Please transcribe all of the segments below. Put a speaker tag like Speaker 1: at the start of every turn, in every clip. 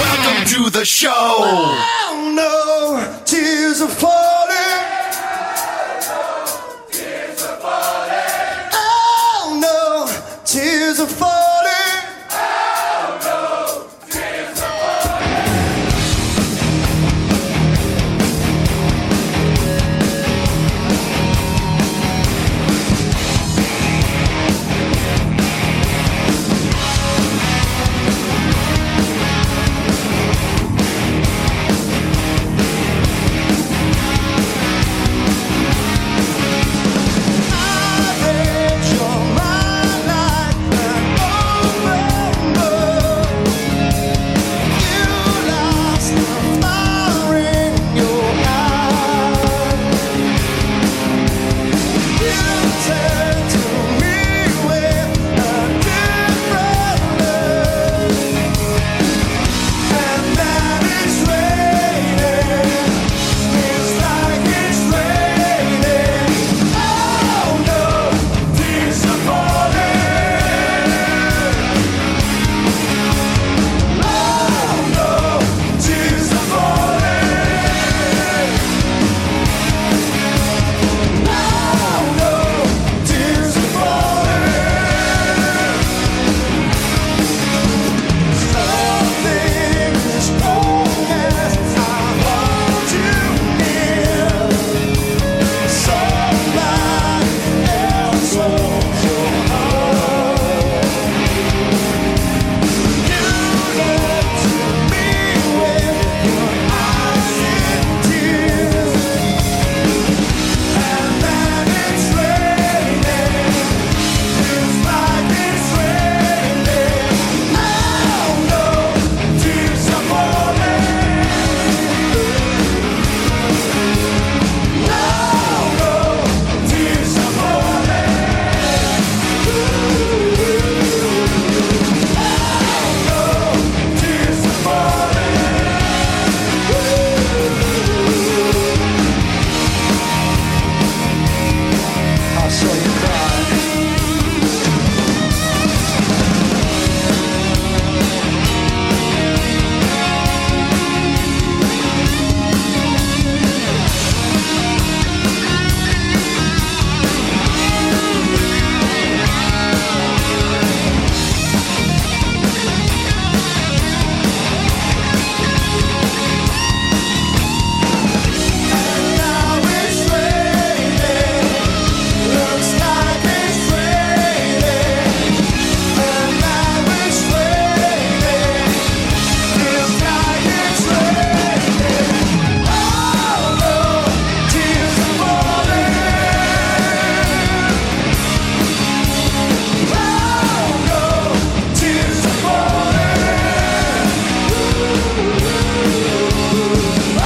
Speaker 1: Welcome to the show.
Speaker 2: Oh no, tears are falling. Oh no, tears are falling. I read your mind like an open book. You lost the fire in your eyes. You turned to me with a different look, and that is raining. It's like it's raining. Oh no, tears are falling. Oh no, tears are falling. Oh no, tears are falling. Something is wrong as I hold you near. Somebody else holds your heart. You look to me with your eyes in tears, and then it's raining. Feels like it's raining. Oh no, tears are falling. I saw you cry. Now it's raining. Looks like it's raining. And now it's raining. Feels like it's raining. Oh no, tears are falling. Oh no, tears are falling. Oh no, tears are falling.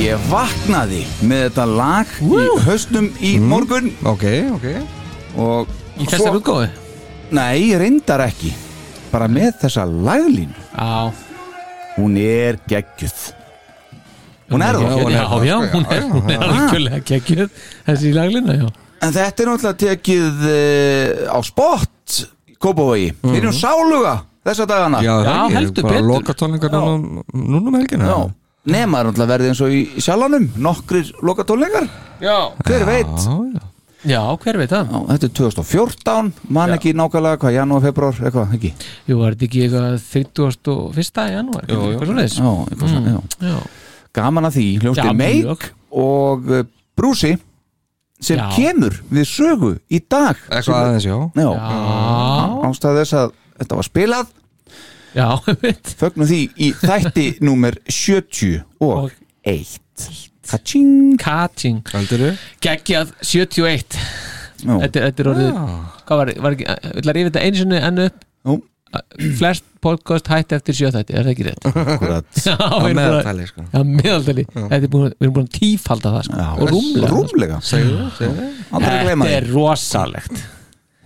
Speaker 3: Ég vaknaði með þetta lag í höstum í morgun
Speaker 4: Ok, ok
Speaker 3: og
Speaker 5: Mhm. Í þessar útgóðu?
Speaker 3: Nei, reyndar ekki bara með þessa laglínu
Speaker 5: Já
Speaker 3: hún er geggjöð Hún er það Ah,
Speaker 5: Já, já, Ah. hún er, hún er algjörlega geggjöð Þessi í laglina, já
Speaker 3: En eh, þetta er náttúrulega tekið uh, á spott í Kópavogi, mm -hmm. við erum sáluga þessa dagana
Speaker 4: Já,
Speaker 5: Mhm.
Speaker 4: það
Speaker 5: Já,
Speaker 4: er
Speaker 5: heldur
Speaker 4: ekki, bara
Speaker 5: betur.
Speaker 4: lokatónlingar núna núna um helgina
Speaker 3: Já. nema er náttúrulega verðið eins og í sjalanum nokkrir lokatónleikar
Speaker 5: Já,
Speaker 3: hver veit
Speaker 4: Já, já.
Speaker 5: já hver veit það?
Speaker 3: Já, þetta er 2014, man ekki nákvæmlega hvað, janúar, februar, eitthvað, ekki já,
Speaker 5: Jú, var þetta ekki eitthvað 31. janúar?
Speaker 4: Jú, jú.
Speaker 5: Eitthvað svoleiðis?
Speaker 3: eitthvað, mm. já.
Speaker 5: Já,
Speaker 3: gaman að því,
Speaker 5: Já,
Speaker 3: hljómsið
Speaker 5: mjög.
Speaker 3: meik og uh, brúsi sem
Speaker 5: Já.
Speaker 3: kemur við sögu í dag
Speaker 4: Eitthvað aðeins,
Speaker 3: já,
Speaker 4: já
Speaker 5: já,
Speaker 3: ástæð þess að þetta var spilað
Speaker 5: já, veit
Speaker 3: fögnum því í þætti númer 70
Speaker 5: Og-
Speaker 3: og 1 Kaching
Speaker 5: Kating,
Speaker 4: Heldur þið?
Speaker 5: geggjað 71
Speaker 3: Já.
Speaker 5: þetta, þetta er orðið, hvað var, var ekki villar yfir þetta einu sinni enn upp
Speaker 3: Jú.
Speaker 5: flest podcast hætti eftir sjöþætti er það ekki rétt?
Speaker 3: Akkurat
Speaker 5: Já,
Speaker 4: Á
Speaker 5: við erum búin að-
Speaker 4: meðaltali, sko
Speaker 5: Já, meðaldali, Þetta er búin að- við erum búin að tífalda það sko. og rúmlega
Speaker 3: Rúmlega,
Speaker 4: Segðu það, segðu það
Speaker 3: aldrei að gleyma
Speaker 5: Þetta er
Speaker 3: því
Speaker 5: rosalegt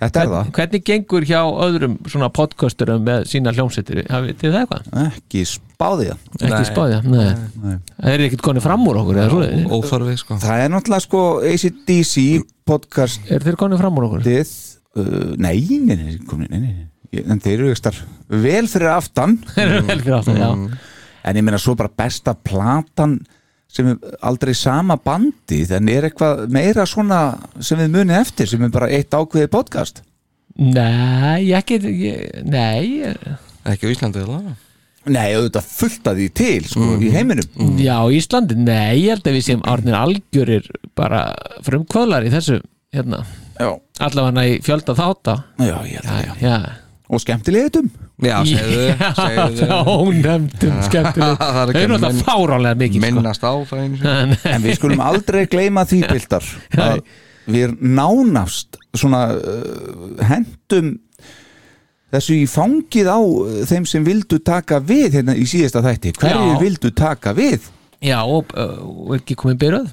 Speaker 3: Þetta er það,
Speaker 5: Hvernig gengur hjá öðrum svona podcasturum með sína hljómsveitir hafið þið það eitthvað?
Speaker 3: ekki spáðið
Speaker 5: Ekki
Speaker 4: Nei.
Speaker 5: spáðið, nei. Það er ekkert konið fram úr okkur eða svoleiðis.
Speaker 4: Óþarfi, sko
Speaker 3: Það er náttúrulega sko ACDC podcast
Speaker 5: Er þeir konið fram úr okkur?
Speaker 3: Þið, uh, nei, nei, nei, kom, nei, nei, nei En þeir eru ekstar vel fyrir aftan
Speaker 5: Þeir eru vel fyrir aftur, já
Speaker 3: En ég meina svo bara besta platan sem er aldrei sama bandið en er eitthvað meira svona sem við munið eftir sem er bara eitt ákveðið podcast
Speaker 5: Nei, ég ekki ég, Nei, ég-
Speaker 4: Ekki á Íslandi, allavega
Speaker 3: Nei, auðvitað fullt að því til sko,
Speaker 5: Mm.
Speaker 3: í heiminum
Speaker 5: já, Íslandi Nei, ég held að við séum Arnir Algjörir bara frumkvöðlar í þessu hérna,
Speaker 3: Já,
Speaker 5: allavega í fjölda þáta
Speaker 3: já, ég held að
Speaker 5: Já, já
Speaker 3: Og skemmtilegutum
Speaker 4: Já, segðu þið, segðu
Speaker 5: Já,
Speaker 4: þið
Speaker 5: ónefndum skemmtilegt
Speaker 4: Það er
Speaker 5: Þau
Speaker 4: ekki
Speaker 5: eru
Speaker 4: að
Speaker 5: náttúrulega
Speaker 4: minn-
Speaker 5: fáránlega mikið sko.
Speaker 4: Minnast á það einu sinni
Speaker 5: En-
Speaker 3: En við skulum aldrei gleyma því, Bildar að við nánast svona uh, hendum þessu í fangið á uh, þeim sem vildu taka við hérna í síðasta þætti Hverju
Speaker 5: Já.
Speaker 3: vildu taka við?
Speaker 5: Já, og, uh, og ekki komið byrjuð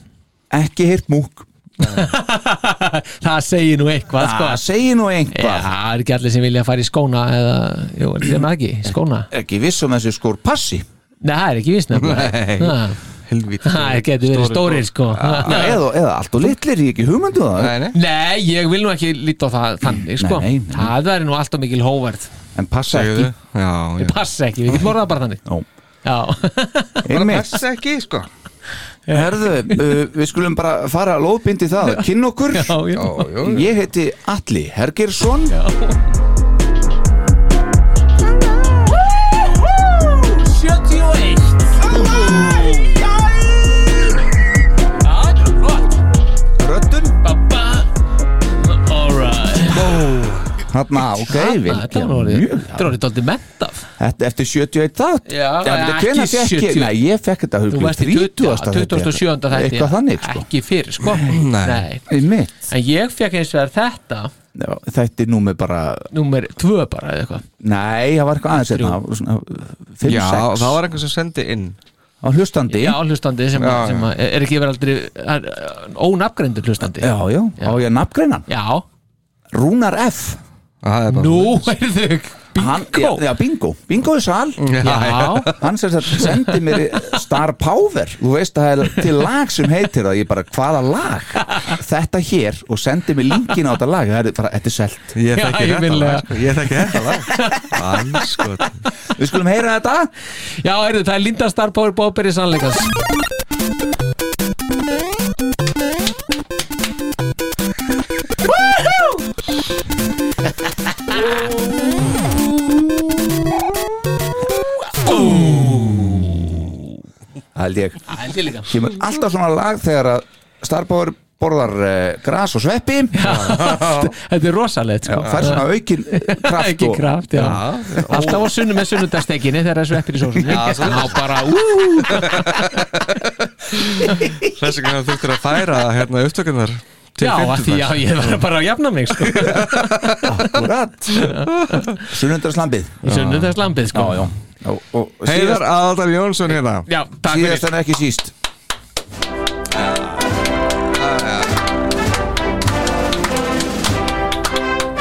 Speaker 3: Ekki heyrt múk
Speaker 5: Það segir nú eitthvað sko.
Speaker 3: Það segir nú
Speaker 5: Já,
Speaker 3: einhvað
Speaker 5: það er ekki allir sem vilja að fara í skóna eða, jú, er það ekki, skóna
Speaker 3: Ekki viss um þessu skór passi
Speaker 5: Nei, það er ekki vísn
Speaker 4: Nei.
Speaker 5: Það
Speaker 4: Helvíti
Speaker 5: getur verið stórir sko
Speaker 3: Já, eða, eða allt og litlir, ég ekki hugmyndu það
Speaker 4: Nei, nei
Speaker 5: Nei, ég vil nú ekki líta á það þannig sko
Speaker 3: Nei, nei.
Speaker 5: Það er nú alltaf mikil hóverð
Speaker 3: En passa
Speaker 4: Segðu
Speaker 3: ekki
Speaker 4: þið Já, já
Speaker 5: Passa ekki, við getum orðað bara þannig
Speaker 3: Ó.
Speaker 5: Já,
Speaker 3: Einmitt,
Speaker 4: Passa ekki, sko
Speaker 3: herðu, uh, við skulum bara fara að lóðbindi það, kynna okkur
Speaker 5: já, já
Speaker 4: Jó,
Speaker 3: Ég heiti Alli Hergersson Röddun Hanna, ok,
Speaker 5: Þarna, Þetta var nú orðið
Speaker 3: vilkja
Speaker 5: Þetta er orðið daldið mentaf
Speaker 3: Þetta eftir 71 þátt
Speaker 5: Já,
Speaker 3: ekki 70
Speaker 5: ekki
Speaker 3: fekk ég,
Speaker 5: 70.
Speaker 3: Nei, ég fekk þetta
Speaker 5: Þú
Speaker 3: huglega
Speaker 5: varst í 20. 27. þætti
Speaker 3: Eitthvað þannig, sko
Speaker 5: Ekki fyrir, sko
Speaker 4: Nei.
Speaker 3: Einmitt
Speaker 5: En ég fekk eins vegar þetta
Speaker 3: Já, Þetta er nú með bara
Speaker 5: Númer tvö bara eða eitthvað
Speaker 3: Nei, það var eitthvað aðeins hérna 5-6
Speaker 4: Já, það var einhver sem sendi inn
Speaker 3: á hlustandi
Speaker 5: Já, hlustandi sem,
Speaker 4: Já, já.
Speaker 5: sem að- er ekki verið aldrei er, uh, Ónafgrendur hlustandi
Speaker 3: já, já, á ég að nafngreinan
Speaker 5: Já.
Speaker 3: Rúnar F
Speaker 4: Það er bara
Speaker 5: Nú er þau
Speaker 3: Hann-
Speaker 5: Bingo
Speaker 3: Já, já, bingo, bingo í sal
Speaker 5: Já,
Speaker 3: Hann sem sagt sendi mér Star Power Þú veist að það er til lag sem heitir það Ég bara, hvaða lag? Þetta hér og sendi mér linkin á þetta lag Það er bara, þetta er selt
Speaker 4: Ég
Speaker 5: Já,
Speaker 4: þekki
Speaker 5: ég
Speaker 4: þetta
Speaker 5: vil,
Speaker 4: lag,
Speaker 5: eh,
Speaker 4: sko. Ég þekki þetta lag Anskot
Speaker 3: Við skulum heyra þetta
Speaker 5: já heyrðu, það er Linda Star Power Bóberi sannleikans
Speaker 3: Það held ég
Speaker 5: Það er líka
Speaker 3: Kemur alltaf svona lag þegar að Star Power borðar uh, gras og sveppi
Speaker 5: Þetta er rosalegt sko.
Speaker 3: og fær svona aukin eh, kraft
Speaker 5: Ekki
Speaker 3: og
Speaker 5: kraft, já, Alltaf á sunnu með sunnudagstekkinni þegar það sveppir í sósunni
Speaker 4: Já,
Speaker 5: Já,
Speaker 4: svoleiðis.
Speaker 5: bara, ú
Speaker 4: Þess vegna þurftur að færa hérna upptökunar til
Speaker 5: Já, að því já,
Speaker 4: fimmtudags.
Speaker 5: ég var bara að jafna mig sko.
Speaker 3: Akkurat Sunnundarslambið
Speaker 5: í sunnudagslambið sko.
Speaker 3: Já, já Og, og
Speaker 4: Heiðar
Speaker 3: síðast,
Speaker 4: Aðaldar Jónsson hérna
Speaker 5: já, takk
Speaker 3: síðast
Speaker 5: fyrir
Speaker 3: en ekki síst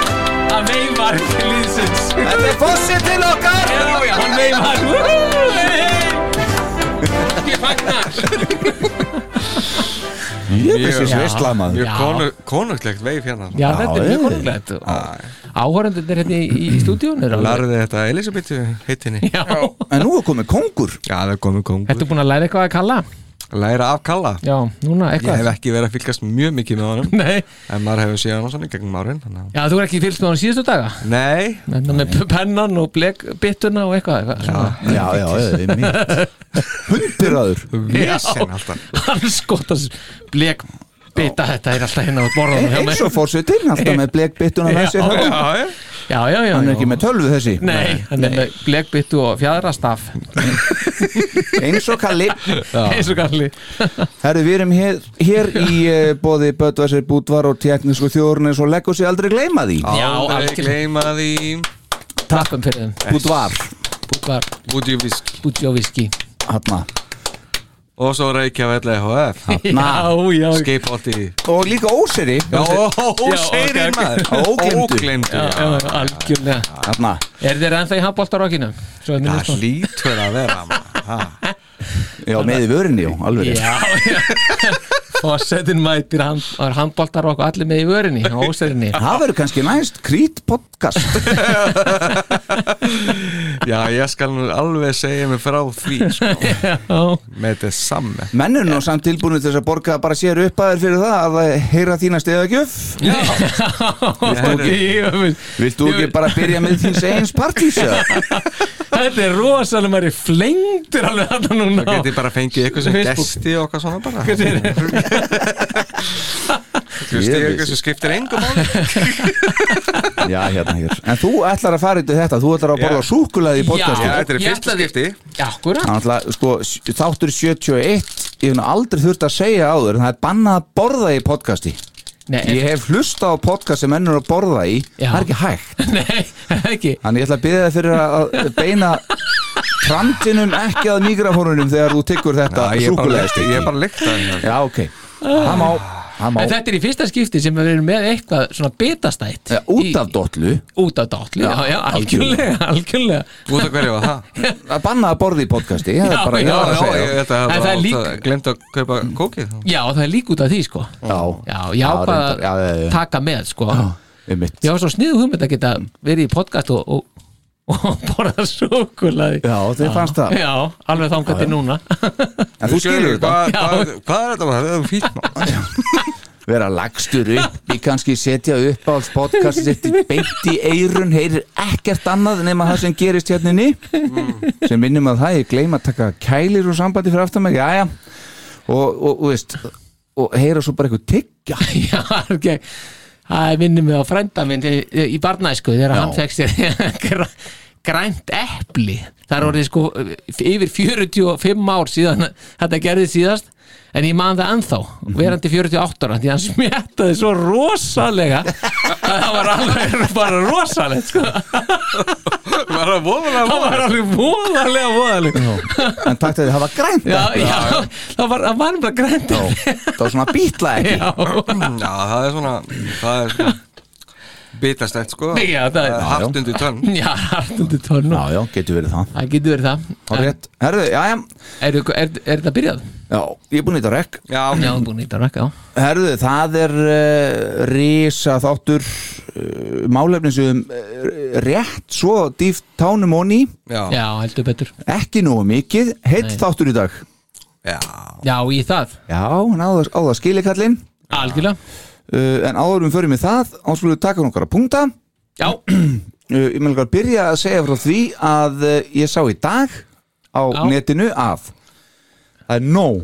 Speaker 5: Hann veifar til liðsins
Speaker 3: Þetta er fossið til okkar
Speaker 5: Já, já, hann veifar Woohoo, hey, hey. Ég fagnar
Speaker 3: Jú, djöfisins
Speaker 5: Já.
Speaker 3: veistlamað
Speaker 5: Já.
Speaker 4: Mjög konu, konunglegt veif hérna
Speaker 5: Já, þetta er
Speaker 3: Já,
Speaker 5: mjög
Speaker 3: ég-
Speaker 5: konunglegt Áhörundunir hérna í, í stúdíun er alveg
Speaker 4: Lærði þetta Elisabethu heitinni
Speaker 5: Já, ertu
Speaker 3: en nú er komið kongur
Speaker 4: það er komið kongur
Speaker 5: búin að læra eitthvað að kalla?
Speaker 4: Læra af Kalla
Speaker 5: Já, núna
Speaker 4: Ég
Speaker 5: eitthvað
Speaker 4: hef ekki verið að fylgast mjög mikið með honum
Speaker 5: Nei,
Speaker 4: En maður hefur séð hann svona í gegnum árin þannig að-
Speaker 5: já, þú er ekki fylgst með hann síðustu daga
Speaker 4: Nei,
Speaker 5: Menna með pennan og blekbyttuna og eitthvað, eitthvað. svona.
Speaker 3: já, já, mitt hundbyrraður
Speaker 4: vesen alltaf
Speaker 5: Hann skotas blekbytta þetta er alltaf hérna á borðanum hjá
Speaker 3: eins
Speaker 5: mér
Speaker 3: og fórsetinn alltaf með blekbyttuna með sér
Speaker 4: Já,
Speaker 3: þarna.
Speaker 4: já,
Speaker 5: Já, já, já
Speaker 3: hann er
Speaker 5: já.
Speaker 3: ekki með tölvu þessi
Speaker 5: Nei, hann er með blekbyttu og fjadrastaf
Speaker 3: eins og kalli
Speaker 5: eins og kalli
Speaker 3: Herru, við erum hér, hér í uh, bóði Böttvæsir Bútvar og teknísku þjórnir svo leggur sér aldrei gleyma því
Speaker 4: já
Speaker 5: Já,
Speaker 4: Aldrei
Speaker 5: algjörlega.
Speaker 4: gleyma því
Speaker 5: Takkum um fyrir þeim
Speaker 3: Bútvar,
Speaker 5: Búkvar,
Speaker 4: Budjúvisk
Speaker 5: bútjóviski
Speaker 3: hann
Speaker 4: Og svo Reykjavík LHF
Speaker 5: Já, já
Speaker 4: Skeipolti
Speaker 3: og líka óseri
Speaker 4: Já,
Speaker 5: Já, ok, ok.
Speaker 4: óseirin maður
Speaker 3: Ógleymdur.
Speaker 4: Ógleymdur,
Speaker 5: Já, já, algjörlega
Speaker 3: hann
Speaker 5: Er þeir ennþá í handbóltarokkinu? Svo er
Speaker 4: Það
Speaker 5: minnust hún
Speaker 4: hlýtur að vera maður. Ha.
Speaker 3: Já, með í vörinni, já, alveg rétt.
Speaker 5: Já, já Fossetin mætir hand, handbóltarokk og allir með í vörinni, á óserinni
Speaker 3: Það verður kannski næst krít podcast
Speaker 4: Já, ég skal nú alveg segja mig frá því sko,
Speaker 5: Já,
Speaker 4: með þetta samme
Speaker 3: Menn er nú samt tilbúinu til þess að borga bara sér uppaður fyrir það að heyra þína stegagjöf
Speaker 4: Já,
Speaker 3: Viltu ekki bara byrja með þín segins partís eða?
Speaker 5: Þetta er rosalega maður er flengdur alveg þarna núna
Speaker 4: Þá get ég bara fengið eitthvað sem
Speaker 5: Facebook.
Speaker 4: gesti og okkar svona bara Gesti eitthvað sem skiptir engum máli
Speaker 3: Já, hérna hér En þú ætlar að fara yfir þetta, þú ætlar að borða
Speaker 4: Já.
Speaker 3: súkulaði í
Speaker 4: Já,
Speaker 3: podcasti
Speaker 4: þetta er í
Speaker 5: Ég
Speaker 4: fyrsta
Speaker 5: ætlaði-
Speaker 4: skipti
Speaker 5: Akkurat
Speaker 3: Þannig að sko, þáttur 71 Ég hef nú aldrei þurft að segja áður en það er bannað að borða í podcasti
Speaker 5: Nei,
Speaker 3: Ég hef hlusta á podcast sem mennur að borða í
Speaker 5: Já.
Speaker 3: Það er ekki hægt
Speaker 5: nei, ekki
Speaker 3: Þannig ég ætla að byrja það fyrir að beina Tramtinum ekki að mikrofónunum þegar þú tyggur þetta
Speaker 4: Já, Ég er bara
Speaker 3: súkkulaðistykki.
Speaker 4: lykta- ég er bara hérna. lykta
Speaker 3: Já, ok Það má, það má.
Speaker 5: En þetta er í fyrsta skipti sem við erum með eitthvað svona betastætt
Speaker 3: Eh, Út af dotlu
Speaker 5: Út af dotlu, já, já,
Speaker 3: algjörlega.
Speaker 5: algjörlega, algjörlega
Speaker 4: Út af hverju var það?
Speaker 3: Að banna að borða í podcasti Það
Speaker 5: Já,
Speaker 3: er bara,
Speaker 5: já,
Speaker 3: ég var að
Speaker 4: Já,
Speaker 3: segja
Speaker 4: ég þetta
Speaker 5: En það er líka-
Speaker 4: bara Glemt að kaupa kókið
Speaker 5: Já, það er líka út af því, sko
Speaker 3: Já,
Speaker 5: Já, já, bara
Speaker 3: reyndar, já, já, já.
Speaker 5: taka með, sko
Speaker 3: um mitt
Speaker 5: Ég var svo sniðu hugmynd að geta verið í podcast og, og, og borða súkulaði
Speaker 3: Já, þið fannst það.
Speaker 5: Já, alveg þangat til núna
Speaker 3: En þú skilur þetta
Speaker 4: Hvað hvað- hvað er þetta? maður? Það er fínt maður.
Speaker 3: Vera lagstur upp í kannski setja upp á podcast Sitt beint í eirun Heyrir ekkert annað nema það sem gerist hérninni
Speaker 4: Mm.
Speaker 3: Sem minnum að það Ég gleym að taka kælir og sambandi fyrir aftan mig Jæja Og, og, og veist Og heyra svo bara eitthvað tyggja
Speaker 5: Já, ok Það minnir mig á frænda minn í, í barnæsku þegar hann fekk sér gr- grænt epli Það er orðið sko yfir 45 ár síðan þetta gerði síðast en ég man það ennþá, verandi 48 ára því hann smjattaði svo rosalega að það var alveg bara rosalegt sko.
Speaker 4: Var það voðalega
Speaker 5: það var alveg voðalega voðalega
Speaker 3: En takk til því það var grænt
Speaker 5: já, já, það var, það var bara grænt
Speaker 3: Já, Það var svona býtla ekki
Speaker 5: já,
Speaker 4: Mm, Já, það er svona Það er svona bitastætt sko
Speaker 5: Já, það er- Já, já.
Speaker 4: Haft undir tönn
Speaker 5: já, hartundi tónu
Speaker 3: Já, já, getur verið það
Speaker 5: það getur verið
Speaker 3: Það
Speaker 5: það
Speaker 3: er
Speaker 5: En-
Speaker 3: rétt Herðu, jæja
Speaker 5: Er, er, er þetta byrjað?
Speaker 3: Já, ég er búin í þetta rekk
Speaker 4: Já,
Speaker 5: Já, búin í þetta já
Speaker 3: Herðu, það er uh, risa þáttur uh, málefnisum uh, rétt svo dýft tánum onni
Speaker 4: já,
Speaker 5: Já, heldur betur
Speaker 3: ekki nógu mikið, heitt þáttur í dag
Speaker 4: já.
Speaker 5: Já, í það,
Speaker 3: Já, náðu á það skilikallinn
Speaker 5: algjörlega
Speaker 3: uh, en áðurum fyrir mig það ásvölu taka nokkara punkta uh,
Speaker 5: Já,
Speaker 3: ég með að byrja að segja frá því að uh, ég sá í dag á
Speaker 5: Já.
Speaker 3: netinu að það er nóg,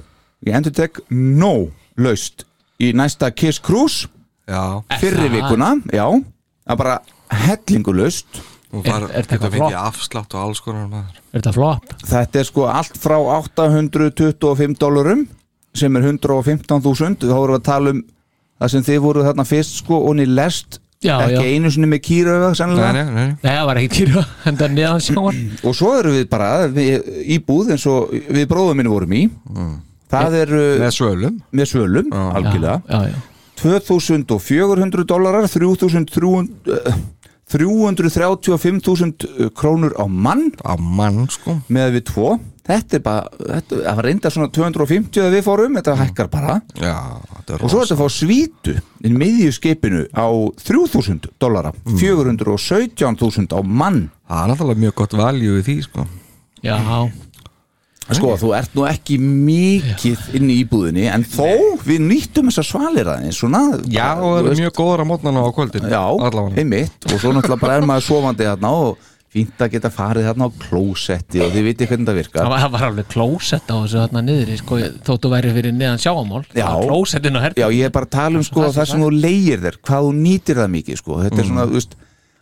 Speaker 3: ég endur tek nóg laust í næsta Kiss Cruise
Speaker 4: já.
Speaker 3: fyrri
Speaker 5: það?
Speaker 3: vikuna, já það er bara hellingulaust
Speaker 4: Hún
Speaker 5: Er- er
Speaker 4: var,
Speaker 5: þetta
Speaker 4: geta
Speaker 5: eitthvað
Speaker 4: fengið afslátt og alls konar maður
Speaker 5: er þetta flop?
Speaker 3: þetta er sko allt frá 825 dólarum sem er 115.000 þá vorum við að tala um það sem þið voru þarna fyrst sko og niður lest
Speaker 5: Já,
Speaker 3: ekki
Speaker 5: já,
Speaker 3: einu sinni með kýröfa
Speaker 4: Nei,
Speaker 3: sennilega
Speaker 4: nei, nei
Speaker 5: nei, það var ekki týra Enda neðan sjávar
Speaker 3: og svo eru við bara við, í búð eins og við bróðum minni vorum í það er uh,
Speaker 4: Mm. Með svölum
Speaker 3: með svölum algjörlega
Speaker 5: Já, já, já.
Speaker 3: 2400 dólarar eh, 335.000 eh, krónur á mann
Speaker 4: Á mann sko
Speaker 3: með við tvo þetta er bara, þetta, það var reynda svona 250 að við fórum, þetta hækkar bara
Speaker 4: Já, þetta þetta
Speaker 3: og svo er þetta að fá svítu inn miðju skipinu á 3000 dollara
Speaker 4: Mm.
Speaker 3: 417.000 á mann
Speaker 4: Það er náttúrulega mjög gott valjú í því sko
Speaker 5: já,
Speaker 3: sko þú ert nú ekki mikið inn í íbúðinni en þó við nýttum þessa svalir aðeins svona
Speaker 4: Já,
Speaker 3: bara,
Speaker 4: og það
Speaker 3: þú
Speaker 4: er
Speaker 3: veist,
Speaker 4: mjög góðar á mótnana á kvöldin
Speaker 3: já,
Speaker 4: Allavega
Speaker 3: einmitt og svo náttúrulega bara er maður sofandi þarna og fínt að geta farið þarna á klósetti og þið viti hvernig það virkar
Speaker 5: það var, það var alveg klósett á þessu þarna niður sko, þóttu væri fyrir neðan sjáamál
Speaker 3: Já.
Speaker 5: klósettin
Speaker 3: Já,
Speaker 5: og herta
Speaker 3: ég er bara að tala um sko
Speaker 5: Það sé
Speaker 3: það sem þú leigir þér, hvað þú nýtir það mikið sko, þetta er
Speaker 5: Mm.
Speaker 3: svona, þú veist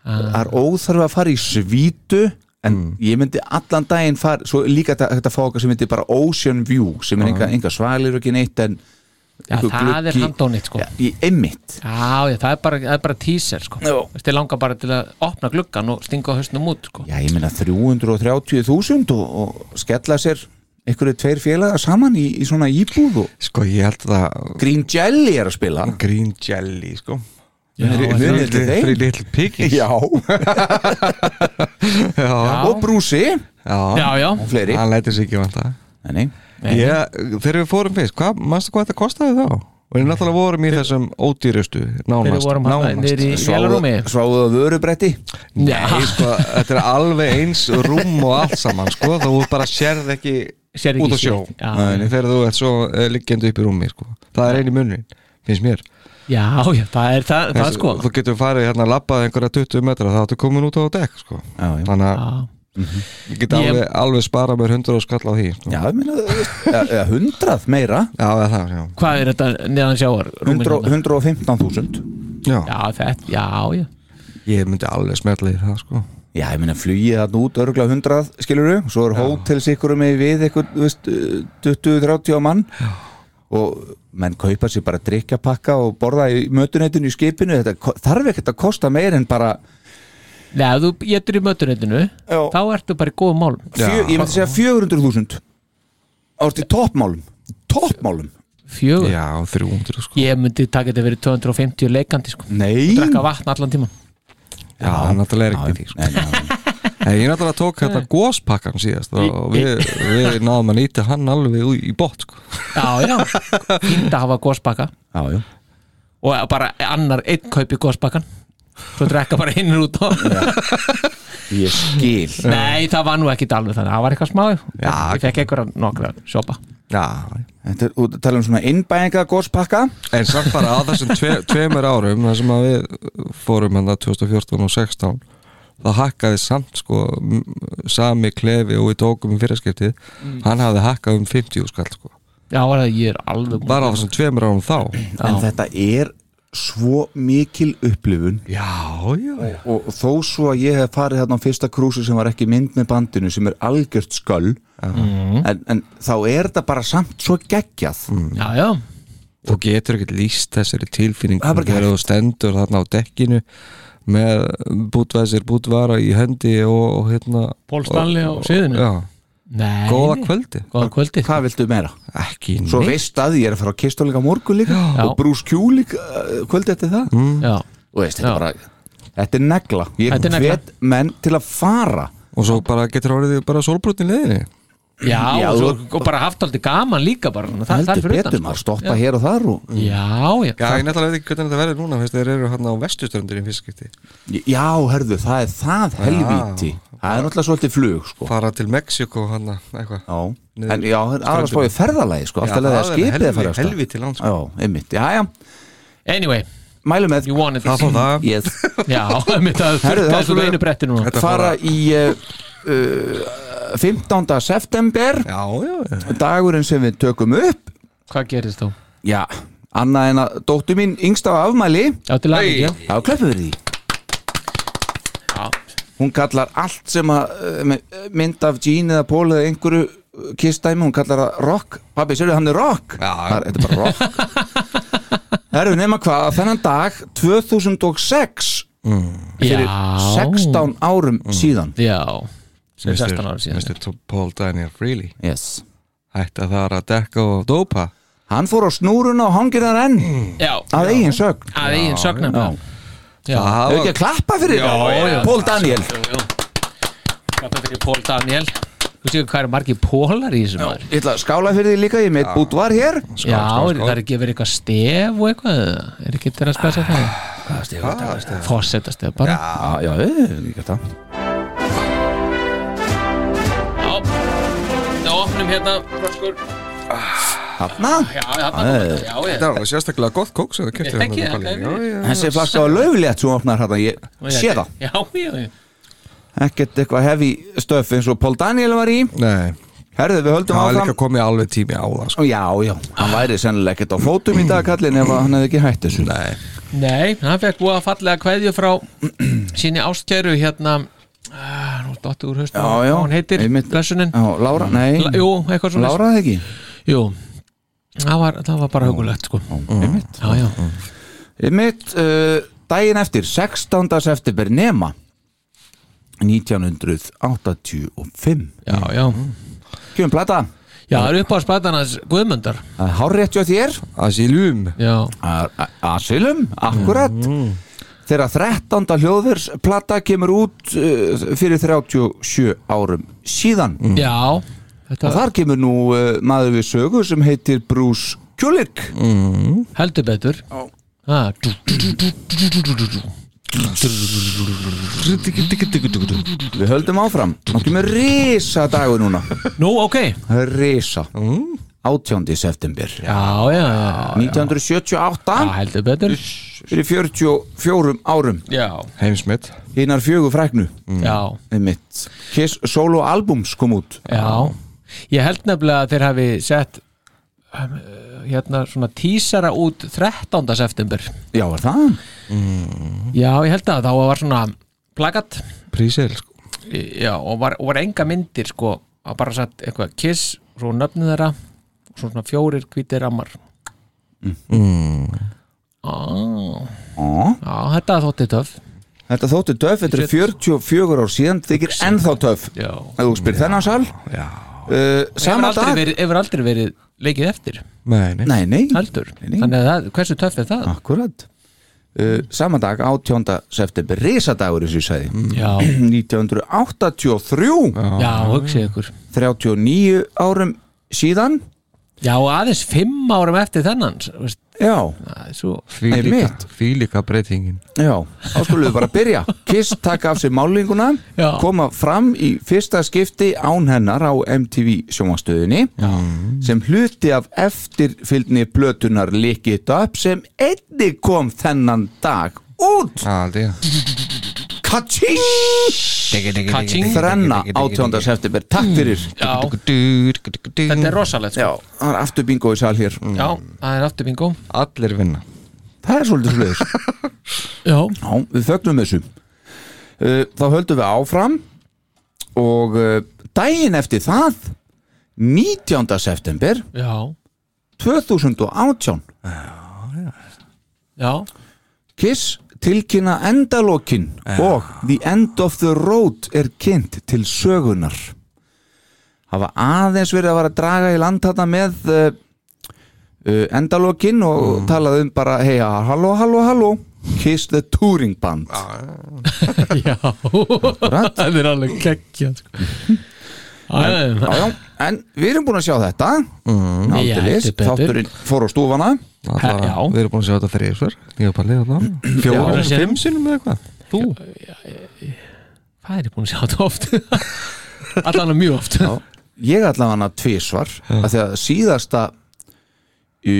Speaker 5: Ah.
Speaker 3: það er óþarf að fara í svítu en
Speaker 5: Mm.
Speaker 3: ég myndi allan daginn fara, svo líka þetta, þetta fóka sem myndi bara Ocean View, sem er enga, enga svalir og ekki neitt en
Speaker 5: Ah. Já,
Speaker 3: einhver
Speaker 5: það er
Speaker 3: gluggi-
Speaker 5: handónýtt, sko.
Speaker 3: Já, í einmitt
Speaker 5: Já, já, það er bara, það er bara teaser sko.
Speaker 3: Já.
Speaker 5: Þið langar bara til að opna gluggan og stinga hausnum út sko.
Speaker 3: Já, ég meina 330.000 og, og skella sér einhverju tveir félaga saman í, í svona íbúð og
Speaker 4: Sko, ég held að
Speaker 3: Green Jelly er að spila
Speaker 4: Green Jelly sko
Speaker 5: Já,
Speaker 3: Munið-
Speaker 5: það-
Speaker 3: munið eftir þeim?
Speaker 4: Free Little Piggies
Speaker 3: Já,
Speaker 4: já,
Speaker 3: og Brúsi
Speaker 4: já.
Speaker 5: já, já,
Speaker 3: og fleiri
Speaker 4: Hann lætur sig ekki vanta
Speaker 3: Nei,
Speaker 4: Ég, þegar við fórum fyrst, hvað, mannstu hvað þetta kostaði þá? Og við náttúrulega vorum í þessum ódýrustu, nánast
Speaker 5: Þegar við vorum hann
Speaker 4: nánast.
Speaker 5: nýri í vélarúmi
Speaker 3: sváðu að vörubretti
Speaker 4: Nei, sko, þetta er alveg eins rúm og allt saman, sko, þá þú bara sérð ekki
Speaker 5: Sérð ekki
Speaker 4: út á sjó
Speaker 5: shit, já.
Speaker 4: Nei, þegar þú ert svo uh, liggjandi upp í rúmi, sko Það er einu munni, finnst mér
Speaker 5: Já, já, það er það, það
Speaker 4: Þessi-
Speaker 5: sko
Speaker 4: Þú getur farið hérna að labbað einhverja 20 metra, þá ertu komin út á dekk, sko
Speaker 3: Já, já.
Speaker 4: Þannig að
Speaker 5: Já,
Speaker 4: ég get alveg, alveg sparað mér 100 og skall á því, sko
Speaker 3: Já, ég meina, þú veist, eða eða 100 meira
Speaker 4: Já, það er það, já
Speaker 5: Hvað er þetta neðan sjáar? rúmin
Speaker 3: 100
Speaker 5: hérna?
Speaker 3: 115.000
Speaker 4: Já,
Speaker 5: Já, þetta, já, já
Speaker 4: ég myndi alveg smetla í það, sko
Speaker 3: Já, ég meina, flugið þarna út örgulega 100, skilur við Svo er hótels ykkur með við eitthvað, þú veist, 20-30 á mann Já. Og menn kaupa sér bara drikkjapakka og borða í mötuneytinu í skipinu Þetta ko- þarf ekkert að kosta meir en bara
Speaker 5: Nei, ef þú getur í mötunetinu
Speaker 3: Já.
Speaker 5: þá ertu bara í góðum málum
Speaker 3: fjö, Ég myndi segja 400.000 Árti toppmálum Toppmálum
Speaker 5: Fjögur,
Speaker 4: Já, 300, sko
Speaker 5: ég myndi taka þetta verið 250 leikandi sko
Speaker 3: Nei
Speaker 4: Mm.
Speaker 5: Drekka vatn allan tíman
Speaker 4: Já, náttúrulega er ekki því, sko
Speaker 3: Nei, nei, nei.
Speaker 4: Nei, ég náttúrulega tók hérna góspakkan síðast og við, við náðum að nýta hann alveg í, í bótt sko.
Speaker 5: Já, já, fínt að hafa góðspakka
Speaker 3: Já, já
Speaker 5: og bara annar einn kaupi góðspakkan svo drekka bara hinnur út og
Speaker 3: Ég skil
Speaker 5: Nei, það var nú ekki alveg þannig, það var eitthvað smá Já, ég fekk einhverja nokkra sjópa
Speaker 4: Já,
Speaker 3: Þetta er út að tala um svona innbæðinga góspakka
Speaker 4: en samt bara á þessum tve, tveimur árum þar sem að við fórum hann 2014 og 16 það hakkaði samt sko m- sami klefi og við tókum í fyrirskiptið
Speaker 3: Mm.
Speaker 4: hann hafði hakkað um 50 skall sko
Speaker 5: Já, var það, ég er alveg
Speaker 4: bara á þessum tveimur árum þá
Speaker 3: en þetta er svo mikil upplifun
Speaker 4: Já, já, já
Speaker 3: og þó svo að ég hef farið þarna á fyrsta krúsi sem var ekki mynd með bandinu sem er algjört sköll en, en þá er þetta bara samt svo geggjað
Speaker 5: Já, já,
Speaker 4: Þú getur ekkert líst þessari tilfinning
Speaker 3: Það er bara ekki
Speaker 4: þegar þú stendur þarna á dekkinu með bútvæsir bútvara í hendi og, og hérna
Speaker 5: Paul Stanley á sviðinu.
Speaker 4: Já,
Speaker 5: nei
Speaker 4: góða kvöldi
Speaker 5: Góða kvöldi
Speaker 3: Hvað viltu meira?
Speaker 5: Mm.
Speaker 4: Ekki
Speaker 3: Svo
Speaker 4: neitt.
Speaker 3: veist að ég er að fara á kistuleika morgun líka
Speaker 4: Já.
Speaker 3: og brús kjúlik uh, kvöldi eftir það
Speaker 5: Já,
Speaker 3: og veist, þetta,
Speaker 5: Mm. Já.
Speaker 3: er bara, þetta er negla ég
Speaker 5: Þetta er negla.
Speaker 3: hvet menn til að fara
Speaker 4: Og svo bara getur orðið bara sólbrotni leðinni
Speaker 5: já,
Speaker 3: Já,
Speaker 5: og, svo,
Speaker 3: þú-
Speaker 5: og bara haft aldrei gaman líka bara svona, það, það er
Speaker 3: heldur
Speaker 5: fyrir
Speaker 3: betur
Speaker 5: utan
Speaker 3: maður
Speaker 5: sko.
Speaker 3: stoppa hér og þar og,
Speaker 5: Já, já,
Speaker 4: Já, ég náttúrulega veit ekki hvernig þetta verður núna fyrst þeir eru hérna á vestustöndurinn fiskipti
Speaker 3: já, herðu, það er það helvíti það er náttúrulega svolítið flug sko.
Speaker 4: fara til Mexiko hann eitthvað
Speaker 3: Já,
Speaker 4: Niður-
Speaker 3: en já, aðra
Speaker 4: ströndina.
Speaker 3: spáði ferðalagi sko, alltaf
Speaker 4: Já,
Speaker 3: leðið að
Speaker 4: það er
Speaker 3: skipið að
Speaker 4: helvi-
Speaker 3: fara af stað.
Speaker 4: helvíti land, sko.
Speaker 3: Já, einmitt, já, já,
Speaker 5: Anyway,
Speaker 3: mælu með
Speaker 5: you wanted
Speaker 4: Það fór það
Speaker 3: yes.
Speaker 5: Já, mitt að
Speaker 3: Herðu, það
Speaker 5: þurfti á svo
Speaker 3: skulum-
Speaker 5: einu bretti núna
Speaker 4: Þetta
Speaker 3: Fara í uh, uh, 15. september
Speaker 4: Já, já, já
Speaker 3: dagurinn sem við tökum upp
Speaker 5: Hvað gerist þú?
Speaker 3: Já, annað en að dóttu mín yngsta á afmæli
Speaker 5: Já, til aðeins, já
Speaker 3: Já, klöppum við því
Speaker 5: Já.
Speaker 3: Hún kallar allt sem að eh, me- mynd af Gene eða Paul eða einhverju eh, kistdæmi, hún kallar það rock Pabbi, sérðu hann er rock
Speaker 4: Já.
Speaker 3: Það er þetta er bara rock Herru, nema hvað, að þennan dag 2006 fyrir
Speaker 5: Já.
Speaker 3: 16 árum síðan
Speaker 5: Já, sem
Speaker 4: Mr.
Speaker 5: 16 ára síðan
Speaker 4: Mr. Paul Daniel Freely
Speaker 3: yes.
Speaker 4: Ætti að það er að dekka og dópa
Speaker 3: Hann fór á snúruna og hangir þar enn
Speaker 5: Já,
Speaker 3: að eigin sögn
Speaker 5: að eigin sögnum
Speaker 3: Já.
Speaker 5: Já,
Speaker 4: Það
Speaker 3: Hefur
Speaker 4: var-
Speaker 3: ekki að klappa fyrir
Speaker 5: já,
Speaker 3: þetta?
Speaker 5: já.
Speaker 3: Paul Daniel
Speaker 5: Klappa fyrir Pól Daniel Þú séu hvað er margir pólar í þessum maður
Speaker 3: Ég ætla að skála fyrir því líka, ég meitt bútt var hér
Speaker 4: Skál,
Speaker 5: Já,
Speaker 4: skál, skál.
Speaker 5: það er ekki að vera eitthvað stef og eitthvað eða? Er ekki þetta að spesa það?
Speaker 4: Ah,
Speaker 5: Fossetta stef bara
Speaker 3: Já, já, eh, líka það
Speaker 5: Já, það opnum hérna Froskur,
Speaker 3: Hanna,
Speaker 5: já, þarna kom þetta, já,
Speaker 4: Þetta
Speaker 5: já
Speaker 4: var alveg sérstaklega gott kók sem hérna það
Speaker 5: Ég
Speaker 4: kefti
Speaker 5: þekki það,
Speaker 4: Já,
Speaker 5: það er-
Speaker 4: já,
Speaker 3: þessi flaska var lögulegt svo opnar hérna, ég sé það
Speaker 5: Já, já, já
Speaker 3: Ekkert eitthvað hefi stöf eins og Paul Daniel var í
Speaker 4: Nei,
Speaker 3: Herðu, við höldum
Speaker 4: það var
Speaker 3: áfram
Speaker 4: líka komið alveg tími á það
Speaker 3: Ó,
Speaker 4: sko.
Speaker 3: Já, já, hann væri sennilega ekkert á fótum í dag kallin ef að hann hefði ekki hætt þessu
Speaker 4: Nei,
Speaker 5: Nei, hann fekk búið að fallega kveðju frá sinni ástkæru hérna ah, Nú dottu úr haustum
Speaker 3: Já, já,
Speaker 5: Hún heitir,
Speaker 3: einmitt.
Speaker 5: blessunin
Speaker 3: Já, Lára,
Speaker 4: Mm.
Speaker 3: nei,
Speaker 5: La- Jú, eitthvað svona
Speaker 3: Lára það ekki
Speaker 5: Jú, það var, það var bara hugulegt sko
Speaker 3: Einmitt. Mm.
Speaker 5: Já, já
Speaker 3: Einmitt, uh, daginn eftir 16. september nema 1985
Speaker 5: Já, já,
Speaker 3: Mm. Kjöfum plata,
Speaker 5: já, það er upp á spætanans Guðmundar
Speaker 3: það er hárrétt hjá þér
Speaker 4: Asylum
Speaker 5: Já,
Speaker 3: A- A- Asylum, akkurat
Speaker 5: Mhm.
Speaker 3: þegar 13. hljóðversplata kemur út uh, fyrir 37 árum síðan
Speaker 5: Mhm. já Þetta
Speaker 3: og þar kemur nú uh, maður við sögu sem heitir Bruce Kulick
Speaker 5: Mhm. heldur betur ah, dú, dú, dú, dú, dú, dú, dú, dú, dú.
Speaker 3: við höldum áfram, hann kemur risa dagur núna,
Speaker 5: Nú, ok
Speaker 3: risa 18. september
Speaker 5: Mhm. Já, já, já Ah,
Speaker 3: 1978
Speaker 5: Já, heldur betur
Speaker 3: fyrir 44 árum
Speaker 5: Já,
Speaker 4: Heimsmynd
Speaker 3: hinnar fjögur fræknu
Speaker 5: já,
Speaker 3: einmitt. Kiss solo albums kom út
Speaker 5: já Ég held nefnilega að þeir hafi sett um, hérna svona tísara út 13. september
Speaker 3: já var það
Speaker 5: Já, ég held að þá var svona plakat
Speaker 4: Prísil sko.
Speaker 5: Já, og var, og var enga myndir sko að bara satt eitthvað kiss svo nöfnið þeirra og svo svona fjórir hvítir ammar mm.
Speaker 3: Ó,
Speaker 5: Já, þetta þótti töf
Speaker 3: þetta þótti töf, þetta er 44 ár síðan þykir ennþá töf
Speaker 5: Já
Speaker 3: ef þú spyr þennan sal
Speaker 4: Já
Speaker 3: uh,
Speaker 5: Hefur
Speaker 3: sama
Speaker 5: aldrei,
Speaker 3: dag
Speaker 5: verið, hefur aldrei verið leikið eftir
Speaker 4: Nei, nei
Speaker 3: nei, nei,
Speaker 5: heldur,
Speaker 3: Nei, nei.
Speaker 5: þannig að það, hversu töff er það
Speaker 3: akkurat uh, sama dag, 18. september risadagur eins og ég sagði
Speaker 5: já,
Speaker 3: 1983
Speaker 5: Mm. já, hugsið ykkur
Speaker 3: 39 árum síðan
Speaker 5: já, og aðeins fimm árum eftir þennan s- veist,
Speaker 3: já,
Speaker 5: það er svo,
Speaker 4: Því
Speaker 3: Nei,
Speaker 4: líka,
Speaker 3: mitt.
Speaker 4: því líka breytingin
Speaker 3: Já, þá skulum við bara byrja Kiss taka af sér málinguna
Speaker 5: Já.
Speaker 3: koma fram í fyrsta skipti án hennar á MTV sjónvastöðinni sem hluti af eftirfylgni blötunar Lick It Up sem einni kom þennan dag út
Speaker 4: Aldi,
Speaker 3: Katsing
Speaker 5: Kaching.
Speaker 3: Þrenna 18. september, takk fyrir
Speaker 5: já, þetta er rosalegt
Speaker 3: Já,
Speaker 5: sko.
Speaker 3: það er aftur bingo í sal hér
Speaker 5: já, það er aftur bingo
Speaker 4: Allir vinna
Speaker 3: Það er svolítið sluðis
Speaker 5: já,
Speaker 3: Já, við fögnum þessu Uh, Þá höldum við áfram og uh, daginn eftir það 19. september
Speaker 5: já,
Speaker 3: 2018
Speaker 5: já
Speaker 3: Kiss tilkynna endalokin og The End of the Road er kynnt til sögunar hafa aðeins verið að vara að draga í land þarna með uh, uh, endalokin og mm. talað um bara hei, halló, halló, halló Kiss the Touring Band
Speaker 5: já, það er alveg kekkja sko. Æ,
Speaker 3: já, já, en við erum búin að sjá þetta mm,
Speaker 5: Já,
Speaker 3: aldeilis,
Speaker 5: Mhm. heldur betur.
Speaker 3: þátturinn fór á stúfana
Speaker 4: Alla,
Speaker 5: Já.
Speaker 4: Við erum búin að sjá þetta þrýsver Nýjapallið
Speaker 5: Mm.
Speaker 4: þarna Fjóra,
Speaker 5: Já.
Speaker 4: fimm sinnum eða eitthvað
Speaker 5: þú hvað er ég búin að sjá þetta oft allan að mjög oft já,
Speaker 3: ég ætlaði hana tvisvar af því að síðasta í,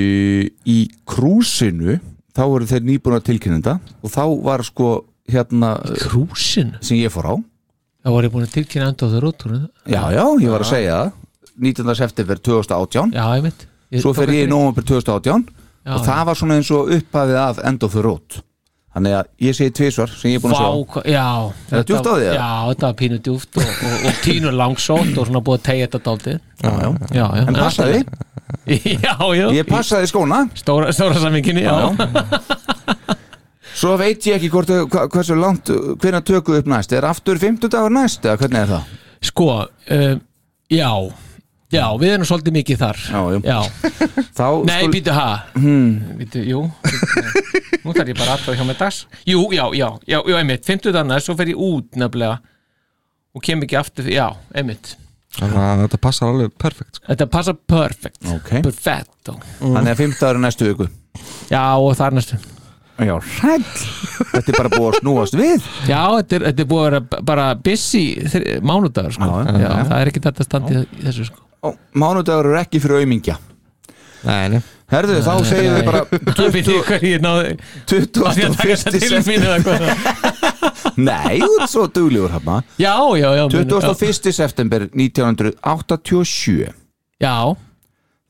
Speaker 3: í krúsinu þá voru þeir nýbúin að tilkynninda og þá var sko hérna
Speaker 5: krúsin,
Speaker 3: sem ég fór á
Speaker 5: þá var ég búin að tilkynna enda á þau rótúrinu
Speaker 3: já, já, ég var að segja það 19. september 2018
Speaker 5: já, ég mitt
Speaker 3: svo fer ég í november 2018
Speaker 5: Já,
Speaker 3: og það var svona eins og upphafið af End of the Road þannig að ég segi tvisvar sem ég er búin að
Speaker 5: Vá,
Speaker 3: sjá
Speaker 5: hva- já
Speaker 3: það djúpt á því, eða?
Speaker 5: Já, þetta var pínu djúft og, og, og pínu langsótt og svona búið að tegja þetta dálti
Speaker 3: já, já.
Speaker 5: Já, já
Speaker 3: en passaði,
Speaker 5: Já, já
Speaker 3: ég passaði skóna
Speaker 5: Stóra, stóra samminginni, já, já.
Speaker 3: Svo veit ég ekki hvort, hva- hversu langt hvernig tökum við upp næst, er aftur 50 dagur næst eða hvernig er það?
Speaker 5: Sko, um, já Já, við erum svolítið mikið þar
Speaker 3: Já, jú. Þá
Speaker 5: Nei,
Speaker 3: skul-
Speaker 5: býtu ha hmm. Býtu, jú Nú þarf ég bara aðtöð hjá með dags Jú, já, já, já, já, einmitt 50 annars, svo fer ég út nefnilega og kem ekki aftur, já, einmitt
Speaker 4: þannig að þetta passar alveg perfekt sko.
Speaker 5: Þetta passa perfect
Speaker 3: Ok.
Speaker 5: Perfetto
Speaker 3: Þannig að 50 ára næstu viku
Speaker 5: Já, og þar næstu
Speaker 3: Já, hræll Þetta er bara búið að snúast við
Speaker 5: Já, þetta er, þetta er búið að vera bara busy þri- mánudagur sko.
Speaker 3: Já,
Speaker 5: já,
Speaker 3: já, já.
Speaker 5: það er ekki þetta standi í þessu sko.
Speaker 3: Ó, Mánudagur eru ekki fyrir aumingja
Speaker 4: Nei, nei
Speaker 3: Herðu, þá segjum við bara
Speaker 5: Það veit ég hvað ég náði Á því að taka þetta
Speaker 3: 21.
Speaker 5: til mín eða hvað.
Speaker 3: Nei, þú ert svo duglegur hafna
Speaker 5: Já, já, já meina,
Speaker 3: 21. september 1987
Speaker 5: Já,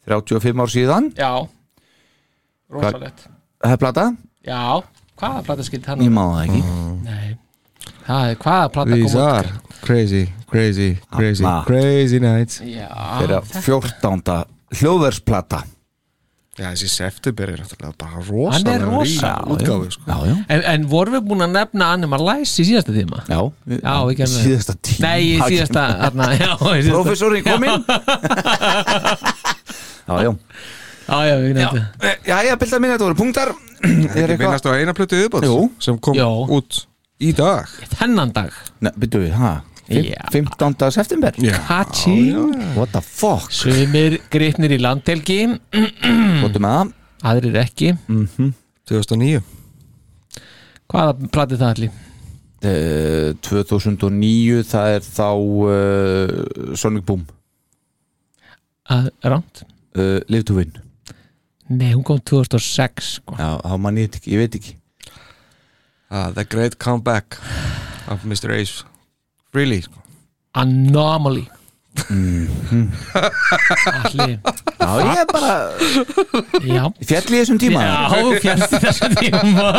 Speaker 3: 35 ár síðan
Speaker 5: já Rósalett
Speaker 3: Það er plata,
Speaker 5: Já, hvaða plata skildi hann
Speaker 3: ég má það ekki
Speaker 5: Nei Það er hvaða plata
Speaker 4: These
Speaker 5: kom út
Speaker 4: are crazy, crazy, crazy
Speaker 3: Ah.
Speaker 4: Crazy nights
Speaker 5: Já,
Speaker 3: Þeirra 14. hljóðversplata
Speaker 4: Já, þessi september er náttúrulega bara
Speaker 5: Hann er rosa
Speaker 4: útgáfi sko.
Speaker 3: Já, já,
Speaker 5: en, en vorum við búin að nefna Animal Lies í síðasta tíma?
Speaker 3: já,
Speaker 5: Já, við gerum það.
Speaker 3: Síðasta tíma
Speaker 5: Nei, í síðasta þarna, já, í síðasta-
Speaker 3: Professorinn kominn Já, já
Speaker 5: Já, já, við nefndum
Speaker 3: Eh, Já, já, bildar minni, þetta voru punktar Er
Speaker 4: Ekki
Speaker 3: eitthvað?
Speaker 4: minnast á eina plötu viðbót
Speaker 3: Jú.
Speaker 4: sem kom
Speaker 5: Já.
Speaker 4: út í dag
Speaker 5: Þennan dag
Speaker 3: Nei, byrju við, ha? Fim-
Speaker 5: Já.
Speaker 3: 15. september?
Speaker 5: Hachi
Speaker 3: What the fuck?
Speaker 5: Hmm. Sumir gripnir í landhelgi
Speaker 3: Votum með það
Speaker 5: Aðrir ekki
Speaker 4: 2009
Speaker 5: Hvaða platið það allir?
Speaker 3: Eh, 2009, það er þá uh, Sonic Boom
Speaker 5: Ránt?
Speaker 3: uh, Live to Win
Speaker 5: Nei, hún kom 2006 sko.
Speaker 3: Já, þá mann ég þetta ekki, ég veit ekki
Speaker 4: ah, The Great Comeback of Mr. Ace Really sko.
Speaker 5: Anomaly Mhm. Allir
Speaker 3: Já, ég er bara
Speaker 5: Já
Speaker 3: fjall í þessum tíma
Speaker 5: Já, fjast í þessu tíma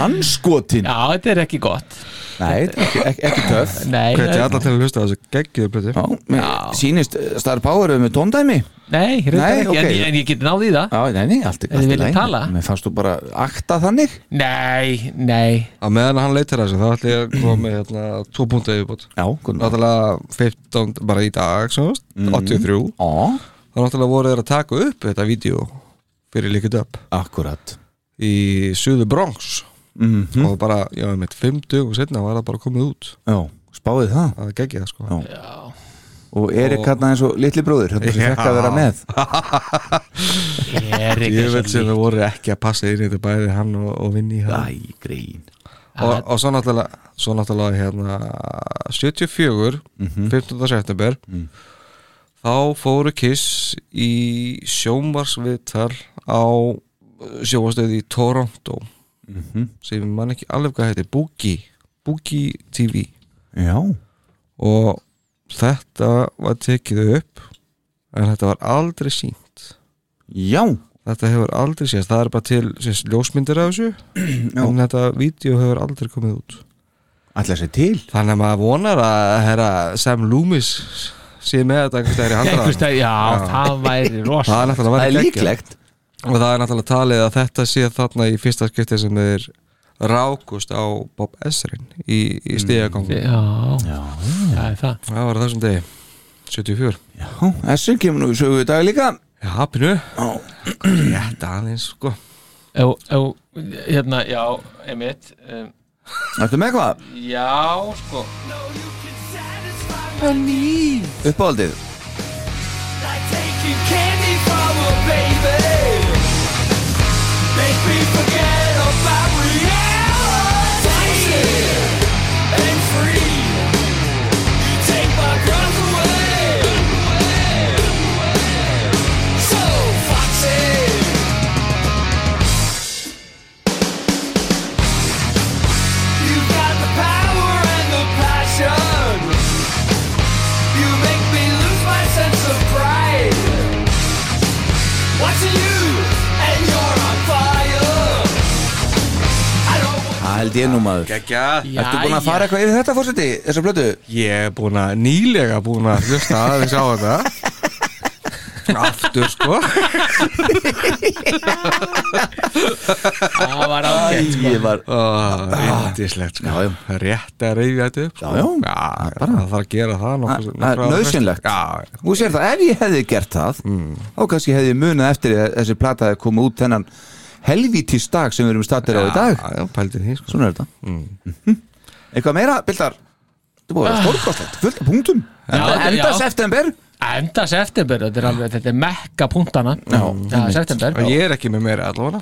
Speaker 3: Anskotin
Speaker 5: Já, þetta er ekki gott
Speaker 3: Nei, þetta er ekki, ekki, ekki töff
Speaker 5: Nei,
Speaker 4: Hvernig
Speaker 5: það-
Speaker 4: alltaf til að hlusta á þessu geggiðu plötu
Speaker 3: Já, mér sýnist eh, Star Power er með tóndæmi
Speaker 5: nei, reyndar
Speaker 3: Nei,
Speaker 5: ekki en,
Speaker 3: ok.
Speaker 5: ég- en ég get náði í það
Speaker 3: Já, nei, nei, allt, allt
Speaker 5: þið
Speaker 3: í
Speaker 5: viljið
Speaker 3: lagi.
Speaker 5: tala?
Speaker 3: Mér fannst þú bara akta þannig
Speaker 5: Nei, nei
Speaker 4: Að meðan hann leitir þessu þá ætla ég að koma með hérna, tvo púnta viðbót
Speaker 3: Já, hvernig
Speaker 4: Náttúrulega 15 bara í dag sem, þú veist, 83
Speaker 3: Ó,
Speaker 4: þá náttúrulega voru þeir að taka upp þetta vídeo fyrir líkut upp
Speaker 3: akkurat
Speaker 4: í Suður Bronx
Speaker 3: Mhm.
Speaker 4: og bara, já, mitt 50 og setna var það bara komið út
Speaker 3: Já, spáðið það
Speaker 4: að gegja það sko
Speaker 3: Já. Og Erik hann eins og litli bróður Þetta er ekki að vera með
Speaker 5: Ég er ekki
Speaker 4: ég veit
Speaker 5: svo
Speaker 4: sem þau voru ekki að passa inn í þetta bæði hann og, og vinni hann
Speaker 3: Æ, grín
Speaker 4: og, og svo náttúrulega, svo náttúrulega hérna, 74 15. september þá fóru Kiss í sjómarsviðtal á sjóastöði í Toronto sem ég man ekki alveg hvað heitir Boogie, Boogie TV
Speaker 3: Já,
Speaker 4: og þetta var tekið upp en þetta var aldrei sínt
Speaker 3: já,
Speaker 4: þetta hefur aldrei sést, það er bara til sést, ljósmyndir af þessu en þetta vídeo hefur aldrei komið út
Speaker 3: ætla sér til
Speaker 4: Þannig að maður vonar að herra, Sam Loomis sé með þetta einhvers stæðir í
Speaker 5: Einhvers
Speaker 4: handra
Speaker 5: stað- Já, það væri rosa
Speaker 4: Það er náttúrulega
Speaker 3: Það er
Speaker 4: verið geggjað.
Speaker 3: líklegt
Speaker 4: Og það er náttúrulega talið að þetta sé þarna í fyrsta skipti sem þeir rákust á Bob Esrin í, í stíðagangu
Speaker 5: Já, það er það
Speaker 4: Það var á þessum degi 74
Speaker 3: Já, þessu kemur nú í sögu í dag líka
Speaker 4: Já, pínu Þetta aðeins sko
Speaker 5: Ef, ef, hérna, já, einmitt um,
Speaker 3: Ertu með hvað?
Speaker 5: Já, sko
Speaker 3: Uppáhaldið
Speaker 2: You make me lose my sense of pride. Watching you, and you're on fire. I don't want
Speaker 3: Það held ég nú maður
Speaker 4: Gekja
Speaker 3: Ertu búin að fara eitthvað yfir þetta fórseti? Þessa blötu?
Speaker 4: Ég er búin að nýlega búin að hlusta aðeins á þetta Aftur sko
Speaker 5: Það var ágætt
Speaker 3: Ég var
Speaker 4: Índislegt sko
Speaker 3: Ah. Já, já.
Speaker 4: Rétt að reyfi þetta upp sko.
Speaker 3: Já, já.
Speaker 4: já bara Það þarf að gera það nokkuð-
Speaker 3: Það- það er
Speaker 4: nokkru ára næst.
Speaker 3: nauðsynlegt.
Speaker 4: Já,
Speaker 3: Þú sér það, ef ég hefði gert það þá kannski hefði ég munið eftir því að þessi plata hefði komið út þennan helvítis dag sem við erum stattir á í dag
Speaker 4: já, já, pældi því sko
Speaker 3: Svona er þetta mm. Eitthvað meira, Mhm. Bildar? þetta búið að vera stórkostlegt, fullt af punktum en
Speaker 5: Já,
Speaker 3: enda
Speaker 5: já.
Speaker 3: september
Speaker 5: Enda september, þetta er alveg þetta er mekka punktana Já,
Speaker 3: einmitt.
Speaker 5: september
Speaker 4: En ég er ekki með meira allavega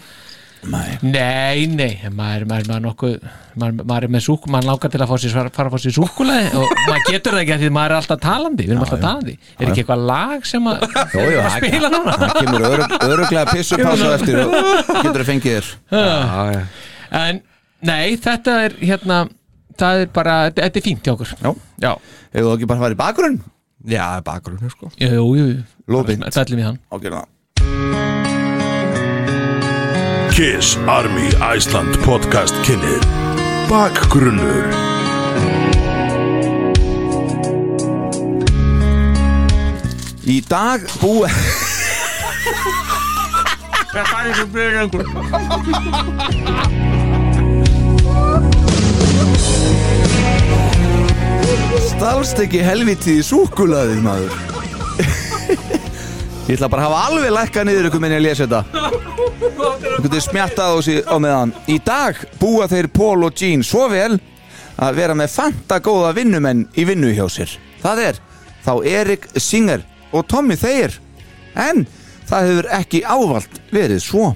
Speaker 3: Nei.
Speaker 5: Nei, nei, maður, maður, maður nokkuð maður, maður er með súk, maður langar til að fá sér fara, fara að fá sér súkulega og maður getur það ekki af því maður er alltaf talandi við erum alltaf talandi, er ekki eitthvað lag sem að,
Speaker 3: Jó, jó,
Speaker 5: að spila núna
Speaker 3: það kemur örug, öruglega pissupass á eftir og getur að fengið þér
Speaker 4: Já, já.
Speaker 5: En, nei, þetta er hérna, það er bara þetta- þetta er fínt hjá okkur
Speaker 3: Já.
Speaker 5: já,
Speaker 3: Hefur þú ekki bara farið í bakgrunn?
Speaker 4: Já, bakgrunni sko
Speaker 5: jú, jú, jú.
Speaker 3: Lóðbind.
Speaker 5: Bara fellum í hann
Speaker 3: Ágjörða
Speaker 1: Kiss Army Iceland podcast kynnið Bakgrunnur
Speaker 3: Í dag búið Stalst ekki helviti í súkulaðið maður Ég ætla bara að hafa alveg lækka niður ykkur minni að lesa þetta Þú getur smjattað á sig á meðan Í dag búa þeir Paul og Jean svo vel að vera með fanta góða vinnumenn í vinnu hjá sér Það er þá Erik Singer og Tommy Thayer En það hefur ekki ávalt verið svo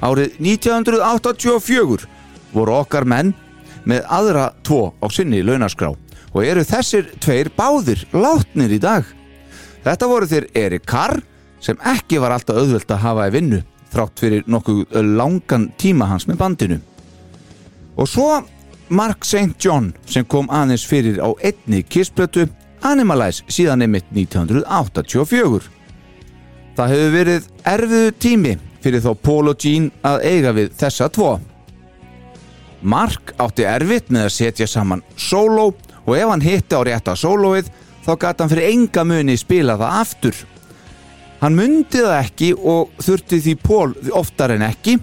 Speaker 3: Árið 1984 voru okkar menn með aðra tvo á sinni launaskrá og eru þessir tveir báðir látnir í dag. Þetta voru þeir Erik Carr sem ekki var alltaf auðvelt að hafa í vinnu þrátt fyrir nokkuð langan tíma hans með bandinu. Og svo Mark St. John sem kom aðeins fyrir á einni kissblötu Animalize síðan einmitt 1984. Það hefur verið erfiðu tími fyrir þá Paul og Jean að eiga við þessa tvo. Mark átti erfitt með að setja saman sóló og ef hann hitti á rétta sólóið þá gæti hann fyrir enga muni spila það aftur. Hann mundi það ekki og þurfti því Pól oftar en ekki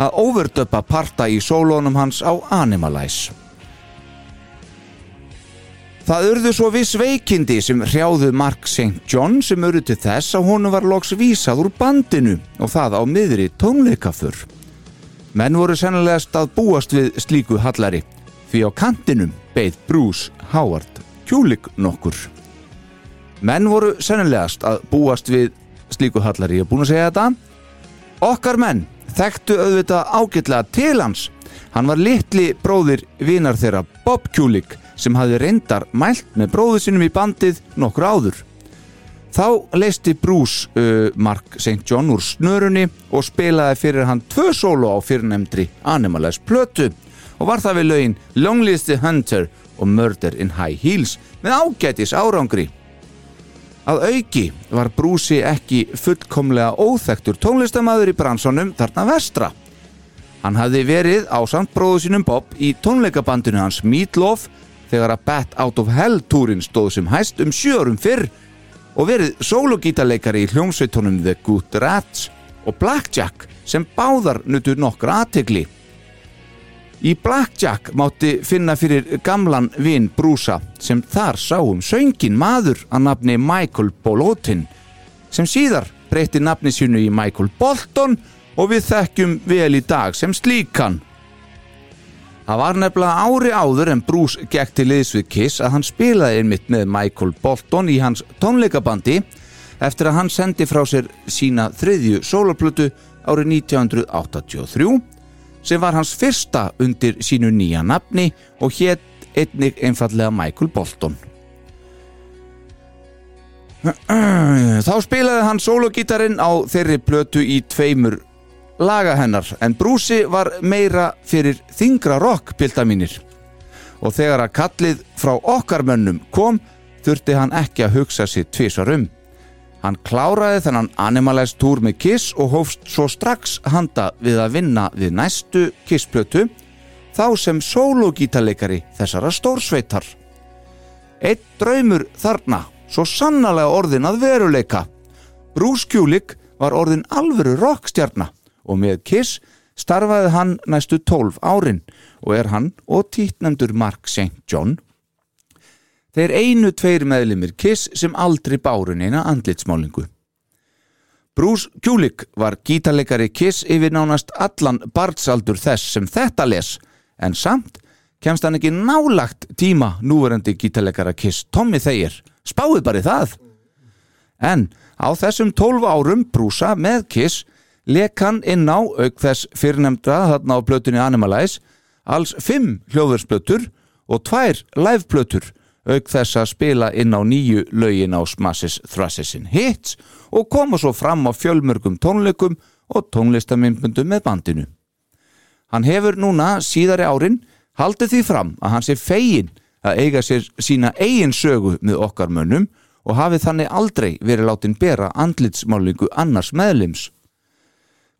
Speaker 3: að overdöpa parta í sólónum hans á Animalize. Það urðu svo viss veikindi sem hrjáðu Mark St. John sem urðu til þess að honum var loks vísað úr bandinu og það á miðri tónleikafur. Menn voru sennilegast að búast við slíku hallari því á kantinum beið Bruce Howard kjúlik nokkur. Menn voru sennilegast að búast við slíku hallari, ég er búin að segja þetta. Okkar menn þekktu auðvitað ágætlega til hans. Hann var litli bróðir vinar þeirra Bob Kulik sem hafði reyndar mælt með bróðu sinum í bandið nokkur áður. Þá leisti Bruce uh, Mark St. John úr snörunni og spilaði fyrir hann tvö sólo á fyrirnemndri Animalize plötu og var það við lögin Lonely is the Hunter og Murder in High Heels með ágætis árangri. Að auki var Brúsi ekki fullkomlega óþektur tónlistamæður í bransanum þarna vestra. Hann hafði verið á samt bróðu sínum Bob í tónleikabandinu hans Meatloaf þegar að Bat Out of Hell túrin stóð sem hæst um sjörum fyrr og verið sólugítarleikari í hljómsveitunum The Good Rats og Blackjack sem báðar nutur nokkra aðtegli. Í Blackjack mátti finna fyrir gamlan vin Brúsa sem þar sáum söngin maður að nafni Michael Bolotin sem síðar breytti nafni sínu í Michael Bolton og við þekkjum vel í dag sem slíkan. Það var nefnilega ári áður en Bruce gekk til liðs við Kiss að hann spilaði einmitt með Michael Bolton í hans tónleikabandi eftir að hann sendi frá sér sína þriðju sólarplötu árið 1983 sem var hans fyrsta undir sínu nýja nafni og hétt einnig einfallega Michael Bolton. Þá spilaði hann sólogítarinn á þeirri plötu í tveimur laga hennar en Brúsi var meira fyrir þingra rock pilda mínir og þegar að kallið frá okkar mönnum kom þurfti hann ekki að hugsa sér tvisar um Hann kláraði þennan Animalize túr með Kiss og hófst svo strax handa við að vinna við næstu Kiss-plötu þá sem sólogítarleikari þessara stórsveitar. Eitt draumur þarna, svo sannarlega orðin að veruleika. Bruce Kulick var orðin alvöru rockstjarna og með Kiss starfaði hann næstu 12 árin og er hann og títnendur Mark St. John Þeir einu tveir meðlimir Kiss sem aldrei bárun eina andlitsmálingu. Bruce Kulick var gítarleikari Kiss yfir nánast allan barnsaldur þess sem þetta les, en samt kemst hann ekki nálagt tíma núverandi gítarleikara Kiss Tommy Thayer, spáið bara í það en á þessum 12 árum brúsa með Kiss leik hann inn á auk þess fyrirnemdra þarna á plötunni Animalize alls 5 hljóðursplötur og 2 liveplötur auk þess að spila inn á nýju lögin á Smashes Thrashes in Hits og koma svo fram á fjölmörgum tónleikum og tónlistamindbundum með bandinu. Hann hefur núna síðari árin haldið því fram að hann sé fegin að eiga sér sína eigin sögu með okkar mönnum og hafi þannig aldrei verið látin bera andlitsmálingu annars meðlims.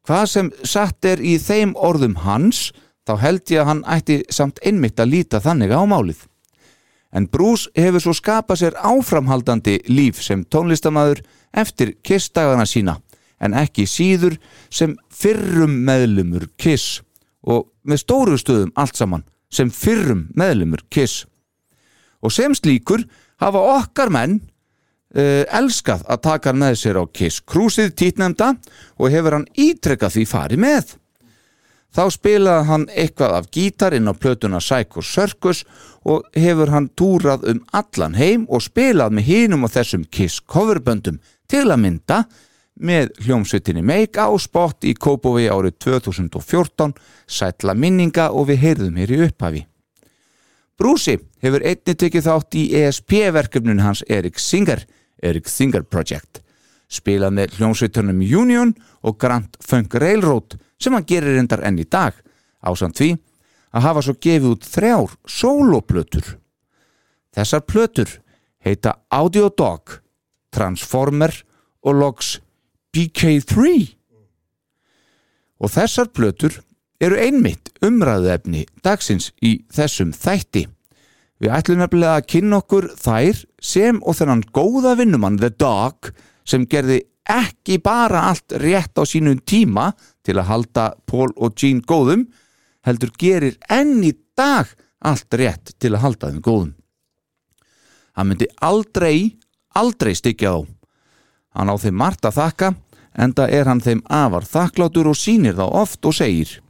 Speaker 3: Hvað sem satt er í þeim orðum hans, þá held ég að hann ætti samt einmitt að líta þannig á málið. En Bruce hefur svo skapað sér áframhaldandi líf sem tónlistamæður eftir kissdagana sína, en ekki síður sem fyrrum meðlumur kiss og með stóru stöðum allt saman sem fyrrum meðlumur kiss. Og sem slíkur hafa okkar menn uh, elskað að taka hann með sér á Kiss Cruise-ið títnemnda og hefur hann ítrekkað því farið með. Þá spilaði hann eitthvað af gítar inn á plötuna Psycho Circus og hefur hann túrað um allan heim og spilað með hinum og þessum Kiss coverböndum til að mynda með hljómsveitinni Make á spott í Kópóvi árið 2014, sætla minninga og við heyrðum hér í upphafi. Brúsi hefur einni tekið þátt í E ESP-verkefnun hans Erik Singer, Erik Singer Project, spilað með hljómsveitunum Union og Grand Funk Railroad sem hann gerir endar enn í dag, ásamt því að hafa svo gefið út þrjár soloplötur. Þessar plötur heita Audio Dog, Transformer og loks BK3 og þessar plötur eru einmitt umræðuefni dagsins í þessum þætti. Við ætlum nefnilega að kynna okkur þær sem og þennan góða vinnumann The Dog sem gerði ekki bara allt rétt á sínum tíma til að halda Paul og Gene góðum heldur gerir enn í dag allt rétt til að halda þeim góðum. Hann myndi aldrei, aldrei styggja þá. Hann á þeim margt að þakka enda er hann þeim afar þakklátur og sýnir þá oft og segir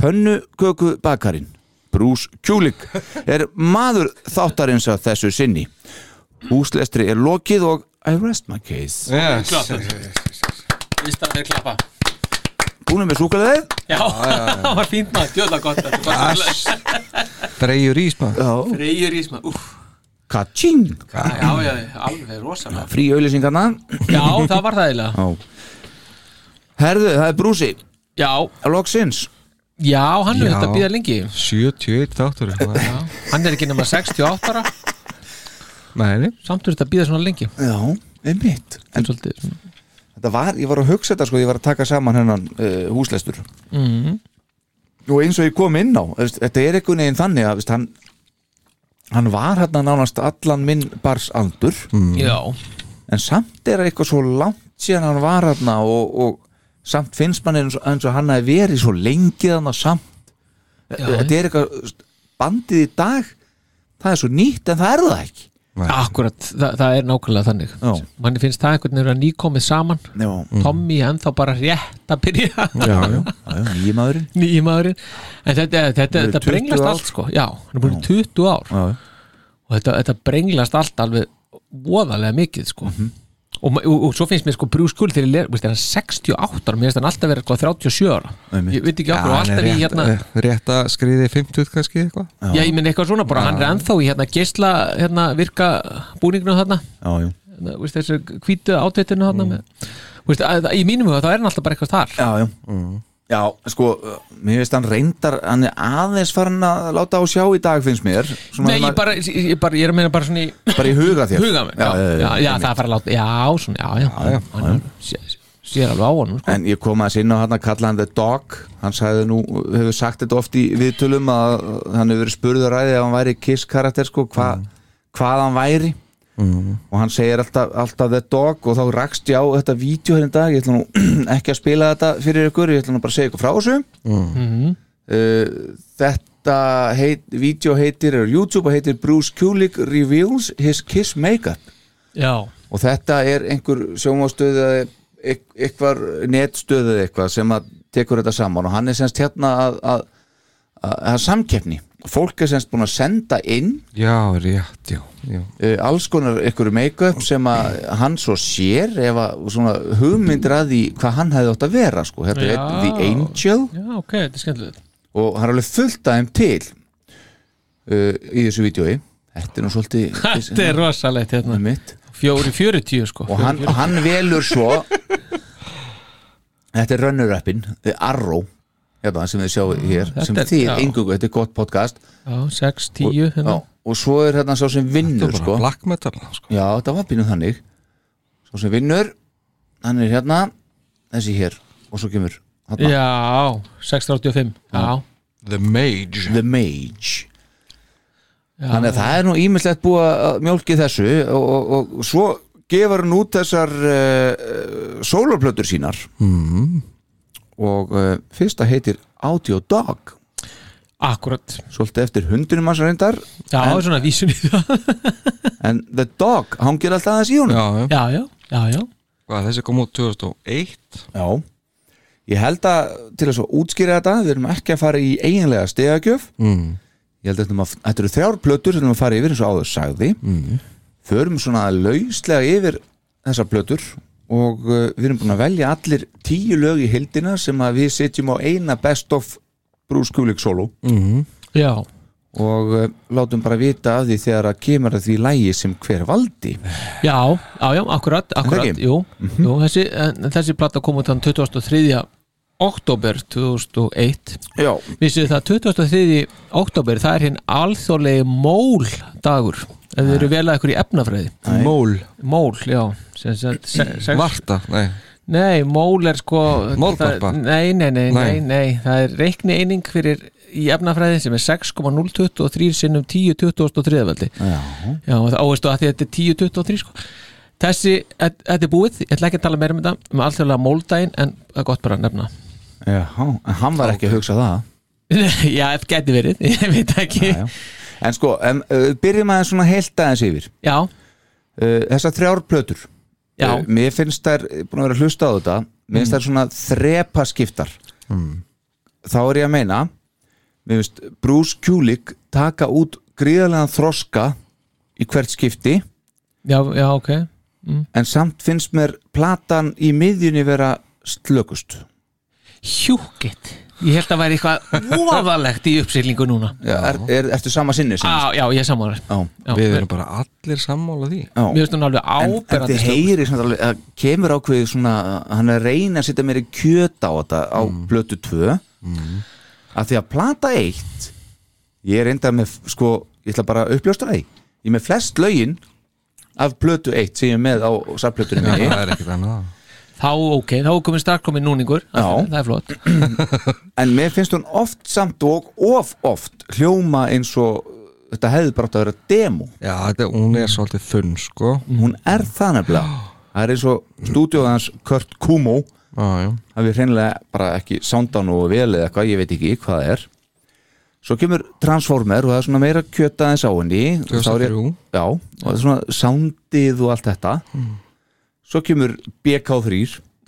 Speaker 3: Pönnuköku bakarinn, Bruce Kulik, er maður þáttarins að þessu sinni. Húslestri er lokið og I rest my case.
Speaker 4: yes.
Speaker 5: Vist að þeir klappa
Speaker 3: Búnum við súkulegðið?
Speaker 5: Já, það var fínt maður, djóðlega gott þetta var svo
Speaker 4: Ass. Dreyjur ís maður
Speaker 3: Já.
Speaker 5: Reyjur ís maður, úff,
Speaker 3: Kaching!
Speaker 5: já, já, alveg rosalega
Speaker 3: Frí auðlýsingarna.
Speaker 5: Já, það var það eiginlega
Speaker 3: Já. Herðu, það er Brúsi.
Speaker 5: Já,
Speaker 3: Loksins.
Speaker 5: já, hann er
Speaker 4: Já.
Speaker 5: þetta að býða lengi
Speaker 4: 71 þáttur sko.
Speaker 5: Já, hann er ekki nema 68 ára
Speaker 4: Mæni
Speaker 5: Samt er þetta að býða svona lengi
Speaker 3: Já, einmitt.
Speaker 5: En svolítið
Speaker 3: Þetta var, ég var að hugsa þetta sko, ég var að taka saman hennan uh, húslestur. Og eins og ég kom inn á, þú veist, þetta er einhvern veginn þannig að, þú veist, hann, hann var hérna nánast allan minn bars aldur,
Speaker 4: Mm.
Speaker 5: Já,
Speaker 3: en samt er eitthvað svo langt síðan hann var hérna og, og samt finnst mann eins og, eins og hann hafi verið svo lengi þannig samt. E,
Speaker 5: já,
Speaker 3: Þetta er eitthvað, þú veist, bandið í dag, það er svo nýtt en það er það ekki.
Speaker 5: akkurat, það, það er nákvæmlega þannig
Speaker 3: Já.
Speaker 5: Manni finnst það einhvern veginn að nýkomið saman
Speaker 3: Já,
Speaker 4: Mm.
Speaker 5: Tommy ennþá bara rétt að byrja
Speaker 4: Já, já
Speaker 3: já, nýjum maðurinn.
Speaker 5: nýjum maðurinn en þetta, þetta,
Speaker 3: Hann er
Speaker 5: þetta
Speaker 3: 20
Speaker 5: brenglast
Speaker 3: ár.
Speaker 5: allt sko já, hann er búin í 20 ár
Speaker 3: Já, já.
Speaker 5: og þetta, þetta brenglast allt alveg voðalega mikið sko og, ma- og, og svo finnst mér sko brúskul þegar ég ler- veist, er hann 68 ára, mér finnst hann alltaf vera sko 37 ára,
Speaker 3: Einmitt.
Speaker 5: ég veit ekki okkur og
Speaker 4: hann er
Speaker 5: alltaf í
Speaker 4: rétt,
Speaker 5: hérna,
Speaker 4: Eh, rétt að skriði 50 kannski eitthvað
Speaker 5: já ég minn eitthvað svona bara hann er ennþá í hérna geisla hérna virka búningnum þarna
Speaker 3: Já, já.
Speaker 5: hérna, veist, þessu hvítu átveitunum þarna mm. veist, að, að- í mínum huga þá er hann alltaf bara eitthvað þar
Speaker 3: já, já. já sko, uh, mér finnst hann reyndar hann er aðeins farin að láta á sjá í dag finnst mér Svona
Speaker 5: Nei, ég
Speaker 3: maður-
Speaker 5: bara, ég, ég bara, ég er að meina bara svona í
Speaker 3: bara í huga þér
Speaker 5: huga mér, já, já, já, það er bara að láta já, svona, já, já, já, já, sér alveg á honum, sko
Speaker 3: En ég kom aðeins inn á hann að kalla hann The Dog Hann sagði nú, hefur sagt þetta oft í viðtölum að hann hefur verið spurður ræði að hann væri kiss karakter sko, hva, hvað hann væri og hann segir alltaf, alltaf The Dog og þá rakst ég á þetta vídeo hérna í dag ég ætla nú ekki að spila þetta fyrir ykkur ég ætla nú bara að segja ykkur frá þessu uh, Þetta heit, vídeo heitir, er á YouTube og heitir Bruce Kulick Reveals His Kiss Makeup
Speaker 5: já,
Speaker 3: og þetta er einhver sjónvástöð eða eit- eitthvað netstöð eða eitthvað sem að tekur þetta saman og hann er semst hérna að, að, að, að samkeppni fólk er semst búin að senda inn
Speaker 4: já, rétt, já, já
Speaker 3: uh, alls konar ykkur make-up sem að hann svo sér ef að svona hugmyndir að því hvað hann hefði átt að vera sko, þetta er
Speaker 5: Já.
Speaker 3: einn The Angel
Speaker 5: Já, ok, þetta er skemmtilegt
Speaker 3: og hann er alveg fullt af þeim til uh, í þessu vídjói þetta er nú svolítið
Speaker 5: Þetta er rosalegt hérna
Speaker 3: mitt
Speaker 5: Fjóri fjörutíu sko
Speaker 3: og hann, hann velur svo þetta er runner-uppin Arrow hérna, sem þið sjáu hér
Speaker 5: Þetta
Speaker 3: sem
Speaker 5: er-
Speaker 3: þið
Speaker 5: já.
Speaker 3: engungu, þetta er gott podcast
Speaker 5: Já, sex, tíu
Speaker 3: já,
Speaker 5: hérna
Speaker 3: og svo er hérna sá sem vinnur
Speaker 4: bara
Speaker 3: sko.
Speaker 4: black metal sko.
Speaker 3: já, þetta var pínuð þannig svo sem vinnur, hann er hérna þessi hér, og svo kemur hérna,
Speaker 5: Já, 6.85 Já,
Speaker 4: The Mage
Speaker 3: The Mage þannig að það er nú ímislegt búið að mjólki þessu og, og, og svo gefur hann út þessar uh, sólarplötur sínar mm. og uh, fyrsta heitir Audio Dog
Speaker 5: akkurat
Speaker 3: svolítið eftir hundunum hans reyndar
Speaker 5: Já, en, svona vísun í það
Speaker 3: en The Dog hangir alltaf aðeins í honum
Speaker 4: já, já.
Speaker 5: Já, já, já, já
Speaker 4: Hvað, þessi kom út 2001
Speaker 3: Já. ég held að til að svo útskýra þetta við erum ekki að fara í eiginlega stegagjöf
Speaker 4: mm.
Speaker 3: ég held að þetta, að, þetta eru þrjár plötur sem við erum að fara yfir eins og áður sagði mm. förum svona lauslega yfir þessar plötur og uh, við erum búin að velja allir tíu lög í hildina sem að við setjum á eina best of Bruce Kulik solo
Speaker 5: Já,
Speaker 3: og uh, látum bara vita af því þegar að kemur að því lægi sem hver valdi
Speaker 5: já, já, já, akkurat, akkurat
Speaker 3: ekki?
Speaker 5: Jú, jú þessi, en, þessi plata kom út þann 23. oktober 2001
Speaker 3: Já,
Speaker 5: Vissið þið það 23. oktober það er hinn alþjóðlegi mól dagur ef þið eru vel að ykkur í efnafræði
Speaker 4: Mól,
Speaker 5: Mól, já sem, sem, sem, sem,
Speaker 4: Marta, nei
Speaker 5: Nei, mól er sko
Speaker 4: Mólkorpa?
Speaker 5: það- Nei, nei, nei,
Speaker 4: Nei.
Speaker 5: nei, nei Það er reikni eining fyrir í efnafræði sem er 6,023 sinnum 10,23 veldi
Speaker 3: Já.
Speaker 5: Já, og það áherslu að því að þetta er 10,23 sko Þessi, þetta þetta er búið, ég ætla ekki að tala meira um þetta um alþjóðlega móldaginn en það er gott bara að nefna
Speaker 3: já, en hann var ekki að hugsa það
Speaker 5: Já, þetta geti verið, ég veit ekki
Speaker 3: já. En sko, um, uh, byrjum aðeins svona heilt aðeins yfir
Speaker 5: Já,
Speaker 3: uh, Þessar þrjár plötur
Speaker 5: já, Mm.
Speaker 3: Eh, Mér finnst þær, ég er búin að vera að hlusta á þetta Mér finnst þær svona þrepa skiptar Þá er ég að meina Mér finnst Bruce Kulik taka út gríðarlegan þroska í hvert skipti
Speaker 5: já, já, ok
Speaker 3: en samt finnst mér platan í miðjunni vera slökust
Speaker 5: Hjúkitt Ég held að væri eitthvað óvalegt í uppsýlingu núna
Speaker 3: er, er, Ertu sama sinni sem
Speaker 5: Á, Já, ég samála
Speaker 3: Já.
Speaker 4: Við erum bara allir sammála því
Speaker 3: Já.
Speaker 5: Mér finnst hún alveg
Speaker 3: En en
Speaker 5: áberandi
Speaker 3: þið
Speaker 5: stökk.
Speaker 3: heyri samt alveg að kemur ákveðið svona hann er að reyna að setja meiri kjöt á þetta á blötu 2 að því að plata 1 ég er enda með sko ég ætla bara að uppljóstra því ég er með flest lögin af blötu 1 sem ég er með á sapplötunum
Speaker 4: Já,
Speaker 3: minni
Speaker 4: það er ekkert annað
Speaker 5: Þá ok, þá er komin strax komin núningur
Speaker 3: Já.
Speaker 5: Það er flott
Speaker 3: en mér finnst hún oft samt og of oft hljóma eins og þetta hefði bara átt að vera demo
Speaker 4: Já, þetta, hún er svolítið þunn, sko
Speaker 3: hún er það nefnilega það er eins og stúdíóðans Kurt Kumo
Speaker 4: Já, já
Speaker 3: að við hreinlega bara ekki sándan og vel eða eitthvað, ég veit ekki hvað það er svo kemur Transformer og það er svona meira kjöta aðeins á henni og þá er ég-
Speaker 4: 2003.
Speaker 3: já, og það er svona sándið og allt þetta svo kemur BK3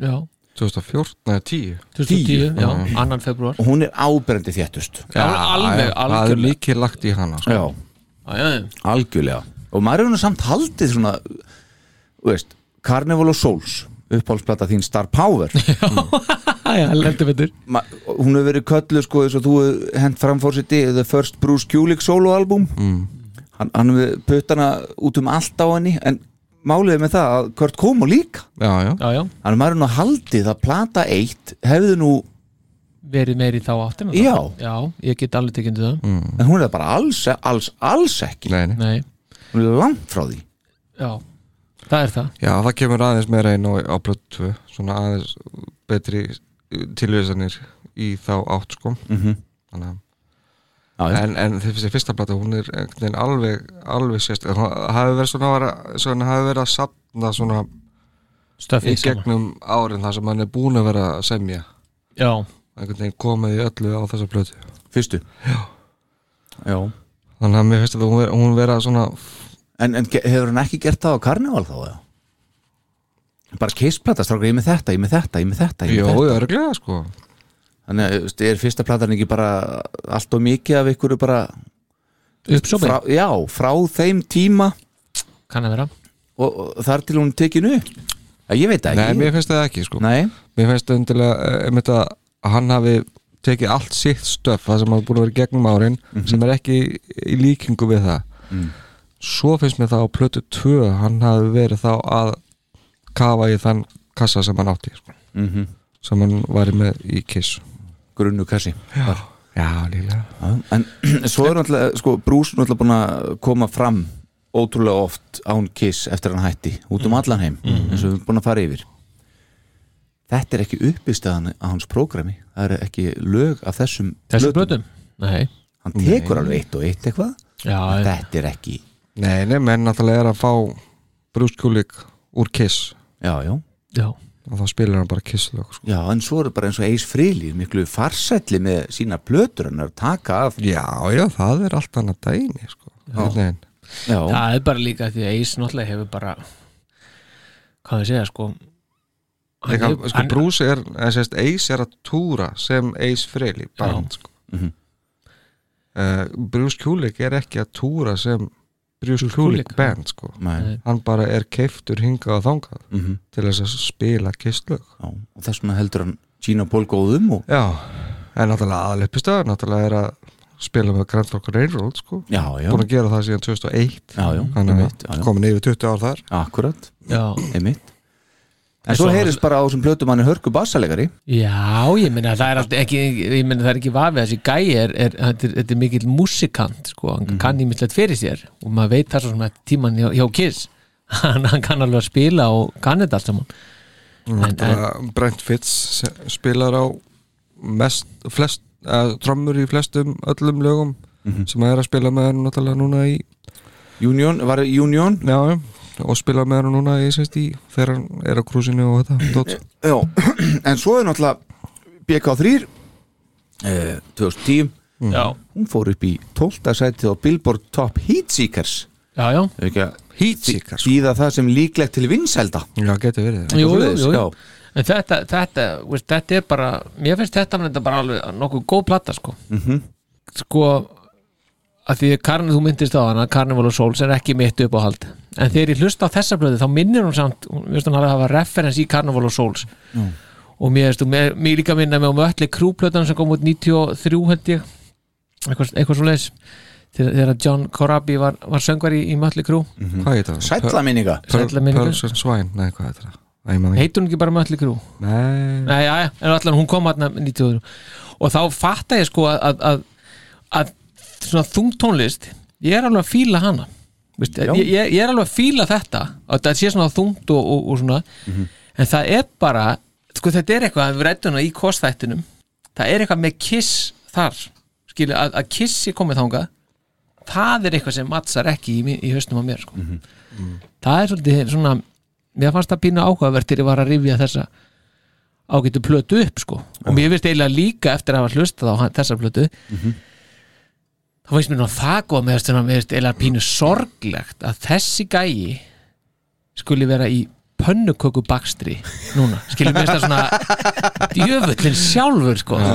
Speaker 5: Já,
Speaker 4: 2014, nei, 10
Speaker 5: 2010, já, annan februar
Speaker 3: og hún er áberendi þéttust
Speaker 5: Já, alveg,
Speaker 4: Það er
Speaker 5: algjörlega
Speaker 4: líkið lagt í hana, sko
Speaker 3: já,
Speaker 5: Já, já, já.
Speaker 3: algjörlega og maður er nú samt haldið svona þú veist, Carnival of Souls upphálsplata þín Star Power
Speaker 5: Æ, já, heldur betur
Speaker 3: Ma, hún hefur verið kölluð sko eins og þú hent framfórsiti The First Bruce Kulick soloalbum mm. hann, hann hefur puttana út um allt á henni en málið er með það að Kurt Komo líka
Speaker 4: Já, já
Speaker 5: Já, já,
Speaker 3: hann er maður nú haldið að plata eitt hefði nú,
Speaker 5: verið meiri þá áttina þá.
Speaker 3: Já.
Speaker 5: Já, ég get alveg tekjandi það
Speaker 3: en hún er það bara alls, alls, alls ekki
Speaker 4: Nei, nei
Speaker 5: Nei,
Speaker 3: hún er langt frá því
Speaker 5: já Það er það,
Speaker 4: Já, það kemur aðeins meira inn á, á blötu tvö, svona aðeins betri uh, tilvísanir í þá átt sko
Speaker 3: Mhm.
Speaker 4: Þannig að-
Speaker 3: Já, já.
Speaker 4: en, en þessi fyrsta plata hún er einhvern veginn alveg, alveg sérst það hafi verið svona, vera- svona hafi verið að sapna svona í
Speaker 5: stöfið saman
Speaker 4: gegnum árin þar sem hann er búin að vera að semja
Speaker 5: Já,
Speaker 4: einhvern veginn komið í öllu á þessa blötu
Speaker 3: fyrstu já, já.
Speaker 4: þannig að mér finnst að hún, ver, hún vera svona
Speaker 3: En, en ge- hefur hann ekki gert það á Carnival þá eða? bara kissplata, strákur ég er með þetta, ég er með þetta, ég er með þetta, ég er með
Speaker 4: jó,
Speaker 3: þetta.
Speaker 4: örglega sko
Speaker 3: Þannig að þú veist, er fyrsta platan ekki bara allt og mikið af ykkur bara
Speaker 5: uppsópið,
Speaker 3: frá, já, frá þeim tíma
Speaker 5: kann að vera
Speaker 3: og, og þar til hún tekinu Já, ég veit það
Speaker 4: Nei,
Speaker 3: ekki
Speaker 4: mér finnst það ekki sko
Speaker 3: Nei,
Speaker 4: Mér finnst það undirlega um þetta að hann hafi tekið allt sitt stöf það sem hafa búin að vera í gegnum árin sem er ekki í líkingu við það Svo finnst mér það á plötu 2 hann hafi verið þá að kafa í þann kassa sem hann átti sko.
Speaker 3: Mhm.
Speaker 4: sem hann var með í kiss
Speaker 3: grunnu kassi
Speaker 4: Já, já líklega
Speaker 3: Já, En svo er náttúrulega, sko, Bruce er náttúrulega búin að koma fram ótrúlega oft án Kiss eftir að hann hætti út um allan heim, eins og við erum búin að fara yfir Þetta er ekki uppistaðan á hans prógrami, það eru ekki lög af þessum plötum.
Speaker 5: þessu blötum, nei
Speaker 3: Hann tekur alveg eitt og eitt eitthvað
Speaker 5: já,
Speaker 3: Þetta er ekki,
Speaker 4: Nei, nei, menn náttúrulega er að fá Bruce Kulik úr kiss
Speaker 3: já, já
Speaker 5: já,
Speaker 4: og þá spilar hann bara kiss lög sko.
Speaker 3: Já, en svo eru bara eins og Ace Frehley miklu farsætli með sína plötur hann er að taka af
Speaker 4: Já, já, það er allt annað dæmi sko. Nei,
Speaker 3: Já,
Speaker 5: það er bara líka því að Ace náttúrulega hefur bara hvað við segja sko hann
Speaker 4: Þegar,
Speaker 5: hefur-
Speaker 4: sko,
Speaker 5: hann-
Speaker 4: Bruce er, eða sérst, Ace er að túra sem Ace Frehley band sko. uh, Bruce Kulik er ekki að túra sem Bruce Kulik
Speaker 5: Kulick,
Speaker 4: band sko.
Speaker 3: Nei.
Speaker 4: hann bara er keiftur hingað og þangað
Speaker 3: Mhm.
Speaker 4: til þess að spila kistlög
Speaker 3: já, og þess vegna heldur hann Gina Paul góðum og
Speaker 4: já, en náttúrulega aðleipistöð náttúrulega er að spila með Grand Thorpe Railroad sko.
Speaker 3: Já, já,
Speaker 4: búin að gera það síðan 2001
Speaker 3: já, já,
Speaker 4: hann er
Speaker 3: einmitt, já, já.
Speaker 4: komin yfir 20 ár þar
Speaker 3: akkurat
Speaker 5: já,
Speaker 3: einmitt En
Speaker 5: En
Speaker 3: svo
Speaker 5: svo-
Speaker 3: heyrist bara á þessum plötum hann er hörku bassalegari
Speaker 5: Já, ég meina það er alltaf ekki ég meina það er ekki vafið þessi gæi er, er, þetta er, þetta er mikill músikant sko,
Speaker 4: Mhm.
Speaker 5: hann kann ímislegt fyrir sér og maður veit það svo sem að tíman hjá, hjá Kiss hann, hann kann alveg að spila og kann þetta allt saman en, en,
Speaker 4: Bara Brent Fitz se- spilar á mest, flest, uh, trommur í flestum öllum lögum sem hann er að spila með hann náttúrulega núna í
Speaker 3: Union, var það Union?
Speaker 4: já, já, og spila með hann núna í, sérst, í þegar hann er á krúsinu og þetta dót.
Speaker 3: Já, en svo er náttúrulega BK3 eh, 2010
Speaker 5: já,
Speaker 3: hún fór upp í 12. sæti á Billboard Top Heat Seekers
Speaker 5: já, já,
Speaker 3: Ef ekki að
Speaker 4: Heat Seekers.
Speaker 3: Þýða það sem líklegt til vinsælda
Speaker 4: já, getur verið
Speaker 5: jú,
Speaker 4: það
Speaker 5: jú,
Speaker 3: svoleiðis,
Speaker 5: jú,
Speaker 3: já.
Speaker 5: jú. en þetta, þetta, veist, þetta er bara mér finnst þetta var þetta bara alveg nokkuð góð platta sko sko að því að Karni, þú myndist á hana Carnival of Souls er ekki mitt upp á hald en þegar ég hlusta á þessa blöðu þá minnir hún samt hún, mér finnst hún alveg að hafa referens í Carnival of Souls og mér, veist, og mér, mér líka minna með um öllu krúplötan sem kom út 93 held ég eitthvað, eitthvað svo leis þegar, þegar John Corabi var, var söngvar í, í Mötli Krú
Speaker 4: Mhm. hvað heitir það?
Speaker 3: Sætla minninga
Speaker 5: Sælla minningar.
Speaker 4: Pearls and Swine, nei, hvað heitir það? Æ, ég man ekki.
Speaker 5: heitur hún ekki bara Mötli Krú?
Speaker 4: Nei,
Speaker 5: Nei, já, já, en allan hún kom hann 93 og þá fatta ég sko að, að, að, að svona þungtónlist ég er alveg að fíla hana Vist, ég, ég, ég er alveg að fíla þetta að þetta sé svona þungt og, og, og svona en það er bara sko þetta er eitthvað að við rættum hana í kostættinum það er eitthvað með kiss þar skilu, að, að kissi komið þangað það er eitthvað sem mattsar ekki í, mi- í hausnum á mér sko. það er svolítið svona mér fannst það pínu áhugavert þegar ég var að rifja þessa ágætu plötu upp sko og mér finnst eiginlega líka eftir að hafa hlustað á hann- þessa plötu
Speaker 3: Mhm.
Speaker 5: þá finnst mér nú það góð með þess að mér finnst eiginlega pínu sorglegt að þessi gæi skuli vera í pönnuköku bakstri núna, skilur mér þetta svona djöfullin sjálfur sko
Speaker 3: Já,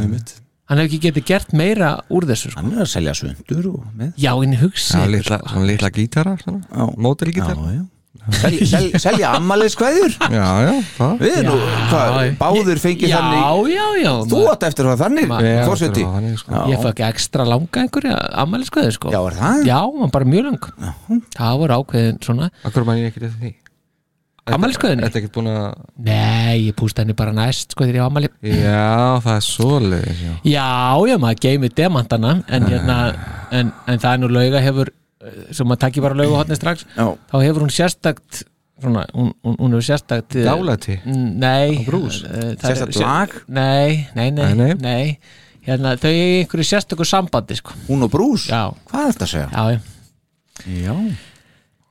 Speaker 3: einmitt
Speaker 5: hann hefur ekki getið gert meira úr þessu sko
Speaker 3: Hann er að selja sundur og með
Speaker 5: já, en hugsi
Speaker 4: það
Speaker 5: ykkur,
Speaker 4: er litla,
Speaker 5: sko.
Speaker 4: svona litla gítara
Speaker 3: Já.
Speaker 4: mótelgítara
Speaker 3: Já, já Sel, sel, Selja ammaliðskvæður
Speaker 4: já, já, það
Speaker 3: Við erum nú,
Speaker 5: Já.
Speaker 3: hvað, báðir fengið
Speaker 5: já,
Speaker 3: þannig
Speaker 5: já, já,
Speaker 3: Þú
Speaker 5: maður-
Speaker 3: átt eftir að hafa þannig
Speaker 4: Já,
Speaker 3: Fórseti
Speaker 4: það var þannig, sko.
Speaker 5: ég fæ ekki ekstra langa einhverja ammæliskuðu sko
Speaker 3: Já, er það?
Speaker 5: Já, hún var bara mjög lang Það voru ákveðin svona
Speaker 4: Akkur man ég ekki eftir því
Speaker 5: Afmæliskveðinu?
Speaker 4: Þetta er ekkert búin að
Speaker 5: Nei, ég pústa henni bara næst sko þegar ég á afmæli
Speaker 4: Já, það er svoleiðis já.
Speaker 5: Já, já, maður geymir demantana en, hérna, en, en það er nú lauga hefur eh, sem maður takki bara lauga hotni strax
Speaker 3: Já,
Speaker 5: þá hefur hún sérstakt svona, hún, hún, hún hefur sérstakt eh,
Speaker 4: Dálæti?
Speaker 5: Mm, Nei
Speaker 4: brús?
Speaker 5: eh, það er-
Speaker 3: sérstætt lag,
Speaker 5: Nei, nei, nei,
Speaker 4: Nei, nei.
Speaker 5: nei. Hérna, Þau er í einhverju sérstöku sambandi sko
Speaker 3: hún og brús
Speaker 5: Já,
Speaker 3: Hvað er þetta að segja?
Speaker 5: já, já
Speaker 3: Já,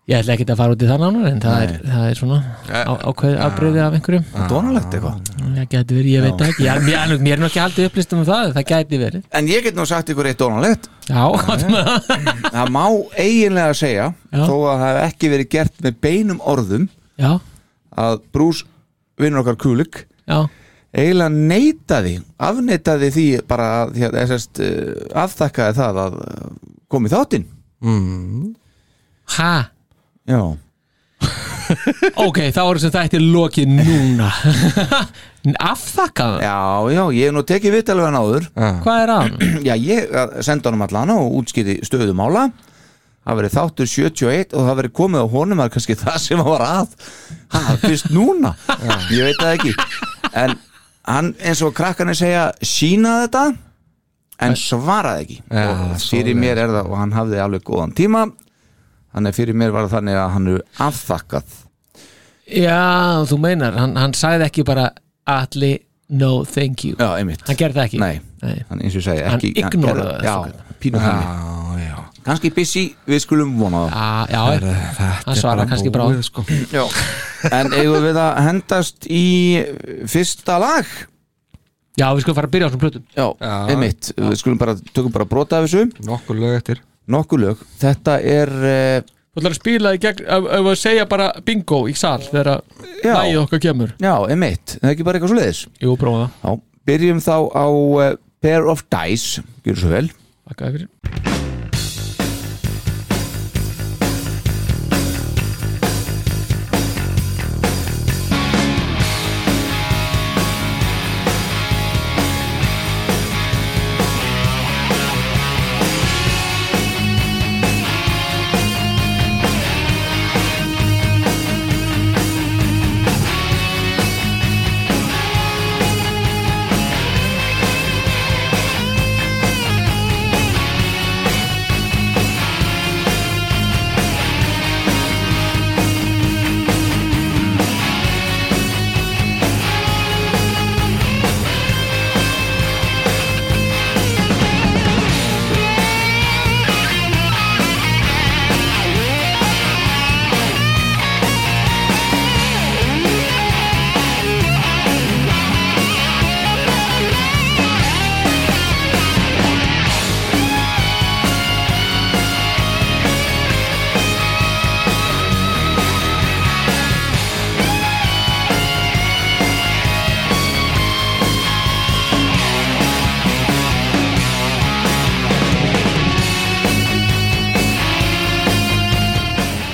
Speaker 5: Ég ætla ekki að fara út í það nánar en það, er, það er svona á, ákveðið afbreyði af einhverju
Speaker 3: dónalegt eitthvað
Speaker 5: Það gæti verið, ég veit það ekki ég, mér, mér er nú ekki haldið upplýstum um það, það gæti verið
Speaker 3: En ég get nú sagt ykkur eitt dónalegt
Speaker 5: Já, hvað með það?
Speaker 3: Það má eiginlega segja
Speaker 5: Já.
Speaker 3: þó að það hef ekki verið gert með beinum orðum
Speaker 5: Já,
Speaker 3: að brús vinnur okkar kúlik
Speaker 5: já,
Speaker 3: eiginlega neitaði afneitaði því bara að, því að, eða sérst, eh, afþakkaði það að eh, koma í þáttinn
Speaker 5: Ha?
Speaker 3: já,
Speaker 5: Ok, þá er sem þetta er lokið núna Afþakkaðu?
Speaker 3: já, já, ég hef nú tekið vitt alveg hann áður
Speaker 5: Hvað er að?
Speaker 3: já, ég að senda honum allan og útskýði stöðumála það verið þáttur 71 og það verið komið á honum það er kannski það sem hann var að ha, fyrst núna, ég veit það ekki en hann eins og krakkarnir segja sína þetta en svaraði ekki
Speaker 4: Já,
Speaker 3: og fyrir mér er það og hann hafði alveg góðan tíma þannig að fyrir mér var það þannig að hann er afþakkað
Speaker 5: Já, þú meinar, hann, hann sagði ekki bara Atli, no, thank you
Speaker 3: já, einmitt,
Speaker 5: Hann gerði það ekki
Speaker 3: nei,
Speaker 5: Nei.
Speaker 3: hann eins og ég segi
Speaker 5: Hann
Speaker 3: ekki,
Speaker 5: ignoraði
Speaker 3: gerði-
Speaker 5: það,
Speaker 3: já, pínu hann
Speaker 4: já, já
Speaker 3: kannski busy, við skulum vona það
Speaker 5: Ah, Já, hann svarar kannski bara
Speaker 4: búið, sko.
Speaker 3: Já. En eigum við að hendast í fyrsta lag
Speaker 5: Já, við skulum fara að byrja á svona plötum
Speaker 3: Já,
Speaker 4: Já.
Speaker 3: einmitt, við skulum bara tökum bara brota af þessu,
Speaker 4: nokkur lög eftir
Speaker 3: nokkuð lög Þetta er, eh,
Speaker 5: Þú ætlar að spila í gegn, ef ef að segja bara bingo í sal þegar að
Speaker 3: Já.
Speaker 5: lagið okkar kemur
Speaker 3: já, einmitt Það er ekki bara eitthvað svo leiðis
Speaker 5: Jú, prófa það,
Speaker 3: Já, byrjum þá á eh, Pair of Dice, gjörðu svo vel
Speaker 5: þakkaði fyrir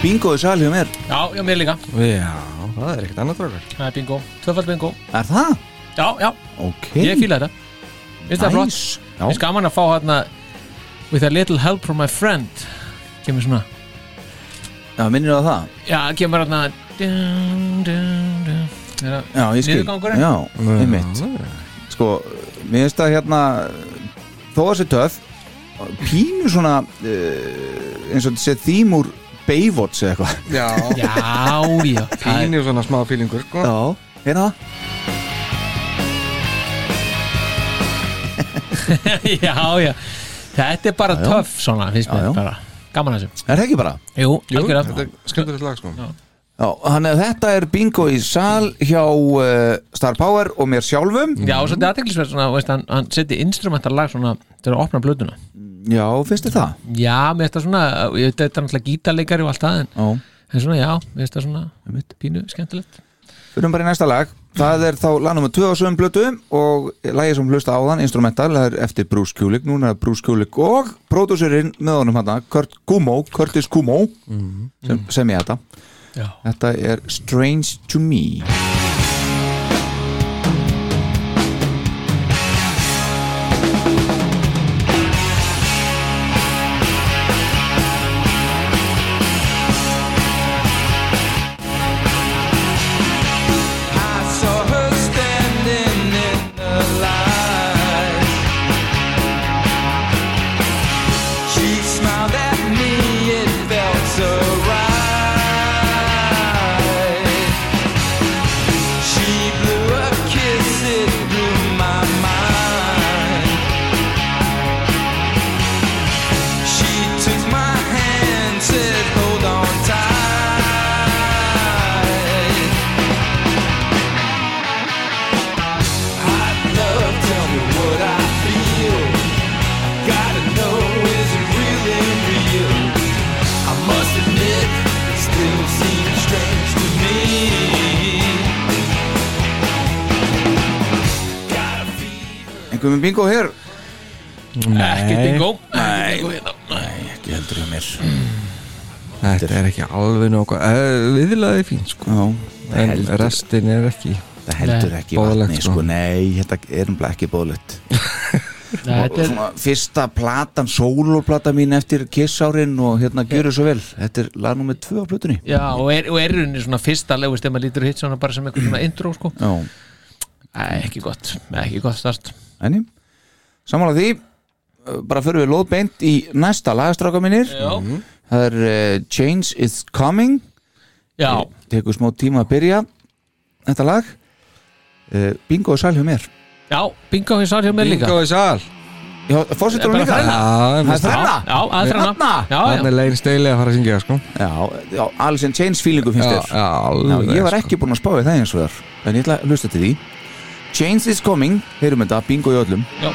Speaker 3: Bingo í salið mér,
Speaker 5: Já, já, mér líka,
Speaker 4: já, það er ekkert annað drögar
Speaker 5: það er bingo, tvöfald bingo
Speaker 3: er það?
Speaker 5: Já, já,
Speaker 3: Ok,
Speaker 5: ég fíla þetta Finnst það flott,
Speaker 3: Nice.
Speaker 5: finnst
Speaker 3: Já,
Speaker 5: gaman að fá hérna With a little help from my friend Kemur svona
Speaker 3: já minnir það það
Speaker 5: Já, kemur hérna dun, dun, dun. Er það-
Speaker 3: Já, ég skil
Speaker 5: Niðurgangurinn?
Speaker 3: Já, einmitt Sko, mér finnst það hérna þó að sé töf pínu svona eh, eins og þetta sé þým úr Baywatch eða eitthvað
Speaker 4: já,
Speaker 5: Já, já það er-
Speaker 4: pínir svona smá fílingur sko.
Speaker 3: Já, hérna það
Speaker 5: Já, já Þetta er bara töff svona, finnst
Speaker 3: Já,
Speaker 5: mér
Speaker 3: já.
Speaker 5: bara Gaman að þessu
Speaker 3: Er það ekki bara?
Speaker 5: Jú,
Speaker 4: Jú, þetta
Speaker 5: algjörlega
Speaker 4: er skemmtilegt lag sko.
Speaker 3: Já, þannig að þetta er bingo í sal hjá uh, Star Power og mér sjálfum
Speaker 5: Já, og svolítið aðteklisverð svona, veist, hann, hann seti instrumentarlag svona til að opna blöðuna
Speaker 3: Já, finnst þið það?
Speaker 5: Já, mér finnst það svona, ég veit að þetta er náttúrulega gítarleikari og allt það, en,
Speaker 3: Já,
Speaker 5: en svona, já, mér finnst það svona pínu skemmtilegt
Speaker 3: fyrir bara í næsta lag Það er þá lagnum með tvö á sögum blötu og lagið sem hlusta á þann, instrumental það er eftir Bruce Kulick, núna er Bruce Kulick og pródúsurinn með honum hann Kurt Kumo, Curtis Kumo
Speaker 4: Mhm.
Speaker 3: sem, sem ég þetta
Speaker 5: Já,
Speaker 3: Þetta er Strange to Me
Speaker 2: I saw her standing in the light. She smiled at me, it felt so right.
Speaker 3: ekki komið bingo hér
Speaker 5: Ekkert bingo Ekkert bingo hérna.
Speaker 3: ekki heldur hjá mér
Speaker 4: Þetta er ekki alveg nákvæm Viðlaði fín sko
Speaker 3: Já,
Speaker 4: En
Speaker 3: heldur,
Speaker 4: restin er ekki
Speaker 3: það heldur ekki í
Speaker 4: Boðlegt,
Speaker 3: vatni
Speaker 4: sko.
Speaker 3: sko. Nei, þetta er umlega ekki bóðlegt
Speaker 5: Nei, Þetta er
Speaker 3: Svona fyrsta platan, sólóplata mín eftir kissárin og hérna gjöru svo vel Þetta er lag nummer tvö á plötunni
Speaker 5: Já, og er, og er rauninni svona fyrsta legust ef maður lítur hitt svona bara sem eitthvað svona intro sko.
Speaker 3: Já,
Speaker 5: Æ, ekki gott, ekki gott start
Speaker 3: enni Samanlega því, uh, bara förum við lóðbeint í næsta lagastráka mínir
Speaker 5: Já,
Speaker 3: Það er uh, Change is Coming
Speaker 5: já,
Speaker 3: Tekur smá tíma að byrja Þetta lag uh, Bingo og sæl hjá mér
Speaker 5: já bingo hér sár hjá mér líka
Speaker 4: Bingo í sal
Speaker 3: Já, fórsetur hún
Speaker 5: Bara
Speaker 3: líka
Speaker 5: þrenna.
Speaker 4: Já,
Speaker 3: Það er
Speaker 4: minnst-
Speaker 3: þrenna
Speaker 5: Já, aðþranna
Speaker 3: Þarna?
Speaker 5: Já, já,
Speaker 4: Þannig legin steili að fara að syngja sko
Speaker 3: Já, já, alls en Change feelingu finnst þér
Speaker 4: já,
Speaker 3: Já,
Speaker 4: alveg sko.
Speaker 3: ég var ekki búinn að spáði það eins og þar En ég ætla að hlusta til því Change is coming, heyrum þetta, bingo í öllum
Speaker 5: já.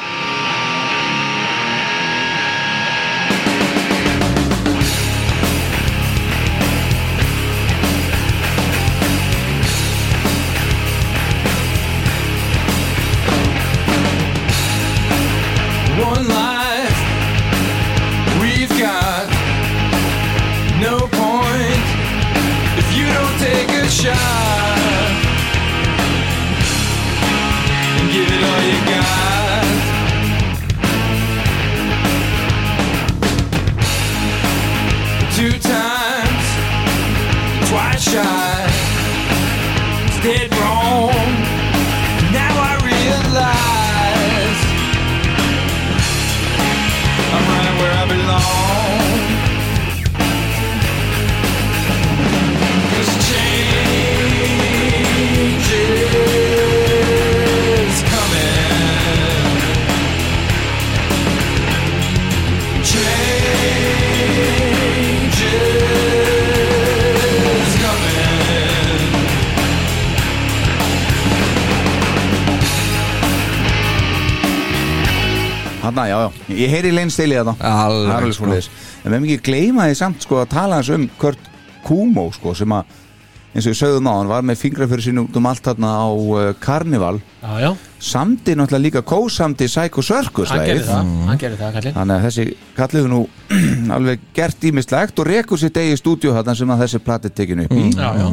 Speaker 2: One life we've got no point if you don't take a shot and give it all you got. Two times, twice shy, it's dead wrong. Now I realize. I'm right where I belong. Cause change is coming. Change is coming.
Speaker 3: Hanna, já, já, ég heyri lein stilið þetta Það
Speaker 4: Alveg,
Speaker 3: er alveg
Speaker 4: sko.
Speaker 3: svoleiðis. En við hefum ekki gleyma því samt sko að tala hans um Kurt Kumo sko sem að eins og við sögðum á hann var með fingra fyrir sín út um allt þarna á uh, Karnival
Speaker 5: já, já,
Speaker 3: samdi náttúrulega líka kósamdi Psycho Circus
Speaker 5: hann gerir
Speaker 3: lagið.
Speaker 5: það Hann gerir það, kallinn
Speaker 3: Þannig að þessi kallið nú alveg gert ímislegt og rekur sér degi í stúdíu þarna sem að þessi plati tekinu upp í
Speaker 5: Já, já,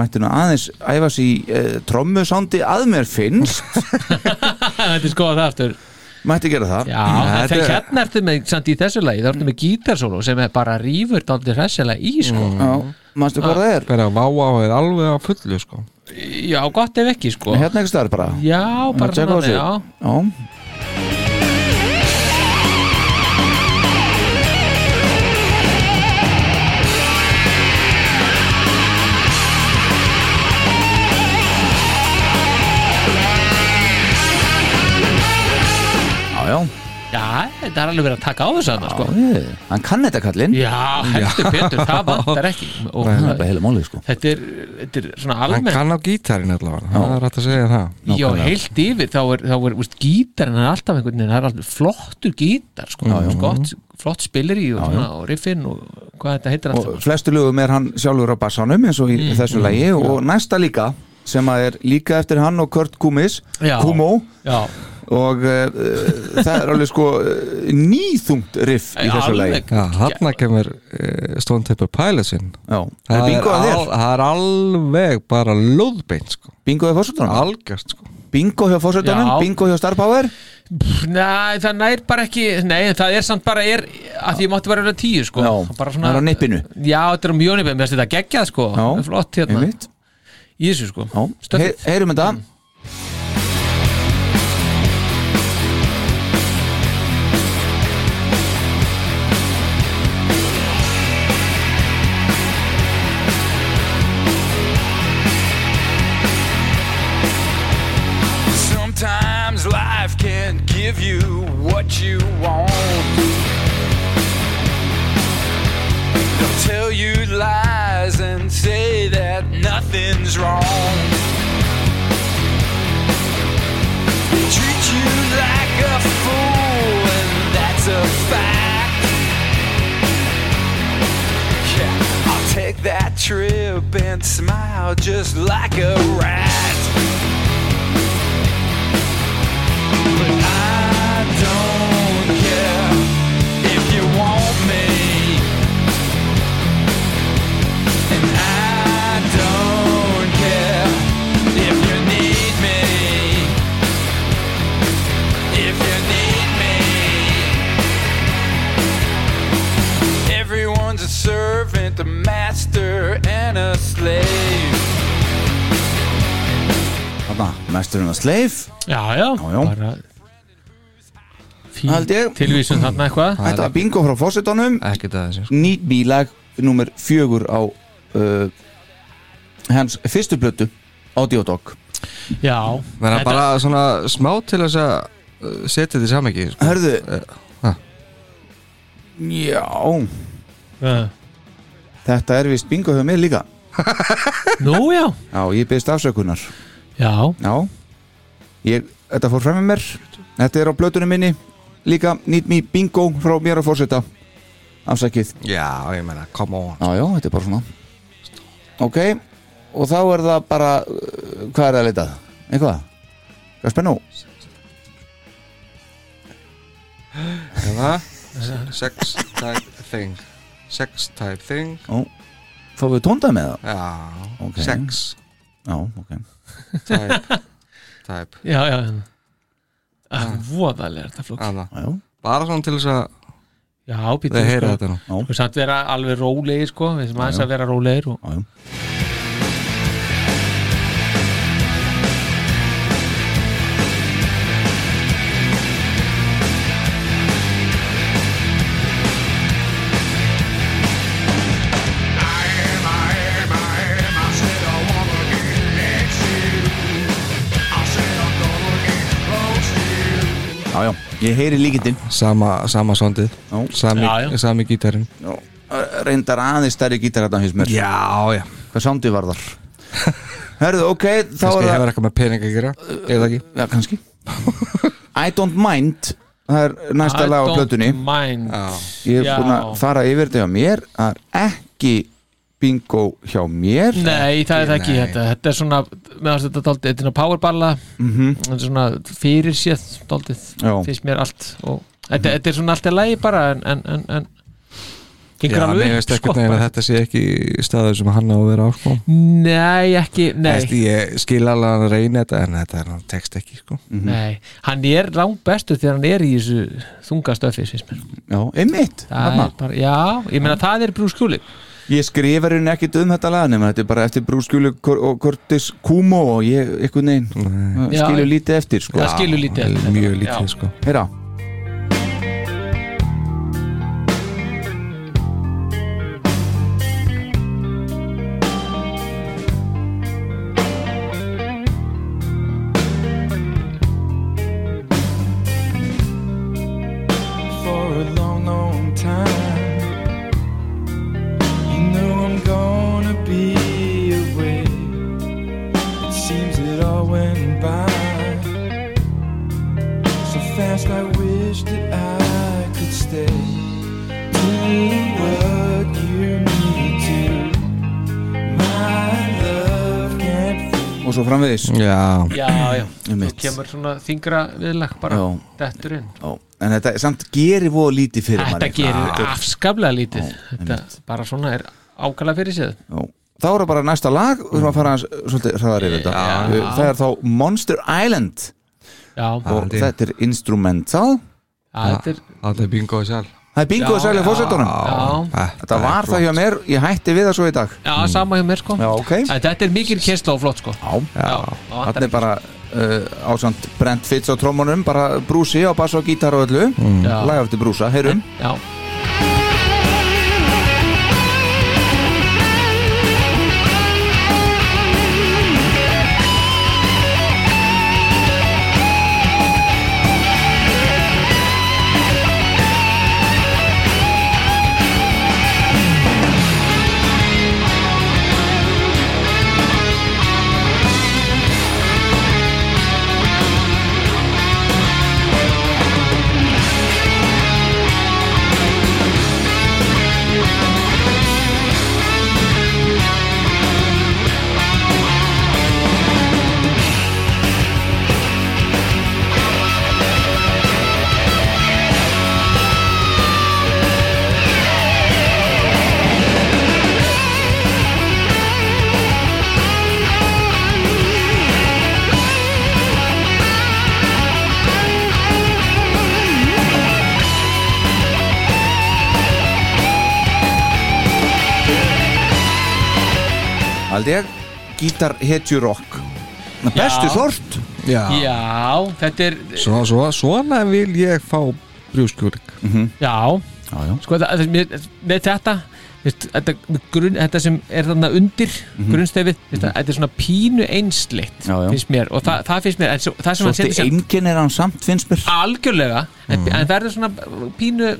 Speaker 3: mætti nú aðeins æfa sér í uh, trommusándi að mér finnst
Speaker 5: þetta er skoða það aftur
Speaker 3: mætti gera það
Speaker 5: Já, en þegar hérna ertu með, samt í þessu lagi, þá ertu með gítarsólu sem er bara rýfur dálítið hressilega í, sko
Speaker 3: Já, manstu
Speaker 5: Ah.
Speaker 3: hvað það er?
Speaker 4: Bæra að váa á þið alveg á fullu sko
Speaker 5: Já, gott ef ekki, sko
Speaker 3: Hérna ekki starf bara
Speaker 5: Já, bara
Speaker 3: Tjekka á
Speaker 5: svona,
Speaker 3: sig.
Speaker 5: já
Speaker 3: Já, Já, já,
Speaker 5: Já, þetta er alveg verið að taka á þessu annars, sko
Speaker 3: Ég, hann kann þetta kallinn
Speaker 5: Já, heldur Petur, það vantar ekki og
Speaker 3: Það er bara heila málið sko
Speaker 5: þetta er, þetta er svona
Speaker 4: Hann
Speaker 5: almennt
Speaker 4: kann á gítarinn allavega Það er hægt að segja það
Speaker 5: Já, heilt yfir, þá er, þá er úst, gítarinn er alltaf einhvern veginn, það er alltaf flottur gítar, sko, já, Gott, flott spilir í og, svona, og riffin og hvað þetta heitir
Speaker 3: Og
Speaker 5: alltaf
Speaker 3: flestu lögum er hann sjálfur á bassanum eins og í þessu lagi og næsta líka sem að er líka eftir hann og Kurt Kumis
Speaker 5: Já.
Speaker 3: Kumo
Speaker 5: Já,
Speaker 3: og uh, það er alveg sko uh, nýþungt riff í þessu lagi
Speaker 5: alveg
Speaker 4: Já, hann kemur uh, Stone Temple Pilots inn
Speaker 3: Já, það er bingo að
Speaker 4: al-
Speaker 3: þér
Speaker 4: það er alveg bara lóðbeint sko
Speaker 3: Bingo hjá fórsetunum
Speaker 4: Algjört sko
Speaker 3: Bingo hjá fórsetunum,
Speaker 5: Já. Sko,
Speaker 3: bingo hjá Star Power
Speaker 5: Nei, það nær bara ekki Nei, en það er samt bara er að því ég mátti bara vera tíu sko.
Speaker 3: Já,
Speaker 5: bara
Speaker 3: það er á nippinu.
Speaker 5: Já, þetta er á mjög nippinu, mér finnst þetta geggjað sko.
Speaker 3: Já,
Speaker 5: Það er flott hérna
Speaker 3: einmitt.
Speaker 5: í þessu sko.
Speaker 3: Já,
Speaker 5: Stöfið.
Speaker 3: hey, heyrum þetta
Speaker 5: Mm.
Speaker 2: Sometimes life can't give you what you want. They'll tell you lies and say that nothing's wrong. They treat you like a fool, and that's a fact. Yeah, I'll take that trip and smile just like a rat. But I
Speaker 3: Mesturinn var Sleif
Speaker 5: já, já,
Speaker 3: Já, já.
Speaker 5: bara fín
Speaker 3: Held ég.
Speaker 5: tilvísun þarna eitthvað
Speaker 3: Þetta var bingo frá fósitanum
Speaker 4: ekkert að þessi sko.
Speaker 3: Need Me lag nummer fjögur á uh, hans fyrstu blötu Audio Dog
Speaker 5: já,
Speaker 4: Verða
Speaker 5: þetta-
Speaker 4: bara svona smá til þess að uh, setja þetta í samengi sko.
Speaker 3: Hörðu
Speaker 4: ha.
Speaker 3: Já,
Speaker 5: já.
Speaker 3: þetta er vist bingo hjá mér líka
Speaker 5: nú já,
Speaker 3: Já, ég byrðist afsökunar
Speaker 5: já
Speaker 3: Já ég, Þetta fór fram með mér Þetta er á blötunum minni Líka Need Me Bingo frá mér að fórseta Afsakið
Speaker 4: Já, ég meina, come on
Speaker 3: Já, já, þetta er bara svona Ok, og þá er það bara uh, Hvað er það leitað? Eitthvað? Hvað er spennu?
Speaker 4: Hérna, Sex type thing Sex type thing
Speaker 3: Fáum við tóndað með það?
Speaker 4: Já,
Speaker 3: Ok.
Speaker 4: sex
Speaker 3: Já, ok
Speaker 4: type type
Speaker 5: já, já, já. Ah, voðalega er þetta flók
Speaker 4: Anna.
Speaker 3: Já, já.
Speaker 4: Bara svona til þess að
Speaker 5: já, býtum
Speaker 4: þau heyra þetta nú
Speaker 5: og samt vera alveg rólegir sko við sem aðeins að vera rólegir og...
Speaker 3: Já, já. Já, já, ég heyri líkindin
Speaker 4: Sama, sama sondið
Speaker 3: Já.
Speaker 4: Sami,
Speaker 5: Já, já.
Speaker 4: sami gítarinn
Speaker 3: Já, Reyndar aðeins stærri gítarrættan fyrst mér
Speaker 4: Já, já
Speaker 3: Hvað sándið var þar? Herðu, ok, þá
Speaker 4: Kannski
Speaker 3: er það
Speaker 4: hefur eitthvað með pening að gera
Speaker 5: Uh,
Speaker 4: Eða ekki
Speaker 3: Já, kannski I don't mind Það er næsta lag á plötunni
Speaker 5: mind
Speaker 3: Ég er
Speaker 5: Já.
Speaker 3: búin að fara yfir þetta hjá mér Það er ekki bingo hjá mér
Speaker 5: Nei, það er það ekki
Speaker 4: Nei.
Speaker 5: þetta. þetta er svona, meðan þetta dálítið þetta er svona powerballa, þetta er svona fyrir séð dálítið,
Speaker 3: Já.
Speaker 5: finnst mér allt og þetta, þetta er svona allt í lagi bara en, en, en, en gengur
Speaker 4: Já,
Speaker 5: alveg
Speaker 4: mér
Speaker 5: upp,
Speaker 4: veist
Speaker 5: sko,
Speaker 4: ekkert neginn að
Speaker 5: bara.
Speaker 4: þetta sé ekki staður sem hann á að vera á sko.
Speaker 5: Nei, ekki, nei,
Speaker 4: Æst, Ég skil alveg að hann reyna þetta en þetta er hann text ekki sko.
Speaker 5: nei hann er langt bestur þegar hann er í þessu þungastöfi, finnst mér
Speaker 3: Já, einmitt
Speaker 5: Það
Speaker 3: þarna.
Speaker 5: er bara, Já, ég meina það er brúskjúli
Speaker 3: Ég skrifar henni ekkit um þetta lag nema þetta er bara eftir brúskjúli og Curtis Kumo og ég, eitthvað neginn uh,
Speaker 5: Já.
Speaker 3: skilur lítið eftir sko.
Speaker 5: Það skilur lítið
Speaker 4: Það
Speaker 5: eftir.
Speaker 4: er Mjög
Speaker 5: Já.
Speaker 4: lítið sko.
Speaker 3: Heyra
Speaker 2: for a long, long time. You know I'm gonna be away. It seems it all went by so fast. I wish that I could stay. Do what you need to. My love can't
Speaker 3: og svo framvegis
Speaker 4: Já,
Speaker 5: Já, já,
Speaker 3: Einmitt.
Speaker 5: þú kemur svona þingra viðlag bara,
Speaker 3: Já.
Speaker 5: dettur inn
Speaker 3: Ó, En þetta samt gerir voða lítið fyrir
Speaker 5: Þetta
Speaker 3: manni.
Speaker 5: gerir afskaplega lítið
Speaker 3: Já,
Speaker 5: Þetta bara svona er ákala fyrir séð
Speaker 3: Já. Þá er það bara næsta lag Við erum að fara hans svolítið hraðar yfir þetta Eh,
Speaker 4: Já.
Speaker 3: Það er þá Monster Island
Speaker 5: Já,
Speaker 3: og
Speaker 4: Andi.
Speaker 3: þetta er instrumental
Speaker 5: já, þetta er
Speaker 4: þetta er bingo sjálf
Speaker 3: Það er bingo að
Speaker 5: Já,
Speaker 3: sælja
Speaker 5: já.
Speaker 3: fósettunum
Speaker 5: Já,
Speaker 3: Þetta var það hjá mér, ég hætti við það svo í dag
Speaker 5: já sama hjá mér sko
Speaker 3: Já, ok Já,
Speaker 5: Æ, Þetta er mikil kynnsla og flott sko Já, það
Speaker 3: Þarna
Speaker 5: vantar
Speaker 3: er bara uh, ásand Brent Fitz á trómunum bara brúsi á bass og gítar og öllu mm.
Speaker 5: Já.
Speaker 3: Laga eftir brúsa, heyrum
Speaker 5: Já,
Speaker 3: Haldi ég, gítar hetju rock Na, bestu
Speaker 5: Já.
Speaker 3: sort
Speaker 4: já.
Speaker 5: Já, þetta er
Speaker 4: Svo, svo, svona vil ég fá brjóskjúling
Speaker 5: Já,
Speaker 3: já, já.
Speaker 5: sko það- það- mér- með þetta veist, þetta, grun, þetta sem er þarna undir mm -hmm. grunnstefið, veist, það- þetta er svona pínu einsleitt
Speaker 3: Mhm. Já, já.
Speaker 5: finnst mér og það, það finnst mér, en svo- það sem hann setur
Speaker 3: Svolítið
Speaker 5: sér
Speaker 3: eimkinn er Mhm. hann samt finnst mér
Speaker 5: algjörlega, en, en verður svona pínu,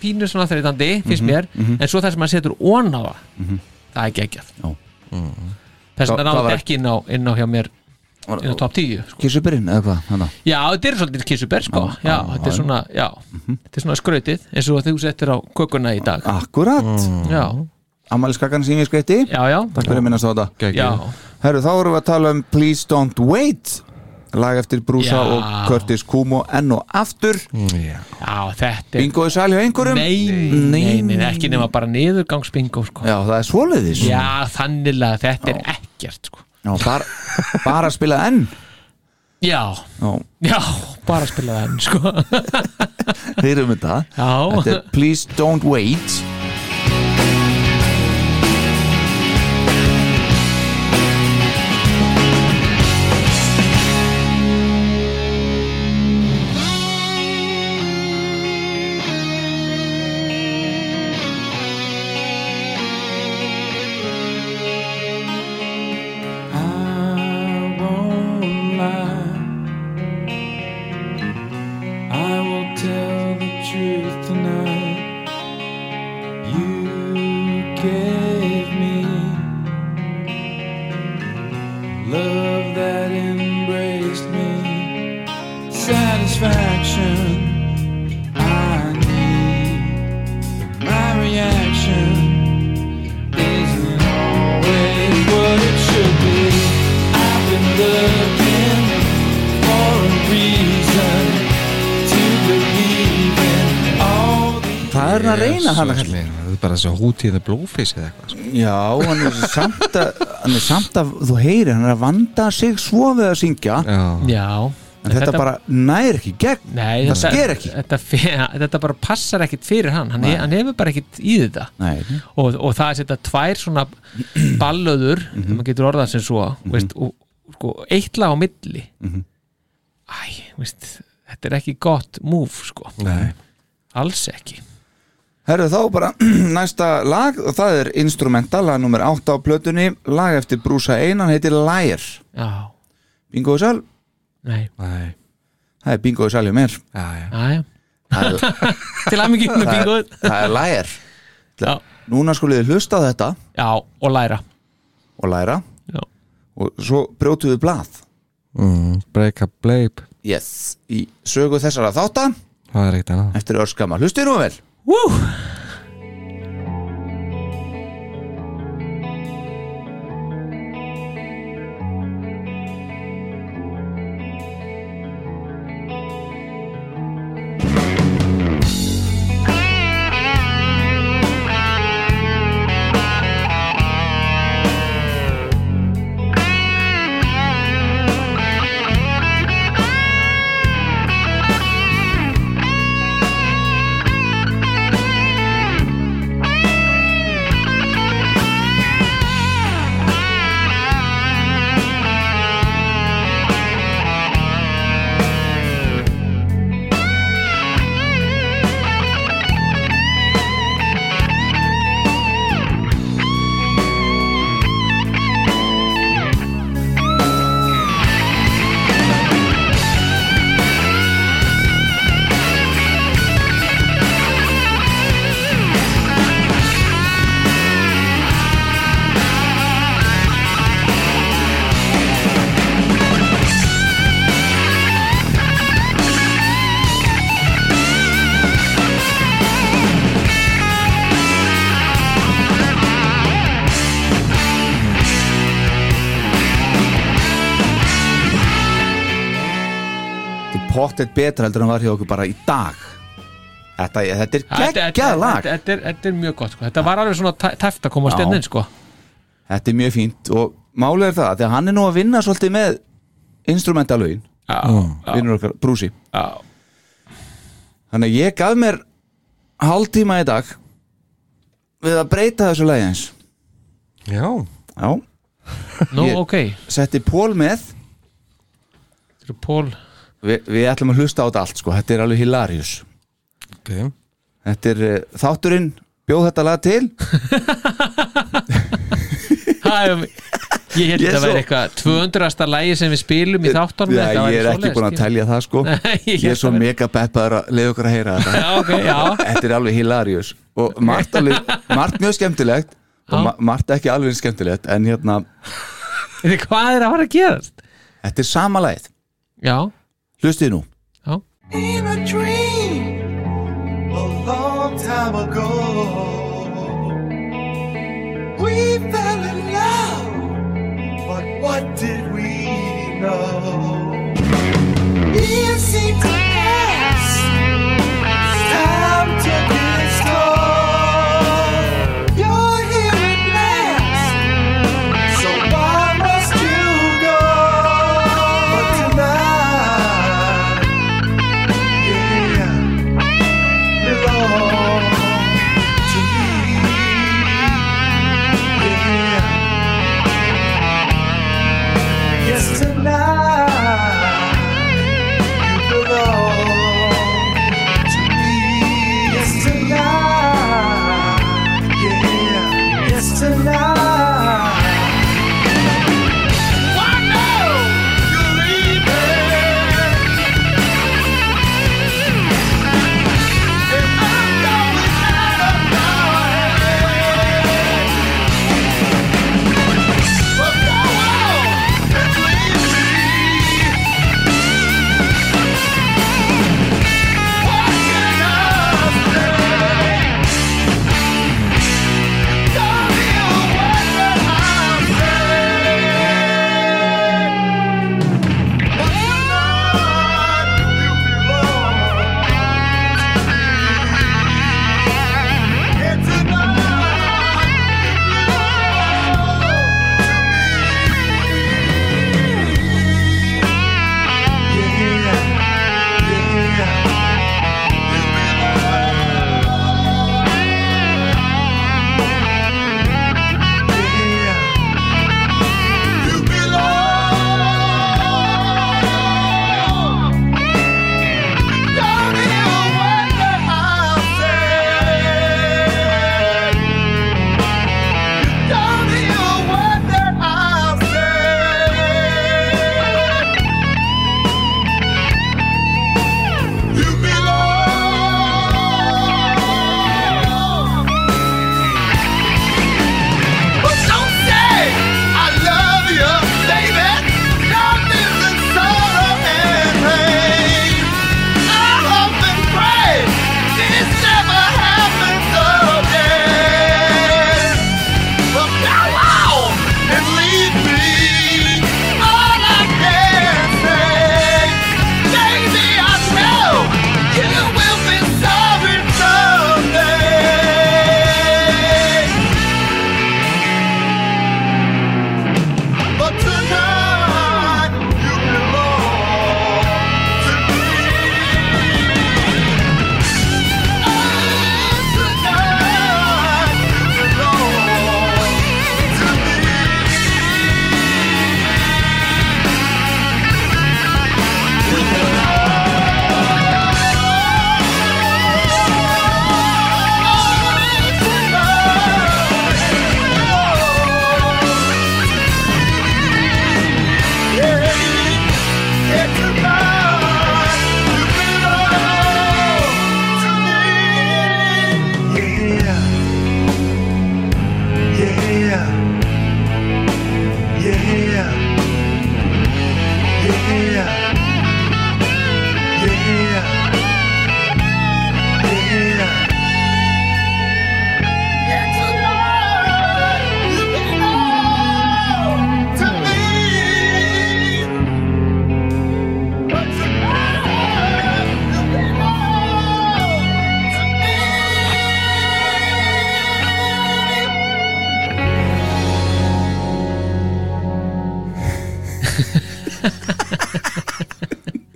Speaker 5: pínu svona þreytandi finnst
Speaker 3: Mhm.
Speaker 5: mér, en svo það sem hann setur ón á það, það er geggjað
Speaker 3: Já. Hvað-
Speaker 5: þess að
Speaker 3: hvað
Speaker 5: náðu
Speaker 3: var-
Speaker 5: ekki inn á, inn á hjá mér inn á top 10 sko.
Speaker 3: Kissupurinn eða hvað hana.
Speaker 5: Já, þetta er svolítið kissuber sko
Speaker 3: Já,
Speaker 5: Já,
Speaker 3: já,
Speaker 5: þetta er
Speaker 3: já. Mhm.
Speaker 5: svona, já Þetta er svona skrautið eins og þú settir á kökuna í dag
Speaker 3: Ah. Akkurat
Speaker 5: Já,
Speaker 3: Amali skakkan sem ég skreitti
Speaker 5: Mm. já, já
Speaker 3: Takk fyrir að minnast á þetta
Speaker 5: Já,
Speaker 3: Herru, þá erum við að tala um Please Don't Wait lag eftir Brúsa
Speaker 5: Já.
Speaker 3: og Curtis Kumo enn og aftur
Speaker 4: já.
Speaker 5: já, þetta er
Speaker 3: bingo í sali og einhverjum
Speaker 5: nei, nei, nei, nei, ekki nema bara niðurgangsbingo sko
Speaker 3: Já, það er svoleiðis
Speaker 5: Já, þannilega þetta er ekkert sko
Speaker 3: Já, bara, bara að spila enn
Speaker 5: Já,
Speaker 3: Já,
Speaker 5: já, bara spila það enn, sko
Speaker 3: heyrum þetta Þetta
Speaker 5: Já,
Speaker 3: er Please Don't Wait
Speaker 2: I will tell the truth tonight. You gave me love that embraced me, satisfaction I need. But my reaction isn't always what it should be. I've been looking for a reason to believe in all the
Speaker 3: Það er hann að reyna hann að
Speaker 4: Þetta er bara þessi hútíð blófis eða eitthvað sko.
Speaker 3: Já, hann er samt að, hann er samt að þú heyrir, hann er að vanda sig svo við að syngja en
Speaker 4: Já,
Speaker 5: já
Speaker 3: þetta, bara nær ekki í gegn
Speaker 5: Nei,
Speaker 3: það sker ekki
Speaker 5: þetta, fe- þetta bara passar ekkit fyrir hann hann, he, hann hefur bara ekkit í þetta
Speaker 3: Nei,
Speaker 5: og, og það er setja tvær svona ballöður,
Speaker 3: Mhm.
Speaker 5: ef maður getur orðað sem svo veist, og sko, eitt lag á milli
Speaker 3: Mhm.
Speaker 5: Æ, veist þetta er ekki gott múf sko.
Speaker 4: Nei.
Speaker 5: alls ekki
Speaker 3: Herru þá bara næsta lag og það er instrumental, lag nummer 8 á plötunni lag eftir Brúsa Einan heitir Liar
Speaker 5: já,
Speaker 3: Bingo í sal,
Speaker 5: nei,
Speaker 4: nei
Speaker 3: það er bingo í sal hjá mér
Speaker 4: Já, já
Speaker 5: aðja
Speaker 3: Það er,
Speaker 5: til að mikið með bingoð
Speaker 3: það er Liar
Speaker 5: Já.
Speaker 3: Núna skuliði hlusta á þetta
Speaker 5: já, og læra
Speaker 3: og læra
Speaker 5: Já.
Speaker 3: og svo brjótuðu blað
Speaker 4: mm, Break up bleip
Speaker 3: yes. í sögu þessara þátta
Speaker 4: Það er eitt annað
Speaker 3: eftir örskama, hlustið nú vel
Speaker 5: Woo!
Speaker 3: Þetta er pottet betra heldur en var hjá okkur bara í dag Þetta, þetta er
Speaker 5: Þetta-
Speaker 3: geggjað
Speaker 5: þetta-
Speaker 3: lag
Speaker 5: þetta er- þetta er mjög gott sko. þetta var alveg svona tæ- tæft að koma á
Speaker 3: Já.
Speaker 5: stennin sko.
Speaker 3: Þetta er mjög fínt og málið er það að því að hann er nú að vinna svolítið með instrumentalögin, vinnur okkar brúsi
Speaker 5: Já.
Speaker 3: Þannig að ég gaf mér hálftíma í dag við að breyta þessu lagi eins
Speaker 4: Já
Speaker 3: Já,
Speaker 5: nú
Speaker 3: Ég-
Speaker 5: ok
Speaker 3: setti pól með
Speaker 5: Þetta er Pól
Speaker 3: Vi, við ætlum að hlusta á þetta allt sko, þetta er alveg hilarious
Speaker 2: okay.
Speaker 3: Þetta er uh, þátturinn, bjóð þetta lag til
Speaker 5: Hæ, Ég held
Speaker 3: Ég er
Speaker 5: að það
Speaker 3: svo-
Speaker 5: væri eitthvað 200. lægi sem við spilum í þáttunum
Speaker 3: Já, ég er ekki búin að telja það sko
Speaker 5: Nei, ég
Speaker 3: Ég er svo
Speaker 5: held að-
Speaker 3: mega peppaður að leiða okkur að heyra þetta
Speaker 5: Já, ok, já
Speaker 3: Þetta er alveg hilarious og margt, alveg, margt mjög skemmtilegt og ma margt ekki alveg eins skemmtilegt en hérna,
Speaker 5: Þetta er Hvað er að fara að gerast?
Speaker 3: þetta er samalæð
Speaker 5: Já,
Speaker 3: Hlustið nú
Speaker 5: já
Speaker 6: in a dream a long time ago. We fell in love, but what did we know? Years seemed to pass, time took its toll. You're here at last, so why must you go? But tonight. Tonight, I know you're leaving.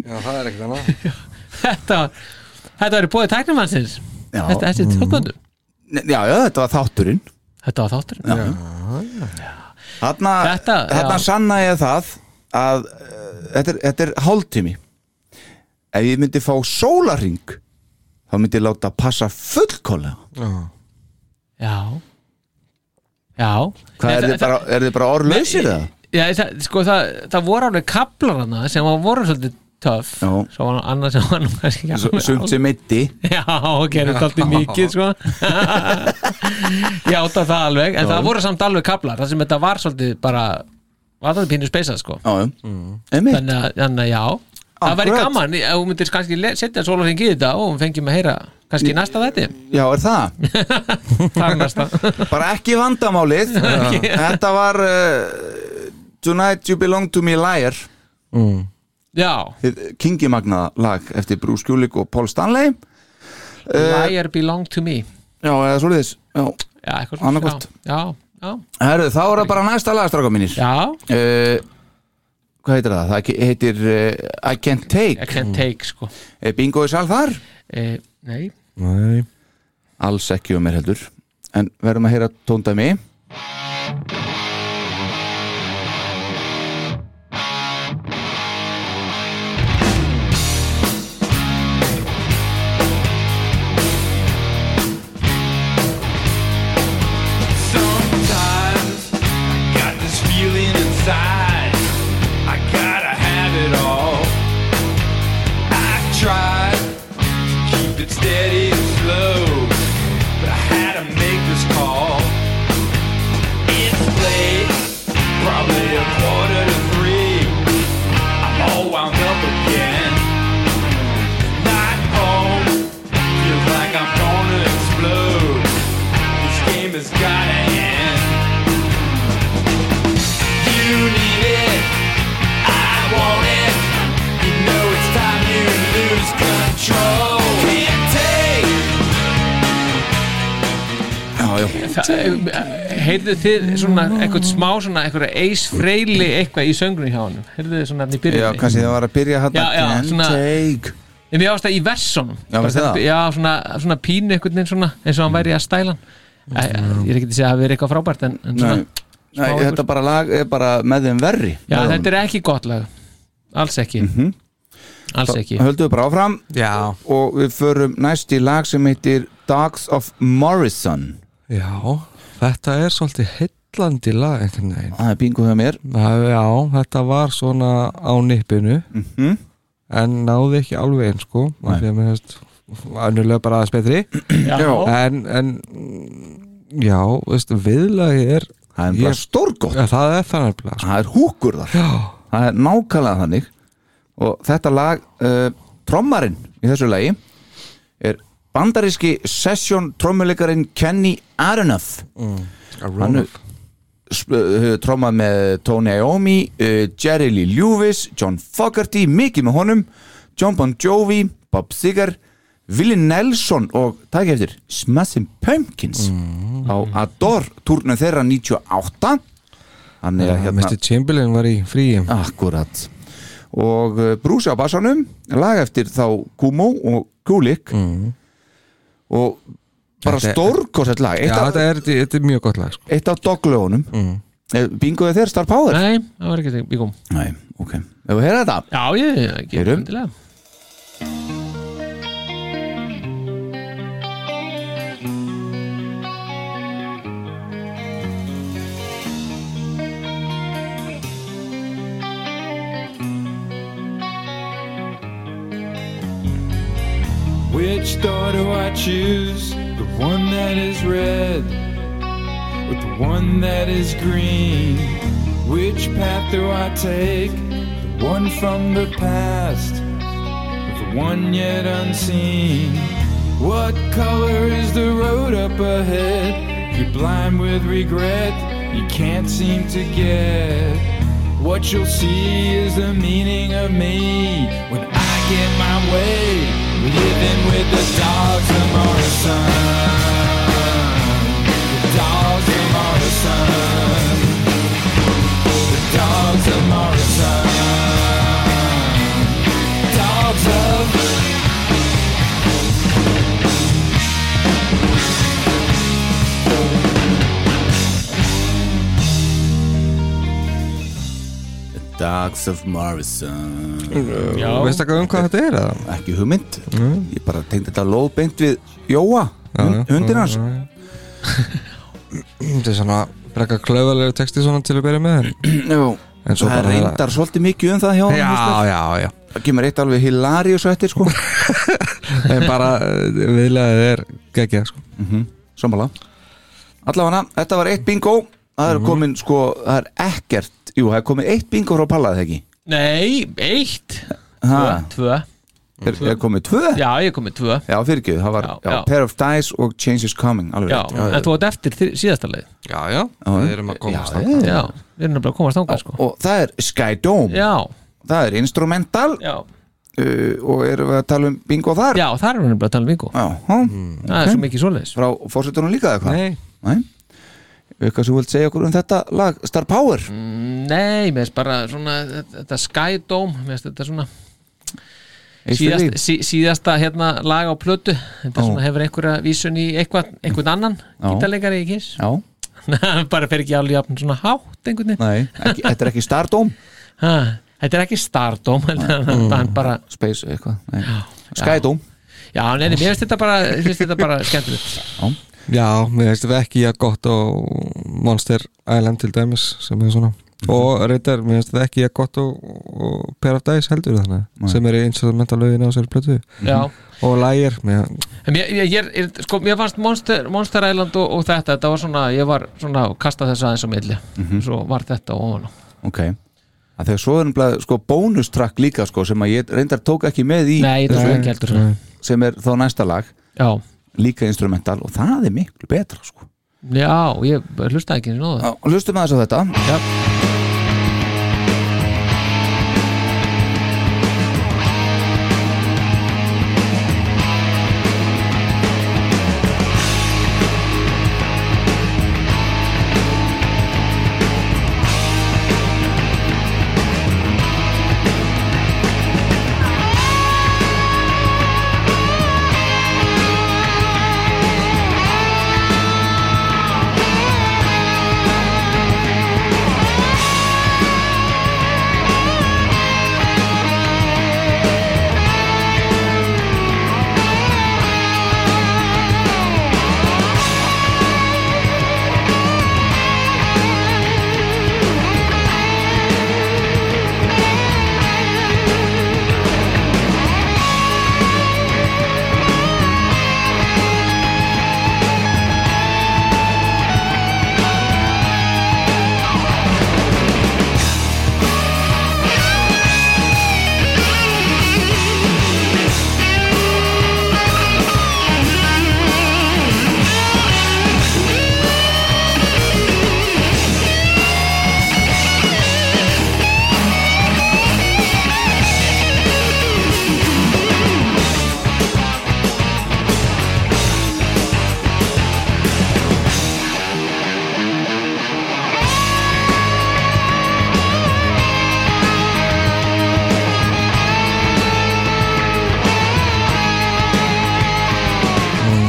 Speaker 2: Já, það er ekkert annað
Speaker 5: Þetta, þetta var í bóði tæknumannsins
Speaker 3: Já. Mm.
Speaker 5: Þetta þessi tökkundu
Speaker 3: Nei, Já, já, þetta var þátturinn
Speaker 5: Þetta var þátturinn
Speaker 3: Þarna,
Speaker 5: Þetta, já.
Speaker 3: þarna sanna ég það að uh, þetta er, þetta er hálftími ef ég myndi fá sólaring þá myndi ég láta passa fullkólega
Speaker 5: já já
Speaker 3: hvað,
Speaker 5: Nei,
Speaker 3: er þið
Speaker 5: það-
Speaker 3: bara, er þið bara orðlausir það?
Speaker 5: Já, það, sko, það, það voru alveg kaplar hana sem var- voru svolítið töff
Speaker 3: Já.
Speaker 5: svo var annað sem var nú kannski ekki alveg-
Speaker 3: sumt sem eitti
Speaker 5: Já, gerði þetta alltaf mikið sko. Já, það það alveg en það voru samt alveg kaplar það sem þetta var svolítið bara var það pínu speysað sko.
Speaker 3: mm.
Speaker 5: þannig, að- þannig að já Það væri
Speaker 3: Akkurat.
Speaker 5: gaman, ef þú myndir kannski le- setja sólarhing í þetta og hún fengjum að heyra kannski í næsta þetta,
Speaker 3: já er það
Speaker 5: það er næsta
Speaker 3: bara ekki vandamálið þetta var uh, Tonight You Belong To Me Liar
Speaker 5: Já,
Speaker 3: hið Kingi Magna lag eftir Bruce Kulik og Paul Stanley Uh, Eh.
Speaker 5: liar belong to me
Speaker 3: já eða svoleiðis já.
Speaker 5: Já, eitthvað svona.
Speaker 3: Annaðhvort.
Speaker 5: Já, já,
Speaker 3: Herru, þá er það bara næsta lag stráka mínir
Speaker 5: já, já.
Speaker 3: uh, hvað heitir það? það ke- heitir uh, I Can't
Speaker 5: I
Speaker 3: Take
Speaker 5: can't take sko
Speaker 3: er bingo í sal þar?
Speaker 5: e, Nei,
Speaker 4: Nei,
Speaker 3: alls ekki um mér heldur en verðum að heyra tóndæmi
Speaker 2: Sometimes I got this feeling inside. I gotta have it all. I tried to keep it steady and slow, but I had to make this call. It's late, probably a quarter to three. I'm all wound up again. Not home, feels like I'm gonna explode. This game has gotta end. You need it, I want it. You know it's time you lose control. Can't take.
Speaker 3: já, já.
Speaker 5: heyrðu eh, þið svona eitthvað smá svona eitthvað Ace Frehley eitthvað í söngunum hjá hann heyrðu þið svona hann í
Speaker 3: já,
Speaker 5: byrjunni
Speaker 3: kannski það var að byrja hann
Speaker 5: Já, já,
Speaker 3: Can't
Speaker 5: svona-
Speaker 3: Take
Speaker 5: en mér ást það í versunum
Speaker 3: Já, veistu það? Hmm.
Speaker 5: já svona, svona pínu eitthvað svona, eins og hann væri að stæla hann Æ, ég er ekki að segja að það veri eitthvað frábært en, en svona,
Speaker 3: Nei, Nei,
Speaker 5: smá
Speaker 3: þetta bara lag er bara með þeim verri
Speaker 5: já, þetta er ekki gott lag alls ekki
Speaker 3: Mhm.
Speaker 5: alls ekki
Speaker 3: höldum við bara áfram
Speaker 4: já,
Speaker 3: og við förum næst í lag sem heitir Dogs of Morrison
Speaker 4: já Þetta er svolítið heillandi lag einhvern veginn
Speaker 3: það er bingo hjá mér
Speaker 4: Það- Já, þetta var svona á nippinu
Speaker 3: Mhm.
Speaker 4: en náði ekki alveg einn sko af
Speaker 3: Nei.
Speaker 4: því að mér hefst annulega bara aðeins betri
Speaker 3: Oh.
Speaker 5: já,
Speaker 4: en, en mm, já, veist, viðlagi er
Speaker 3: það er bara
Speaker 4: Ég-
Speaker 3: stórgott
Speaker 4: ja, það er það nefnilega sko.
Speaker 3: það er húkur þar
Speaker 4: já,
Speaker 3: það er nákvæmlega þannig og þetta lag, uh, trommarinn í þessu lagi er bandaríski session trommuleikarin Kenny Aronoff hann er- sp- uh, trommað með Tony Iommi uh, Jerry Lee Lewis, John Fogarty mikið með honum, John Bon Jovi Bob Seger Willi Nelson og takk eftir Smashing Pumpkins
Speaker 4: Mm.
Speaker 3: á Adore túrnum þeirra 98 hann er
Speaker 4: ja,
Speaker 3: hérna
Speaker 4: Mr. Chamberlain var í fríi
Speaker 3: Akkurat Og uh, brúsi á bassanum Lag eftir þá Kumo og Kulik Og bara
Speaker 4: Mm. Þetta er-
Speaker 3: stórkosett lag Eitt,
Speaker 4: já,
Speaker 3: af-
Speaker 4: þetta er, þetta er mjög gott lag sko.
Speaker 3: eitt af doglögunum mm. Bingoðu þér Star Power?
Speaker 5: nei, það var ekki þetta ég kom.
Speaker 3: Nei, ok Ef við heyra þetta
Speaker 5: já, ég, ekki
Speaker 3: Heyrum.
Speaker 5: endilega.
Speaker 2: Which door do I choose? The one that is red or the one that is green? Which path do I take? The one from the past or the one yet unseen? What color is the road up ahead? You're blind with regret, you can't seem to get. What you'll see is the meaning of me when I get my way. Living with the dogs of Morrison. The dogs of Morrison. The dogs of Morrison. Dogs of
Speaker 7: Dogs of Morrison
Speaker 5: Já,
Speaker 4: veist ekki um hvað þetta er eða?
Speaker 3: ekki hugmynd ég bara tengdi þetta lóðbeint við Jóa, hund- hundinn hans
Speaker 4: þetta er svona frekka klauðalegu texti svona til að byrja með en,
Speaker 3: Jú.
Speaker 4: en svo
Speaker 3: það er reyndar svolítið mikið um það hjá honum,
Speaker 4: já,
Speaker 3: veistu.
Speaker 4: já, já
Speaker 3: það kemur eitt alveg hilarious á eftir sko
Speaker 4: en bara viðlega er geggja sko.
Speaker 3: sammála allavega, þetta var eitt bingo það er komin sko, það er ekkert jú, það er komin eitt bingo frá Palla, eða ekki
Speaker 5: Nei, eitt
Speaker 3: ha,
Speaker 5: Tvö
Speaker 3: er, er komið tvö? já,
Speaker 5: Já, ég kom með tvö
Speaker 3: já fyrirgjöð, það var
Speaker 5: Já,
Speaker 3: já,
Speaker 5: já.
Speaker 3: pair of dice og change is coming alveg
Speaker 5: Já,
Speaker 3: rétt.
Speaker 5: en þú átt eftir þri- síðasta leið
Speaker 4: já, já, við erum að komast já,
Speaker 3: Mm.
Speaker 4: já.
Speaker 5: Já, við erum nefnilega að komast þangað sko
Speaker 3: og það er Sky Dome,
Speaker 5: Já,
Speaker 3: það er instrumental
Speaker 5: já,
Speaker 3: uh, og erum við að tala um bingo þar
Speaker 5: já, það erum við nefnilega að tala um vingu
Speaker 3: Já, há,
Speaker 5: Það er svo mikið svoleiðis
Speaker 3: frá fórsetunum líka eða hvað?
Speaker 4: Nei,
Speaker 3: Nei. Eitthvað sem þú vilt segja okkur um þetta lag Star Power
Speaker 5: Mm. Nei, mér finnst bara svona þetta Sky Dome, mér finnst þetta svona
Speaker 3: Eitt fyrir
Speaker 5: síðasta,
Speaker 3: líf.
Speaker 5: sí, síðasta hérna lag á plötu
Speaker 3: Ó.
Speaker 5: þetta svona hefur einhverja vísun í eitthvað, einhvern annan
Speaker 3: Já.
Speaker 5: gítarleikari í kiss
Speaker 3: Já,
Speaker 5: bara fer ekki alveg jafn svona hátt einhvern veginn
Speaker 3: nei, ekki, þetta er ekki Star Dome
Speaker 5: ha, þetta er ekki stardom mm. hann bara,
Speaker 3: Space eitthvað nei. Sky Dome
Speaker 5: já, neini, mér finnst þetta bara mér finnst þetta bara skemmtilegt
Speaker 4: já, mér veist þetta ekki að gott og Monster Island til dæmis sem er svona
Speaker 3: Mhm.
Speaker 4: og reyndar, mér finnst þetta ekki að gott og, og Pair of Dice heldur þannig sem er í instrumentalauðin á sér plötu
Speaker 5: já,
Speaker 4: og lægir mér,
Speaker 5: en mér, ég, ég, er- sko, mér fannst Monster, Monster Island og, og þetta, þetta var svona ég var svona að kasta þess aðeins á milli svo var þetta ofan á.
Speaker 3: Ok að Þegar svo er nefnilega sko bónustrakk líka sko sem að ég reyndar tók ekki með í
Speaker 5: nei, þetta er svo ekki heldur
Speaker 3: sem er þá næsta lag
Speaker 5: já,
Speaker 3: líka instrumental og það er miklu betra sko
Speaker 5: já, ég hlusta ekki nóðu
Speaker 3: Já, Hlustum aðeins á þetta
Speaker 5: Já.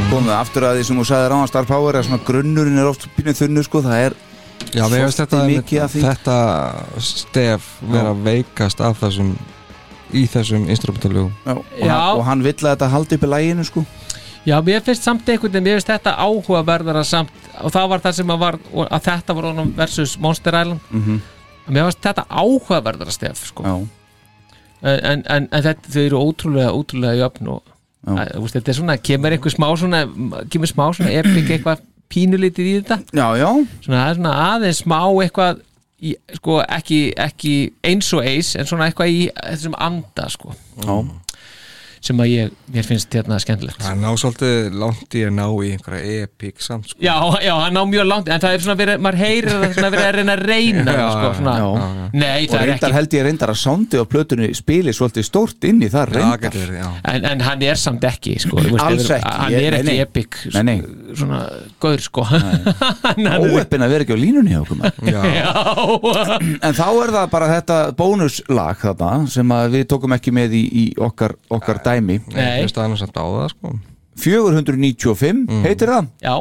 Speaker 3: komum við aftur að því sem þú sagði ráðan Star Power að svona grunnurinn er oft pínu þunnu sko það er
Speaker 4: já, mér finnst þetta,
Speaker 3: Svolítið mikið af
Speaker 4: einmitt-
Speaker 3: því.
Speaker 4: þetta stef vera veikast af þessum í þessum instrumentalauðum
Speaker 3: og,
Speaker 5: Já.
Speaker 3: Hann, og hann vill að þetta haldi upp í læginu sko
Speaker 5: Já, mér finnst samt einhvern veginn, mér finnst þetta áhugaverðara samt og það var það sem að, var, að þetta var honum versus Monster Island mm -hmm. Mér finnst þetta áhugaverðara stef sko.
Speaker 3: Mhm. Já,
Speaker 5: en, en, en en þetta, þau eru ótrúlega, ótrúlega jöfn og
Speaker 3: Já.
Speaker 5: að, þú veist, þetta er svona, kemur einhver smá svona kemur smá svona epic eitthvað pínulítið í þetta
Speaker 3: já, já,
Speaker 5: svona, það er svona aðeins smá eitthvað í, sko, ekki, ekki eins og eins en svona eitthvað í þessum anda sko,
Speaker 3: já.
Speaker 5: sem að ég, mér finnst hérna skemmtilegt
Speaker 4: það ná svolítið langt í að ná í einhverja epík samt sko.
Speaker 5: Já, já, hann á mjög langt En það er svona verið, maður heyrir að það er svona verið að reyna að reyna
Speaker 4: Já,
Speaker 5: sko,
Speaker 4: já,
Speaker 5: svona,
Speaker 3: já,
Speaker 5: Nei,
Speaker 3: og
Speaker 5: það er
Speaker 3: reyndar
Speaker 5: ekki
Speaker 3: held ég reyndar að sándi á plötunni spili svolítið stórt inn í það
Speaker 4: það
Speaker 3: reyndar
Speaker 4: getur verið, já
Speaker 5: en, en hann er samt ekki, sko þú veist,
Speaker 3: Alls
Speaker 5: yfir-
Speaker 3: ekki,
Speaker 5: Hann
Speaker 3: ég-
Speaker 5: er
Speaker 3: nei,
Speaker 5: ekki
Speaker 3: nei.
Speaker 5: epic
Speaker 3: Nei, nei.
Speaker 5: Svona, gaur, sko Hann er Mm.
Speaker 3: óeppin að vera ekki á línunni hjá okkur maður.
Speaker 5: Já,
Speaker 3: en þá er það bara þetta bónuslag þarna sem að við tókum ekki með í, í okkar, okkar dæmi
Speaker 5: Nei.
Speaker 4: Mér finnst það annars samt á það sko
Speaker 3: 495
Speaker 5: Mm.
Speaker 3: heitir það
Speaker 5: já,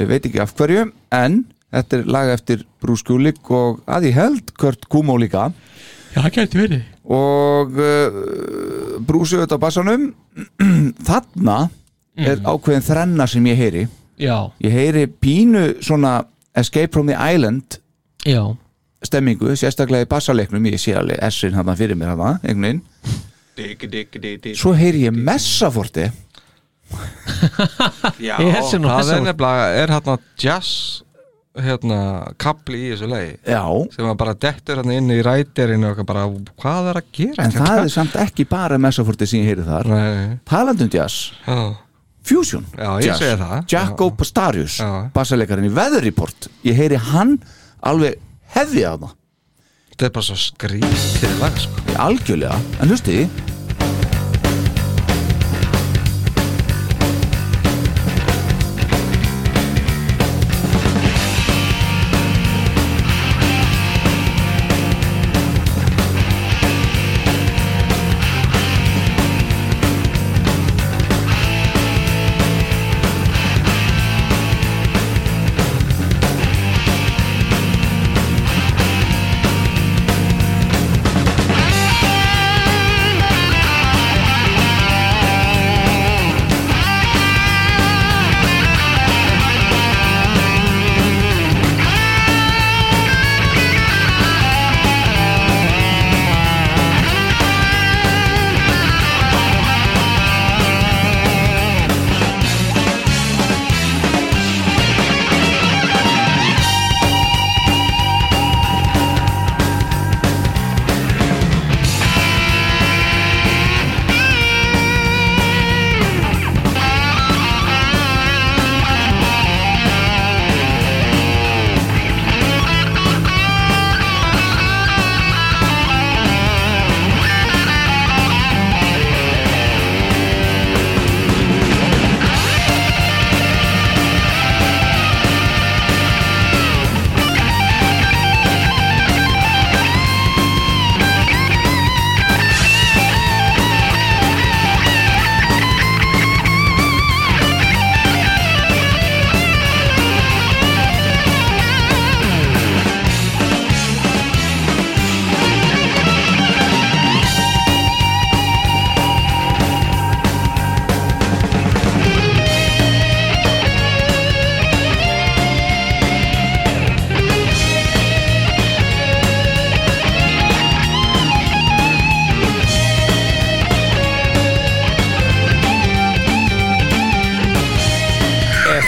Speaker 3: ég veit ekki af hverju en þetta er lag eftir Bruce Kulik og að ég held Kurt Kumo líka
Speaker 5: Já, það gæti verið
Speaker 3: og uh, brúsið þetta á bassanum þarna
Speaker 5: Mm.
Speaker 3: er ákveðin þrenna sem ég heyri
Speaker 5: Já,
Speaker 3: ég heyri pínu svona Escape from the Island
Speaker 5: já,
Speaker 3: stemmingu, sérstaklega í bassaleiknum ég sé alveg S-in hann fyrir mér hann einhvern veginn svo heyri ég messaforti
Speaker 4: Já,
Speaker 5: Ég er sem nú
Speaker 4: það
Speaker 5: þessa
Speaker 4: er
Speaker 5: voru.
Speaker 4: nefnilega, er hérna jazz hérna, kapli í þessu lei
Speaker 3: já,
Speaker 4: sem að bara dettur hérna inn í rætirinn og bara, hvað er að gera hérna?
Speaker 3: en það er samt ekki bara messaforti sem ég heyri þar
Speaker 4: Nei,
Speaker 3: talandum jazz,
Speaker 4: já,
Speaker 3: fusion
Speaker 4: já, ég segi það
Speaker 3: Jacko Pastarius
Speaker 4: Já.
Speaker 3: bassalekarinn í Weather Report ég heyri hann alveg hefði að það
Speaker 4: Þetta er bara svo skrítið lag sko.
Speaker 3: algjörlega, en hlusti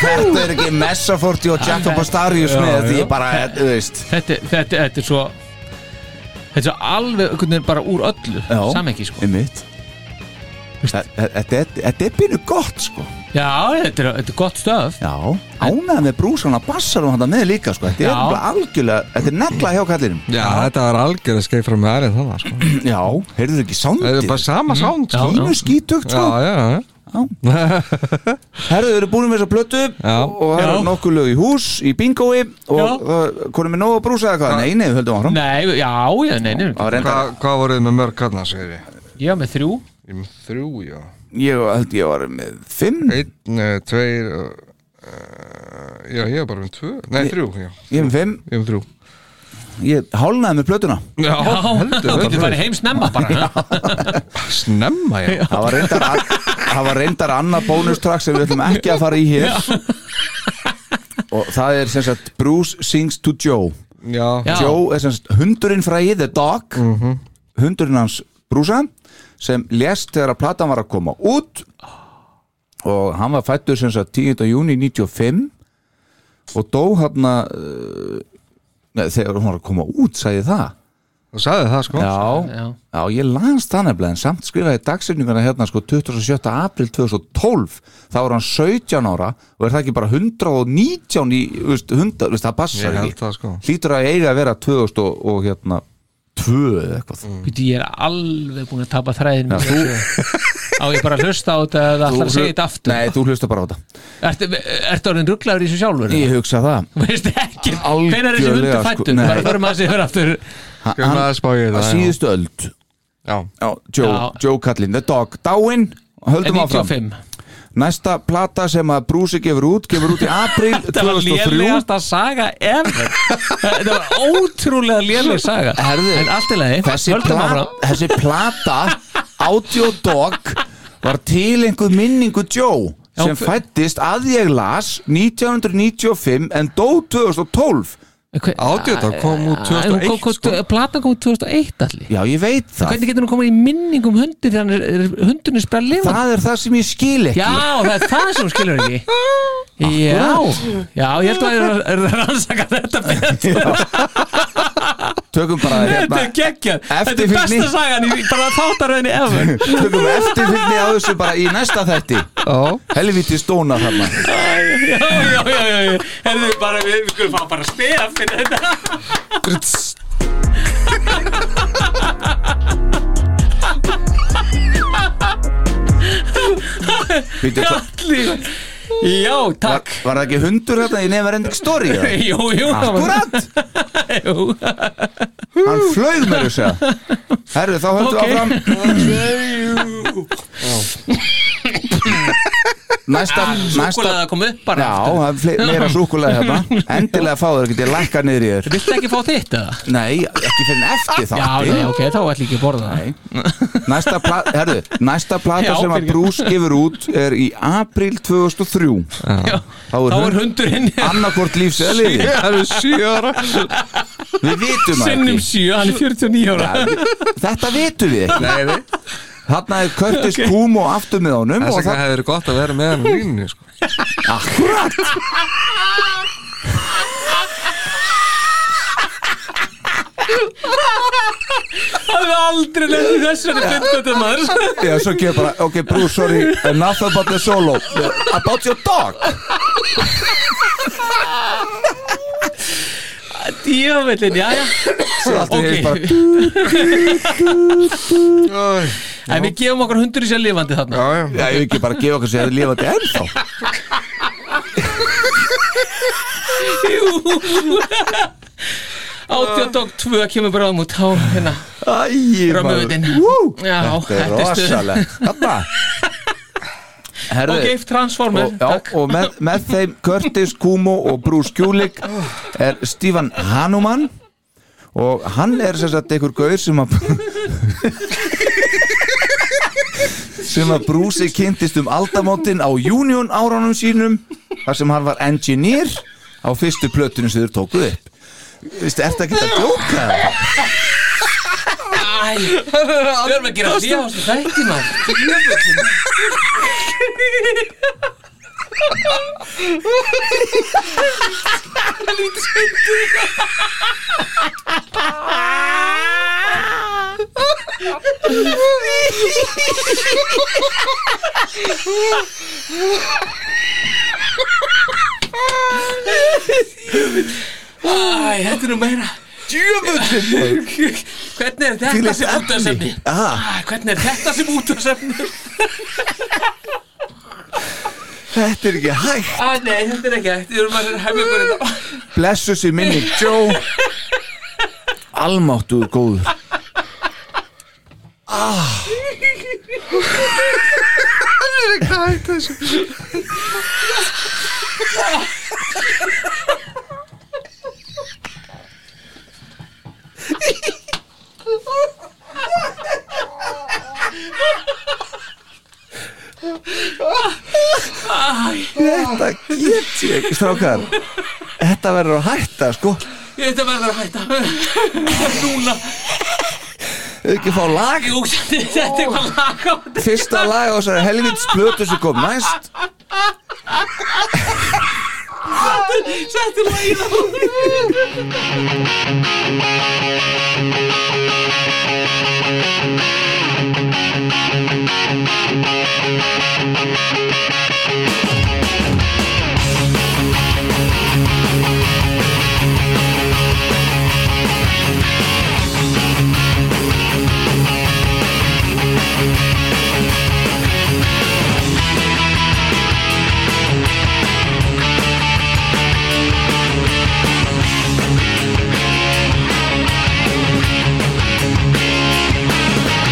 Speaker 3: þetta er ekki Messaforti og Jacko Pastarius með því ég bara, þú veist
Speaker 5: þetta, þetta, þetta er svo Þetta er svo alveg einhvern veginn bara úr öllu Samengi, sko
Speaker 3: einmitt Þa- þa- þetta er- þetta er bínu gott sko
Speaker 5: Já, þetta er, þetta er gott stöf
Speaker 3: já, ánæða með brúsan að bassarum hann með líka sko, þetta er
Speaker 5: Já.
Speaker 3: bara algjörlega þetta er negla hjá kallinum
Speaker 4: Já, þetta er algjörð skeið frá mér aðeins þannig sko.
Speaker 3: já, heyrðu ekki
Speaker 4: Það er
Speaker 3: sándið
Speaker 4: bara sama sound sko.
Speaker 3: pínu skítugt sko
Speaker 4: já, já,
Speaker 3: Herðu, við erum búin með þessa plötu
Speaker 4: Já.
Speaker 3: og það er
Speaker 5: Já.
Speaker 3: nokkuð lög í hús, í bingói
Speaker 5: Já.
Speaker 3: og uh, konum við nóg að brúsa eða hvað? Nei, nei, við höldum áfram
Speaker 5: Nei, já, já, nei,
Speaker 3: Það var
Speaker 5: nei
Speaker 4: já. Hva,
Speaker 3: reyndar,
Speaker 4: Hvað voruð með mörg hérna, segir ég?
Speaker 5: Ég var með þrjú
Speaker 4: Ég er með Þrjú, já
Speaker 3: ég held ég var með fimm,
Speaker 4: Einn, eh, tveir uh, Já, ég er bara með tvö Nei, þrjú, já
Speaker 3: ég er með fimm
Speaker 4: Ég er með þrjú
Speaker 3: ég hálnaði með plötuna
Speaker 4: Já,
Speaker 5: Já,
Speaker 4: heldur
Speaker 5: þetta
Speaker 4: vel.
Speaker 5: var heim snemma bara
Speaker 4: Snemma, já
Speaker 3: það var reyndar, að- það var reyndar annað bónustrakk sem við ætlum ekki að fara í hér og það er sem sagt Bruce Sings to Joe
Speaker 4: Já,
Speaker 5: Já.
Speaker 3: Joe er sem sagt hundurinn fræði The Dog hundurinn hans brúsa sem lést þegar að platan var að koma út og hann var fættur sem sagt 10. júni 95 og dó hann að þegar hún var að koma út sagði það
Speaker 4: þú sagði það, sko
Speaker 3: já,
Speaker 5: já.
Speaker 3: já ég lanst það nefnilega en samt skrifaði dagsetningana hérna sko 27. april 2012 þá er hann 17 ára og er það ekki bara 119 í, þú veist, 100, þú veist, það passar
Speaker 4: Ég
Speaker 3: ekki
Speaker 4: held það, sko.
Speaker 3: hlýtur að eiga að vera 2000 og, og hérna 2 eða eitthvað
Speaker 5: Býtu, ég er alveg búin að tapa þræðin Þú Á ég bara að hlusta á þetta eða ætlar að
Speaker 3: hlu-
Speaker 5: segja þetta aftur
Speaker 3: Nei, þú hlusta bara á þetta
Speaker 5: Ertu, ertu orðin rugglaður í þessu sjálfur?
Speaker 3: Ég hugsa það
Speaker 5: Þú veist ekki,
Speaker 3: Algjörlega,
Speaker 5: hvenær er þessi hundu
Speaker 3: sko,
Speaker 5: fættur?
Speaker 3: nei.
Speaker 5: bara förum að þessi hver aftur
Speaker 3: Ha-
Speaker 4: Skulum
Speaker 3: hann-
Speaker 4: aðeins spá í
Speaker 3: Að
Speaker 4: þetta, já.
Speaker 3: síðustu öld
Speaker 4: Já,
Speaker 3: Já, Joe,
Speaker 5: Já.
Speaker 3: Joe Kallin, The Dog, dáinn Höldum áfram
Speaker 5: 95
Speaker 3: Næsta plata sem að Brúsi gefur út gefur út í april
Speaker 5: Þetta var
Speaker 3: 2003
Speaker 5: lélegasta saga ever Þetta var ótrúlega léleg saga
Speaker 3: Herðu,
Speaker 5: En allt í lagi,
Speaker 3: þessi,
Speaker 5: höldum
Speaker 3: pla
Speaker 5: áfram
Speaker 3: þessi plata Audio Dog var til einhver minningu Joe
Speaker 5: Já,
Speaker 3: sem
Speaker 5: f-
Speaker 3: fættist að ég las 1995 en dó 2012
Speaker 4: Audio Dog kom út 2001, sko.
Speaker 5: Plata kom út 2001 allir
Speaker 3: Já, ég veit það
Speaker 5: Hvernig getur hún komið í minning um hundi þegar hann er- er- hundurinn er spjall lifandi?
Speaker 3: Það er það sem ég skil ekki
Speaker 5: Já, það er það sem hún skilur ekki Já, já, ég held að það er að rannsaka þetta betur.
Speaker 3: Tökum bara
Speaker 5: Þetta
Speaker 3: hérna
Speaker 5: er geggjað Þetta er
Speaker 3: eftirfylgni.
Speaker 5: besta sagan í bara þáttaröðinni ever
Speaker 3: Tökum eftirfylgni á þessu bara í næsta þætti
Speaker 4: Já.
Speaker 3: Helviti stóna þarna
Speaker 5: Já, já, já, já, já Herðu bara, við við skulum fá bara stef fyrir þetta
Speaker 3: Býtu, hva-
Speaker 5: Allir Já,
Speaker 3: var,
Speaker 5: takk
Speaker 3: var það ekki hundur þetta í Never Ending Story? eða?
Speaker 5: Jú, jú, það var-
Speaker 3: Akkurat,
Speaker 5: jú
Speaker 3: hann flög með þessu Herru, þá höldum við
Speaker 5: Ok.
Speaker 3: áfram Næsta, næsta
Speaker 5: Súkulega kom upp bara
Speaker 3: Já,
Speaker 5: aftur.
Speaker 3: það er fle- meira súkulega hérna Endilega fá þér, get ég lækka niður í þér
Speaker 5: Viltu ekki fá þitt eða?
Speaker 3: Nei, ekki fyrir en eftir
Speaker 5: Já,
Speaker 3: þátti
Speaker 5: nei, ok, þá ætlum ég ekki að borða það
Speaker 3: Nei. Næsta, pla herðu, næsta plata
Speaker 5: Já,
Speaker 3: sem að
Speaker 5: fyrir-
Speaker 3: Bruce gefur út er í april 2003
Speaker 5: Já,
Speaker 3: Þá er
Speaker 5: Þá
Speaker 3: hund-
Speaker 5: er hundurinn
Speaker 3: annarkvort lífs eða liði
Speaker 4: Það eru sjö ára
Speaker 3: Við vitum það
Speaker 5: Sinnum
Speaker 3: ekki
Speaker 5: sjö, hann er 49 ára
Speaker 3: Þetta vitum við ekki Þarna er Curtis okay. Kumo aftur með honum
Speaker 4: Þess
Speaker 3: og
Speaker 4: vegna
Speaker 3: það
Speaker 4: hefur verið gott að vera með hann á línunni sko.
Speaker 3: akkurat
Speaker 5: Það er aldrei lefði þessu Þetta er fyndböndið maður
Speaker 3: Já, svo kemur bara, ok, Bruce, sorry Enough about the solo About your dog
Speaker 5: Djöfellin, já, já
Speaker 3: Allt í heim bara,
Speaker 5: En við gefum okkur hundur í sér lifandi þarna
Speaker 3: Já, ég vil ekki bara gefa okkur sér að lifa þetta ennþá
Speaker 5: Átjóttokk 2 kemur bráðum út á hérna
Speaker 3: Æ,
Speaker 5: Römmuvitin
Speaker 3: Wú,
Speaker 5: Já,
Speaker 3: Þetta er
Speaker 5: stuð.
Speaker 3: rosalegt Þarna Herðu
Speaker 5: Ok, Transformer,
Speaker 3: og,
Speaker 5: takk
Speaker 3: já, og með, með þeim Curtis Kumo og Bruce Kulik er Stephen Hanuman og hann er sem sagt einhver gaur sem að sem að Bruce kynntist um aldamótin á Union árunum sínum þar sem hann var engineer á fyrstu plötunum sem þau tókuð upp Vistu, ertu ekki að djóka?
Speaker 5: Æ, við erum að gera hlýja á þessu þætti maður Æ, þetta er nú meira
Speaker 3: Djöfullin!
Speaker 5: Hvernig er þetta
Speaker 3: Þvílíkt
Speaker 5: sem
Speaker 3: efni.
Speaker 5: útvarsefni?
Speaker 3: Ah,
Speaker 5: Æ, Hvernig er þetta sem útvarsefni?
Speaker 3: þetta er ekki hægt
Speaker 5: Æ, nei, þetta er ekki hægt Við erum að hefja hérna. bara þetta
Speaker 3: Blessu sér minni Joe Almáttuður góður Þetta get ég ekki strákar Þetta verður að hætta sko
Speaker 5: Þetta verður að hætta Núna
Speaker 3: Ekki fá lag
Speaker 5: Jú, þetta er eitthvað lag á þetta
Speaker 3: Fyrsta lag á þessari helvits plötu sem kom næst
Speaker 5: Settu lagið á
Speaker 8: Thank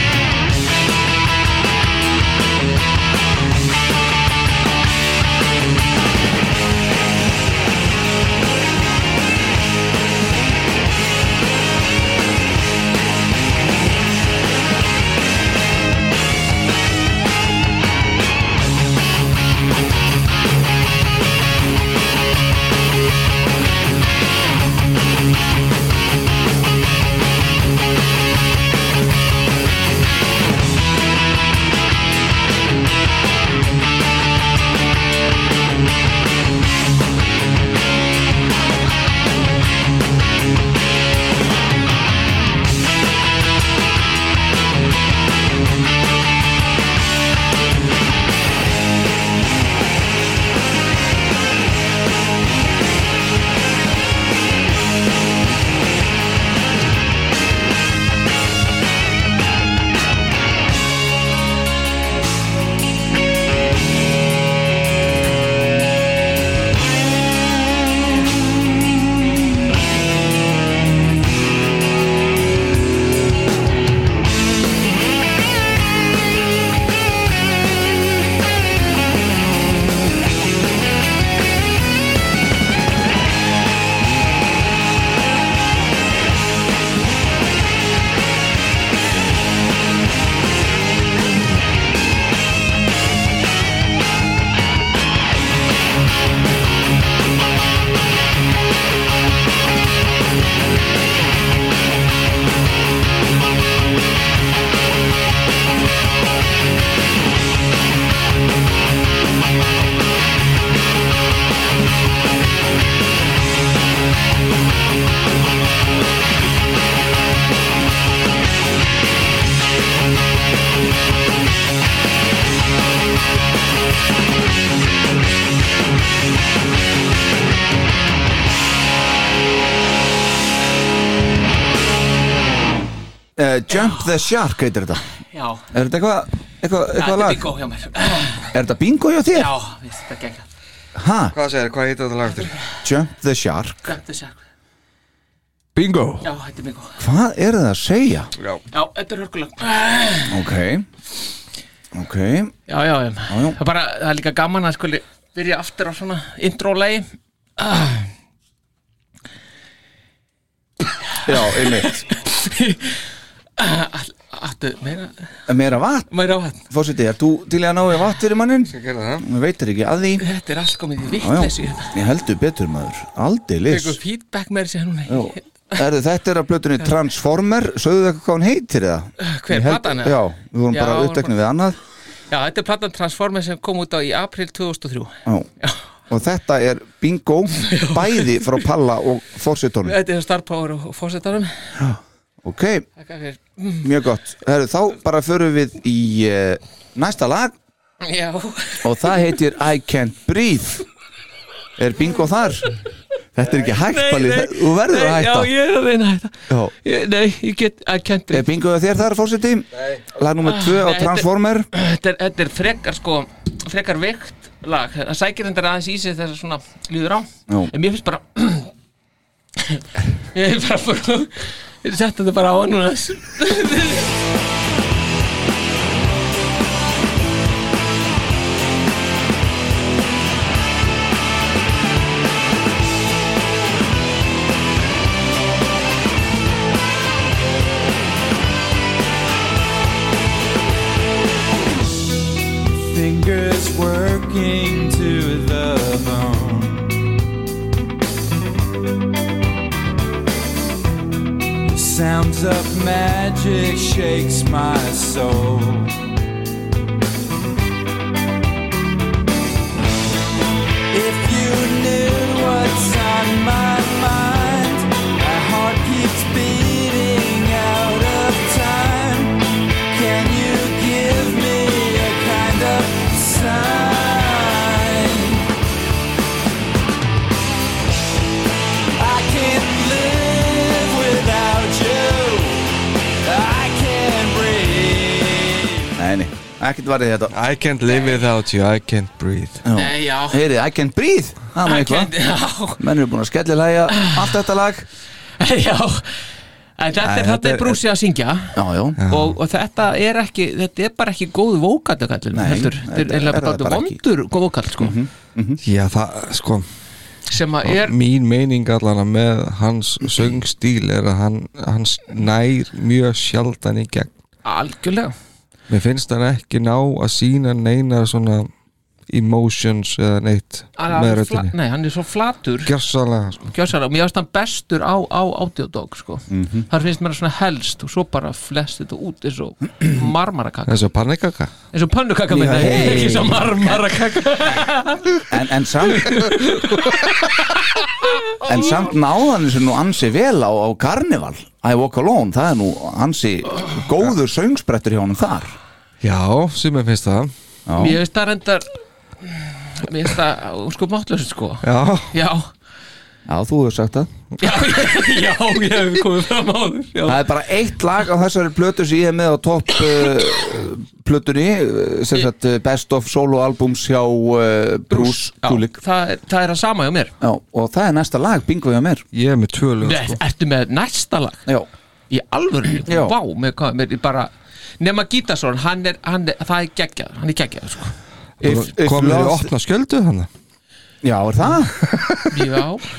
Speaker 3: uh, Jump the Shark heitir þetta
Speaker 5: Já,
Speaker 3: Er þetta eitthvað eitthvað,
Speaker 5: þetta
Speaker 3: eitthvað
Speaker 5: er
Speaker 3: lag?
Speaker 5: bingo hjá mér
Speaker 3: Er þetta bingo hjá þér?
Speaker 5: Já, við þetta gegn
Speaker 3: Ha?
Speaker 4: Hvað segir, hvað heitir þetta lag eftir?
Speaker 3: Jump the Shark
Speaker 5: Glemtu sér
Speaker 4: Bingo
Speaker 5: Já, þetta er bingo
Speaker 3: Hvað er það að segja?
Speaker 4: Já,
Speaker 5: Já, þetta er hörkulag
Speaker 3: Ok Ok
Speaker 5: Já, já, já
Speaker 3: já.
Speaker 5: Það er bara, það er líka gaman að skuli byrja aftur á svona intro-legi
Speaker 3: Já, einmitt
Speaker 5: Áttu meira,
Speaker 3: Meira vatn
Speaker 5: meira á þetta
Speaker 3: Fósiti, er þú til í að ná í vatn fyrir mannin?
Speaker 4: ég gerði það
Speaker 3: Við veitir ekki að því
Speaker 5: Þetta er allt komið í
Speaker 3: Já,
Speaker 5: vittleysi
Speaker 3: já,
Speaker 5: hérna
Speaker 3: ég heldur betur maður Aldeilis
Speaker 5: Eitthvað feedback með þessi núna
Speaker 3: Já. Erðu þetta er að blötunni Transformer Sögðu það hvað hún heitir það?
Speaker 5: Hver,
Speaker 3: Ég held-
Speaker 5: platan eða?
Speaker 3: Já, við vorum
Speaker 5: Já,
Speaker 3: bara
Speaker 5: hún er
Speaker 3: uppteknir við annað
Speaker 5: Já, þetta er platan Transformers sem kom út á í april 2003
Speaker 3: Já. Og þetta er bingo Bæði frá Palla og Fórsetónum
Speaker 5: Þetta er Star Power og fórsetanum
Speaker 3: Ok,
Speaker 5: Takk fyrir
Speaker 3: mjög gott Herru, Þá bara förum við í uh, næsta lag
Speaker 5: Já,
Speaker 3: Og það heitir I Can't Breathe Er bingo þar? Þetta er ekki hægt,
Speaker 5: Nei,
Speaker 3: Palli
Speaker 5: nei.
Speaker 3: það- Þú verður að
Speaker 5: Nei,
Speaker 3: hætta
Speaker 5: Já, ég er að reyna að hætta
Speaker 3: Já.
Speaker 5: Ég- Nei, ég get, I can't
Speaker 3: Er
Speaker 5: drink
Speaker 3: bingo þér þar, Fórseti? Nei Lag nummer 2 á
Speaker 5: Nei, þetta-
Speaker 3: Transformer
Speaker 5: þetta er, þetta er frekar sko frekar veikt lag það sækir hendur aðeins í sig þess að svona líður á
Speaker 3: Já.
Speaker 5: en mér finnst bara ég er bara bara ég setja þetta bara á hann núna
Speaker 2: fingers working to the bone. The sounds of magic shakes my soul. If you knew what's on my mind, my heart keeps beating out of time. Can you give me a kind of sign? I can't live without you. I can't breathe.
Speaker 3: Nei, nei, ekkert varðið þetta
Speaker 4: I can't live without you, I can't breathe
Speaker 5: nei já
Speaker 3: Heyri, I Can't Breathe Það er nú
Speaker 5: I
Speaker 3: eitthvað
Speaker 5: can't- já,
Speaker 3: Menn eru búin að skellilæja allt þetta lag
Speaker 5: já en þetta
Speaker 4: Nei,
Speaker 5: er
Speaker 4: þetta
Speaker 5: þetta
Speaker 4: er-
Speaker 5: er brúsi að syngja
Speaker 3: Já, já
Speaker 5: og, og þetta er ekki þetta er bara ekki góð vókall heldur,
Speaker 3: Nei,
Speaker 5: heldur þetta
Speaker 3: þetta
Speaker 5: er
Speaker 3: er
Speaker 5: eiginlega
Speaker 3: það
Speaker 5: bara
Speaker 3: bara ekki.
Speaker 5: vondur vókall sko,
Speaker 4: Já, það, sko
Speaker 5: sem að er
Speaker 4: mín meining allan að með hans söngstíl er að hann, hans nær mjög sjaldan í gegn
Speaker 5: algjörlega
Speaker 4: mér finnst hann ekki ná að sína neinar svona emotions eða neitt
Speaker 5: Hann
Speaker 4: með
Speaker 5: er fla-
Speaker 4: röddinni
Speaker 5: nei, hann er svo flatur
Speaker 4: gjörsalega sko.
Speaker 5: kjósar og mér finnst hann bestur á, á audiodog sko. þar finnst mér svona helst og svo bara flest þetta út eins og marmarakaka,
Speaker 4: eins og panikaka
Speaker 5: eins og pönnukaka með það
Speaker 3: Hey.
Speaker 5: ekki svo marmarakaka
Speaker 3: En, en samt En samt náðan sem nú ansi vel á, á Carnival I Walk Alone, það er nú ansi góður söngsprettur hjá honum þar
Speaker 4: já, sem ég finnst það
Speaker 5: mér finnst það reyndar mér finnst það sko mátlösu sko
Speaker 4: já,
Speaker 5: já,
Speaker 3: Já, þú hefur sagt það
Speaker 5: já, já, ég hef komið fram áður já,
Speaker 3: Það er bara eitt lag á þessari plötu sem ég hef með á topp uh, plötunni uh, sem sagt uh, Best of Solo Albums hjá uh, Bruce
Speaker 5: já
Speaker 3: Kulik
Speaker 5: það, er- það er að sama hjá mér
Speaker 3: Já, og það er næsta lag, bingo hjá mér
Speaker 4: ég er með tvölu
Speaker 5: Nei,
Speaker 4: sko.
Speaker 5: ertu með næsta lag
Speaker 3: Já,
Speaker 5: í alvörinu,
Speaker 3: Já.
Speaker 5: vá, með hvað með bara, nema Gítason, hann er, hann er það er geggjað, hann er geggjað sko.
Speaker 3: If- if
Speaker 4: komið í
Speaker 3: love-
Speaker 4: opna skjöldu hann
Speaker 3: já er það?
Speaker 5: já,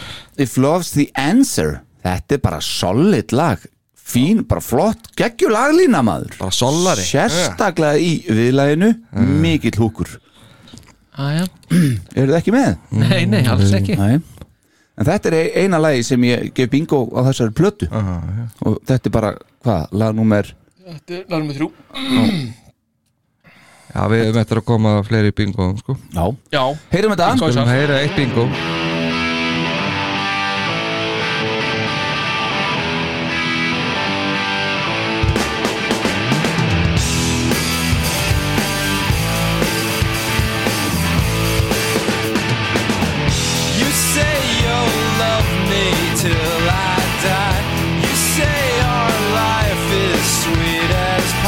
Speaker 3: If Love's the Answer Þetta er bara solid lag Fín, bara flott, geggjur laglína maður
Speaker 4: bara sollari
Speaker 3: Sérstaklega í viðlæginu Mikill húkur
Speaker 5: aðja
Speaker 3: Eru þið ekki með?
Speaker 5: Nei, nei, alls ekki
Speaker 3: Nei En þetta er ein- eina lagi sem ég gef bingo á þessari plötu Og þetta er bara, hvað, lag númer
Speaker 5: Þetta er lagnum þrjú
Speaker 4: já, við erum eftir að koma fleiri bingo sko.
Speaker 3: Já
Speaker 5: Já,
Speaker 3: Heyrum
Speaker 5: Bingo.
Speaker 3: þetta?
Speaker 4: við erum að heyra eitt bingo
Speaker 2: You say you'll love me till I die. You say our life is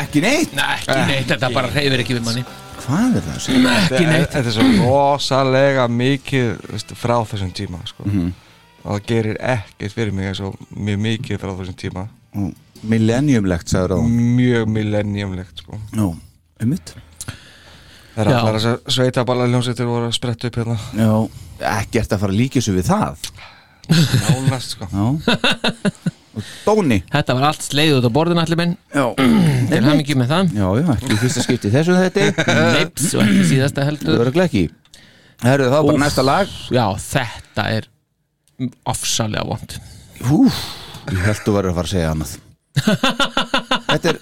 Speaker 3: ekki neitt
Speaker 5: Nei, Ah, ekki neitt, þetta bara reyfir ekki við manni
Speaker 3: Hvað er það? sem-
Speaker 5: Ekki neitt
Speaker 4: Þetta er svo rosalega mikið veist, frá þessum tíma sko. og það gerir ekkert fyrir mig eins og mjög mikið frá þessum tíma
Speaker 3: Ó, Millenniumlegt, sagður á
Speaker 4: mjög millenniumlegt sko.
Speaker 3: Nú, ummitt
Speaker 4: það er
Speaker 5: Já.
Speaker 4: allar að sveita bara ljómsveitir voru að spretta upp hérna
Speaker 3: Já, ekkert að fara að líka þessu við það
Speaker 4: nánast sko.
Speaker 3: Já Og Dóni
Speaker 5: Þetta var allt sleið út á borðin allir minn
Speaker 3: Já,
Speaker 5: Til hann ekki með það
Speaker 3: já, já ekki í fyrsta skipti í þessu þetta
Speaker 5: Leips og ekki síðasta
Speaker 3: Það
Speaker 5: heldur
Speaker 3: verður ekki Herðu þá bara
Speaker 5: Úff.
Speaker 3: næsta lag
Speaker 5: Já, þetta er ofsalega vond
Speaker 3: Hú, ég held þú verður að fara að segja annað Þetta er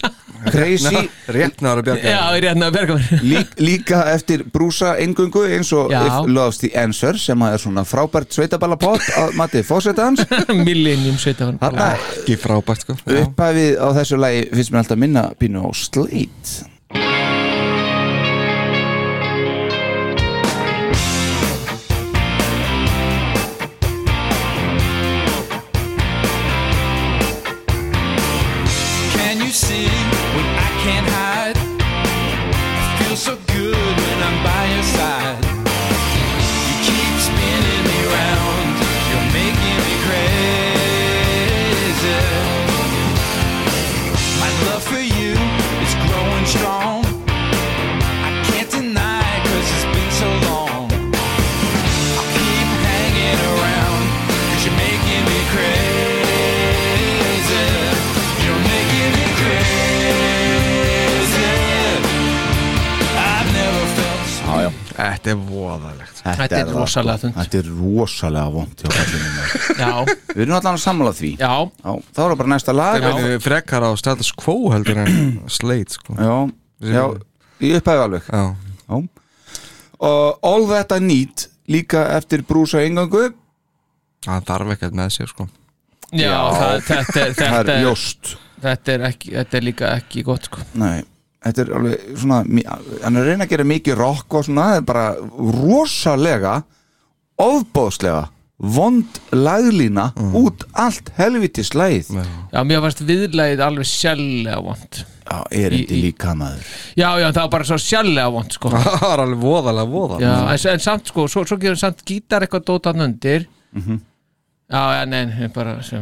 Speaker 3: crazy
Speaker 4: rétt náður að bjarga
Speaker 5: Já, ég er hérna að berga mér
Speaker 3: Lík, líka eftir brúsa engungu eins og
Speaker 5: Já.
Speaker 3: If Loves the Answer sem að er svona frábært sveitaballapott að matið fósetans
Speaker 5: Millennium sveitafan
Speaker 3: Þarna
Speaker 4: ekki frábært sko. Já.
Speaker 3: upphæfið á þessu lagi finnst mér alltaf minna pínu á Slate
Speaker 2: Can you see what I can't hide? I feel so good when I'm by your side. You keep spinning me round, you're making me crazy. My love for you is growing strong. I can't deny it cause it's been so long. I'll keep hanging around cause you're making me crazy. You're making me crazy. I've never felt so
Speaker 3: Já, já
Speaker 4: þetta er voðalegt sko.
Speaker 5: Þetta er
Speaker 3: það,
Speaker 5: rosalega
Speaker 3: sko.
Speaker 5: þunnt.
Speaker 3: Þetta er rosalega vond Við
Speaker 5: Já,
Speaker 3: erum allan að sammála því
Speaker 5: já,
Speaker 3: Já, þá er það bara næsta lag
Speaker 4: Þeir verður frekar á status quo heldur en sleit sko.
Speaker 3: Já, já í upphæfi alveg
Speaker 4: Já.
Speaker 3: Já. Og All That I Need líka eftir brúsa engungu
Speaker 4: það þarf ekkert með sér sko.
Speaker 5: já, það- þetta er-
Speaker 3: Það
Speaker 5: þetta
Speaker 3: er
Speaker 5: er
Speaker 3: ljóst
Speaker 5: Þetta er ekki, þetta er líka ekki gott sko
Speaker 3: Nei, þetta er alveg svona mi- hann er að reyna að gera mikið rock og svona það er bara rosalega ofbóðslega vond laglína út allt helviti slæð
Speaker 5: Já, mér varst viðlæðið alveg sjálflega vond
Speaker 3: Já, erindi
Speaker 5: Í- í-
Speaker 3: líka maður
Speaker 5: Já, já, það var bara svo sjálflega vond sko
Speaker 4: það var alveg voðalega
Speaker 5: Já,
Speaker 4: voðalega
Speaker 5: en, en samt sko, svo, svo gerum samt gítar eitthvað dótan undir Mhm. Já, já, nei, nei, bara sem,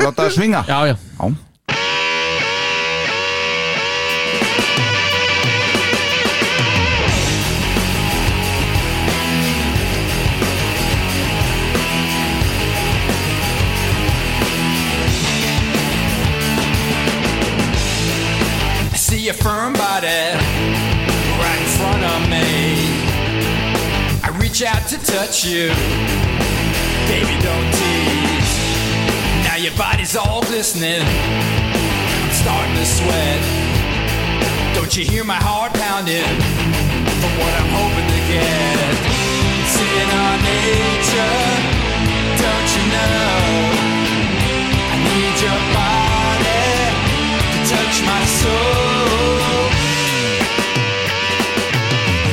Speaker 3: Láta það svinga
Speaker 5: Já, já,
Speaker 3: Já.
Speaker 2: I see your firm body right in front of me. I reach out to touch you, baby, don't tease. Now your body's all glistening. I'm starting to sweat. Don't you hear my heart pounding from what I'm hoping to get? Sin on nature, don't you know? I need your body to touch my soul.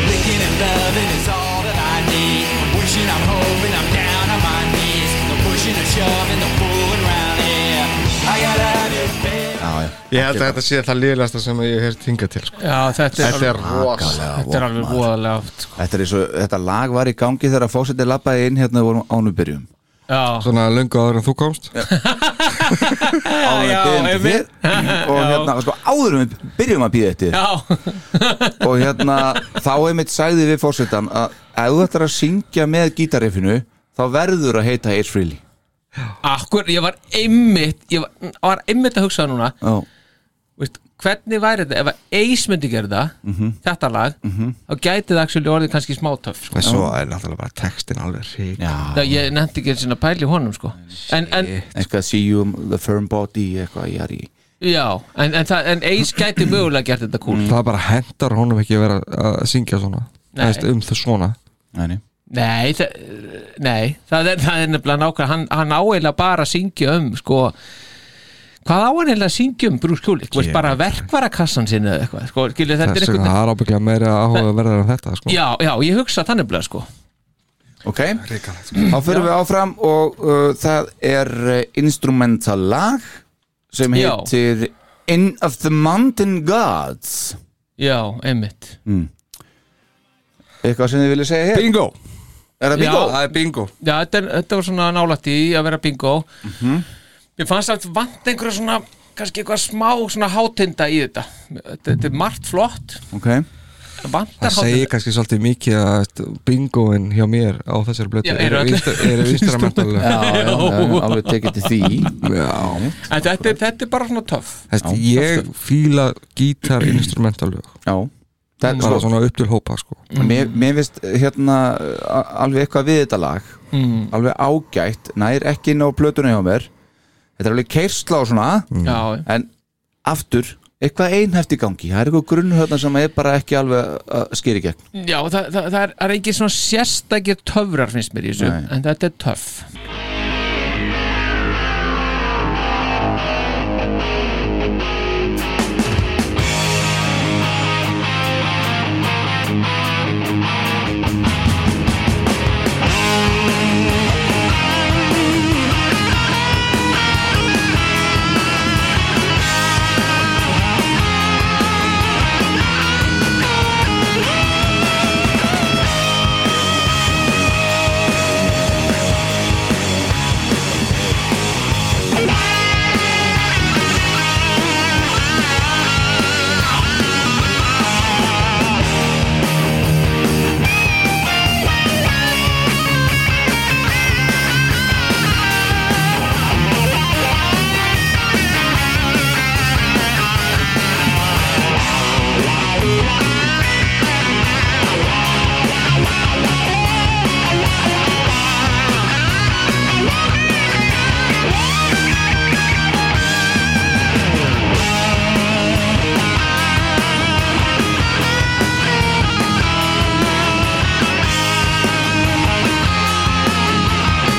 Speaker 2: Licking and loving is all that I need. Wishing I'm hoping I'm down on my knees. The pushing and shoving, the pulling round here. I gotta have it, baby.
Speaker 3: Já, já.
Speaker 4: ég held að þetta sé það liðlegasta sem ég hef heyrt hingað til sko.
Speaker 5: já, þetta er
Speaker 4: þetta er
Speaker 5: alveg,
Speaker 4: rosalega
Speaker 3: Alveg
Speaker 5: þetta er
Speaker 3: vont,
Speaker 5: alveg
Speaker 3: maður.
Speaker 5: voðalega oft sko.
Speaker 3: Þetta er eins og þetta lag var í gangi þegar fósettir labbaði inn hérna við vorum ánubyrjum
Speaker 5: Já,
Speaker 4: svona lungu áður en þú komst
Speaker 3: áður
Speaker 5: já,
Speaker 3: en við byrjum
Speaker 5: einmitt.
Speaker 3: til þér og hérna, sko, áður en við byrjum að býða eftir þér.
Speaker 5: já,
Speaker 3: og hérna, þá einmitt sagði við fórsetan að ef þú ættir að syngja með gítarriffinu þá verður að heita Ace Frehley
Speaker 5: akkur, ég var einmitt Ég var, var einmitt að hugsa núna
Speaker 3: Já,
Speaker 5: veist, Hvernig væri þetta, ef að Ace myndi gera þetta Þetta lag Þá gæti það actually orðið kannski smátöf sko.
Speaker 4: en svo er náttúrulega bara textin alveg rík
Speaker 3: já
Speaker 5: Það ég nefndi ekki sinna pæli í honum sko En, en,
Speaker 3: eitthvað see you the firm body eitthvað ég er í
Speaker 5: já, en, en, það, en Ace gæti mögulega gert þetta cool
Speaker 4: það bara hendar honum ekki að vera að syngja svona
Speaker 5: Nei.
Speaker 4: Æst, um þess svona
Speaker 3: Nei, nei.
Speaker 5: Nei, það, nei, það, er, það er nefnilega nákvæmlega hann, hann á eiginlega bara að syngja um sko, hvað á hann eiginlega að syngja um Bruce Kulik, veist bara verkvarakassan sinni eða eitthvað, sko, skilur þetta
Speaker 4: þess
Speaker 5: er
Speaker 4: vegna
Speaker 5: eitthvað
Speaker 4: það er ábygglega meira áhuga verður en þetta sko.
Speaker 5: Já, já, ég hugsa það nefnilega sko
Speaker 3: ok, þá fyrir við áfram og uh, það er uh, instrumental eh, lag sem
Speaker 5: Já.
Speaker 3: heitir Inn of the Mountain Gods
Speaker 5: já, einmitt
Speaker 3: Eitthvað sem þið viljið segja hér?
Speaker 4: Bingo
Speaker 3: Er það bingo?
Speaker 5: Já.
Speaker 4: Það er bingo
Speaker 5: já, þetta, er- þetta var svona nálætt í að vera bingo
Speaker 4: Mhm.
Speaker 5: Mér fannst að vant einhverja svona kannski eitthvað smá svona hátinda í þetta Þetta, þetta er margt flott
Speaker 3: Ok
Speaker 5: vantar
Speaker 4: Það segir kannski svolítið mikið að bingoinn hjá mér á þessari blötu
Speaker 5: Já, eru öll-
Speaker 4: er vinstramentalega
Speaker 3: Já, já, já, já, alveg tekið til því
Speaker 4: Já,
Speaker 5: En þetta, er- þetta er bara svona töff
Speaker 4: Þessi, ég fíla gítar instrumentalög
Speaker 3: Já Það,
Speaker 4: bara
Speaker 3: sko,
Speaker 4: svona upp til hópa sko.
Speaker 3: mér, mér finnst hérna a- alveg eitthvað við þetta lag alveg ágætt, nær ekki inn á plötuna hjá mér þetta er alveg keirsla og svona
Speaker 4: Mm.
Speaker 5: Já,
Speaker 3: en aftur, eitthvað einhæft í gangi það er eitthvað grunnhörna sem er bara ekki alveg að skýri gegn
Speaker 5: já það, það, það er, það er ekki svona sérstakir töfrar finnst mér í þessu
Speaker 3: Nei.
Speaker 5: En þetta er töff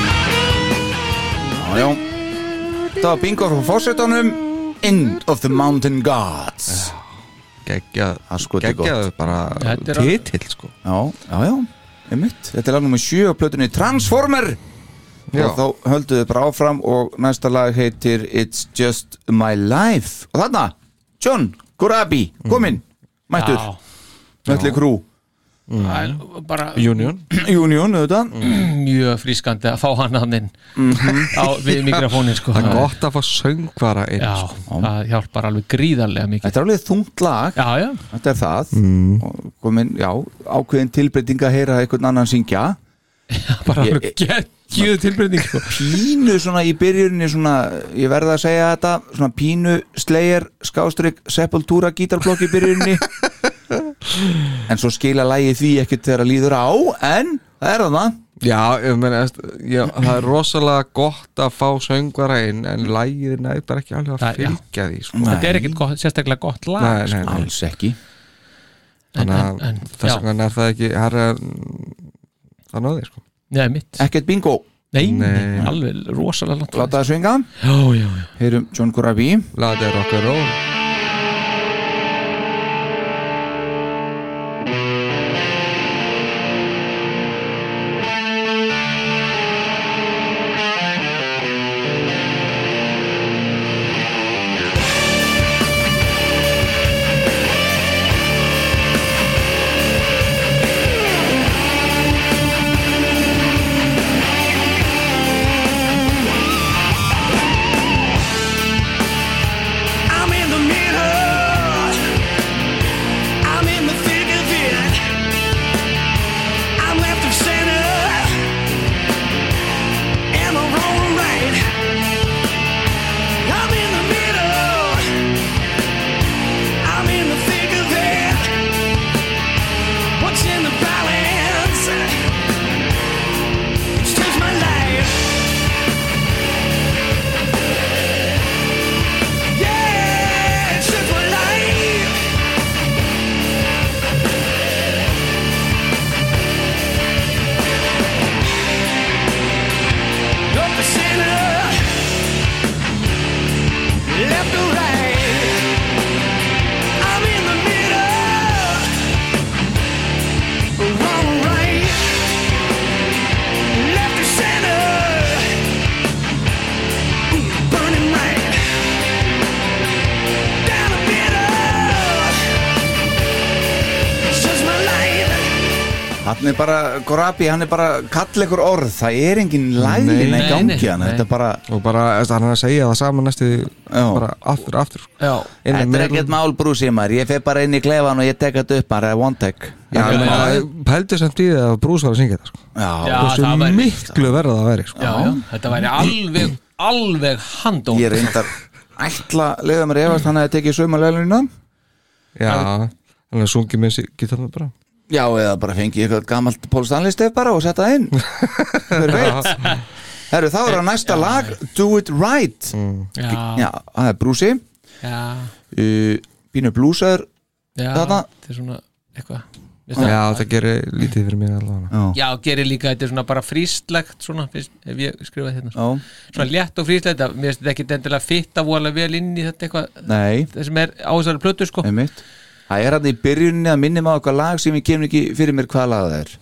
Speaker 3: já, já. það var bingo frá fórsetunum End of the Mountain Gods
Speaker 4: geggjað
Speaker 3: Það er sko þetta
Speaker 4: geggjað bara
Speaker 5: Þetta er alveg-
Speaker 4: titill sko.
Speaker 3: Já, já, já, einmitt Þetta er lag nummer 7 á plötunni Transformer
Speaker 4: Já.
Speaker 3: og þá höldu þau bara áfram og næsta lag heitir It's Just My Life og þarna, John Gorabi kominn, mættur,
Speaker 5: Já,
Speaker 3: mætli krú
Speaker 5: það er bara
Speaker 4: Union
Speaker 3: Union, auðvitað
Speaker 5: mjög frískandi að fá hann hann inn á, við mikrofónin sko
Speaker 4: Það er gott að fá söngvara inn
Speaker 5: Já,
Speaker 4: sko.
Speaker 5: það hjálpar alveg gríðarlega mikið
Speaker 3: Þetta er alveg þungt lag,
Speaker 5: Já, já,
Speaker 3: þetta er það mm. komin, já, ákveðin tilbreyting að heyra einhvern annan syngja
Speaker 5: bara
Speaker 3: Ég-
Speaker 5: alveg geggjöð tilbreyting sko
Speaker 3: pínu svona í byrjunni svona, ég verða að segja þetta svona pínu slegir skástrík sepultúra gítarblokk í byrjunni en svo skila lægi því ekkert þegar að líður á en það er þarna
Speaker 4: já, ég meina, veist, já, það er rosalega gott að fá söngvara inn en lægið næði bara ekki alveg
Speaker 5: Það-
Speaker 4: að
Speaker 5: já.
Speaker 4: fylgja því sko.
Speaker 3: Nei.
Speaker 5: Þetta er ekkert gott, sérstaklega gott lag sko.
Speaker 4: Nei, nei, nei.
Speaker 3: alls ekki
Speaker 5: en,
Speaker 4: Þannig
Speaker 5: en,
Speaker 4: að
Speaker 5: en,
Speaker 4: þess
Speaker 5: já,
Speaker 4: vegna er það ekki herra, það náði sko.
Speaker 5: nei, mitt
Speaker 3: ekkert bingo,
Speaker 5: Nei,
Speaker 4: Nei.
Speaker 5: nei, alveg rosalega langt
Speaker 3: láta það svinga
Speaker 5: Já, já, já
Speaker 3: heyrum John Corabi
Speaker 4: Laði rock and roll
Speaker 9: I'm in the middle.
Speaker 3: Hann er bara, Gorabi, hann er bara kall ykkur orð, það er engin læðina í
Speaker 5: Nei, nei,
Speaker 3: gangi
Speaker 5: nei,
Speaker 3: hann,
Speaker 5: nei.
Speaker 3: þetta er bara
Speaker 4: og bara þess, hann er að segja það saman næstu bara aftur og aftur sko.
Speaker 5: Já.
Speaker 4: Innan
Speaker 3: Þetta er
Speaker 4: meðal-
Speaker 3: ekkert mál brúsið maður, ég fer bara inn í klefan og ég tek þetta upp maður, það er one take
Speaker 4: Já, ég meina, það pældi samt í það að Brús var að syngja þetta sko.
Speaker 3: Já,
Speaker 5: Já,
Speaker 4: Hversu
Speaker 5: það væri-
Speaker 4: miklu verða það væri sko.
Speaker 5: já, já, þetta væri alveg alveg handóm
Speaker 3: ég reyndar ætla, leiða mér efast hann að tekið sömu leilunina
Speaker 4: Já, hann er sungið með sig gítarna bara
Speaker 3: Já, eða bara fengið eitthvað gamalt Pól Stanley stef bara og setja það inn Hver veit Herru, þá er að næsta lag Do It Right
Speaker 5: já,
Speaker 3: Mm. Já, það er brúsi
Speaker 5: já,
Speaker 3: uh, Bínu blúsar
Speaker 5: já
Speaker 3: Þarna-
Speaker 5: þetta er svona eitthvað Veist það?
Speaker 4: Já, það gerir lítið fyrir mér allavega
Speaker 5: já, gerir líka, þetta er svona bara fríslegt svona, fyrst, ef ég skrifa hérna
Speaker 3: Já,
Speaker 5: svona létt og fríslegt, þetta- mér finnst þetta ekki endilega fitta vola vel inn í þetta eitthvað
Speaker 3: nei,
Speaker 5: það sem er á þessari plötu sko
Speaker 3: einmitt Það er hann í byrjunni að minnum á eitthvað lag sem ég kemur ekki fyrir mér hvað lag það er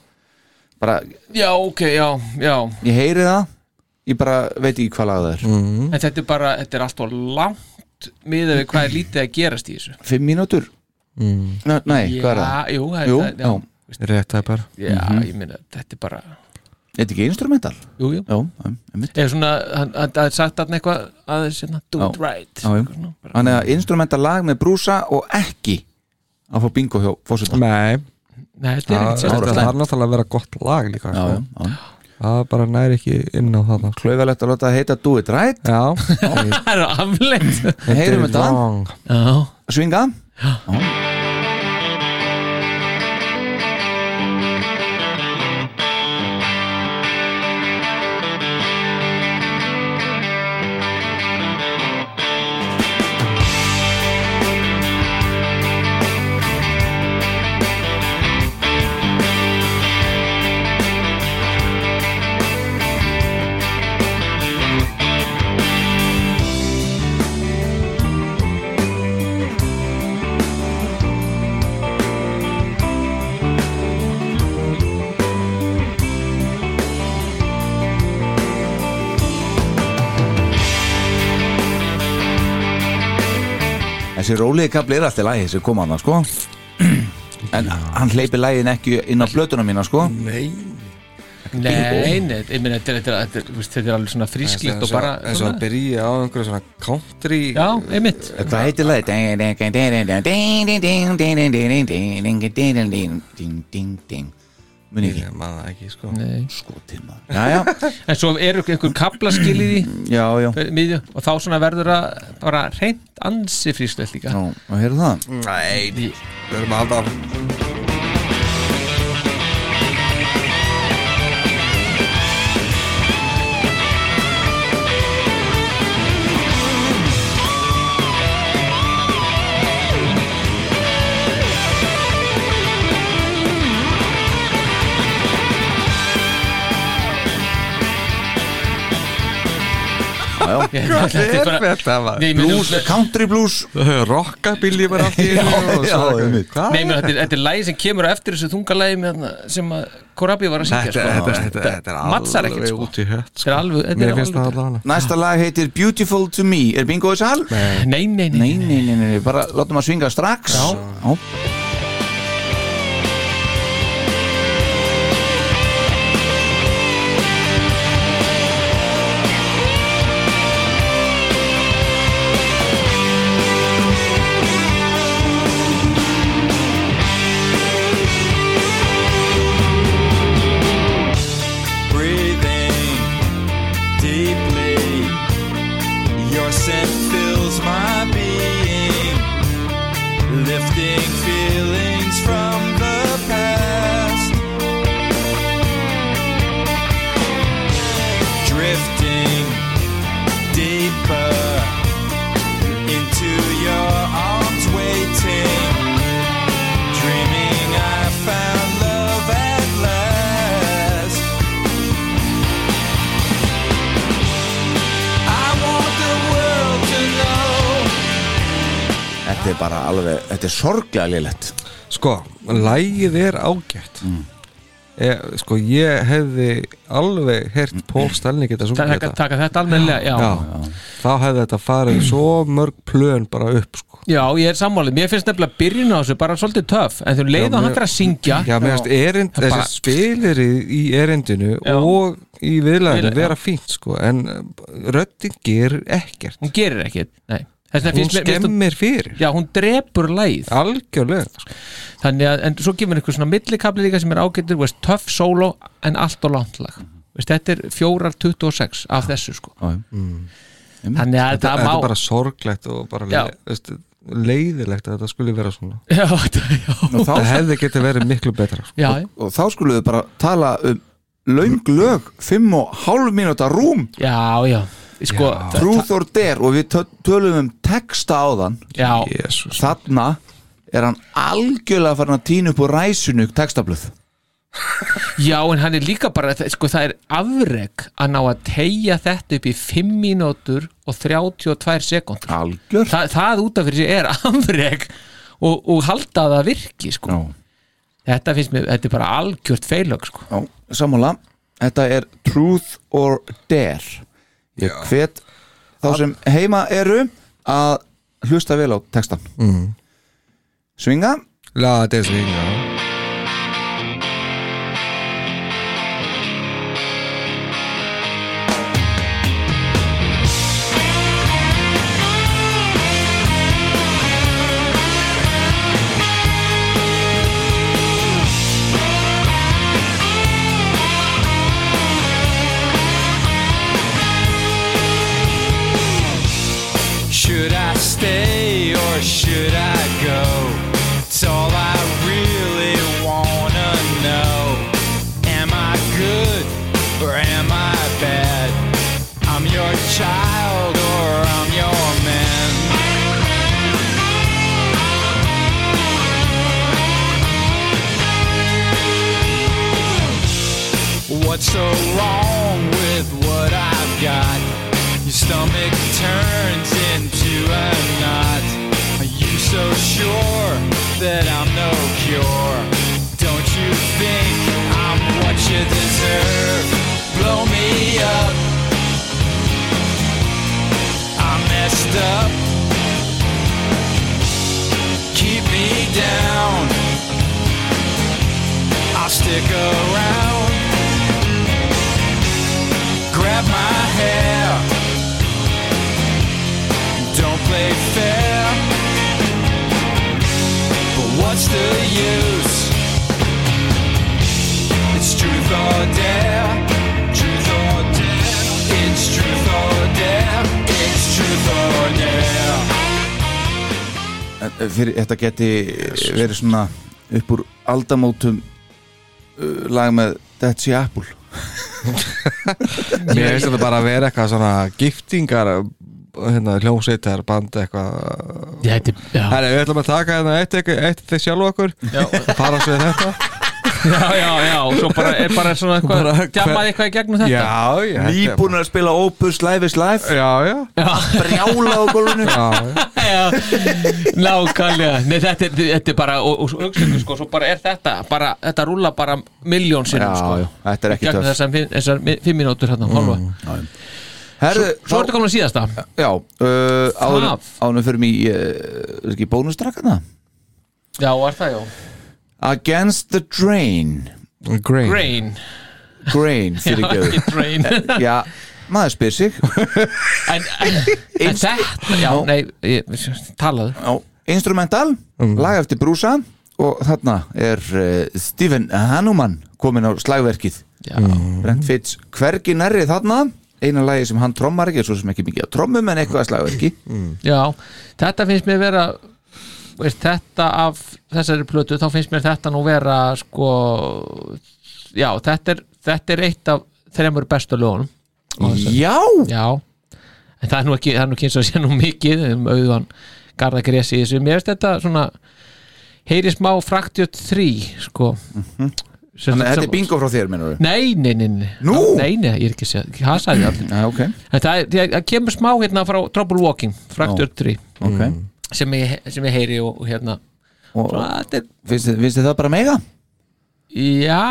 Speaker 3: Bara,
Speaker 5: já, ok, já, já
Speaker 3: ég heyri það Ég bara veit ekki hvað lag það er
Speaker 5: en þetta er bara, þetta er alltaf langt miðað við hvað er lítið að gerast í þessu
Speaker 3: Fimm mínútur
Speaker 4: mm.
Speaker 3: N Nei, hvað er það?
Speaker 5: Já, jú, það er
Speaker 3: Jú,
Speaker 5: það,
Speaker 3: já.
Speaker 4: Rétt það er bara
Speaker 5: já, já
Speaker 3: Mhm.
Speaker 5: ég meina, þetta er bara
Speaker 3: Er þetta ekki instrumental?
Speaker 5: jú, jú,
Speaker 3: Já, einmitt
Speaker 5: eða svona hann- hann- það er sagt þarna eitthvað aðeins hérna, do it
Speaker 3: Já.
Speaker 5: right
Speaker 3: Já, já.
Speaker 5: Svona, bara-
Speaker 3: Þannig að instrumental lag með brúsa og ekki að fá bingo hjá fósitann
Speaker 4: Nei,
Speaker 5: nei, þetta er
Speaker 4: það
Speaker 5: ekkert
Speaker 4: það
Speaker 5: sérstætt
Speaker 4: þarf náttúrulega að vera gott lag líka
Speaker 3: Já, já,
Speaker 4: sko.
Speaker 3: já.
Speaker 4: Það bara næri ekki inn á það sko.
Speaker 3: Klauðalegt að láta það heita Do It Right
Speaker 4: Já,
Speaker 5: það er aflengt
Speaker 3: Heyrum þetta,
Speaker 4: lang
Speaker 5: já,
Speaker 3: svinga Þessi rólegi kapli er alltaf lagi sem kom að það sko En hann hleypi lægin ekki inn á blötuna mína sko
Speaker 5: nei, nei, ég meina þetta er, þetta er, þetta er, þú veist, þetta er alveg svona frísklíkt og bara
Speaker 4: eins og að
Speaker 5: svona,
Speaker 4: byrja á einhverju svona country
Speaker 5: já, einmitt
Speaker 3: Hvað heitir lagi? Muni ekki
Speaker 4: ég man það ekki sko
Speaker 3: skotin maður Jæja,
Speaker 5: en svo eru einhver kaplaskil í því
Speaker 3: já, já
Speaker 5: fyrir miðju, og þá svona verður að bara reynd ansi frísklegt líka
Speaker 3: Já, og heyrðu það
Speaker 4: Nei, við erum alltaf
Speaker 5: Þetta er bara-
Speaker 4: þetta var
Speaker 5: Nei, ég meina,
Speaker 3: Blues, country blues
Speaker 4: Rockabili var allt í einu og
Speaker 3: já,
Speaker 4: svo-
Speaker 3: einmitt.
Speaker 4: Hvað?
Speaker 5: Nei, menn, þetta er, þetta er lægi sem kemur á eftir þessu þungalægi með þarna sem að Korabi var að syngja
Speaker 4: Þetta,
Speaker 5: sko.
Speaker 4: þetta, þetta, þetta er
Speaker 5: matsar
Speaker 4: alveg
Speaker 5: ekkert, sko.
Speaker 4: út í hött
Speaker 5: Þetta er alveg- þetta er
Speaker 4: Mér finnst það
Speaker 5: alveg-
Speaker 4: allavega
Speaker 3: Næsta lag heitir Beautiful to Me Er bingo í sal?
Speaker 5: Nei, nei, nei,
Speaker 3: Nei, nei, nei, nei, bara látum að svinga strax Já, já.
Speaker 2: breathing deeply. Your scent fills my being, lifting feelings from the past. Drifting deeper into your arms, waiting. Dreaming I found love at last. I want the world to know.
Speaker 3: Þetta er bara alveg, þetta er sorglega lélegt
Speaker 4: Sko, lægið er ágætt ég, sko ég hefði alveg heyrt Pól Stelni geta sungið
Speaker 5: taka,
Speaker 4: þetta
Speaker 5: taka þetta almennilega já.
Speaker 4: já, þá hefði þetta farið svo mörg plön bara upp sko
Speaker 5: já, ég er sammálið, mér finnst nefnilega byrjun á þessu bara svolítið töff, en þú
Speaker 4: Já,
Speaker 5: leið og
Speaker 4: mér-
Speaker 5: hann fyrir að syngja
Speaker 4: Já, mér finnst erind,
Speaker 5: Það bara-
Speaker 4: þessi spilir í, í erindinu
Speaker 5: Já.
Speaker 4: og í viðlæðinu
Speaker 5: Viðlaginu,
Speaker 4: vera fínt sko, en röddin gerir ekkert,
Speaker 5: hún gerir ekkit Nei. Þess vegna
Speaker 4: hún
Speaker 5: finnst mér- mér finnst-
Speaker 4: skemmir fyrir
Speaker 5: já, hún drepur læð
Speaker 4: algjörlega, sko.
Speaker 5: þannig að, en svo gefur einhver svona millikabli líka sem er ágættur, veist, töff solo en allt og langt lag
Speaker 4: Mhm.
Speaker 5: veist, þetta er 4.26 af þessu sko
Speaker 3: Já, já.
Speaker 5: þannig að
Speaker 4: þetta
Speaker 5: það
Speaker 4: er
Speaker 5: má
Speaker 4: bara sorglegt og bara
Speaker 5: Já.
Speaker 4: le, veist, leiðilegt að þetta skulle vera svona
Speaker 5: Já, þetta- já.
Speaker 3: og,
Speaker 4: það
Speaker 3: þá,
Speaker 4: hefði getið verið miklu betra sko.
Speaker 5: Já,
Speaker 3: og þá skulum við bara tala um laung lög, fimm og hálf mínúta rúm,
Speaker 5: já, já sko, já,
Speaker 3: truth or dare og við tö- tölum um texta á þann
Speaker 5: já,
Speaker 4: Jesus.
Speaker 3: þarna er hann algjörlega farin að tína upp úr ræsinu textabluð
Speaker 5: já, en hann er líka bara sko, það er afreg að ná að tegja þetta upp í 5 mínútur og 32 sekúndur
Speaker 3: algjör
Speaker 5: Þa, það út af fyrir sig er afreg og, og halda að það virki sko.
Speaker 3: já,
Speaker 5: þetta finnst mér, þetta er bara algjört feilög sko.
Speaker 3: já, sammála þetta er truth or dare ég hvet þá sem heima eru að hlusta vel á textan mm. svinga
Speaker 4: Já, þetta er svinga
Speaker 2: Should I stay or should I go? It's all I really wanna know. Am I good or am I bad? I'm your child or I'm your man. What's so wrong with what I've got? Your stomach turns into a knot. Are you so sure that I'm no cure? Don't you think I'm what you deserve? Blow me up. I messed up. Keep me down. I'll stick around. Grab my hair. Don't play fair. But what's the use? It's truth or dare. Truth or dare. It's truth or dare. It's truth or dare.
Speaker 3: fyrir, þetta geti verið svona upp úr aldamótum uh, lag með That's the Apple
Speaker 4: Mér finnst þetta bara að vera eitthvað svona giftingar hérna, hljómsveitar, band eitthvað
Speaker 5: Já, þetta er, já.
Speaker 4: Herri, við ætlum að taka hérna eitt, eitt, eitt þið sjálf okkur fara svo við þetta
Speaker 5: já, já, já, og svo bara, er bara svona eitthvað,
Speaker 4: Bara hver-
Speaker 5: djamaði eitthvað í gegnum þetta
Speaker 4: Já, já þetta er-
Speaker 3: nýbúin að spila Opus Live is Live
Speaker 4: Já, já,
Speaker 3: brjála á gólfinu
Speaker 4: já, já.
Speaker 5: Já, nákvæmlega Nei, þetta, er, þetta er bara, og, og hugsaðu sko, svo bara er þetta, bara, þetta rúla bara miljón sinnum,
Speaker 3: Já,
Speaker 5: sko
Speaker 3: já, þetta er ekki
Speaker 5: Gegnum
Speaker 3: töff.
Speaker 5: þessar fimm- þessar mi- fimm mínútur hérna, hálfa
Speaker 3: Herðu,
Speaker 5: Svo ertu komin að síðasta
Speaker 3: Já, uh, ánum,
Speaker 5: Það?
Speaker 3: ánum fyrir mig uh, ekki bónustrakkana
Speaker 5: Já, er það, já
Speaker 3: Against the Drain
Speaker 4: Grain.
Speaker 5: Rain,
Speaker 3: Grain,
Speaker 5: já,
Speaker 3: fyrir
Speaker 5: ekki drain
Speaker 3: Já, maður spyr sig
Speaker 5: En, en, en þetta, já, nei, ég, talaðu
Speaker 3: Já, Instrumental, lag eftir brúsa og þarna er uh, Stephen Hanuman komin á slagverkið
Speaker 5: Já, mm.
Speaker 3: Brent Fitz, hvergi nærri þarna eina lagi sem hann trommar ekki, svo sem ekki mikið að trommum en eitthvað að slagverki
Speaker 5: já, þetta finnst mér vera veist, þetta af þessari plötu, þá finnst mér þetta nú vera sko, já, þetta er, þetta er eitt af þremur bestu lögunum
Speaker 3: Já,
Speaker 5: Já, en það er nú ekki það er nú kynst að sé nú mikið um auðan garðagresi í þessu, mér finnst þetta svona heyri smá fraktjöt 3 sko Sem-
Speaker 3: Mhm. þannig að þetta
Speaker 5: sem-
Speaker 3: er bingo frá þér, minnur við
Speaker 5: Nei, nei, nei, nei,
Speaker 3: Nú?
Speaker 5: nei, nei ég er ekki að segja, það sagði ég allir
Speaker 3: Já, ok,
Speaker 5: En það, er- það kemur smá hérna frá Trouble Walking, fraktjöt 3
Speaker 3: Mm. ok
Speaker 5: sem ég, sem ég heyri og, og hérna
Speaker 3: Og
Speaker 5: svona, þetta er,
Speaker 3: finnst þið, finnst þið það bara mega?
Speaker 5: Já,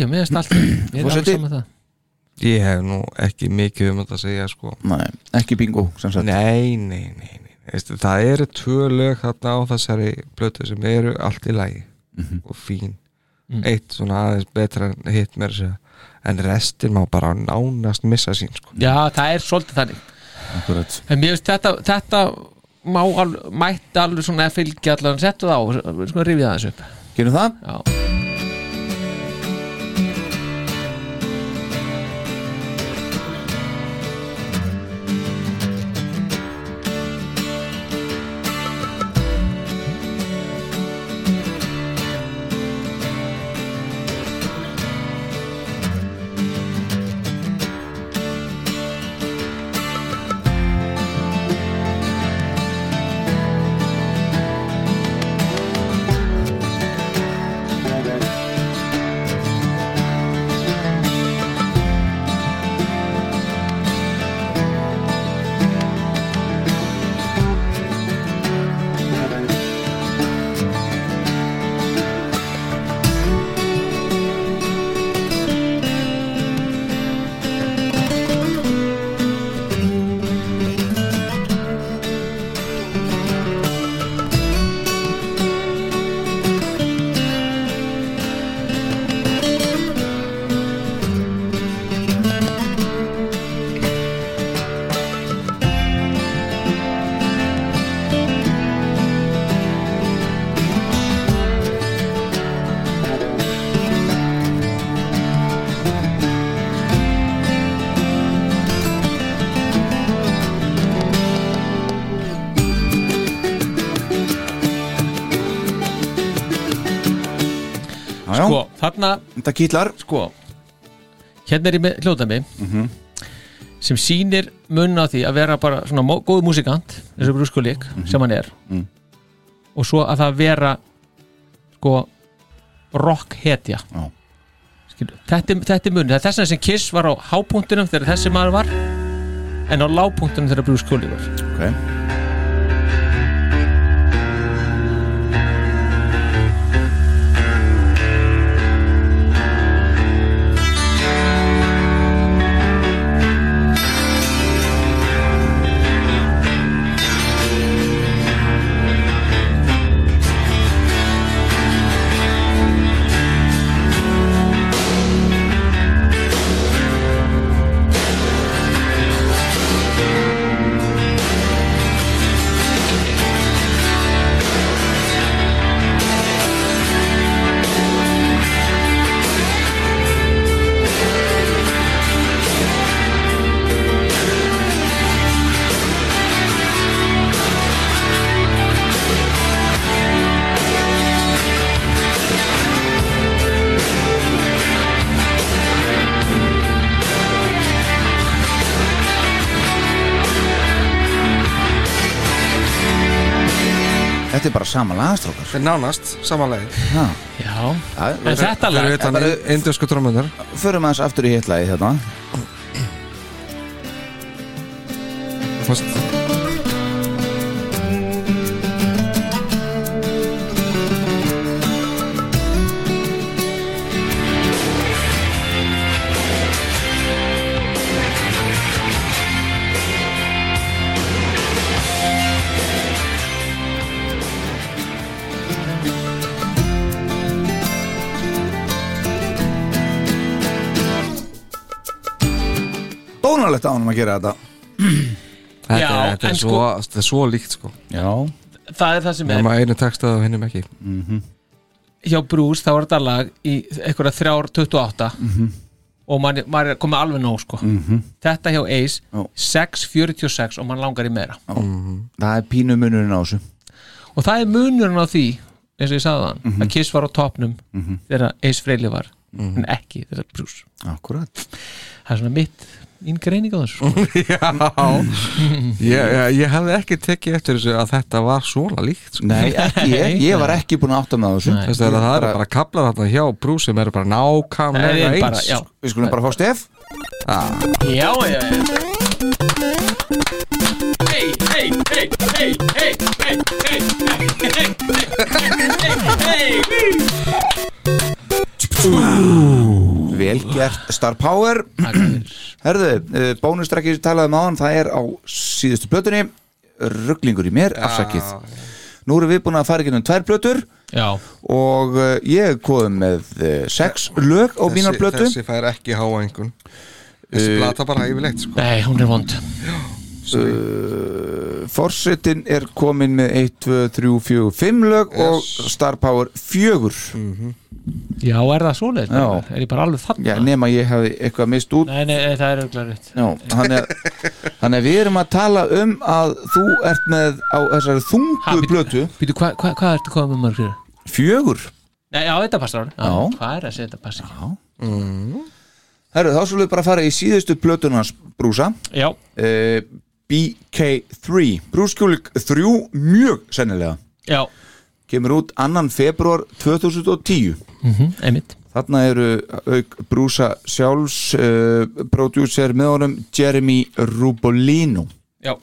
Speaker 5: ég meðast allt Ég er alveg
Speaker 3: Forseti?
Speaker 5: saman það
Speaker 4: Ég hef nú ekki mikið um þetta að segja sko
Speaker 3: Nei, ekki bingo sem sagt
Speaker 4: Nei, nei, nei, nei. Veistu, Það eru tvö lög þarna á þessari blötu sem eru allt í lagi
Speaker 5: Mhm.
Speaker 4: og fín Eitt svona aðeins betra en hitt mér segja En restin má bara nánast missa sín sko
Speaker 5: Já, það er svolítið þannig
Speaker 3: Akkurat.
Speaker 5: En mér finnst þetta, þetta má al, mætti alveg svona að fylgja allan settu það á, sko rifið það þessu upp
Speaker 3: Gerum það?
Speaker 5: Já,
Speaker 3: Já, já,
Speaker 5: sko, þarna
Speaker 3: þetta kýtlar
Speaker 5: sko hérna er ég með hljóðdæmi
Speaker 3: Mhm.
Speaker 5: sem sýnir mun á því að vera bara svona mó- góð músikant eins og Bruce Kulik sem hann er
Speaker 3: Mhm.
Speaker 5: og svo að það vera sko rock hetja
Speaker 3: Já.
Speaker 5: Skilur, þetta, er- þetta er mun, það er þess vegna sem Kiss var á hápunktunum þegar þessi maður var en á lágpunktunum þegar Bruce Kulik var
Speaker 3: okay. Þetta er bara sama lagastrókar
Speaker 4: Þetta er nánast samanlega
Speaker 5: Já, en
Speaker 3: Það,
Speaker 5: þetta
Speaker 4: Fyrir
Speaker 5: lag
Speaker 4: utan
Speaker 3: bara-
Speaker 4: indusku trómunar
Speaker 3: Förum aðeins aftur í hérna. hitlægi þetta Dónalegt ánum að gera þetta
Speaker 4: Þetta,
Speaker 5: Já,
Speaker 4: er- þetta
Speaker 5: en
Speaker 4: er
Speaker 5: sko-
Speaker 4: svo, þetta er svo líkt sko
Speaker 3: Já
Speaker 5: það er það sem
Speaker 4: Við
Speaker 5: er
Speaker 4: erum að einu textað og hinnum ekki
Speaker 5: hjá Bruce þá er þetta lag í einhverja þrjár 28
Speaker 3: Mhm.
Speaker 5: og mann- maður er komið alveg nóg sko. þetta hjá Ace
Speaker 3: Já.
Speaker 5: 6.46 og mann langar í meira
Speaker 3: Það er pínu munurinn á þessu
Speaker 5: og það er munurinn á því eins og ég sagði þann,
Speaker 3: Mhm.
Speaker 5: að Kiss var á topnum þegar Ace Frehley var en ekki þegar Bruce
Speaker 3: Akkurat
Speaker 5: það er svona mitt mín greining á þessu sko.
Speaker 4: Já ég, ég, ég hefði ekki tekið eftir þessu að þetta var svona líkt sko.
Speaker 3: Nei, ekki ég, ég var ekki búin að átta með þessu
Speaker 5: Nei.
Speaker 4: Þessi, það eru bara, bara kaplar þarna hjá brú sem eru bara
Speaker 5: Það
Speaker 4: nákvæmlega
Speaker 5: er
Speaker 4: eins
Speaker 5: bara, já,
Speaker 3: Við skulum bara fá stef
Speaker 5: já, já, já.
Speaker 3: Ú, Stert, star Power Herðu, uh, bónustrakki sem talaði um áðan það er á síðustu plötunni rugglingur í mér, afsakið Nú erum við búin að fara í getum tvær plötur
Speaker 5: Já,
Speaker 3: og uh, ég kom með uh, sex lög á mínar plötu
Speaker 4: þessi fær ekki Eh, háa einhvern þessi plata bara yfirleitt sko.
Speaker 5: nei, hún er vond
Speaker 3: Forsetin er komin með 1, 2, 3, 4, 5 lög og Star Power 4
Speaker 5: Já, er það svoleiðis?
Speaker 3: Já.
Speaker 5: Er ég bara alveg þarna?
Speaker 3: Já, nema ég hefði eitthvað mist út
Speaker 5: Nei, nei, það er auðvitað rétt
Speaker 3: Já, þannig að- þannig að við erum að tala um að þú ert með á þessari
Speaker 5: Ha,
Speaker 3: þungu
Speaker 5: bíddu.
Speaker 3: plötu
Speaker 5: Býtu, hvað hva, hva ertu komið með mörg fyrir?
Speaker 3: fjögur
Speaker 5: Nei, já, þetta passar alveg
Speaker 3: Já.
Speaker 5: Hvað er að segja þetta passar ekki?
Speaker 3: Mhm. Herru, þá svolítið bara að fara í síðustu plötunans brúsa
Speaker 5: Já,
Speaker 3: uh, BK3 Brúskjúlik 3 mjög sennilega
Speaker 5: já,
Speaker 3: kemur út annan februar 2010
Speaker 5: mhm, einmitt
Speaker 3: þarna eru auk brúsa sjálfs uh, prodúser með honum Jeremy Rubolino
Speaker 5: Já,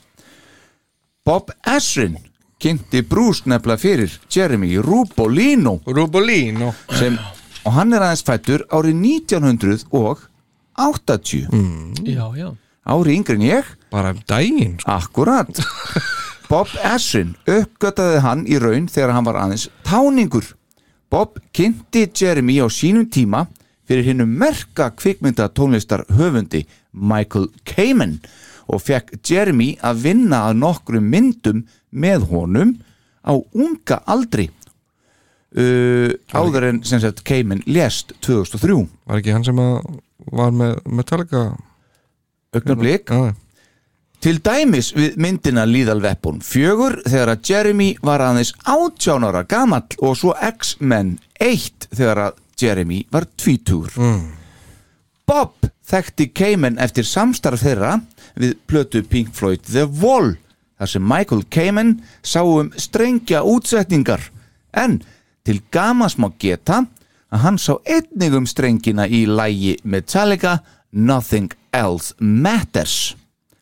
Speaker 3: Bob Esrin kynnti brús nefnilega fyrir Jeremy Rubolino
Speaker 4: Rubolín og
Speaker 3: sem, og hann er aðeins fættur árið 1980
Speaker 5: já, já
Speaker 3: ári yngri en ég
Speaker 4: bara um daginn sko.
Speaker 3: Akkurat Bob Essin uppgötaði hann í raun þegar hann var aðeins táningur Bob kynnti Jeremy á sínum tíma fyrir hinnu merka kvikmynda tónlistar höfundi Michael Kamen og fekk Jeremy að vinna að nokkrum myndum með honum á unga aldri uh, áður en sem sagt Kamen lést 2003
Speaker 4: var ekki hann sem að var með Metallica
Speaker 3: augnablik
Speaker 4: Já,
Speaker 3: Til dæmis við myndina Lethal Weapon 4 þegar að Jeremy var aðeins 18 ára gamall og svo X-Men 1 þegar að Jeremy var tvítúr. Bob þekkti Kamen eftir samstarf þeirra við plötu Pink Floyd The Wall þar sem Michael Kamen sá um strengja útsetningar en til gamas má geta að hann sá einnig um strengina í lægi Metallica Nothing Else Matters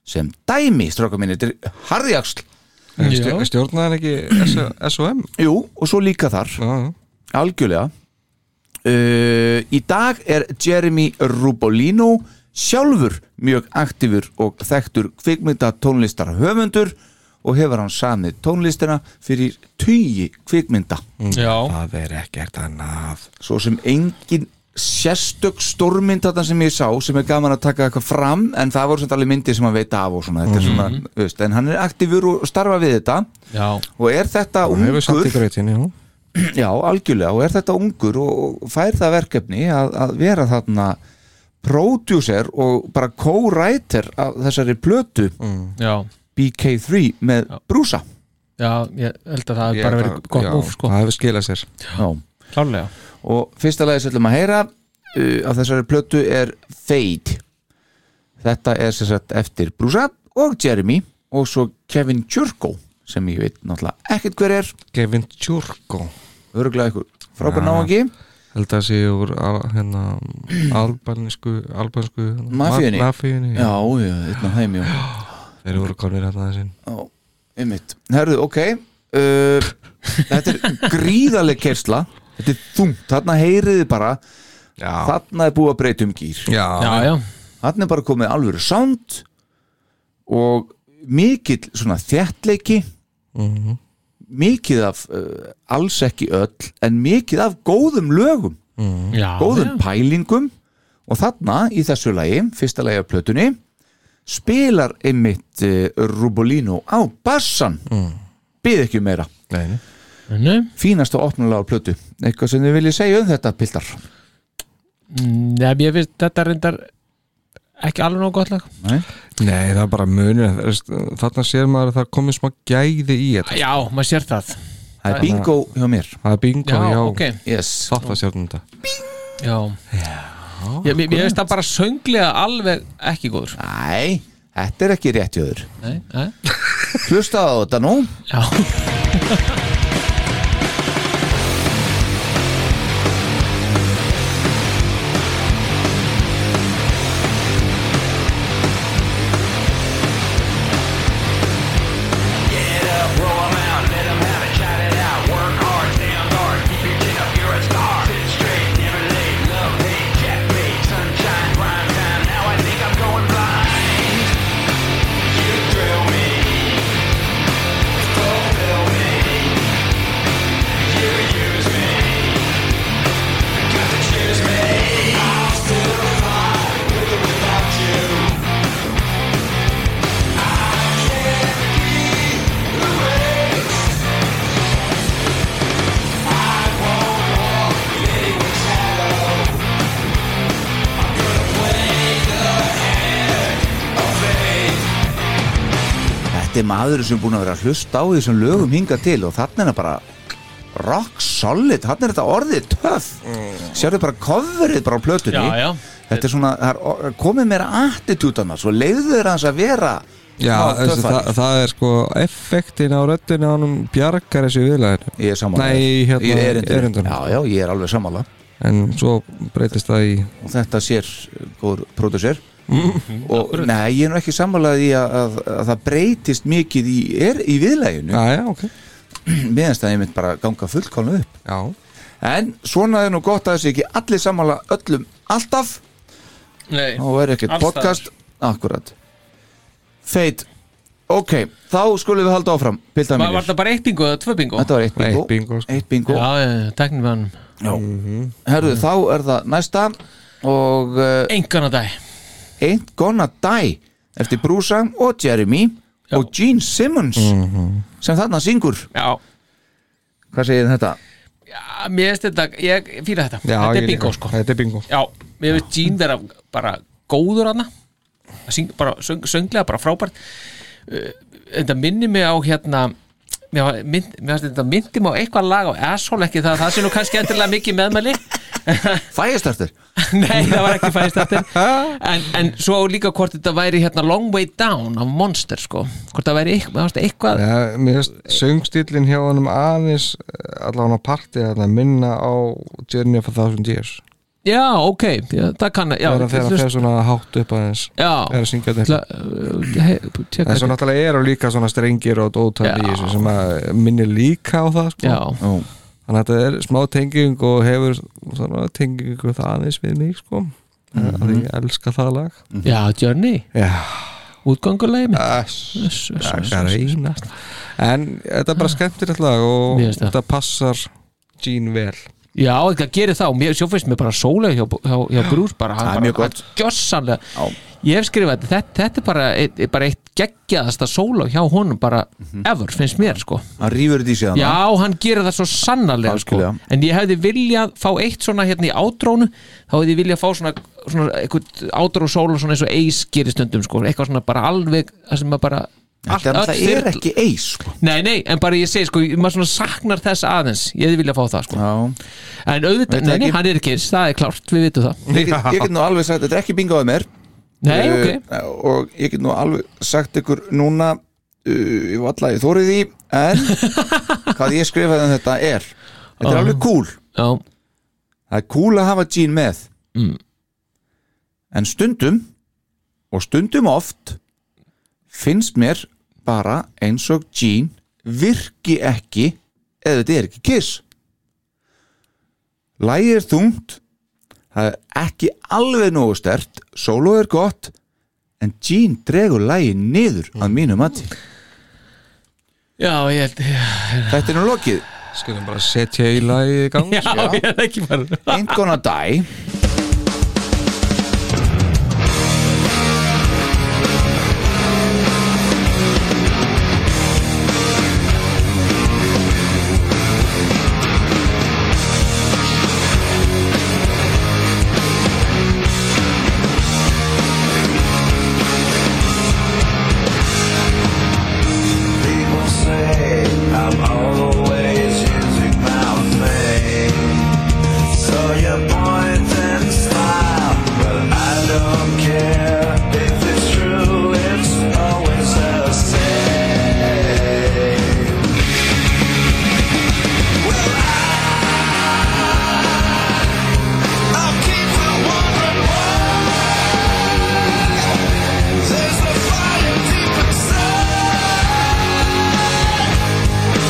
Speaker 3: sem dæmi stráka minni, þetta er harðjaksl
Speaker 4: Stjó- stjórnaði hann ekki S- S.O.M
Speaker 3: Jú, og svo líka þar,
Speaker 4: Já, já.
Speaker 3: algjörlega uh, Í dag er Jeremy Rubolino sjálfur mjög aktífur og þekktur kvikmynda tónlistar höfundur og hefur hann samið tónlistina fyrir tugi kvikmynda
Speaker 5: Já,
Speaker 4: það er ekkert annað
Speaker 3: svo sem engin sérstök stórmynd þarna sem ég sá sem er gaman að taka eitthvað fram en það voru samt alveg myndir sem að veita af og svona, þetta er svona, veist, en hann er aktífur og starfa við þetta
Speaker 5: já,
Speaker 3: og er þetta
Speaker 4: hún hefur satt í
Speaker 3: ungur
Speaker 4: grötin já.
Speaker 3: já, algjörlega, og er þetta ungur og, og fær það verkefni að, að vera þarna producer og bara co-writer af þessari plötu
Speaker 5: já
Speaker 3: BK3 með brúsa
Speaker 5: Já, ég held að það hefur
Speaker 4: Ég
Speaker 5: bara
Speaker 4: held
Speaker 5: verið
Speaker 4: að-
Speaker 5: gott
Speaker 4: já,
Speaker 5: múf, sko
Speaker 4: það hefur skilað sér
Speaker 3: já.
Speaker 5: Klálega
Speaker 3: og fyrsta lagi sem við ætlum að heyra uh, af þessari plötu er Fade þetta er sem sagt eftir Brúsa og Jeremy og svo Kevin Tjurko sem ég veit náttúrulega ekkert hver er
Speaker 4: Kevin Tjurko
Speaker 3: örgulega ykkur frábær
Speaker 4: Ja.
Speaker 3: náðungi
Speaker 4: held að sé úr al- hérna, albansku, albansku hérna,
Speaker 3: Mafíunni.
Speaker 4: ma- mafíunni
Speaker 3: já, já, þetta er heim já,
Speaker 4: þeir voru konir hérna þessin
Speaker 3: já einmitt, herðu, ok uh, þetta er gríðaleg kersla þetta er þungt, þarna heyriði bara
Speaker 4: já,
Speaker 3: þarna er búið að breyta um gýr
Speaker 4: já,
Speaker 5: Já, já,
Speaker 3: hann er bara komið alvöru sound og mikill svona þjættleiki mikið af uh, alls ekki öll en mikið af góðum lögum
Speaker 5: já
Speaker 3: góðum pælingum og þarna í þessu lagi, fyrsta lagi af plötunni spilar einmitt uh, Rubolino á bassan mm. byð ekki um meira
Speaker 4: Nei, nei.
Speaker 5: Mm, Nei,
Speaker 3: fínasta opnulega á plötu eitthvað sem þið viljið segja um þetta piltar
Speaker 5: Nei, ég finnst þetta reyndar ekki alveg nóg gott lag
Speaker 4: nei, það er bara munur þarna sér maður að það er komið smá gæði í þetta
Speaker 5: Já, maður sér það
Speaker 3: það er bingo hjá mér
Speaker 4: það er bingo, já,
Speaker 5: ok
Speaker 3: yes.
Speaker 4: þátt að sjálfum þetta
Speaker 5: Já, já Mér mér finnst það bara sönglega alveg ekki góður
Speaker 3: Æ, þetta er ekki rétt jöður
Speaker 5: Nei, nei
Speaker 3: hlustaðu á þetta nú
Speaker 5: Já,
Speaker 9: Straight, never late, love, hate, jet, bait, sunshine.
Speaker 3: þetta er maður sem er búin að vera að hlusta á því sem lögum hinga til og þarna er það bara rock solid, þarna er þetta orðið töff sérðu bara coverið bara á plötunni
Speaker 5: Mm. Já, já.
Speaker 3: þetta er svona, það er or- komið meira attitút annars og leiðu þeir hans að vera
Speaker 4: Já,
Speaker 3: smá
Speaker 4: þessi,
Speaker 3: töffari.
Speaker 4: það, það er sko effektin á röddinu á hann bjargar þessu viðlæðinu
Speaker 3: ég er sammála
Speaker 4: Nei,
Speaker 3: þér.
Speaker 4: hérna,
Speaker 3: Í erindinu.
Speaker 4: erindinu.
Speaker 3: já, já, ég er alveg sammála
Speaker 4: en svo breytist það í
Speaker 3: og þetta sér uh, góður pródusser og nei, ég er nú ekki sammálað í að, að, að það breytist mikið í, er, í viðlæginu
Speaker 4: Já, já, ok
Speaker 3: meðanst að ég mynd bara ganga fullkálnu upp
Speaker 4: Já,
Speaker 3: en svona er nú gott að þessi ekki allir sammála öllum alltaf
Speaker 5: Nei,
Speaker 3: og er ekkert
Speaker 5: Alls staðar.
Speaker 3: podcast akkurat feit, ok, þá skulum við halda áfram piltar
Speaker 5: var, var
Speaker 3: mínir,
Speaker 5: það bara eitt bingo eða tvö bingo?
Speaker 3: þetta var eitt bingo
Speaker 4: Eitt bingo, sko.
Speaker 3: eitt bingo.
Speaker 5: Já, já, teknir við hann
Speaker 3: herðu, þá er það næsta og uh,
Speaker 5: Engan að dag
Speaker 3: Ain't Gonna Die eftir Brúsa og Jeremy og Gene Simmons sem þarna syngur
Speaker 5: Já,
Speaker 3: hvað segir þið um þetta?
Speaker 5: já mér finnst þetta, ég fýla þetta Þetta
Speaker 4: já ég
Speaker 5: er bingo
Speaker 4: líka.
Speaker 5: sko
Speaker 4: Þetta er bingo
Speaker 5: Já, mér finnst Jean vera bara góður hana Að syng, bara, söng, sönglega, bara frábært Uh, Þetta minni mig á hérna Mér var- mynd- mér fannst þetta myndi mig á eitthvað lag á asshole ekki það, það sé nú kannski endilega mikið meðmæli
Speaker 3: Fægistartur?
Speaker 5: Nei, það var ekki fæðist þetta en, en svo líka hvort þetta væri hérna Long Way Down af Monster sko Hvort það væri eitthvað, mér fannst eitthvað
Speaker 4: Já, mér finnst söngstýlinn hjá hann um aðeins eh, allavega á partí að minna á Journey of a Thousand Years
Speaker 5: Já, ok, já, það kann já,
Speaker 4: þegar hann þegar hann fer svona hátt upp aðeins er
Speaker 5: Já,
Speaker 4: að syngja þetta
Speaker 5: ætla, uh, he, tjekka
Speaker 4: en svo
Speaker 5: þetta.
Speaker 4: náttúrulega eru líka svona strengir og dótar í
Speaker 5: Já.
Speaker 4: þessu sem að minni líka á það sko.
Speaker 5: Já,
Speaker 3: Ó,
Speaker 4: þannig að þetta er smá tenging og hefur svona tengingu það aðeins við mig sko. mm
Speaker 3: Mhm.
Speaker 4: að ég elska það lag
Speaker 5: já, Journey
Speaker 4: já,
Speaker 5: Útgangulegi mitt
Speaker 3: Ah.
Speaker 4: þess
Speaker 5: Uss, uss, uss,
Speaker 4: að
Speaker 5: uss, uss.
Speaker 4: reynast en þetta er bara skemmtilegt lag og
Speaker 5: Mér finnst það.
Speaker 4: þetta passar Gene vel
Speaker 5: Já, það gerir það og mér, svo finnst mér bara sólega hjá, hjá, hjá Brús bara,
Speaker 3: Það
Speaker 5: hann
Speaker 3: er
Speaker 5: bara-
Speaker 3: mjög gott.
Speaker 5: hann gjörsamlega Ég hef skrifað þetta, þetta, þetta er bara eitt, bara eitt geggjaðasta sóla hjá honum bara
Speaker 3: Mhm.
Speaker 5: ever, finnst mér sko
Speaker 3: hann rýfur þetta í sig hana
Speaker 5: Já, hann gerir það svo sannarlega sko.
Speaker 3: Algjörlega.
Speaker 5: En ég hefði viljað fá eitt svona hérna í átrónu Þá hefði ég viljað fá svona, svona eitthvað átró sól Svona eins og eis gerir stundum sko. Eitthvað svona bara alveg Það sem að bara
Speaker 3: Þetta er, það er ekki eis sko.
Speaker 5: Nei, nei, en bara ég segi sko Maður svona saknar þess aðeins Ég hefði viljað fá það sko
Speaker 3: Já.
Speaker 5: En auðvitað,
Speaker 3: Veit
Speaker 5: nei, nei,
Speaker 3: ekki.
Speaker 5: hann er ekki eins Það er klárt, við vitum það
Speaker 3: ég, get- ég get nú alveg sagt, þetta er ekki bingoðið mér
Speaker 5: Nei, ok
Speaker 3: uh, og ég get nú alveg sagt ykkur núna uh, ég var allavega þórið í en hvað ég skrifaði um þetta er þetta er
Speaker 5: Ó.
Speaker 3: alveg cool
Speaker 5: Já,
Speaker 3: það er cool að hafa Gene með
Speaker 5: Mm.
Speaker 3: en stundum og stundum oft finnst mér bara eins og Gene virki ekki eða þetta er ekki kiss lægi er þungt það er ekki alveg nógu stert solo er gott en Gene dregur lægi niður að mínu mati
Speaker 5: já ég held Já,
Speaker 3: þetta er nú lokið
Speaker 4: skulum bara setja í lagi í gang
Speaker 5: ég held ekki bara
Speaker 3: Ain't Gonna Die
Speaker 8: People say I'm always using my face. So you point and smile, but I don't care if it's true. It's always the same. Well, I I keep on wondering why there's a fire deep inside.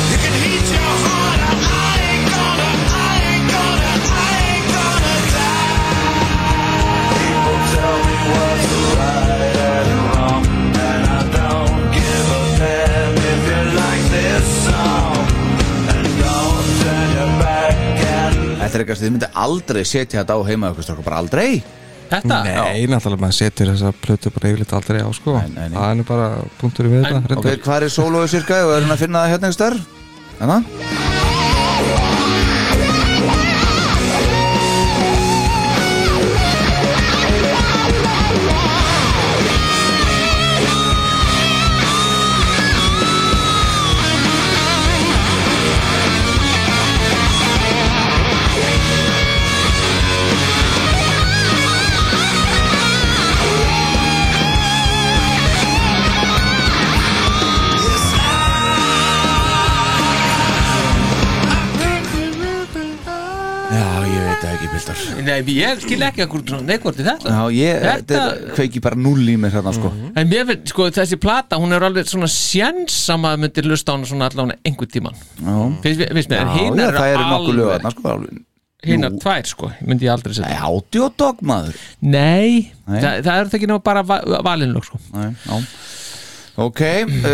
Speaker 8: You can heat your heart up. I ain't gonna, I ain't gonna, I ain't gonna die. People tell me what's right and wrong, and I don't give a damn if you like this song. And don't turn your back and
Speaker 3: Þetta er eitthvað sem þið myndi aldrei setja þetta á heima okkur strákar, bara aldrei
Speaker 5: Þetta?
Speaker 4: Nei, náttúrulega maður setur þessa plötu bara yfirleitt aldrei á sko
Speaker 3: nei, nei.
Speaker 4: Það er nú bara punktur við þetta
Speaker 3: Ok,
Speaker 4: reyndar.
Speaker 3: hvað er sólóið cirka og er hann að finna það hérna einhver starf? Hérna?
Speaker 8: I
Speaker 3: piltar
Speaker 5: Nei, ég skil ekki að hvort neikvort í þetta
Speaker 3: Já, ég þetta...
Speaker 5: Þetta-
Speaker 3: kveiki bara null í mig þarna sko
Speaker 5: En mér finnst, sko, þessi plata, hún er alveg svona sjens að maður myndir lusta á hana svona allavega einhvern tíman
Speaker 3: Já,
Speaker 5: Finnst mér, finnst
Speaker 3: já,
Speaker 5: mér,
Speaker 3: já
Speaker 5: hinar
Speaker 3: það eru nokkuð lög
Speaker 5: alveg
Speaker 3: þarna sko alveg.
Speaker 5: Hinar
Speaker 3: Nú.
Speaker 5: tvær, sko, myndi ég aldrei
Speaker 3: Nei,
Speaker 5: setja
Speaker 3: audiodog maður
Speaker 5: Nei,
Speaker 3: Nei.
Speaker 5: Þa, það eru það ekki nema bara va valinlög, sko
Speaker 3: Nei, já. Ok uh,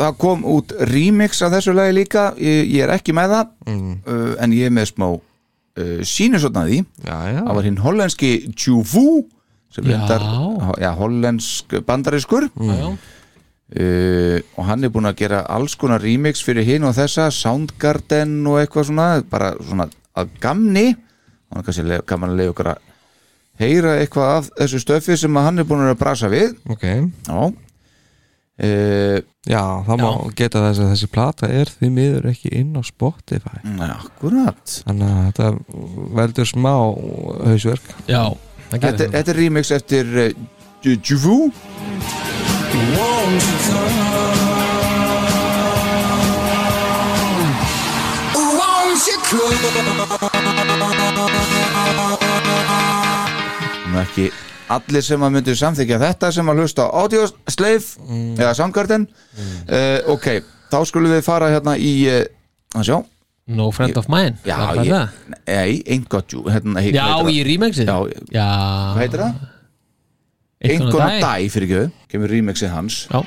Speaker 3: Það kom út remix af þessu lagi líka Ég, ég er ekki með það uh, En ég er með smá uh, sýnisotna því
Speaker 4: já, já,
Speaker 3: Það var hinn hollenski Tjúfú sem
Speaker 5: Já.
Speaker 3: reyndar já, hollensk bandariskur
Speaker 5: já.
Speaker 3: uh, og hann er búinn að gera alls konar remix fyrir hinn og þessa Soundgarden og eitthvað svona bara svona að gamni hann er kannski le- gaman að leiða okkur að heyra eitthvað af þessu stöfi sem að hann er búinn að brasa við
Speaker 4: ok
Speaker 3: já uh,
Speaker 4: Já, það má
Speaker 5: Já.
Speaker 4: geta þess að þessi plata er því miður ekki inn á Spotify
Speaker 3: akkurat
Speaker 4: Þannig að þetta veldur smá hausverk
Speaker 5: Já, það hérna.
Speaker 3: þetta,
Speaker 5: gerir það
Speaker 3: þetta er remix eftir uh, Tjúfú Nú ekki allir sem að myndu samþykja þetta sem að hlusta á Audio Slave
Speaker 5: Mm.
Speaker 3: eða Soundgarden uh, ok, þá skulum við fara hérna í uh, að sjá,
Speaker 5: No friend of mine
Speaker 3: já,
Speaker 5: það var það.
Speaker 3: ég, nei, einhvað hérna, heit-
Speaker 5: já
Speaker 3: heitir það.
Speaker 5: í remixið
Speaker 3: Já,
Speaker 5: já
Speaker 3: hvað heitir það? einhvern að dæ fyrir ekki kemur remixið hans
Speaker 5: Já,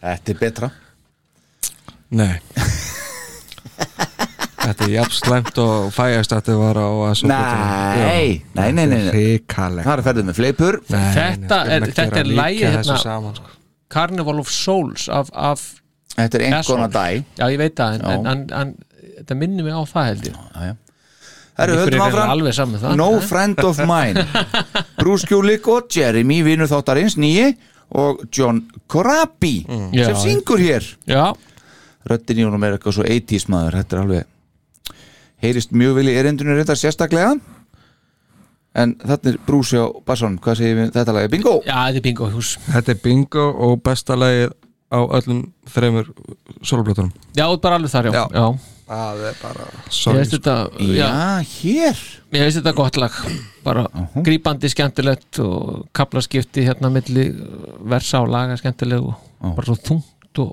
Speaker 3: þetta er betra
Speaker 4: Nei Þetta er jafn slæmt og fægast að þetta var á að
Speaker 3: nei, nei, nei, nei, nei.
Speaker 4: Ríkalegt
Speaker 3: þar er ferðið með fleipur
Speaker 5: Þetta er- þetta er lagið
Speaker 4: hérna
Speaker 5: hérna.
Speaker 4: saman, sko.
Speaker 5: Carnival of Souls af, af
Speaker 3: þetta er einhvern að dæ
Speaker 5: Já, ég veit það, en,
Speaker 3: Já.
Speaker 5: en, en, en þetta minnir mig á það held ég
Speaker 3: það eru höldum
Speaker 5: Ykkur er
Speaker 3: áfram
Speaker 5: alveg saman með það
Speaker 3: No Friend of Mine Bruce Kulick og Jeremy vinur þáttarins nýji og John Corabi sem
Speaker 5: Já.
Speaker 3: syngur hér
Speaker 5: Já,
Speaker 3: röddin í honum er eitthvað svo 80s maður þetta er alveg heyrist mjög vel í erindunum reyndar sérstaklega en þarna er Bruce hjá Basson, hvað segir við þetta lagi? Bingo!
Speaker 5: já, þetta er bingo hús
Speaker 4: Þetta er bingo og besta lagið á öllum þreymur soloplötunum
Speaker 5: Já, þú ert bara alveg þar, já,
Speaker 4: Já.
Speaker 5: já.
Speaker 4: Það er bara
Speaker 5: Ég
Speaker 4: sorry,
Speaker 5: veist þetta, já,
Speaker 3: Já, hér
Speaker 5: ég veist þetta gott lag bara grípandi skemmtilegt og kaplaskipti hérna milli versa og laga skemmtileg og bara svo þungt og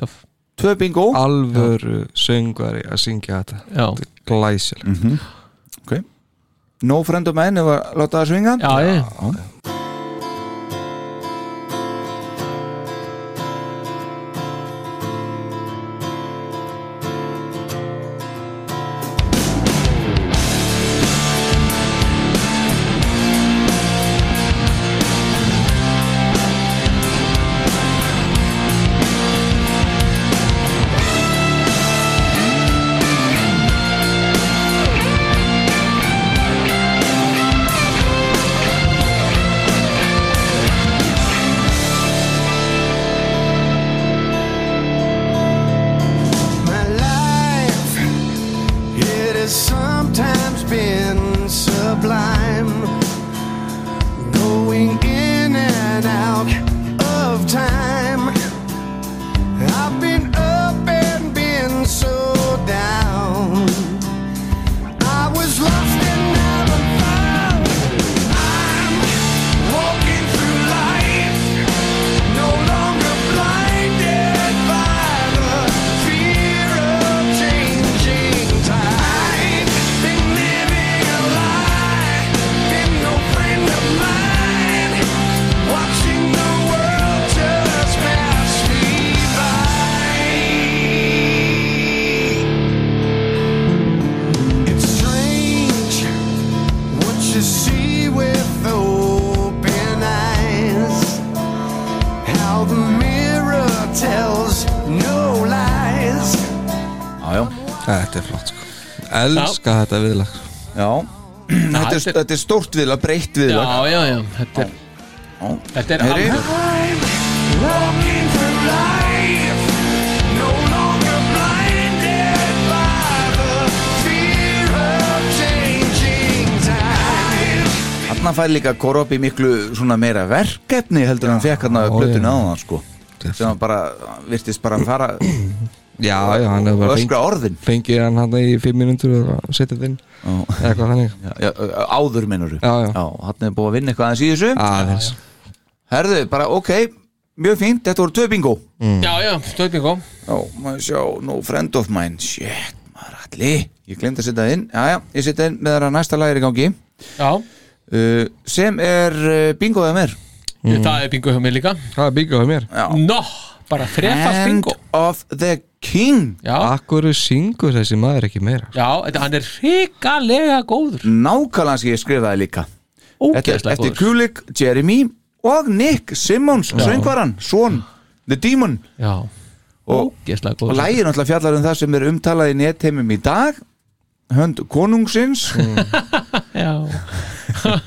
Speaker 5: töff
Speaker 3: Tvö bingo
Speaker 4: alvöru söngvari að syngja þetta
Speaker 5: Já,
Speaker 4: Þetta er glæsilegt
Speaker 3: No Friend of Mine ef að láta það svinga
Speaker 5: já, ég
Speaker 2: My life, it has sometimes been sublime. Going in and out of time. I've been up and been so down. I was lost and never found. I'm walking through life. No longer blinded by the fear of changing time. Been living a lie, been no friend of mine. Watching the world just pass me by. It's strange what you see with open eyes. How the mirror tells no lies.
Speaker 3: Já, já,
Speaker 4: Þetta er flott sko Elska þetta viðlag
Speaker 3: já þetta, er, þetta er stórt viðlag, breytt
Speaker 5: Já,
Speaker 3: viðlag
Speaker 5: já, já, þetta er Þetta er
Speaker 3: Heyri.
Speaker 5: alveg
Speaker 8: Walking through life, no longer blinded by the fear of changing times.
Speaker 3: Þarna fær líka Koropi miklu svona meira verkefni heldur en hann fekk hann að plötuna á hann sko sem hann bara, virtist bara að fara
Speaker 4: já, já, hann hefur bara
Speaker 3: öskra
Speaker 4: fengið,
Speaker 3: orðin
Speaker 4: fengið hann hann í fimm mínútur og setið inn eða eitthvað þannig
Speaker 3: já, já, áður minnur
Speaker 4: Já, já.
Speaker 3: hann er búið að vinna eitthvað aðeins í þessu
Speaker 4: aðeins
Speaker 3: herðu, bara ok, mjög fínt, þetta voru tvö bingo
Speaker 5: Já, já, stöðbygg kom
Speaker 3: já, maður sjá, no friend of mine shit, maður allir ég glemt að setja það inn, já já, ég setja það inn með það næsta lagir í gangi
Speaker 5: Já,
Speaker 3: uh, sem er uh, bingoðað mér
Speaker 5: það er bingo hjá mér líka
Speaker 4: það er bíkað á mér
Speaker 3: já,
Speaker 5: Nó, bara þrefast
Speaker 3: Hand
Speaker 5: bingo
Speaker 3: of the King
Speaker 5: Já,
Speaker 4: akkur syngur þessi maður ekki meira
Speaker 5: já, þetta, hann er hrikalega góður
Speaker 3: nákvæmlega sem ég skrifaði líka Þetta er
Speaker 5: Ógeðslega
Speaker 3: eftir
Speaker 5: góður
Speaker 3: Kulik, Jeremy og Nick Simmons, söngvaran, Svon The Demon
Speaker 5: Já,
Speaker 3: og,
Speaker 5: ógeðslega
Speaker 3: og
Speaker 5: góður
Speaker 3: lægir náttúrulega fjallar um það sem er umtalað í netheimum í dag hönd konungsins
Speaker 5: Já,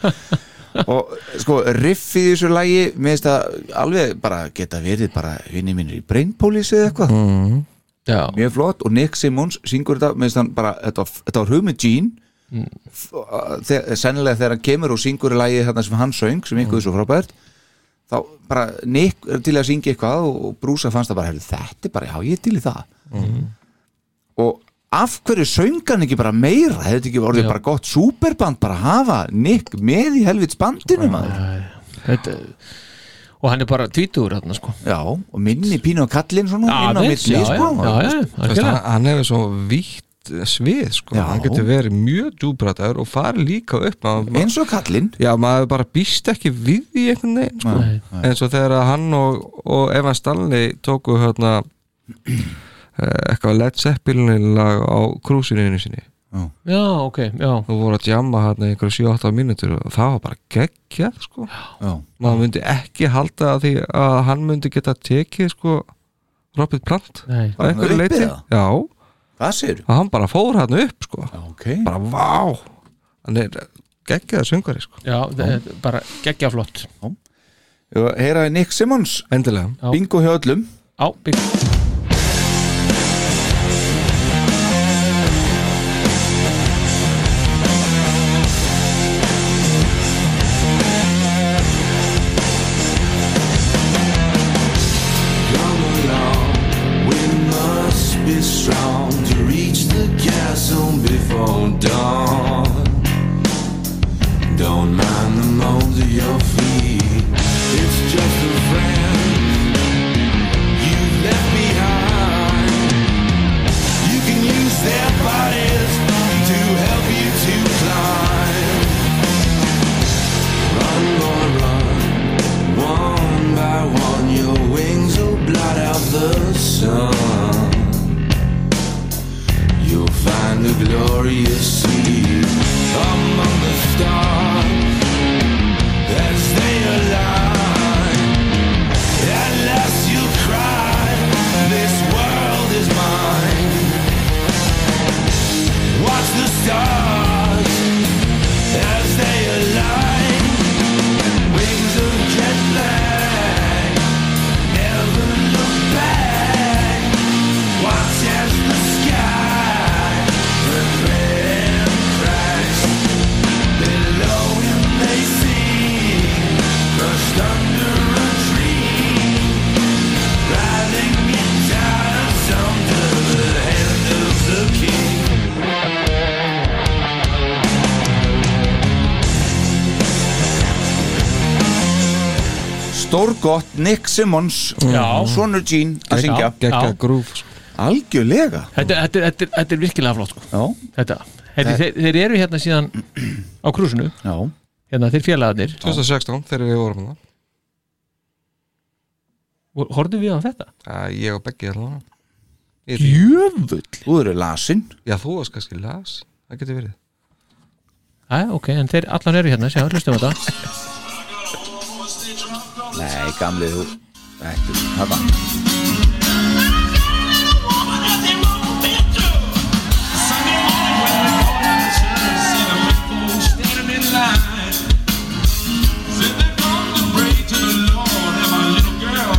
Speaker 3: og sko riffið í þessu lægi minnst að alveg bara geta verið bara vinni mínir í brainpolis eða eitthvað
Speaker 5: já,
Speaker 3: mjög flott og Nick Simmons syngur þetta minnst hann bara, þetta, var- þetta var hugmynd Gene mm. sennilega þegar hann kemur og syngur í lagið þarna sem hann söng sem
Speaker 5: Mm.
Speaker 3: ykkur svo frábært þá bara Nick er til að syngja eitthvað og og Brúsa fannst það bara, "Heyrðu, þetta er bara, já ég er til í það
Speaker 5: Mm.
Speaker 3: og af hverju söng hann ekki bara meira hefði þetta ekki orðið
Speaker 5: Já.
Speaker 3: bara gott superband bara hafa Nick með í helvits bandinu maður
Speaker 5: þetta Og hann er bara tvítugur þarna sko
Speaker 3: já, og minni pínu og kallinn svona inn á
Speaker 5: Aðeins,
Speaker 3: milli
Speaker 5: já, já,
Speaker 3: sko.
Speaker 5: já, já,
Speaker 4: Þú veist, hann,
Speaker 5: algjörlega.
Speaker 4: hann hefur svo vítt svið sko,
Speaker 3: Já.
Speaker 4: hann getur verið mjög djúbrataður og farið líka upp maður,
Speaker 3: eins og kallinn
Speaker 4: já, maður bara býst ekki við í einhvern veginn sko.
Speaker 5: Nei.
Speaker 4: eins og þegar að hann og, og Evan Stanley tóku hérna eh, eitthvað Led Zeppelin lag á krúsinu sinni
Speaker 5: Já, ok, já
Speaker 4: og voru að jamma hérna í einhverju 7-8 mínútur og það var bara geggjað sko.
Speaker 3: já,
Speaker 4: maður myndi ekki halda að því að hann myndi geta tekið sko, Robert Plant
Speaker 5: Nei.
Speaker 4: að
Speaker 3: Bara uppið
Speaker 4: einhverju leyti.
Speaker 3: það?
Speaker 4: já,
Speaker 3: hvað sér?
Speaker 4: að hann bara fór hérna upp sko.
Speaker 3: ok
Speaker 4: bara vá hann er geggjaða söngari sko.
Speaker 5: Já, þetta er bara geggja flott
Speaker 3: Já, heyraði Nick Simmons
Speaker 4: endilega
Speaker 5: Já.
Speaker 3: bingo hjá öllum
Speaker 5: Já, bygg
Speaker 8: Come along, we must be strong to reach the chasm before dawn. Don't mind the mold of your feet, it's just a friend you left behind. You can use their bodies to help you to climb. Run, boy, run. One by one, your wings will blot out the sun. You'll find a glorious sea among the stars as they align. At last, you'll cry, This world is mine. Watch the stars as they align. Wings of jet lag. Never look back. Watch as the sky turns red and cracks. Below him they see, crushed under a tree, writhing in darkness under the hand of the king.
Speaker 3: Stór gott Nick Simmons
Speaker 5: Já.
Speaker 3: Sonur Gene að syngja
Speaker 4: geggjaða
Speaker 5: Já.
Speaker 4: grúf sko.
Speaker 3: Algjörlega
Speaker 5: Þetta, þetta, þetta, þetta er virkilega flott sko.
Speaker 3: Já,
Speaker 5: þetta. Þetta, þeir, þeir eru hérna síðan á krúsinu,
Speaker 3: já
Speaker 5: hérna þeir félagarnir
Speaker 4: 2016 þegar við vorum það
Speaker 5: og horfðum við á þetta
Speaker 4: Æ, ég og Beggi allavega Ég-
Speaker 5: Jöfull
Speaker 3: Þú eru lasin
Speaker 4: já, þú varst kannski las það getur verið
Speaker 5: Æ, ok, en þeir allan eru hérna, sjá, hlustum á þetta
Speaker 3: Nei, gamli þú Ekki, hana
Speaker 8: Sunday morning when the corner turns in a maple oh,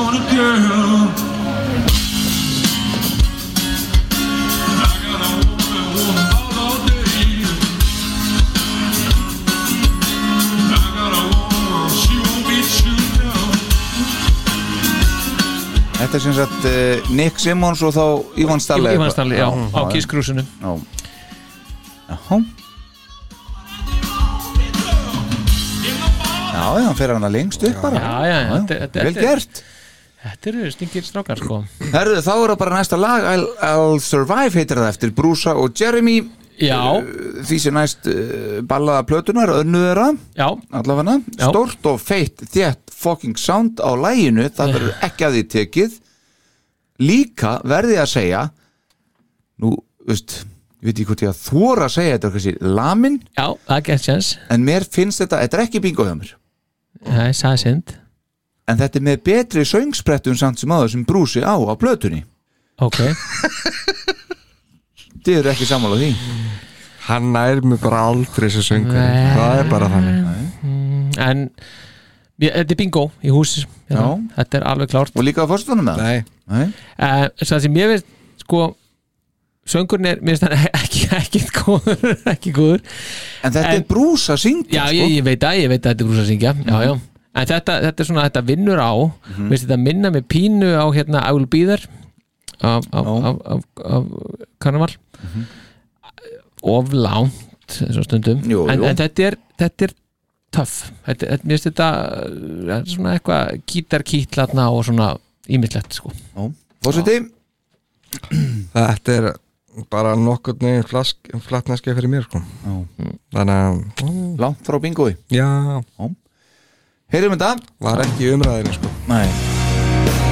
Speaker 8: on a girl. I got a woman, woman all day. I got a woman, she won't be chewed down.
Speaker 3: Þetta er sem sagt uh, Nick Simmons og þá Ivan Stanley
Speaker 5: Ívan Stanley, já, á
Speaker 3: já.
Speaker 5: kískrúsinu
Speaker 3: Já Jaha. Já, já, hann fer hann að lengst upp bara
Speaker 5: Já, já, já, þetta- þetta-
Speaker 3: Vel
Speaker 5: þetta er-
Speaker 3: gert
Speaker 5: Þetta eru stingir strákar sko
Speaker 3: Herðu, þá er það bara næsta lag I'll, I'll Survive heitir það eftir Brúsa og Jeremy
Speaker 5: Já,
Speaker 3: Því sem næst uh, ballaða plötunar, önnu þeirra
Speaker 5: já,
Speaker 3: Allafana,
Speaker 5: Já.
Speaker 3: stórt og feitt þétt fucking sound á læginu það verður ekki að því tekið líka verði að segja nú, veist ég veit ekki hvort ég að þóra að segja þetta hversi, lamin,
Speaker 5: já, það gerst sjans
Speaker 3: en mér finnst þetta þetta er ekki bingo hjá mér,
Speaker 5: Það er sæsind
Speaker 3: en þetta er með betri söngsprettun samt sem áður sem brúsi á á blötunni,
Speaker 5: Ok,
Speaker 3: þið eru ekki sammála því
Speaker 4: hann nær mig bara aldrei þessi söngur
Speaker 5: Nei.
Speaker 4: það er bara þannig
Speaker 5: en ég, Þetta er bingo í hús
Speaker 3: Já.
Speaker 5: Þetta er alveg klárt
Speaker 3: og líka á fórstunum með það
Speaker 4: Nei.
Speaker 3: Nei.
Speaker 5: uh, Svo það sem ég veist sko söngurinn er, mér finnst hann ekki, ekki góður, ekki góður
Speaker 3: en þetta
Speaker 5: En-
Speaker 3: er brúsa syngja
Speaker 5: Já, ég, ég veit að, ég veit að þetta er brúsa syngja Já, já, en þetta, þetta er svona, þetta vinnur á mm -hmm. Þetta minna með pínu á hérna I'll be there af, af,
Speaker 3: Já.
Speaker 5: af, af, af karnaval of langt svo stundum
Speaker 3: Jú,
Speaker 5: en,
Speaker 3: jú.
Speaker 5: en þetta er, þetta er töff þetta, þetta, mér finnst þetta uh, er svona eitthvað gítarkítlatna og svona ímislegt sko
Speaker 3: fórstunni,
Speaker 4: þetta er bara nokkur neginn flatneskja fyrir mér sko. þannig að
Speaker 3: langt frá bingoi
Speaker 4: já,
Speaker 3: heyrum þetta
Speaker 4: var ekki í umræðinu sko.
Speaker 3: Nei.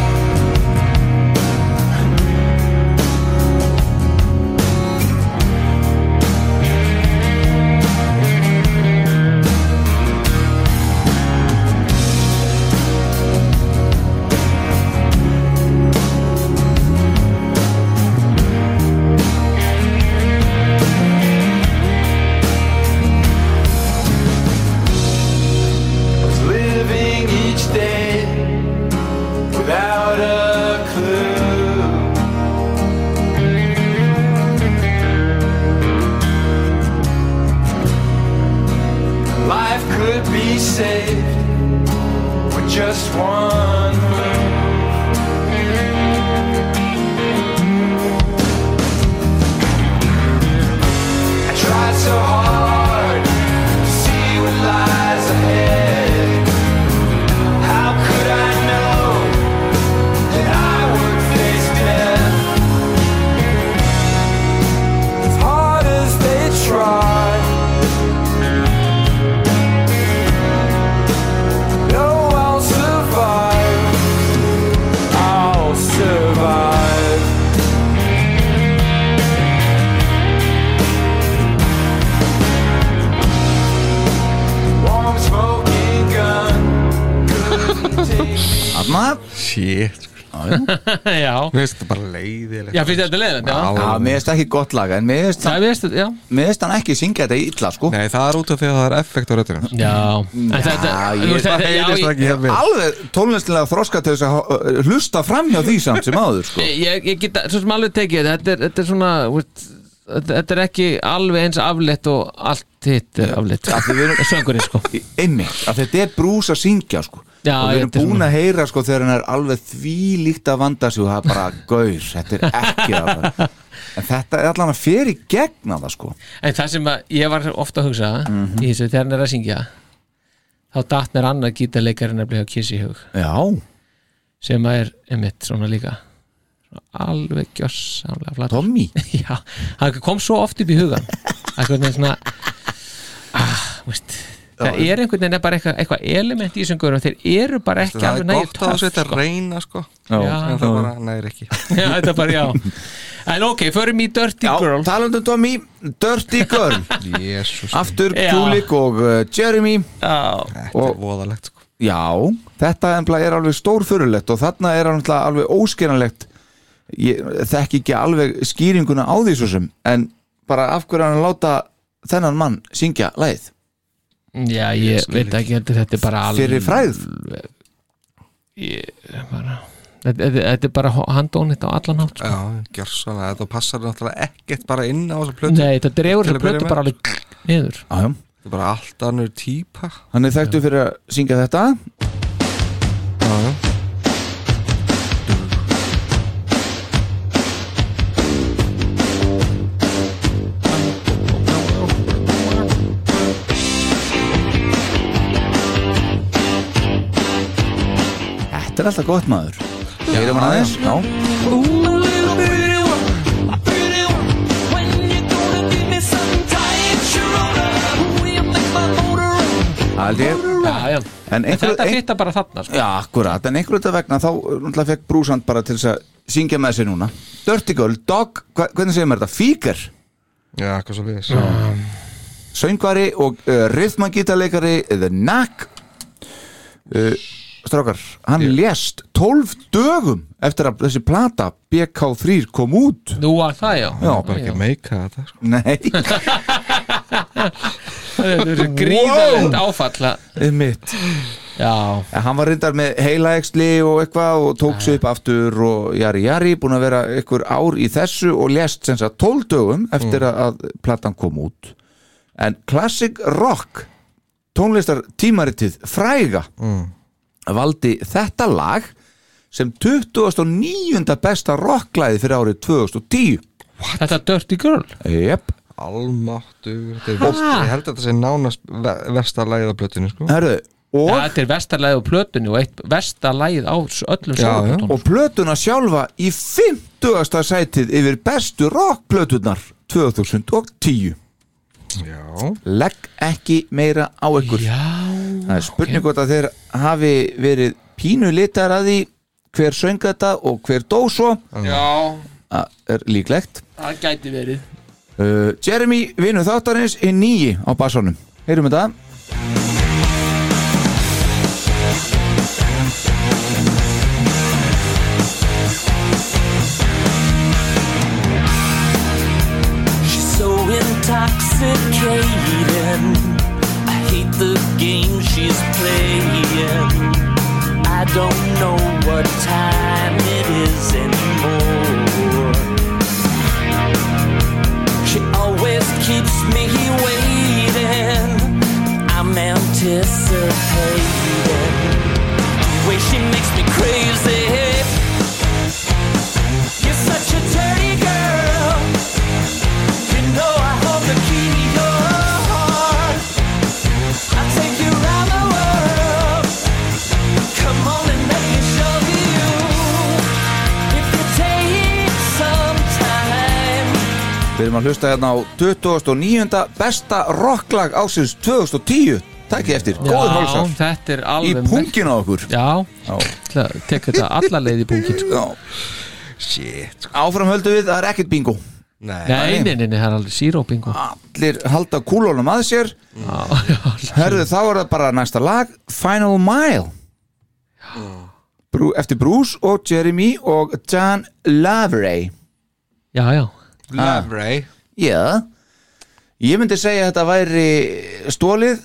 Speaker 9: living each day without a clue. Life could be saved with just one move. I tried so hard to see what lies ahead. How could I know that I would face death? As hard as they try, no, I'll survive. I'll survive. Warm smoking gun.
Speaker 3: Þarna.
Speaker 4: shit, sko.
Speaker 5: Já,
Speaker 4: Mér finnst þetta bara leiðilegt
Speaker 5: já finnst þetta leiðan Já,
Speaker 3: Já, mér finnst ekki gott lag en mér finnst
Speaker 5: það veist, já
Speaker 3: Mér finnst hann ekki syngja þetta illa sko
Speaker 4: Nei, það er út af því að það er effekt á röddurinn
Speaker 5: Já, en þetta,
Speaker 3: ég-
Speaker 5: þú veist,
Speaker 4: Það
Speaker 5: þetta- já,
Speaker 4: heyrist
Speaker 5: ég-
Speaker 4: ekki hjá mér
Speaker 3: Alveg tónlistilega þroska til þess að uh, hlusta fram hjá því samt sem áður sko
Speaker 5: ég, ég get að- svo sem alveg tekið þetta, þetta er, þetta er svona veist, þetta þetta er ekki alveg eins afleitt og allt hitt er afleitt söngurinn sko
Speaker 3: Einmitt, að þetta er brús að syngja sko
Speaker 5: Já,
Speaker 3: Og við erum
Speaker 5: þetta er
Speaker 3: búin
Speaker 5: svona.
Speaker 3: að heyra sko þegar hann er alveg því líkt að vanda sig og það er bara gaur, þetta er ekki að fara. En þetta er allan að fyrir gegna það sko
Speaker 5: en það sem að ég var ofta að hugsa í þessu þegar hann er að syngja þá datt mér annar gítarleikar en að bliða kiss í hug
Speaker 3: Já,
Speaker 5: sem að er einmitt svona líka svona alveg gjörsamlega flat
Speaker 3: Tommy
Speaker 5: já, hann kom svo oft upp í hugan einhvern veginn svona ah, veist það er einhvern veginn bara eitthvað, eitthvað element í þessum guðurum þeir eru bara ekki
Speaker 4: Það er
Speaker 5: alveg nægir
Speaker 4: gott að þessu þetta reyna sko
Speaker 5: Ah.
Speaker 4: En það bara nægir ekki
Speaker 5: já, þetta er bara já en ok, förum í Dirty
Speaker 3: Já,
Speaker 5: Girl
Speaker 3: talandum Tommy, Dirty Girl
Speaker 4: Jésús,
Speaker 5: Ah.
Speaker 3: Aftur
Speaker 5: Já.
Speaker 3: Kulik og uh, Jeremy
Speaker 5: já,
Speaker 4: þetta er voðalegt sko
Speaker 3: Já, þetta nefnilega er alveg stórfurulegt og þarna er hann náttúrulega alveg óskerinlegt ég þekki ekki alveg skýringuna á því svo sem en bara af hverju er hann að láta þennan mann syngja læð
Speaker 5: já ég veit ekki heldur, þetta er bara alveg
Speaker 3: fyrir fræð
Speaker 5: ég, bara, þetta, þetta- þetta er bara handónið á allan hátt sko.
Speaker 4: Já, gjörsanlega, þetta passar náttúrulega ekkert bara inn á þessa plötu
Speaker 5: Nei, þetta dregur
Speaker 4: Til að
Speaker 5: þetta plötu
Speaker 4: byrja með.
Speaker 5: bara alveg niður
Speaker 3: Já, já.
Speaker 4: Þetta er bara allt annur típa
Speaker 3: Hann er þekktu fyrir að syngja þetta
Speaker 4: Já, já
Speaker 3: Þetta er alltaf gott maður Heyrum hann aðeins Já, held ég
Speaker 5: Já, já,
Speaker 3: En einhver,
Speaker 5: þetta
Speaker 3: ein,
Speaker 5: fyrta bara þarna sko.
Speaker 3: já, akkurat, en einhverjum þetta vegna þá eh, náttúrulega fekk brúsand bara til þess að syngja með sér núna Dirty Girl, Dog, hva, hvernig segir maður þetta? Fíker,
Speaker 4: Já, eitthvað svo liðis
Speaker 3: söngvari og uh, rithmangítarleikari The Knack uh, Strákar, hann lést 12 dögum eftir að þessi plata BK3 kom út
Speaker 5: Nú að það, já
Speaker 3: Já,
Speaker 4: Bara ekki að meika þetta sko.
Speaker 3: Nei,
Speaker 5: Þetta er gríðalegt áfall að-
Speaker 3: mitt
Speaker 5: Já,
Speaker 3: En hann var reyndar með heilaæxli og eitthvað og tók sig upp aftur og jari jari, búin að vera einhver ár í þessu og lest sem sagt 12 dögum eftir mm. að platan kom út en Classic Rock tónlistar tímaritið fræga valdi þetta lag sem 29. besta rocklæði fyrir árið 2010
Speaker 5: þetta Dirty Girl
Speaker 3: Jep,
Speaker 4: Almáttugur, þetta er verst Ég held að þetta sé nánast ve- versta lagið á plötunni sko.
Speaker 3: herðu
Speaker 5: Já,
Speaker 3: og,
Speaker 5: Þetta er vestarlæð á plötunni og eitt vestarlæð á s- öllum
Speaker 4: Já, já.
Speaker 5: sólplötunum
Speaker 3: og plötuna sjálfa í 50. sætið yfir bestu rockplötunar 2010
Speaker 4: Já,
Speaker 3: legg ekki meira á ykkur
Speaker 5: Já,
Speaker 3: það er spurning hvort að þeir hafi verið pínu litar að því hver söng þetta og hver dó svo
Speaker 5: já,
Speaker 3: það er líklegt
Speaker 5: það gæti verið
Speaker 3: uh, Jeremy vinur þáttarins er nýji á bassanum heyrum þetta
Speaker 8: She's so intoxicating. I hate the game she's playing. I don't know what time it is anymore. She always keeps me waiting. I'm anticipating. The way she makes me crazy. You're such a dirty girl. You know I hold the key to your heart. I'll take you round the world. Come on and let me show you. If you take some time.
Speaker 3: við erum að hlusta hérna á 29. besta rocklag ásins 2010 takk ég eftir, góður
Speaker 5: Já,
Speaker 3: hálsar
Speaker 5: þetta er
Speaker 3: í
Speaker 5: alveg
Speaker 3: punkin á okkur
Speaker 5: Já, ætla að teka þetta alla leið í sko. punkin
Speaker 3: Já.
Speaker 4: shit sko.
Speaker 3: áfram höldum við, það er ekkert bingo
Speaker 4: Nei,
Speaker 5: Nei, nei, nei, nei, það er sko. alveg sírópingu
Speaker 3: Ah. allir halda kúlónum að sér Herðu, þá er það bara næsta lag Final Mile Brú, Eftir Bruce og Jeremy og John Lavery
Speaker 5: Já, já,
Speaker 4: Love Ray
Speaker 3: Já Ég myndi segja að þetta væri stólið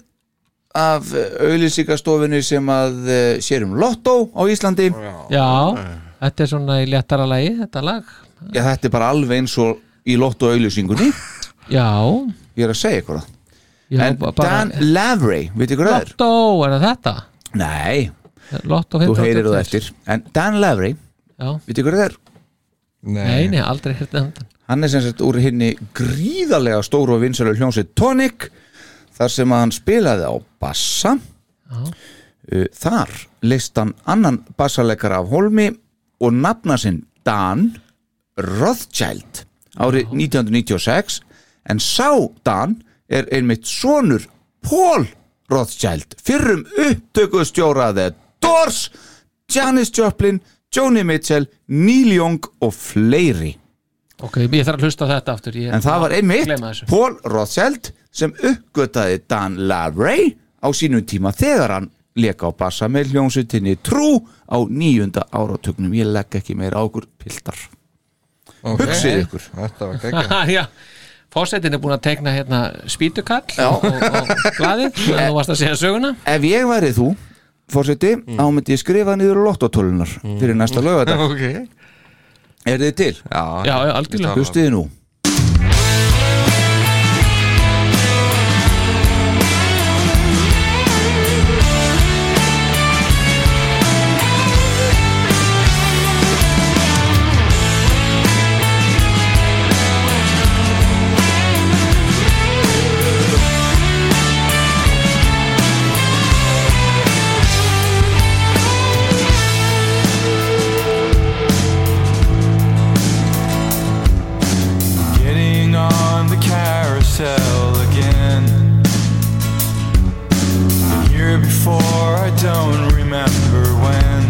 Speaker 3: af auðlýsingastofunni sem að eh, sér um Lotto á Íslandi
Speaker 5: já Þetta er svona í léttara lagi, þetta lag
Speaker 3: Já, þetta er bara alveg eins og í Lotto auðlýsingunni
Speaker 5: Já,
Speaker 3: Ég er að segja ykkur það
Speaker 5: já
Speaker 3: En John Lavery, veitir hvað það er?
Speaker 5: Lotto, er það þetta?
Speaker 3: Nei,
Speaker 5: Lotto
Speaker 3: þú
Speaker 5: 186.
Speaker 3: heyrir það eftir En Dan Lavery,
Speaker 5: Já,
Speaker 3: veitir hvað það er?
Speaker 5: nei, nei, aldrei hérna handan
Speaker 3: Hann er sem sagt úr henni gríðarlega stóru og vinsælu hljómsið Tonic þar sem að hann spilaði á bassa Uh, Þar leist hann annan bassaleikara af Holmi og nafna sinn Dan Rothschild árið 1996 en sá Dan er einmitt sonur Paul Rothschild fyrrum upptökustjóraði Dors, Janis Joplin Joni Mitchell, Neil Young og fleiri
Speaker 5: Ok, ég þarf að hlusta á þetta aftur ég,
Speaker 3: En það var
Speaker 5: gleyma
Speaker 3: einmitt
Speaker 5: þessu.
Speaker 3: Paul Rothschild sem uppgötaði Dan LaRay á sínum tíma þegar hann leka á bassa með hljónsutinni Trú á nýjunda áratugnum ég legg ekki meira á okkur piltar
Speaker 4: okay.
Speaker 3: Hugsið ykkur.
Speaker 4: Þetta var geggjað
Speaker 5: Já, fósettin er búin að tekna hérna spýtukall og, og, og glaðið, þú varst að segja söguna
Speaker 3: Ef ég væri þú fórseti, mm. ámyndi ég skrifa niður lottotölunar fyrir næsta lögadag
Speaker 4: ok
Speaker 3: Er þið til?
Speaker 4: já,
Speaker 5: Já, já, algjörlega.
Speaker 4: Ég
Speaker 3: Hlustiði nú
Speaker 2: Getting on the carousel again. The year before, I don't remember when.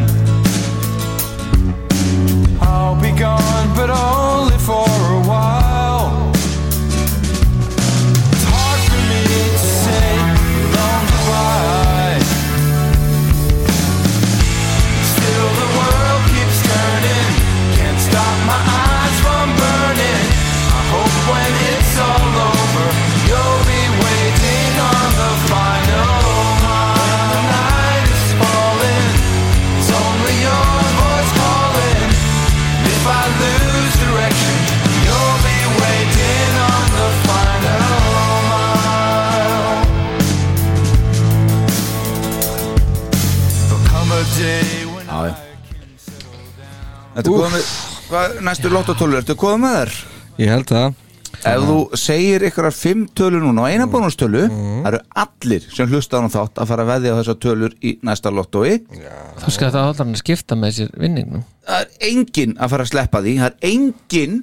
Speaker 2: I'll be gone, but only for a while. It's hard for me to say a long goodbye. Still the world keeps turning. Can't stop my eyes from burning. I hope when it's all over, you'll be waiting on the final mile. The night is falling. It's only your voice calling. If I lose direction, you'll be waiting on the final mile. There'll come a day when
Speaker 3: Já, já. Ertu góð með, hvað, næstu lottotölu, ertu góð með þær?
Speaker 4: held það
Speaker 3: Ef þú segir ykkur að fimm tölur núna og
Speaker 5: Mm.
Speaker 3: eina bónustölu, það eru allir sem hlusta á þátt að fara að veðja á þessar tölur í næsta lottói.
Speaker 5: Þú skal það aldrei hann að skipta með sér vinningnum
Speaker 3: Það er enginn að fara að sleppa því, það er enginn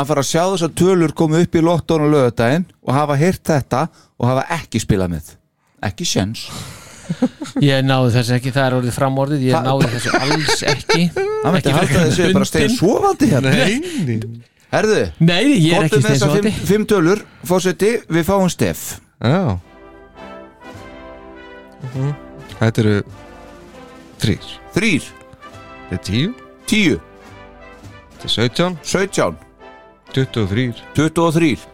Speaker 3: að fara að sjá þessar tölur koma upp í lottónu lögadaginn og hafa heyrt þetta og hafa ekki spilað með. Ekki sjens.
Speaker 5: Ég náði þessu ekki, það er orðið framorðið Ég
Speaker 3: Það-
Speaker 5: náði þessu alls ekki
Speaker 3: Það myndi
Speaker 5: Ekki
Speaker 3: halda
Speaker 5: frekar en
Speaker 3: þessu bara stegið
Speaker 5: undin.
Speaker 3: svovandi hérna.
Speaker 4: nei
Speaker 3: Herðu,
Speaker 5: Nei, ég
Speaker 3: komdu
Speaker 5: er ekki
Speaker 3: með þessar
Speaker 5: stensóti
Speaker 3: fimm, fimm tölur, fórseti, við fáum stef.
Speaker 4: já Mhm. þetta eru þrýr
Speaker 3: Þrýr,
Speaker 4: þetta er tíu
Speaker 3: tíu,
Speaker 4: þetta er sautján
Speaker 3: sautján,
Speaker 4: 23
Speaker 3: tuttugu og þrýr,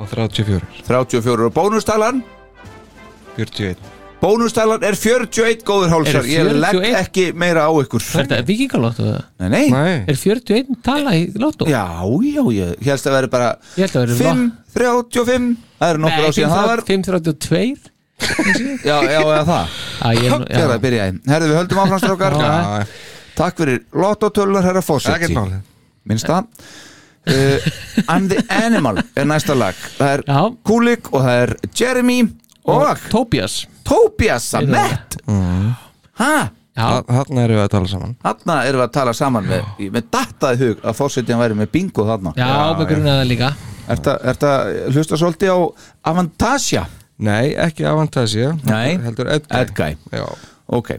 Speaker 4: og 34
Speaker 3: þrjátíu og fjóru og bónustalan.
Speaker 4: 41
Speaker 3: Bónustalan er 41 góður hálsar
Speaker 5: Eru
Speaker 3: Ég legg
Speaker 5: 41?
Speaker 3: ekki meira á ykkur
Speaker 5: Er þetta vikingalóttu það?
Speaker 3: Nei, nei,
Speaker 4: nei
Speaker 5: Er 41 tala í lóttu?
Speaker 3: já, já, ég helst að vera bara
Speaker 5: Ég held að vera
Speaker 3: 5, 35 Það eru nokkur á síðan það var
Speaker 5: 532
Speaker 3: Já, já, eða það Þegar það
Speaker 5: Ég
Speaker 3: byrjaði Herðu, við höldum áfram strákar
Speaker 4: Já,
Speaker 3: Takk fyrir lottotölunar, herra
Speaker 4: ekkert
Speaker 3: fósetti
Speaker 4: málið
Speaker 3: Minnst það uh, I'm the Animal er næsta lag Það er
Speaker 5: Já.
Speaker 3: Kulik og það er Jeremy og
Speaker 5: Tobias
Speaker 3: Tobias
Speaker 5: Ég-
Speaker 3: Samet Hæ?
Speaker 5: Já,
Speaker 4: Mm. Þarna erum við að tala saman
Speaker 3: Þarna erum við að tala saman með, ég- með dattaði hug að fórsetin væri með bingo þarna
Speaker 5: já, með grunaða líka
Speaker 3: Ertu ert að hlusta svolítið á Avantasia?
Speaker 4: Nei, ekki Avantasia
Speaker 3: Nei.
Speaker 4: Heldur Edguy
Speaker 3: Edguy.
Speaker 4: Já
Speaker 3: Ok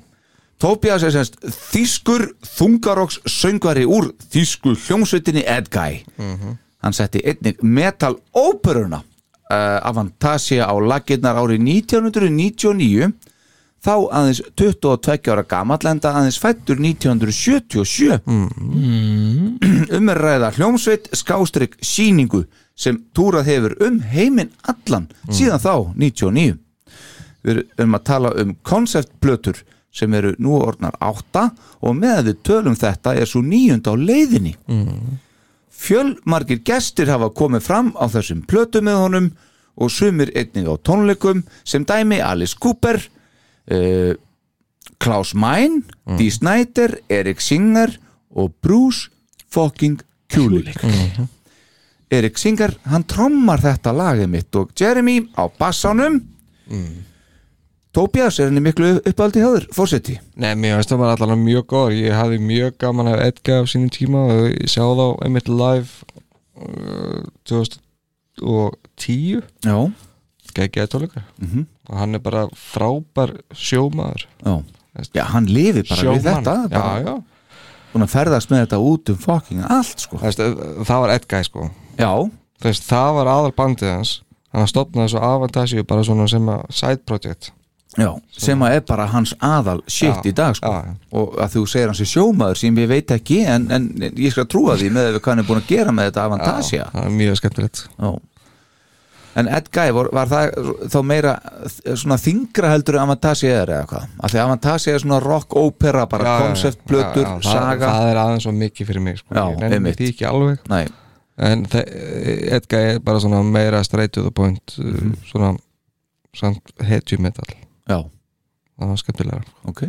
Speaker 3: Tobias er semst þýskur þungaroks söngvari úr þýsku hljómsveitinni Edguy Hann setti einnig metal óperuna uh, Avantasia á laginnar árið 1999 þá aðeins 22 ára gamall enda aðeins fættur 1977 um er að ræða hljómsveit skástrygg síningu sem túrað hefur um heiminn allan síðan þá 99 við erum að tala um konceptblötur sem eru nú orðnar átta og með að við tölum þetta er svo nýjund á leiðinni fjölmargir gestir hafa komið fram á þessum plötum með honum og sumir einnig á tónleikum sem dæmi Alice Cooper uh, Klaus Mein Dee Snyder, Erik Singer og Bruce fucking Kulik Erik Singer, hann trommar þetta lagið mitt og Jeremy á bassanum Tobias er henni miklu uppaldi hjáður, fórseti
Speaker 4: Nei, mér finnst það bara allavega mjög góður Ég hafði mjög gaman af Edguy á sínum tíma og Ég sá þá einmitt live uh, 2010
Speaker 3: Já,
Speaker 4: Gægjaði tónleika -hmm. Og hann er bara frábær sjómaður
Speaker 3: já Já, hann lifi bara við þetta bara
Speaker 4: Já, já
Speaker 3: Búin að ferðast með þetta út um fucking allt sko
Speaker 4: Það, veist, það var Edguy sko
Speaker 3: Já,
Speaker 4: Það, veist, það var aðal bandið hans Hann stopnaði svo Avantasia bara svona sem að side project
Speaker 3: já, sem að er bara hans aðal shit
Speaker 4: Já,
Speaker 3: í dag sko
Speaker 4: já, já.
Speaker 3: Og að þú segir hans er sjómaður sem ég veit ekki en, en ég skal trúa því með að við kannum búin að gera með þetta avantasia
Speaker 4: Það er mjög skemmtilegt
Speaker 3: Já En Ed Guy, var, var það þá meira eh, svona þingra heldur en Avantasia er eða hvað? Af því að Avantasia er svona rock opera bara, konceptblötur,
Speaker 4: já, já, það-
Speaker 3: saga
Speaker 4: það er aðeins svo mikið fyrir mig sko.
Speaker 3: Já,
Speaker 4: ég nenni
Speaker 3: einmitt.
Speaker 4: því ekki alveg
Speaker 3: Nei,
Speaker 4: en Edga er bara svona meira straight to the point mm svona samt hetju metal
Speaker 3: já,
Speaker 4: það var skemmtilega
Speaker 3: ok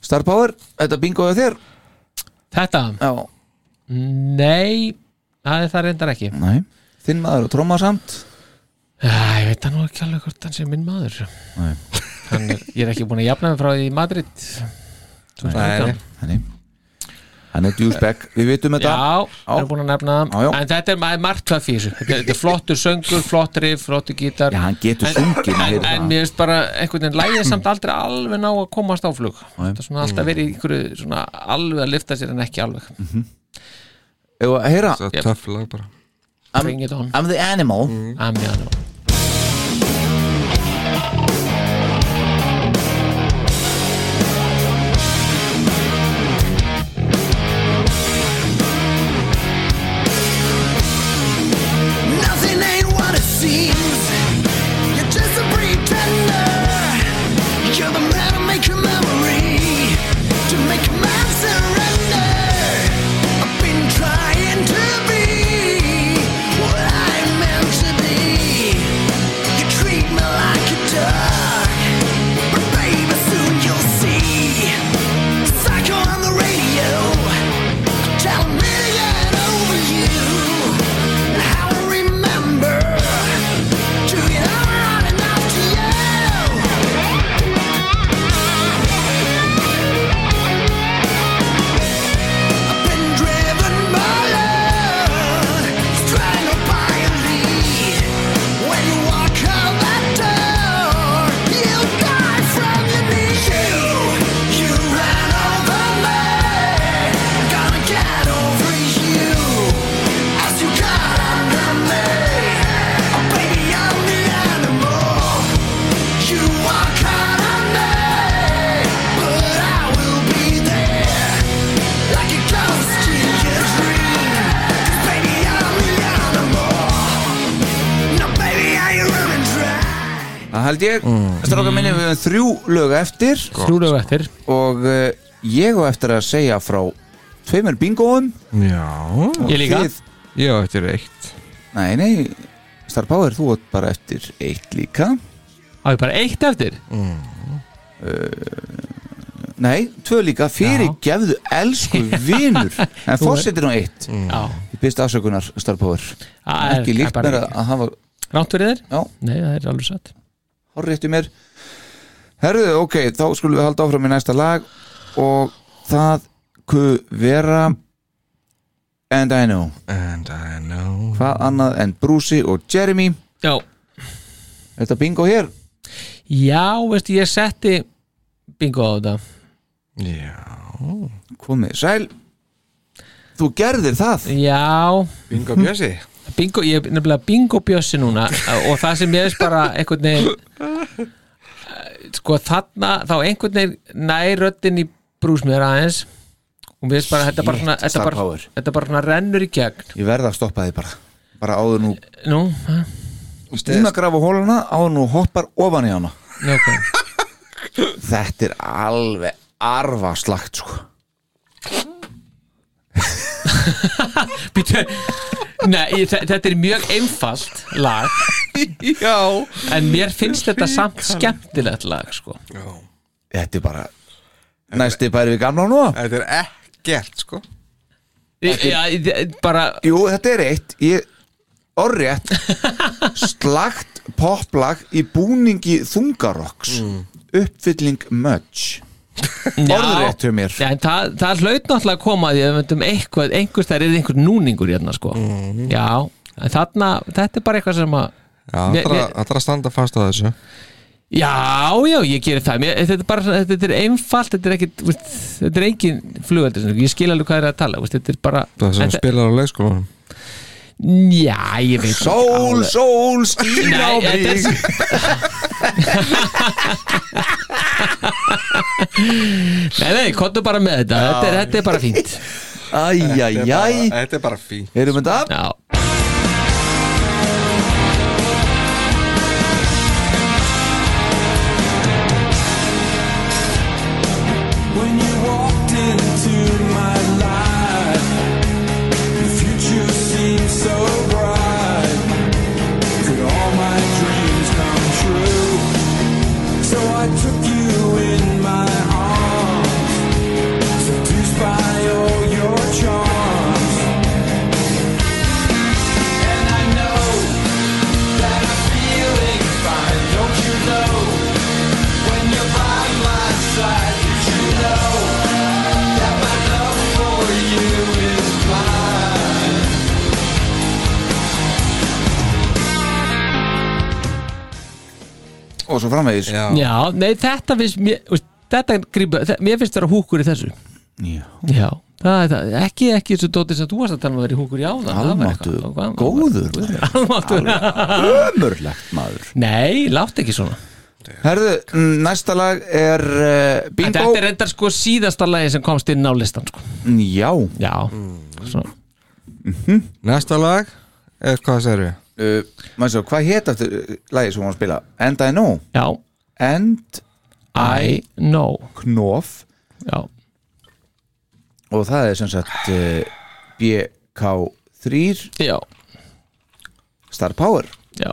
Speaker 3: Star Power, þetta bingoðu þér?
Speaker 5: Þetta,
Speaker 3: Já,
Speaker 5: nei Það er það reyndar ekki
Speaker 3: nei Þinn maður og tróma samt
Speaker 5: Æ, Ég veit það nú ekki alveg hvort hann sé minn maður
Speaker 3: Nei.
Speaker 5: Hann er, Ég er ekki búin að jafna mig frá því í Madrid
Speaker 4: Nei,
Speaker 3: Henni Hann er djúsbekk, við vitum þetta
Speaker 5: Já, við erum búin að nefna
Speaker 3: Já, já.
Speaker 5: það En þetta er ma- margt töff í þessu Þetta þetta er flottur söngur, flott riff, flottur gítar
Speaker 3: Já, hann getur sungið maður
Speaker 5: En,
Speaker 3: heyrir
Speaker 5: en
Speaker 3: það.
Speaker 5: mér finnst bara einhvern veginn lægið samt aldrei alveg ná að komast áflug
Speaker 3: Nei.
Speaker 5: Þetta er svona alltaf verið í einhverju svona alveg að lifta sér en ekki alveg
Speaker 3: Eigum við að Heyra,
Speaker 4: það
Speaker 5: Yep.
Speaker 4: er töff lag bara
Speaker 5: Bring it on
Speaker 3: I'm the animal
Speaker 5: Mm. Amjano
Speaker 2: Nothing ain't what it seems. You're just a pretender. You're the man to make your memory, to make a man surrender. I've been trying to be what I'm meant to be. You treat me like a dog, but baby, soon you'll see. Psycho on the radio. Tell me yet over you and how I remember to get out and out to you. I've been driven by love, strangled by a lead. When you walk out that door, you'll die from your knees. You, you ran over me. Gonna get over you as you got under me. Oh, baby, I'm the animal. You walk out on me, but I will be there. Like a ghost in your dream. 'Cause baby, I'm the animal. No, baby, I run and try.
Speaker 3: Það held ég,
Speaker 5: Mm.
Speaker 3: stráka minni við höfum þrjú lög eftir
Speaker 5: Þrjúlega eftir
Speaker 3: og uh, ég á eftir að segja frá tveimur bingoum
Speaker 4: já,
Speaker 5: Ég líka
Speaker 3: Þið,
Speaker 4: ég á eftir eitt
Speaker 3: nei, nei, Star Power, þú átt bara eftir eitt líka
Speaker 5: Á ég bara eitt eftir
Speaker 3: Nei, tvö líka, fyrir gefðu elsku vinur En fórsetir nú eitt
Speaker 5: Já
Speaker 3: Ég byrst afsökunar, Star Power
Speaker 5: Mm. Það er-
Speaker 3: Ekki
Speaker 5: það
Speaker 3: líkt
Speaker 5: er
Speaker 3: mér
Speaker 5: bara
Speaker 3: að að hafa
Speaker 5: Rátt verið þér?
Speaker 3: Já.
Speaker 5: Nei, það er alveg satt
Speaker 3: horréttu mér Herðu, ok, þá skulum við halda áfram í næsta lag Og það kuð vera And I know
Speaker 4: and I know
Speaker 3: Hvað annað en Brucey og Jeremy
Speaker 5: Já
Speaker 3: Er Þetta bingo hér
Speaker 5: Já, veistu, ég setti bingo á þetta
Speaker 4: já,
Speaker 3: komið sæl þú gerðir það
Speaker 5: Já,
Speaker 4: bingo bjössi
Speaker 5: bingo, ég er nefnilega bingo bjössi núna eh, og það sem ég veist bara einhvern veginn eh, sko þarna, þá einhvern veginn nær röddin í brúsmiður aðeins og mér veist bara, þetta bara, svona, þetta
Speaker 3: star
Speaker 5: bara,
Speaker 3: power.
Speaker 5: þetta bara svona rennur í gegn
Speaker 3: ég verða að stoppa því bara bara áður nú
Speaker 5: Nú, hæ?
Speaker 3: hún að grafa hólana áður nú hoppar ofan í hana
Speaker 5: Nei, ok
Speaker 3: þetta er alveg arfaslagt sko
Speaker 5: Býtu, Nei, ég, þe- þetta er mjög einfalt lag Já En mér finnst þetta samt skemmtilegt lag sko.
Speaker 3: þetta er bara næsti bæri við gamla nú
Speaker 4: þetta er ekkert sko
Speaker 5: ég, já, ég, Bara
Speaker 3: jú þetta er eitt ég orrétt slagt poplag í búningi þungarokks uppfylling mögg orðrétt hjá mér
Speaker 5: Já, en það, það hlaut náttúrulega að koma að því að við myndum eitthvað, einhvers þær er einhver núningur hérna sko.
Speaker 3: Mhm.
Speaker 5: Já, en þarna þetta er bara eitthvað sem að
Speaker 4: já,
Speaker 5: Mér-
Speaker 4: allra,
Speaker 5: mér-
Speaker 4: allra standa fast að þessu
Speaker 5: Já, já, ég gerir það Mér, þetta er bara, svona- þetta er einfalt þetta er, ekkit, veist, þetta er engin flugaldur ég skil alveg hvað það er að tala veist, þetta er bara
Speaker 4: það sem
Speaker 5: en það-
Speaker 4: spilar á leikskólanum
Speaker 5: Já, ég veit ekki
Speaker 3: sól,
Speaker 5: alveg.
Speaker 3: sól, skýr á
Speaker 5: Nei,
Speaker 3: mig
Speaker 5: þetta er Nei, nei, kontu bara með þetta þetta er, þetta er bara fínt
Speaker 3: æjæjæj
Speaker 4: þetta er bara fín
Speaker 3: erum við þetta?
Speaker 5: Já
Speaker 8: When you walked into my life, the future seemed so bright. Could all my dreams come true? So I took you in my arms, seduced by all your charms. And I know that I'm feeling fine, don't you know? When you're by my side, did you know that my love for you is blind?
Speaker 3: og svo framvegis já.
Speaker 5: Já, nei þetta finnst mér veist, þetta grípa, þe- mér finnst vera húkur í þessu Já, það er það ekki, ekki þessu dóti sem þú varst að tala um að vera í húkur í áðan það var
Speaker 3: Almáttu,
Speaker 5: eitthvað- hvað-
Speaker 3: góður
Speaker 5: Almáttur
Speaker 3: Ömurlegt maður
Speaker 5: Nei, látt ekki svona
Speaker 3: Herðu, næsta lag er uh, Bingo
Speaker 5: Þetta er reyndar sko síðasta lagi sem komst inn á listan sko.
Speaker 3: Já,
Speaker 5: Já, svona
Speaker 4: Næsta lag er hvað það segir við
Speaker 3: uh, maður svo, hvað hétt aftur uh, lagið sem hún var að spila? And I Know
Speaker 5: Já,
Speaker 3: And
Speaker 5: I know
Speaker 3: Knof
Speaker 5: Já,
Speaker 3: og það er sem sagt uh, BK3
Speaker 5: já,
Speaker 3: Star Power
Speaker 5: já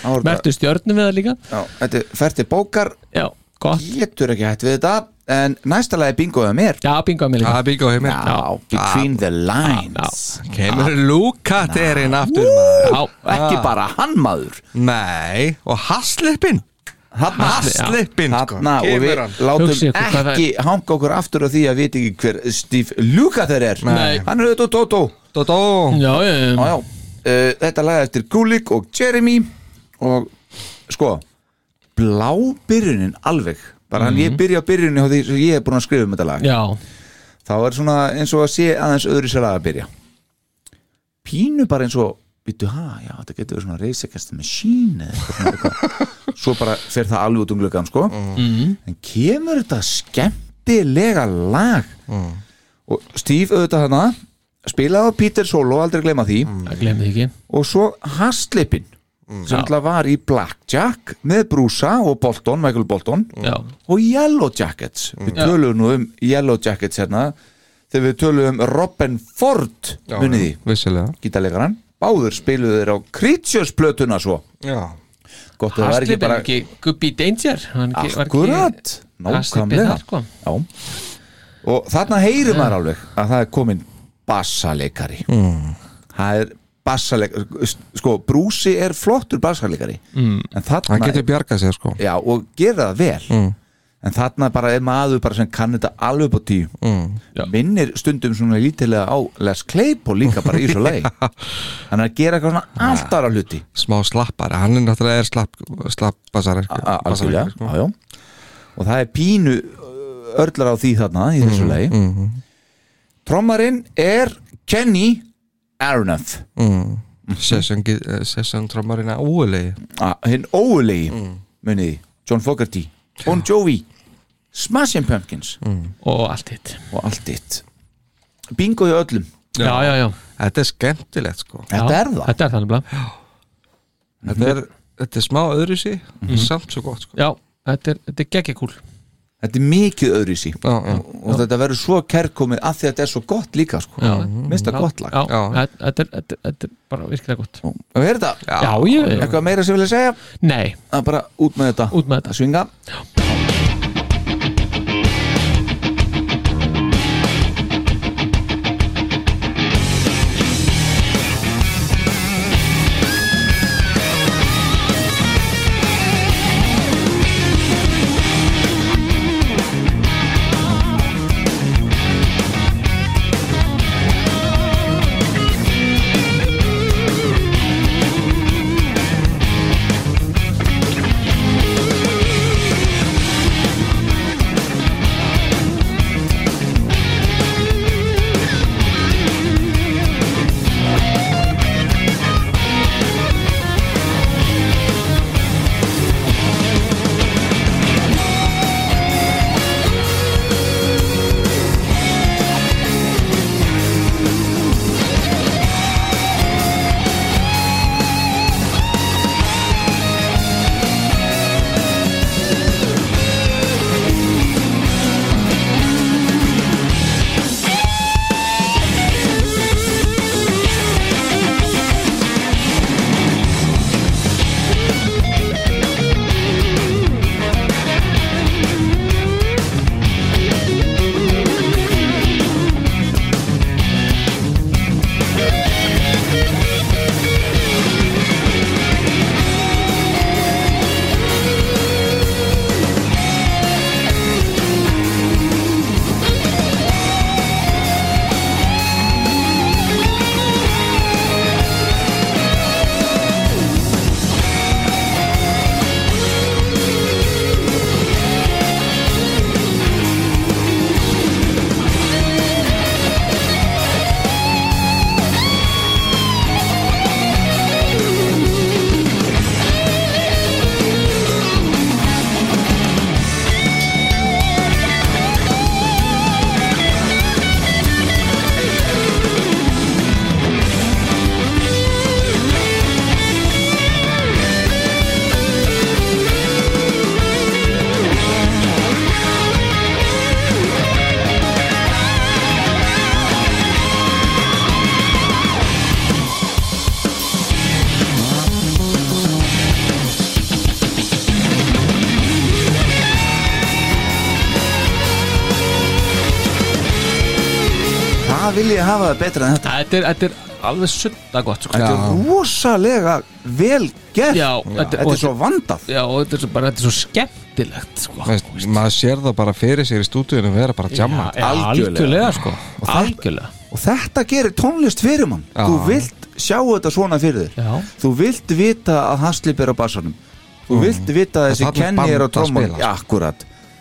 Speaker 3: Það voru bara-
Speaker 5: Mertu stjörnum við það líka
Speaker 3: Já, Þetta er ferti bókar
Speaker 5: Já, gott
Speaker 3: getur ekki hætt við þetta en næsta lagi bingoða mér
Speaker 5: Já, bingoð mér líka
Speaker 4: Það er bíkó heimir
Speaker 3: Já, Between the Lines
Speaker 4: Kemur Lukaterinn aftur maður.
Speaker 5: Já,
Speaker 3: og ekki
Speaker 4: Ah.
Speaker 3: bara hann maður
Speaker 4: Nei, og Hasslippin Hasslippin sko.
Speaker 3: Hanna, og við
Speaker 4: Kemur hann
Speaker 3: látum
Speaker 5: Hugsið ykkur hvað það
Speaker 3: ekki hanga okkur aftur á því að við ekki hver Steve Lukather er
Speaker 5: Nei.
Speaker 3: hann er auðvitað Tótó
Speaker 4: Dodó
Speaker 5: já, já, já.
Speaker 3: Já, já. Uh, þetta lag er eftir Gulik og Jeremy og sko blá byrjunin alveg bara hann ég byrja á byrjunin á því sem ég er búin að skrifa um þetta lag
Speaker 5: já.
Speaker 3: þá er svona eins og að sé aðeins öðru sér lag að byrja pínu bara eins og býttu ha, já þetta getur verið svona reisekast machine eða eitthvað svona eitthvað. svo bara fer það alveg út um gluggan sko en kemur þetta skemmtilega lag og Steve auðvitað hana spilaði á Peter Solo, aldrei gleyma því
Speaker 5: Það glemði ekki
Speaker 3: og svo Haslipin sem alltaf var í Blackjack með Brúsa og Bolton, Michael Bolton
Speaker 5: Já,
Speaker 3: og Yellow Jackets við tölum nú um Yellow Jackets hérna þegar við tölum um Robin Ford munið því,
Speaker 4: Vissilega
Speaker 3: gítarleikaran báður spiluðu þeir á Creatures plötuna svo
Speaker 4: Já
Speaker 3: gott að það var
Speaker 5: Hasli
Speaker 3: ekki
Speaker 5: bara...
Speaker 3: bara
Speaker 5: ekki Gubbi Danger hann ekki- var ekki-
Speaker 3: akkurat,
Speaker 5: Hasli
Speaker 3: nákvæmlega
Speaker 5: þar, sko.
Speaker 3: Já. og þarna heyrir maður alveg að það er komin bassaleikari mm. það er bassaleikari sko, brúsi er flottur bassaleikari mm. en þarna
Speaker 4: Hann getur bjargað sér sko
Speaker 3: já, og gera það vel
Speaker 4: Mm.
Speaker 3: en þarna bara er maður bara sem kann þetta alveg upp á tíu
Speaker 4: mm.
Speaker 3: minnir stundum svona lítilega á Les Claypool líka bara í svo lei hann er að gera eitthvað svona allt aðra hluti
Speaker 4: Smá slappari, hann er náttúrulega er slapp, slapp basar,
Speaker 10: sko.
Speaker 3: A- a- algjörlega,
Speaker 5: sko.
Speaker 3: já, já. og það er pínu ö, örlar á því þarna í þessu
Speaker 5: Mhm,
Speaker 3: lei trommarinn er Kenny Aronoff
Speaker 10: eh,
Speaker 4: Session, gí- session trommarina úlegi
Speaker 3: Ah, hinn óulegi
Speaker 5: Mhm.
Speaker 3: muniði, John Fogarty Bon Jovi, Smashing Pumpkins
Speaker 5: Mhm. Og allt hitt
Speaker 3: og allt ditt bingo í öllum,
Speaker 5: Já, já, já,
Speaker 4: Þetta er skemmtilegt sko
Speaker 3: þetta er það
Speaker 5: Þetta er þannig bara
Speaker 4: Þetta er, þetta er smá öðru sí Samt svo gott sko
Speaker 5: Já, þetta er, þetta er geggjakúl
Speaker 3: þetta er mikið öðru sí
Speaker 4: Já, já,
Speaker 3: og þetta verður svo kærkomið að því að þetta er svo gott líka sko.
Speaker 5: Já.
Speaker 3: minnst það gott lag
Speaker 5: Já,
Speaker 4: Já.
Speaker 5: þetta- þetta er, þetta er, þetta er bara virkilega gott
Speaker 3: og er þetta,
Speaker 5: Já, ég,
Speaker 3: eitthvað meira sem vilja segja
Speaker 5: nei,
Speaker 3: að bara út með þetta,
Speaker 5: Út með þetta.
Speaker 3: að svinga
Speaker 8: When
Speaker 3: hvað vil ég hafa það betra en þetta
Speaker 5: Þetta er, þetta er alveg sunda gott sko.
Speaker 3: þetta er rosalega vel gert
Speaker 5: Já, þetta-
Speaker 3: þetta
Speaker 5: og-
Speaker 3: er svo vandað
Speaker 5: Já, og þetta er svo, bara, þetta er svo skemmtilegt sko.
Speaker 10: Veist, maður sér það bara fyrir sér í stúdíunum vera bara að jamma
Speaker 5: Já, algjörlega, sko. algjörlega.
Speaker 3: og þetta gerir tónlist fyrir mann
Speaker 10: Já.
Speaker 3: þú vilt sjá þetta svona fyrir þér
Speaker 5: Já.
Speaker 3: þú vilt vita að Haslip er á bassanum þú vilt vita að þessi
Speaker 10: þarna er
Speaker 3: Kenny Mm. er á
Speaker 10: band að
Speaker 3: trommun
Speaker 10: spila, sko.
Speaker 3: ja, akkurat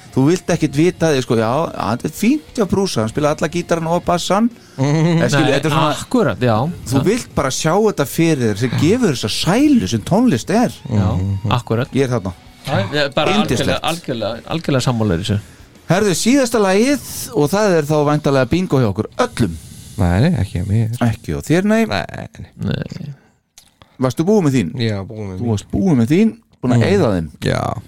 Speaker 3: þú vilt ekkit vita því sko, já, að þetta er fínt hjá brúsa hann spila alla gítaran og bassan mm. skil, þetta er svona
Speaker 5: akkurat, já
Speaker 3: þú vilt bara sjá þetta fyrir þér sem gefur þessa sælu sem tónlist er
Speaker 5: Já, akkurat
Speaker 3: ég Mhm. er þarna
Speaker 5: Það er Bara algjörlega,
Speaker 3: Yndislegt.
Speaker 5: algjörlega, algjörlega sammálaður þessu
Speaker 3: herðu síðasta lagið og það er þá væntalega bingo hjá okkur öllum
Speaker 10: nei, ekki að mér
Speaker 3: ekki og þér nei,
Speaker 10: nei,
Speaker 5: Nei.
Speaker 3: varstu búið með þín
Speaker 10: já, búin með
Speaker 3: þú
Speaker 10: mér
Speaker 3: varst búið með þín, búin að eyða þeim
Speaker 10: já,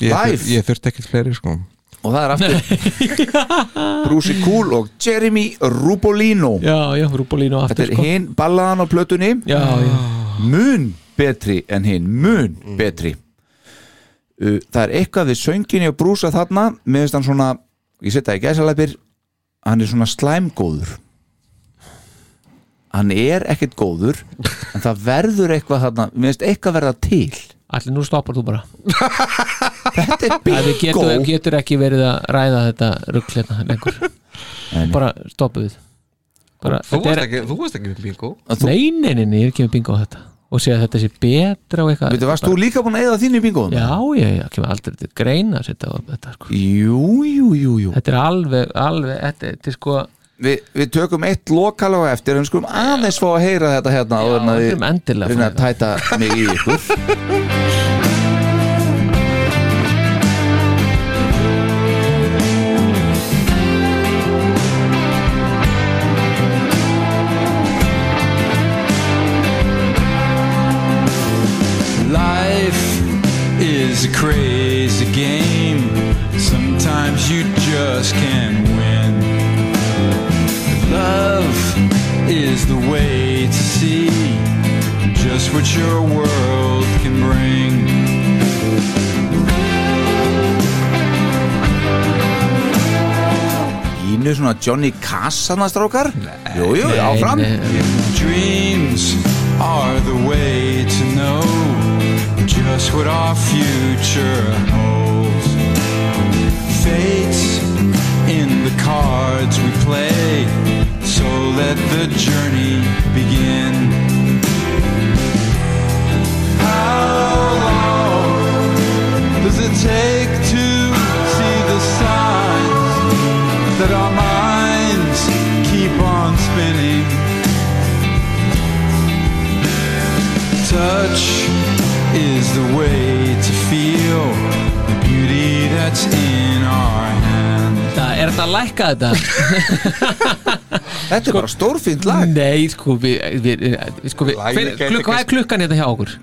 Speaker 10: ég,
Speaker 3: Live.
Speaker 10: þur, ég þurfti ekkert fleiri sko
Speaker 3: og það er aftur Brucey Cool og Jeremy Rubolino
Speaker 5: Já, já, Rúbólínu
Speaker 3: þetta
Speaker 5: aftur sko.
Speaker 3: er hinn ballaðan á plötunni
Speaker 5: Já, já,
Speaker 3: mun betri en hinn mun
Speaker 5: Mm.
Speaker 3: betri Uh, það er eitthvað við sönginni og brúsa þarna með þess að hann svona, ég setja í gæsalæpir hann er svona slæmgóður hann er ekkert góður en það verður eitthvað þarna, mér finnst eitthvað verða til
Speaker 5: allir nú stoppar þú bara
Speaker 3: þetta er
Speaker 5: Það við
Speaker 3: bingo
Speaker 5: getur, getur ekki verið að ræða þetta rugl hérna lengur
Speaker 3: Nei, nei.
Speaker 5: Bara stoppa við bara,
Speaker 10: þú
Speaker 5: þetta
Speaker 10: varst
Speaker 5: er,
Speaker 10: ekki, þú varst ekki með bingo
Speaker 3: Að þú-
Speaker 5: Nei, nei, nei, nei, ég er ekki með bingo á þetta Og segja að þetta sé betra og eitthvað
Speaker 3: Veitu, varst þú líka búin að eyða þínu í bingoðum?
Speaker 5: Já, já, já, kemur aldrei til greina þetta, þetta, sko.
Speaker 3: Jú, jú, jú, jú
Speaker 5: þetta er alveg, alveg Þetta, þetta er sko
Speaker 3: Vi, Við tökum eitt lokal á eftir en skulum aðeins fá að heyra þetta hérna áður en að
Speaker 5: við
Speaker 3: við
Speaker 5: erum endilega að
Speaker 3: reyna
Speaker 5: fá
Speaker 3: að tæta mig í ykkur
Speaker 4: Life is a crazy game. Sometimes you just can't win. Love is the way to see just what your world can bring.
Speaker 3: Ínu svona Johnny Cass hann að strákar Jú, jú, áfram
Speaker 5: Nei, nei,
Speaker 4: Dreams are the way to know just what our future holds. Fates in the cards we play, so let the journey begin. How long does it take to see the signs that our minds keep on spinning? Touch is the way to feel the beauty that's in our hands.
Speaker 5: Þetta, er þetta að lækka þetta?
Speaker 3: Þetta er
Speaker 5: Sko-
Speaker 3: bara stórfínt lag
Speaker 5: Nei, sko, við, við, við, sko, við
Speaker 10: Lagið
Speaker 5: hver,
Speaker 10: gæti
Speaker 5: kluk, Hvað er klukkan hérna hjá okkur?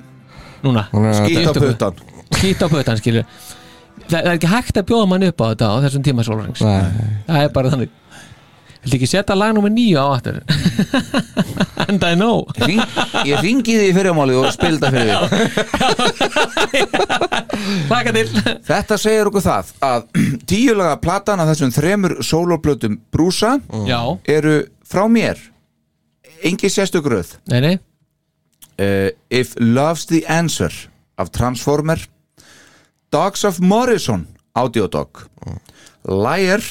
Speaker 5: Núna,
Speaker 3: Skýt á
Speaker 5: Þetta-
Speaker 3: puttan
Speaker 5: skýt á pötan, skilur Það, það er ekki hægt að bjóða mann upp á þetta á þessum tíma sólurings
Speaker 10: Nei.
Speaker 5: Það er bara þannig Viltu ekki setja lag nummer nýju á aftur? And I know
Speaker 3: Hring, Ég ringi því í fyrramáli og spil þetta fyrir því
Speaker 5: Laka til
Speaker 3: Þetta segir okkur það að tíulaga platan af þessum þremur sólóblötum brúsa
Speaker 5: Já,
Speaker 3: eru frá mér Engi sérstökröð
Speaker 5: nei, nei
Speaker 3: uh, If Love's the Answer af Transformer Dogs of Morrison Audiodog Liar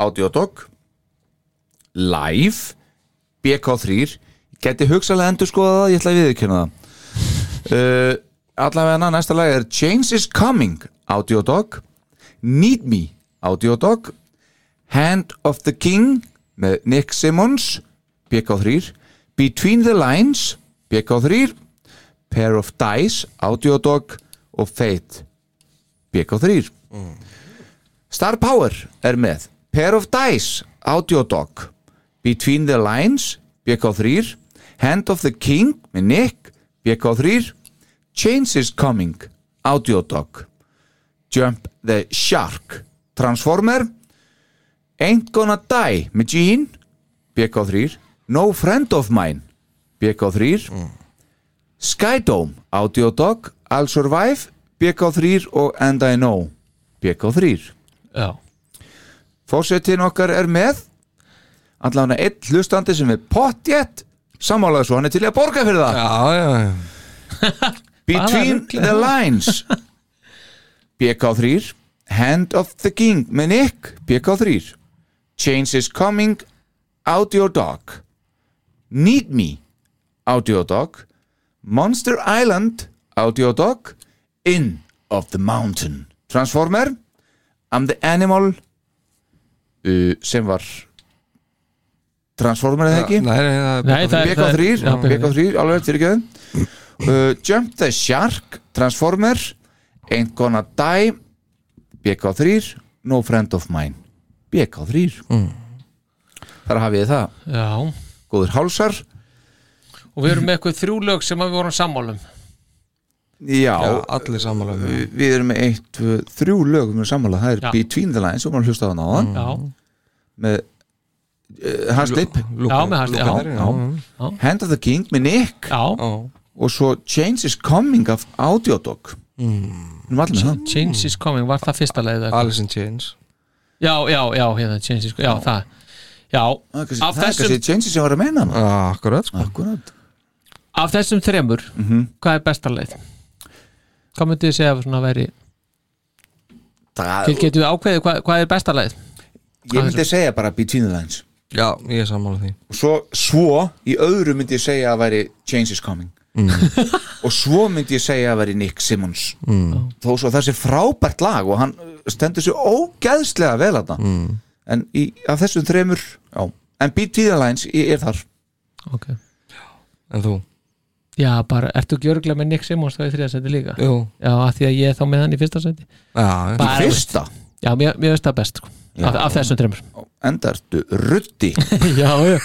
Speaker 3: Audiodog Live BK3 geti hugsalega endur skoða það, ég ætla að viðurkenna það uh, allavega næsta lag er Change is Coming Audiodog Need Me Audiodog Hand of the King með Nick Simmons BK3 Between the Lines BK3 Pair of Dice Audiodog og Fate BK3 Star Power er með Pair of Dice Audiodog Between the Lines BK3 Hand of the King með Nick BK3 Change is Coming Audiodog Jump the Shark Transformer Ain't Gonna Die með Gene BK3 No Friend of Mine BK3 Skydome Audiodog I'll Survive BK3 og And I Know BK3
Speaker 5: Já,
Speaker 3: Fórsetin okkar er með allavega einn hlustandi sem er pottjett sammálaði svo, hann er til í að borga fyrir það
Speaker 4: já, já, já.
Speaker 3: Between
Speaker 5: Bara
Speaker 3: the Lines BK3 Hand of the King með Nick BK3 Change is Coming Audio Dog Need Me Audio Dog Monster Island Audio Dog In of the Mountain Transformer I'm the Animal uh, sem var Transformer eða ekki
Speaker 4: Nei, nei, það hérna er
Speaker 5: Nei, það er- það er-
Speaker 3: BK3
Speaker 5: já,
Speaker 3: BK3, alveg fyrirgjöðum uh, Jump the Shark, Transformer Ain't Gonna Die BK3, No Friend of Mine BK3
Speaker 5: Mm.
Speaker 3: Þar hafið þið það,
Speaker 5: Já,
Speaker 3: góður hálsar
Speaker 5: og við erum með eitthvað þrjú lög sem að við vorum sammálum
Speaker 3: Mm. Já, uh,
Speaker 4: Já, allir sammála um það.
Speaker 3: við erum með eitt, tvö, þrjú lögum við sammála, það er
Speaker 5: Já.
Speaker 3: Between the Lines og maður hlusta á hann á hann
Speaker 5: Já,
Speaker 3: með uh, Hans Lipp,
Speaker 4: Lúka-
Speaker 5: Já, með hans-
Speaker 4: Lúka
Speaker 5: já,
Speaker 4: þeir,
Speaker 3: já. Hand of the King með Nick
Speaker 5: já,
Speaker 4: já.
Speaker 3: og svo Change is Coming of Audiodog
Speaker 4: Hmm.
Speaker 3: mm. Ch
Speaker 5: Change is Coming var það fyrsta leið
Speaker 3: Ah.
Speaker 5: eða-
Speaker 4: Alice in Chains
Speaker 5: Já, já, já, hérna Change is Coming, já, það Já,
Speaker 3: Það er
Speaker 5: Af
Speaker 3: kannski- það er
Speaker 5: þessum-
Speaker 3: kannski changes sem var að meina maður.
Speaker 4: ah, Akkurat sko
Speaker 3: Akkurat
Speaker 5: af þessum þremur hvað er besta leið? Hvað myndið þið segja svona væri
Speaker 3: Það,
Speaker 5: Til getum við ákveðið hvað, hvað er besta leið?
Speaker 3: ég myndi segja bara between the lines
Speaker 4: Já, ég er sammála því
Speaker 3: og svo, svo í öðru myndi ég segja að væri change is coming
Speaker 4: Hmm.
Speaker 3: og svo myndi ég segja að væri Nick Simmons
Speaker 4: Hmm.
Speaker 3: mm. þó svo það sé frábært lag og hann uh, stendur sér ógeðslega vel að það
Speaker 4: Hmm.
Speaker 3: mm. en í, af þessum þremur já, en between the lines ég er þar
Speaker 5: Okay.
Speaker 4: En þú?
Speaker 5: Já, bara, ertu ekki örgulega með Nick Simmons þá í þriðasæti líka?
Speaker 4: Jú
Speaker 5: Já, af því að ég er þá með hann í fyrsta sæti
Speaker 4: Já,
Speaker 5: Bara-
Speaker 3: fyrsta,
Speaker 5: Já, mér, mér veist það best sko. af, af þessum þremur
Speaker 3: enda ertu ruddi
Speaker 5: Já, já,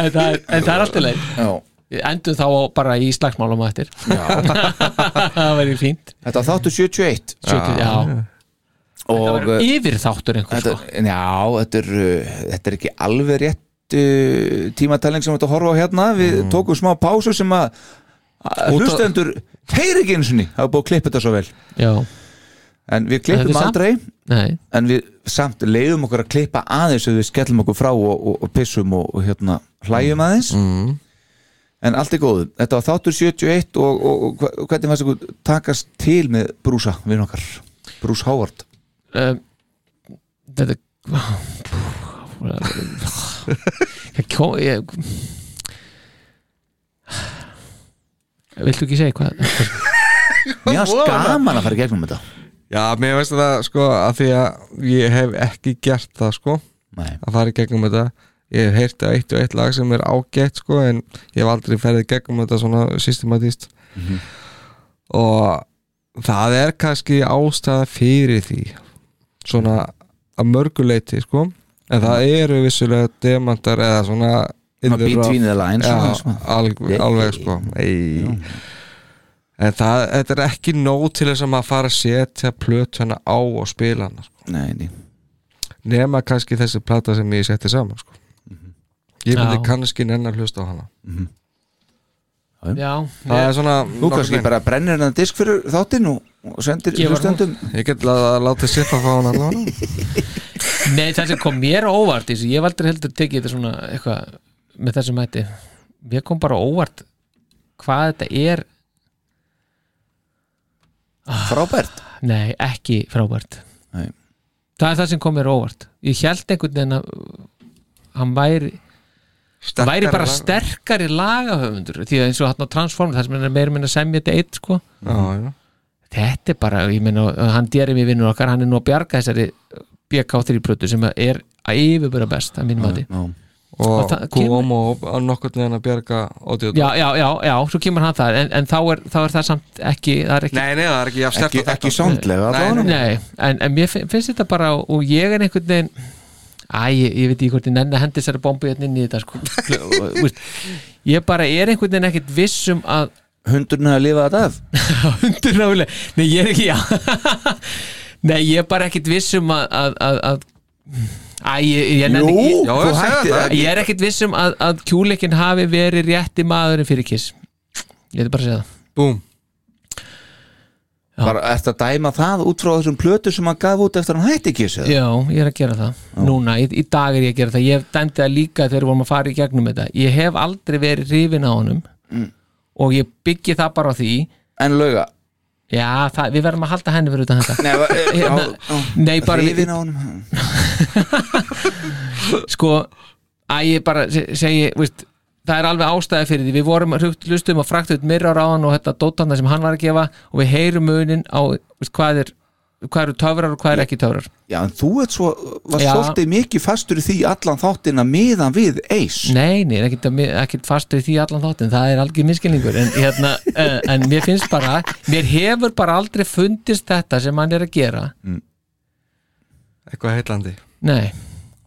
Speaker 5: en það er, en það er alltaf leið
Speaker 3: já
Speaker 5: Við endum þá á- bara í slagsmálum á eftir Það væri fínt
Speaker 3: Þetta var þáttu 71
Speaker 5: Sjötu, já,
Speaker 3: og uh,
Speaker 5: já. Yfir þáttur einhver
Speaker 3: þetta,
Speaker 5: sko.
Speaker 3: Já, þetta er, uh, þetta er ekki alveg rétt uh, tímataling sem þetta horfa á hérna Við tókum smá pásu sem að að
Speaker 4: Mm. Út á-
Speaker 3: hlustendur heyri ekki eins og ný Það er búið að klippa þetta svo vel
Speaker 5: Já,
Speaker 3: En við
Speaker 5: Þetta
Speaker 3: klippum
Speaker 5: er samt-
Speaker 3: aldrei
Speaker 5: nei
Speaker 3: En við samt leiðum okkur að klippa aðeins ef við skellum okkur frá og, og, og pissum og, og hérna hlæjum aðeins
Speaker 4: mm.
Speaker 3: En allt er góðu Þetta var þáttur 71 og, og, og hva- hvernig fannst ykkur takast til með brúsa við okkar Brús Hávart
Speaker 5: um, þetta ég kom ég viltu ekki segja hvað
Speaker 3: Mér fannst gaman að fara í gegnum þetta
Speaker 4: Já, mér veist það sko að því að ég hef ekki gert það sko
Speaker 3: Nei,
Speaker 4: að fara í gegnum þetta ég hef heyrt að eitt og eitt lag sem er ágætt sko, en ég hef aldrei ferðið í gegnum þetta svona systematíst
Speaker 3: Mhm.
Speaker 4: og það er kannski ástæða fyrir því svona að mörguleiti sko, en það eru vissulega demantar eða svona
Speaker 3: Mhm. svona
Speaker 4: illur af-
Speaker 3: between the lines
Speaker 4: já,
Speaker 3: svona, sko. svona.
Speaker 4: alveg,
Speaker 3: Nei.
Speaker 4: alveg sko Ei. en það, þetta er ekki nóg til þess að maður fara að setja plötuna á og spila hana sko
Speaker 3: Nei, nei.
Speaker 4: nema kannski þessi plata sem ég setti saman sko. ég myndi
Speaker 5: Já.
Speaker 4: kannski nenn að hlusta á hana
Speaker 5: já,
Speaker 4: það er svona
Speaker 3: Nú kannski bara brennir hennan disk fyrir þáttinn og, og sendir
Speaker 5: Gefur
Speaker 3: hlustendum
Speaker 4: ég get að láta sippa fá hana allavega.
Speaker 5: nei það sem kom mér á óvart þessi, ég hef aldrei heldur tekið þetta svona eitthvað með þessum hætti mér kom bara á óvart hvað þetta er
Speaker 3: frábært
Speaker 5: nei, ekki frábært
Speaker 3: Nei.
Speaker 5: það er það sem kom mér á óvart ég held einhvern veginn að hann væri það væri bara
Speaker 4: lag.
Speaker 5: sterkari lagahöfundur því að eins og hann á Transformer þar sem hann er meira meina semja þetta eitt sko
Speaker 4: já, já.
Speaker 5: þetta er bara, ég meina, hann dýrið mér vinnur okkar hann er nú að bjarga þessari BK3 plötu sem er að yfirbyrja best að mínum að því
Speaker 3: Já.
Speaker 4: og
Speaker 5: Og það kemur-
Speaker 4: kom og á nokkurn veginn að bjarga audio
Speaker 5: já, já, já, já, svo kemur hann það en, en þá, er, þá er það samt ekki, það er ekki
Speaker 4: nei, nei, það er ekki jafn sterkt
Speaker 3: Ekki,
Speaker 4: og þetta,
Speaker 3: ekki
Speaker 4: sko.
Speaker 3: sándlega
Speaker 4: Nei,
Speaker 3: allavega.
Speaker 5: Nei, en, en mér fin- finnst þetta bara og ég er einhvern veginn Æ, ég, ég veit ekki hvort ég nenni að hendi þessari bombu hérna inn í þetta sko. Og, þú veist, Ég bara er einhvern veginn ekkert viss um að
Speaker 3: Hundurinn hefur lifað þetta af
Speaker 5: hundur nálega Nei, ég er ekki, já Nei, ég er bara ekkert viss um að, að, að, að Æ, ég, ég nenni
Speaker 3: Jú,
Speaker 5: ekki
Speaker 4: Já,
Speaker 3: þú
Speaker 4: ég segi
Speaker 3: hættir
Speaker 4: það.
Speaker 3: það
Speaker 5: Ég er ekkert viss um að, að kjúleikin hafi verið rétti maðurinn fyrir kiss Ég er bara að segja það
Speaker 4: búm,
Speaker 3: bara eftir að dæma það út frá þessum plötu sem hann gaf út eftir að hann hætti ekki þessu
Speaker 5: Já, ég er að gera það Núna, í, í dag er ég að gera það Ég hef dæmt það líka þegar við vorum að fara í gegnum þetta Ég hef aldrei verið hrifin á honum Og ég byggi það bara á því
Speaker 3: en lauga
Speaker 5: Já, það, við verðum að halda henni fyrir utan þetta
Speaker 3: Nei, va- eh, já,
Speaker 5: Hérna,
Speaker 3: já.
Speaker 5: nei, bara-
Speaker 3: Hrifin á honum.
Speaker 5: Sko, að ég bara se- segi veist, Það er alveg ástæði fyrir því Við vorum að hlugt- hlustum að frakta út mirrar á hann Og þetta dótanda sem hann var að gefa Og við heyrum munin á veist, hvað, er, hvað eru töfrar og hvað eru ekki töfrar
Speaker 3: Já, en þú ert svo, var
Speaker 5: Já.
Speaker 3: svolítið mikið fastur í því allan þáttina miðan við eis
Speaker 5: Nei, nei, ekkert, ekkert fastur í því allan þáttin það er algjör miskilningur en, hérna, eh, en mér finnst bara mér hefur bara aldrei fundist þetta sem hann er að gera
Speaker 4: eitthvað heillandi
Speaker 5: Nei,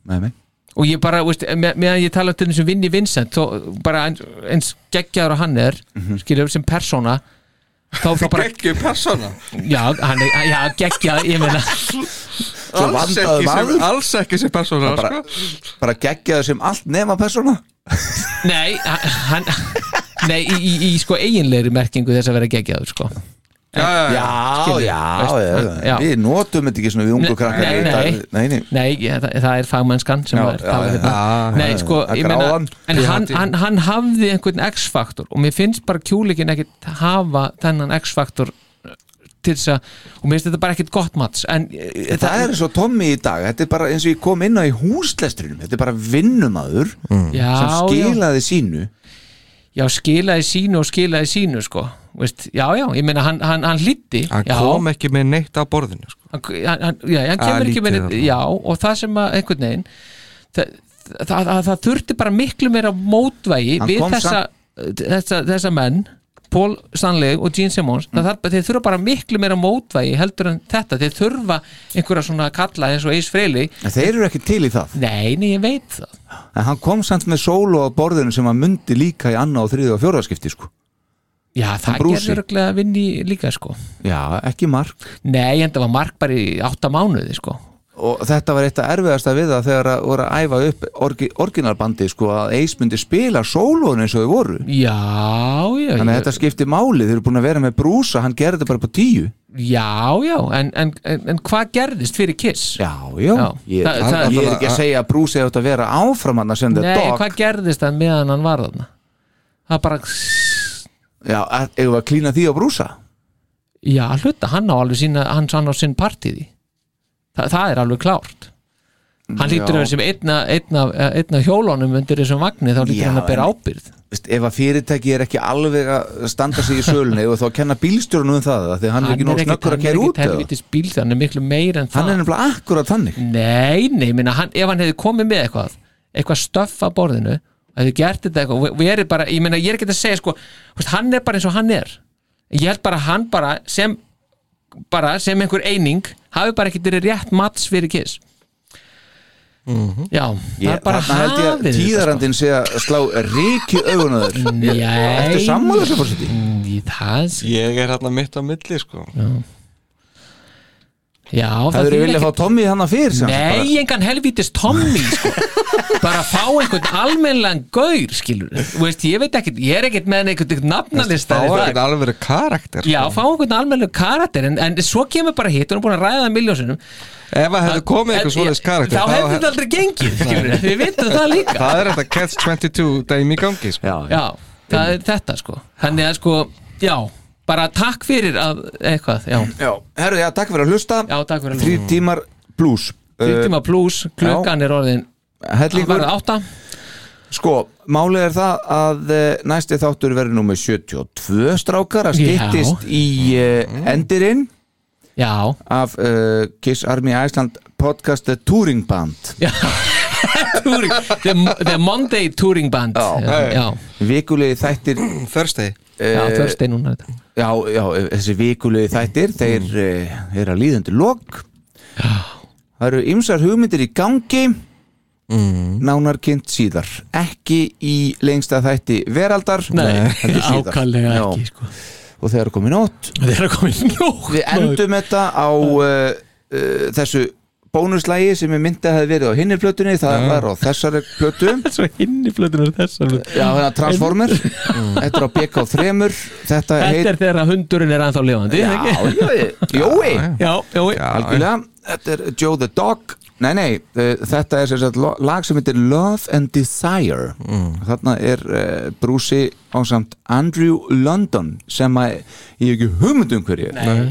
Speaker 3: Nei, nei
Speaker 5: og ég bara, veist, með, meðan ég tala um þessum Vinni Vincent, þó, bara eins, eins geggjaður og hann er, mm
Speaker 3: Mhm.
Speaker 5: skiljum sem persóna þá, þá bara,
Speaker 4: ekki persóna
Speaker 5: já, hann er já, geggjað, ég meina
Speaker 4: alls
Speaker 3: vandaður
Speaker 4: ekki, sem,
Speaker 3: maður.
Speaker 4: alls ekki sem persóna
Speaker 3: bara,
Speaker 4: sko.
Speaker 3: bara geggjaðu sem allt nema persóna
Speaker 5: nei, hann nei, í, í, í sko eiginlegri merkingu þess að vera geggjaður, sko
Speaker 4: já, já, já.
Speaker 3: Já,
Speaker 5: skilur,
Speaker 3: já,
Speaker 5: veist,
Speaker 3: já,
Speaker 5: hann- já.
Speaker 3: Við notum þetta ekki svona við ungu
Speaker 5: Nei,
Speaker 3: krakkar
Speaker 5: nei,
Speaker 3: í dag. nei, nei.
Speaker 5: Nei, ég, það, það er fagmennskan sem
Speaker 3: Já,
Speaker 5: það er
Speaker 3: já,
Speaker 5: það
Speaker 3: já,
Speaker 5: er hérna.
Speaker 4: já,
Speaker 5: Nei, sko,
Speaker 3: það
Speaker 5: ég
Speaker 3: er
Speaker 5: meina
Speaker 3: gráðan.
Speaker 5: En hann, hann, hann hafði einhvern X-faktor og mér finnst bara kjúleikin ekkit hafa þennan X-faktor til þess að, og mér finnst þetta bara ekkit gott mats en eh,
Speaker 3: Það, er eins og Tommy í dag Þetta er bara eins og ég kom inn á í húslestrinum Þetta er bara vinnumadur
Speaker 5: Mm. já,
Speaker 3: sem
Speaker 5: já,
Speaker 3: skilaði sínu
Speaker 5: já, skilaði sínu og skilaði sínu sko, veist, já, já, ég meina hann, hann, hann hlýtti
Speaker 4: hann
Speaker 5: já,
Speaker 4: kom ekki með neitt á borðinu sko.
Speaker 5: hann, hann, hann- já, hann
Speaker 4: Ah,
Speaker 5: kemur ekki
Speaker 4: lítið
Speaker 5: með
Speaker 4: þarna.
Speaker 5: já, og það sem að einhvern veginn það, það, það, það þurfti bara miklu meira mótvægi
Speaker 3: Hann
Speaker 5: við
Speaker 3: kom
Speaker 5: þessa, þessa, þessa menn Paul Stanley og Gene Simmons mm. þarf, þeir þurfa bara miklu meira mótvægi heldur en þetta, þeir þurfa einhverja svona kalla eins og Ace Frehley
Speaker 3: En þeir eru ekki til í það
Speaker 5: nei, nei, ég veit það
Speaker 3: En hann kom samt með sólu á borðinu sem hann mundi líka í annað og þriðið og fjórðarskipti sko.
Speaker 5: já, það
Speaker 3: brúsi.
Speaker 5: gerður örugglega að vinni líka sko
Speaker 3: Já, ekki mark
Speaker 5: nei, en það var mark bara í átta mánuði sko
Speaker 3: og þetta var eitt af erfiðasta við það þegar að voru að æfa upp orgi, orginalbandi sko að Ace myndi spila sólónu eins og þau voru
Speaker 5: já, já,
Speaker 3: þannig að
Speaker 5: ég-
Speaker 3: þetta skipti máli, þeir eru búin að vera með brúsa hann gerði þetta bara på tíu
Speaker 5: já, já en, en, en, en hvað gerðist fyrir Kiss
Speaker 3: já, já,
Speaker 5: Já.
Speaker 3: Ég,
Speaker 5: Það-
Speaker 3: hann,
Speaker 5: það-
Speaker 3: ég er ekki að segja að brúsi hefur þetta að vera áfram hann að senda
Speaker 5: Nei, en
Speaker 3: dog
Speaker 5: hvað gerðist það meðan hann var þarna? Það bara
Speaker 3: já, er- eigum við að klína því á brúsa
Speaker 5: Já, hluta, hann á alveg sína hann sann á sinn partíði Þa, það er alveg klárt Hann lítur
Speaker 3: Já.
Speaker 5: að vera sem einna, einna, einna hjólónum undir þessum vagni þá lítur
Speaker 3: Já,
Speaker 5: hann að bera
Speaker 3: en-
Speaker 5: ábyrð
Speaker 3: Veist, ef að fyrirtæki er ekki alveg að standa sig í sölunni og þá kenna bílstjórnum um það þegar hann er ekki nóg snökkur að
Speaker 5: hann er
Speaker 3: kæra út
Speaker 5: ekkit
Speaker 3: eða?
Speaker 5: helvitis bíl hann er miklu meir en
Speaker 3: hann
Speaker 5: það
Speaker 3: er nefnilega akkurat þannig
Speaker 5: Nei, nei, minna, hann, ef hann hefði komið með eitthvað eitthvað stöff að borðinu hefði gert þetta eitthvað, og við erum bara ég, meina, ég er ekki að segja, sko, þú veist, hann er bara eins og hann er ég held bara að hann bara sem, bara sem einhver eining hafi bara ekki verið rétt mats fyrir kiss Já, það er
Speaker 3: Mhm. Ég,
Speaker 5: bara
Speaker 3: þarna held ég
Speaker 5: hafið
Speaker 3: að tíðarandinn sé að slá ríki augunaður
Speaker 5: Nei.
Speaker 3: Ertu sammála þessu fórseti?
Speaker 5: Í sko. það,
Speaker 4: ég er hérna mitt á milli sko.
Speaker 5: já,
Speaker 3: Það eru
Speaker 5: þýðir
Speaker 3: viljað
Speaker 5: ekkert-
Speaker 3: fá Tommy hann að fyrir sem sagt
Speaker 5: Nei, engan helvítis Tommy sko. bara fá einhvern almennlegan gaur, skilur Þú veist, ég veit ekkert, ég er ekkert með einhvern einhvern nafnalista
Speaker 4: það
Speaker 5: eða
Speaker 4: var
Speaker 5: eitthvað.
Speaker 4: ekkert alveg karakter sko.
Speaker 5: Já, fá einhvern almennlegan karakter en, en svo kemur bara hitt, hún er búin að ræða það miljónsinnum
Speaker 4: ef það hefði komið eitthvað svoleiðis karakter
Speaker 5: Þá
Speaker 4: þá
Speaker 5: hefði
Speaker 4: hef-
Speaker 5: þetta aldrei gengið, skilur Við vitum það líka
Speaker 4: það er þetta catch 22 dæmi í gangi sko.
Speaker 5: Já, það er þetta sko Þannig að sko, já, bara takk fyrir að, eitthvað, já
Speaker 3: Já, herru, já, takk fyrir að hlusta
Speaker 5: Já, takk fyrir að
Speaker 3: Þrý tímar plus
Speaker 5: Þrír tíma pluss, klukkan er orðin Það
Speaker 3: Hellingur,
Speaker 5: verður átta
Speaker 3: sko, málið er það að eh, næsti þáttur verður númer 72 strákar að
Speaker 5: Já. Mm.
Speaker 3: styttist í uh, endirinn
Speaker 5: Já,
Speaker 3: af uh, Kiss Army Iceland podcast The Touring Band
Speaker 5: Já. Touring, the, the Monday Touring Band Já, já, já,
Speaker 3: vikulegi þættir
Speaker 4: Thursday
Speaker 5: já Thursday núna þetta.
Speaker 3: já, já, þessi vikulegi þættir þeir mm. eru að líðandi lok það eru ymsar hugmyndir í gangi
Speaker 5: Mm.
Speaker 3: nánar kynnt síðar ekki í lengsta þætti veraldar
Speaker 5: Nei,
Speaker 3: heldur síðar.
Speaker 5: ákallega
Speaker 3: Já,
Speaker 5: ekki sko.
Speaker 3: og þegar komið nótt
Speaker 5: Það er að koma í nóg
Speaker 3: við endum þetta á uh, uh, þessu bónuslægi sem er myndið að hafa verið á hinni plötunni það var á þessari plötu
Speaker 5: Svo hinni plötun er þessar
Speaker 3: já, hérna Transformer, þetta er á BK3 þetta
Speaker 5: Þetta
Speaker 3: heit
Speaker 5: er þegar að hundurinn er ennþá lifandi
Speaker 3: já,
Speaker 5: ekki?
Speaker 3: Jói, Jói
Speaker 5: já, já, já.
Speaker 3: algjörlega, þetta er Joe the Dog nei, nei, uh, þetta er sem sagt, lo- lag sem heitir Love and Desire þarna er uh, Brúsi ásamt Andrew London sem að ég hef ekki hugmynd um hverju nei.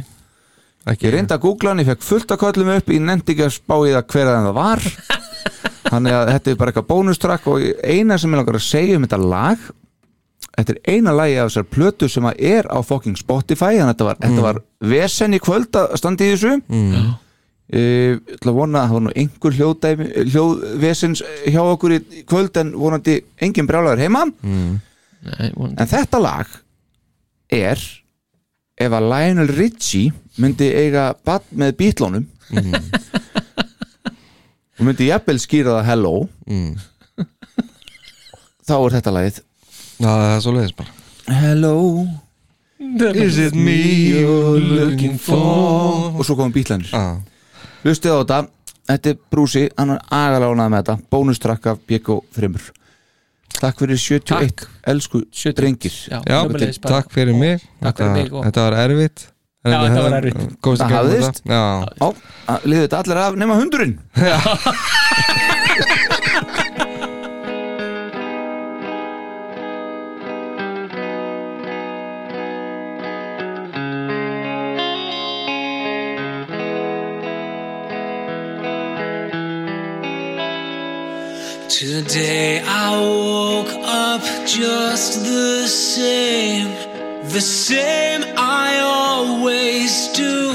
Speaker 11: ekki
Speaker 3: ég reyndi að googla hann, ég fekk fullt að köllum upp ég nefndi ekki að spá í það hver að það var þannig að þetta er bara eitthvað bónustrakk og eina sem ég langar að segja um þetta lag þetta er eina lagi af þessar plötu sem að er á fucking Spotify þannig að þetta var, þetta var vesen í kvöld að standa í þessu mm. ég ætla að vona að það var nú einhver hljóðdæmi, hljóðvesins hjá okkur í í kvöld en vonandi engin brjálagur heima
Speaker 5: Nei, vonandi.
Speaker 3: en þetta lag er ef að Lionel Richie myndi eiga bad með bítlónum og myndi jafnvel skýra það hello þá er þetta lagið
Speaker 11: Já, það er svo leiðis bara
Speaker 3: hello
Speaker 11: Is it me you're looking for Ah.
Speaker 3: og svo komum bítlænir
Speaker 11: Já,
Speaker 3: hlustið á þetta, þetta er Brúsi hann er agalánað með þetta, bónustrakk af BK Frimur takk fyrir 71,
Speaker 12: Takk.
Speaker 3: elsku
Speaker 12: 71.
Speaker 3: drengir
Speaker 12: Já,
Speaker 11: já
Speaker 12: sömuleiðis bara.
Speaker 11: takk fyrir mig
Speaker 12: Takk fyrir
Speaker 11: Þetta-
Speaker 12: mig og-
Speaker 11: Þetta var erfitt
Speaker 5: Já, þetta var erfitt.
Speaker 11: Komst
Speaker 3: Það
Speaker 11: ekki að
Speaker 3: hafðist.
Speaker 11: þetta Já,
Speaker 3: Á, að liðu þetta allir af nema hundurinn
Speaker 4: Today I woke up just the same, the same I always do.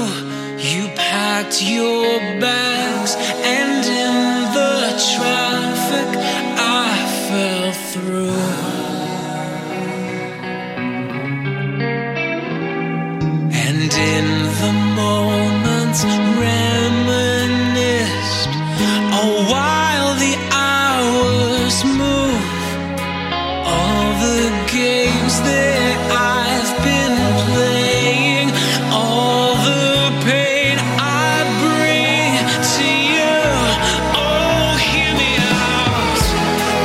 Speaker 4: You packed your bags, and in the traffic I fell through. And in the moments reminisced, oh, while the hours move, all the games that I've been playing, all the pain I bring to you, oh, hear me out.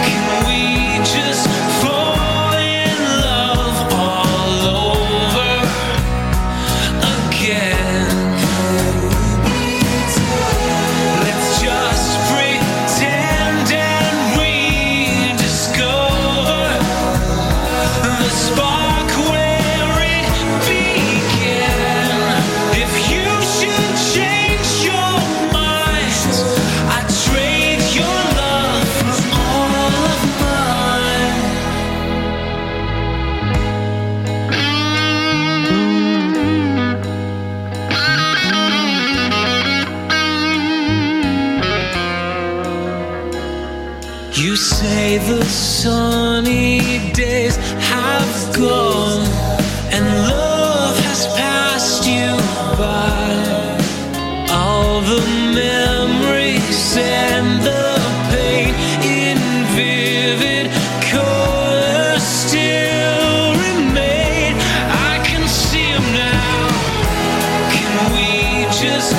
Speaker 4: Can we just fall in love all over? again. Let's just pretend and we discover the spark where it began. If you should change your mind, I trade your love for all of mine. You say the sunny days have gone and love has passed you by. All the memories and the pain in vivid color still remain. I can see 'em now. Can we just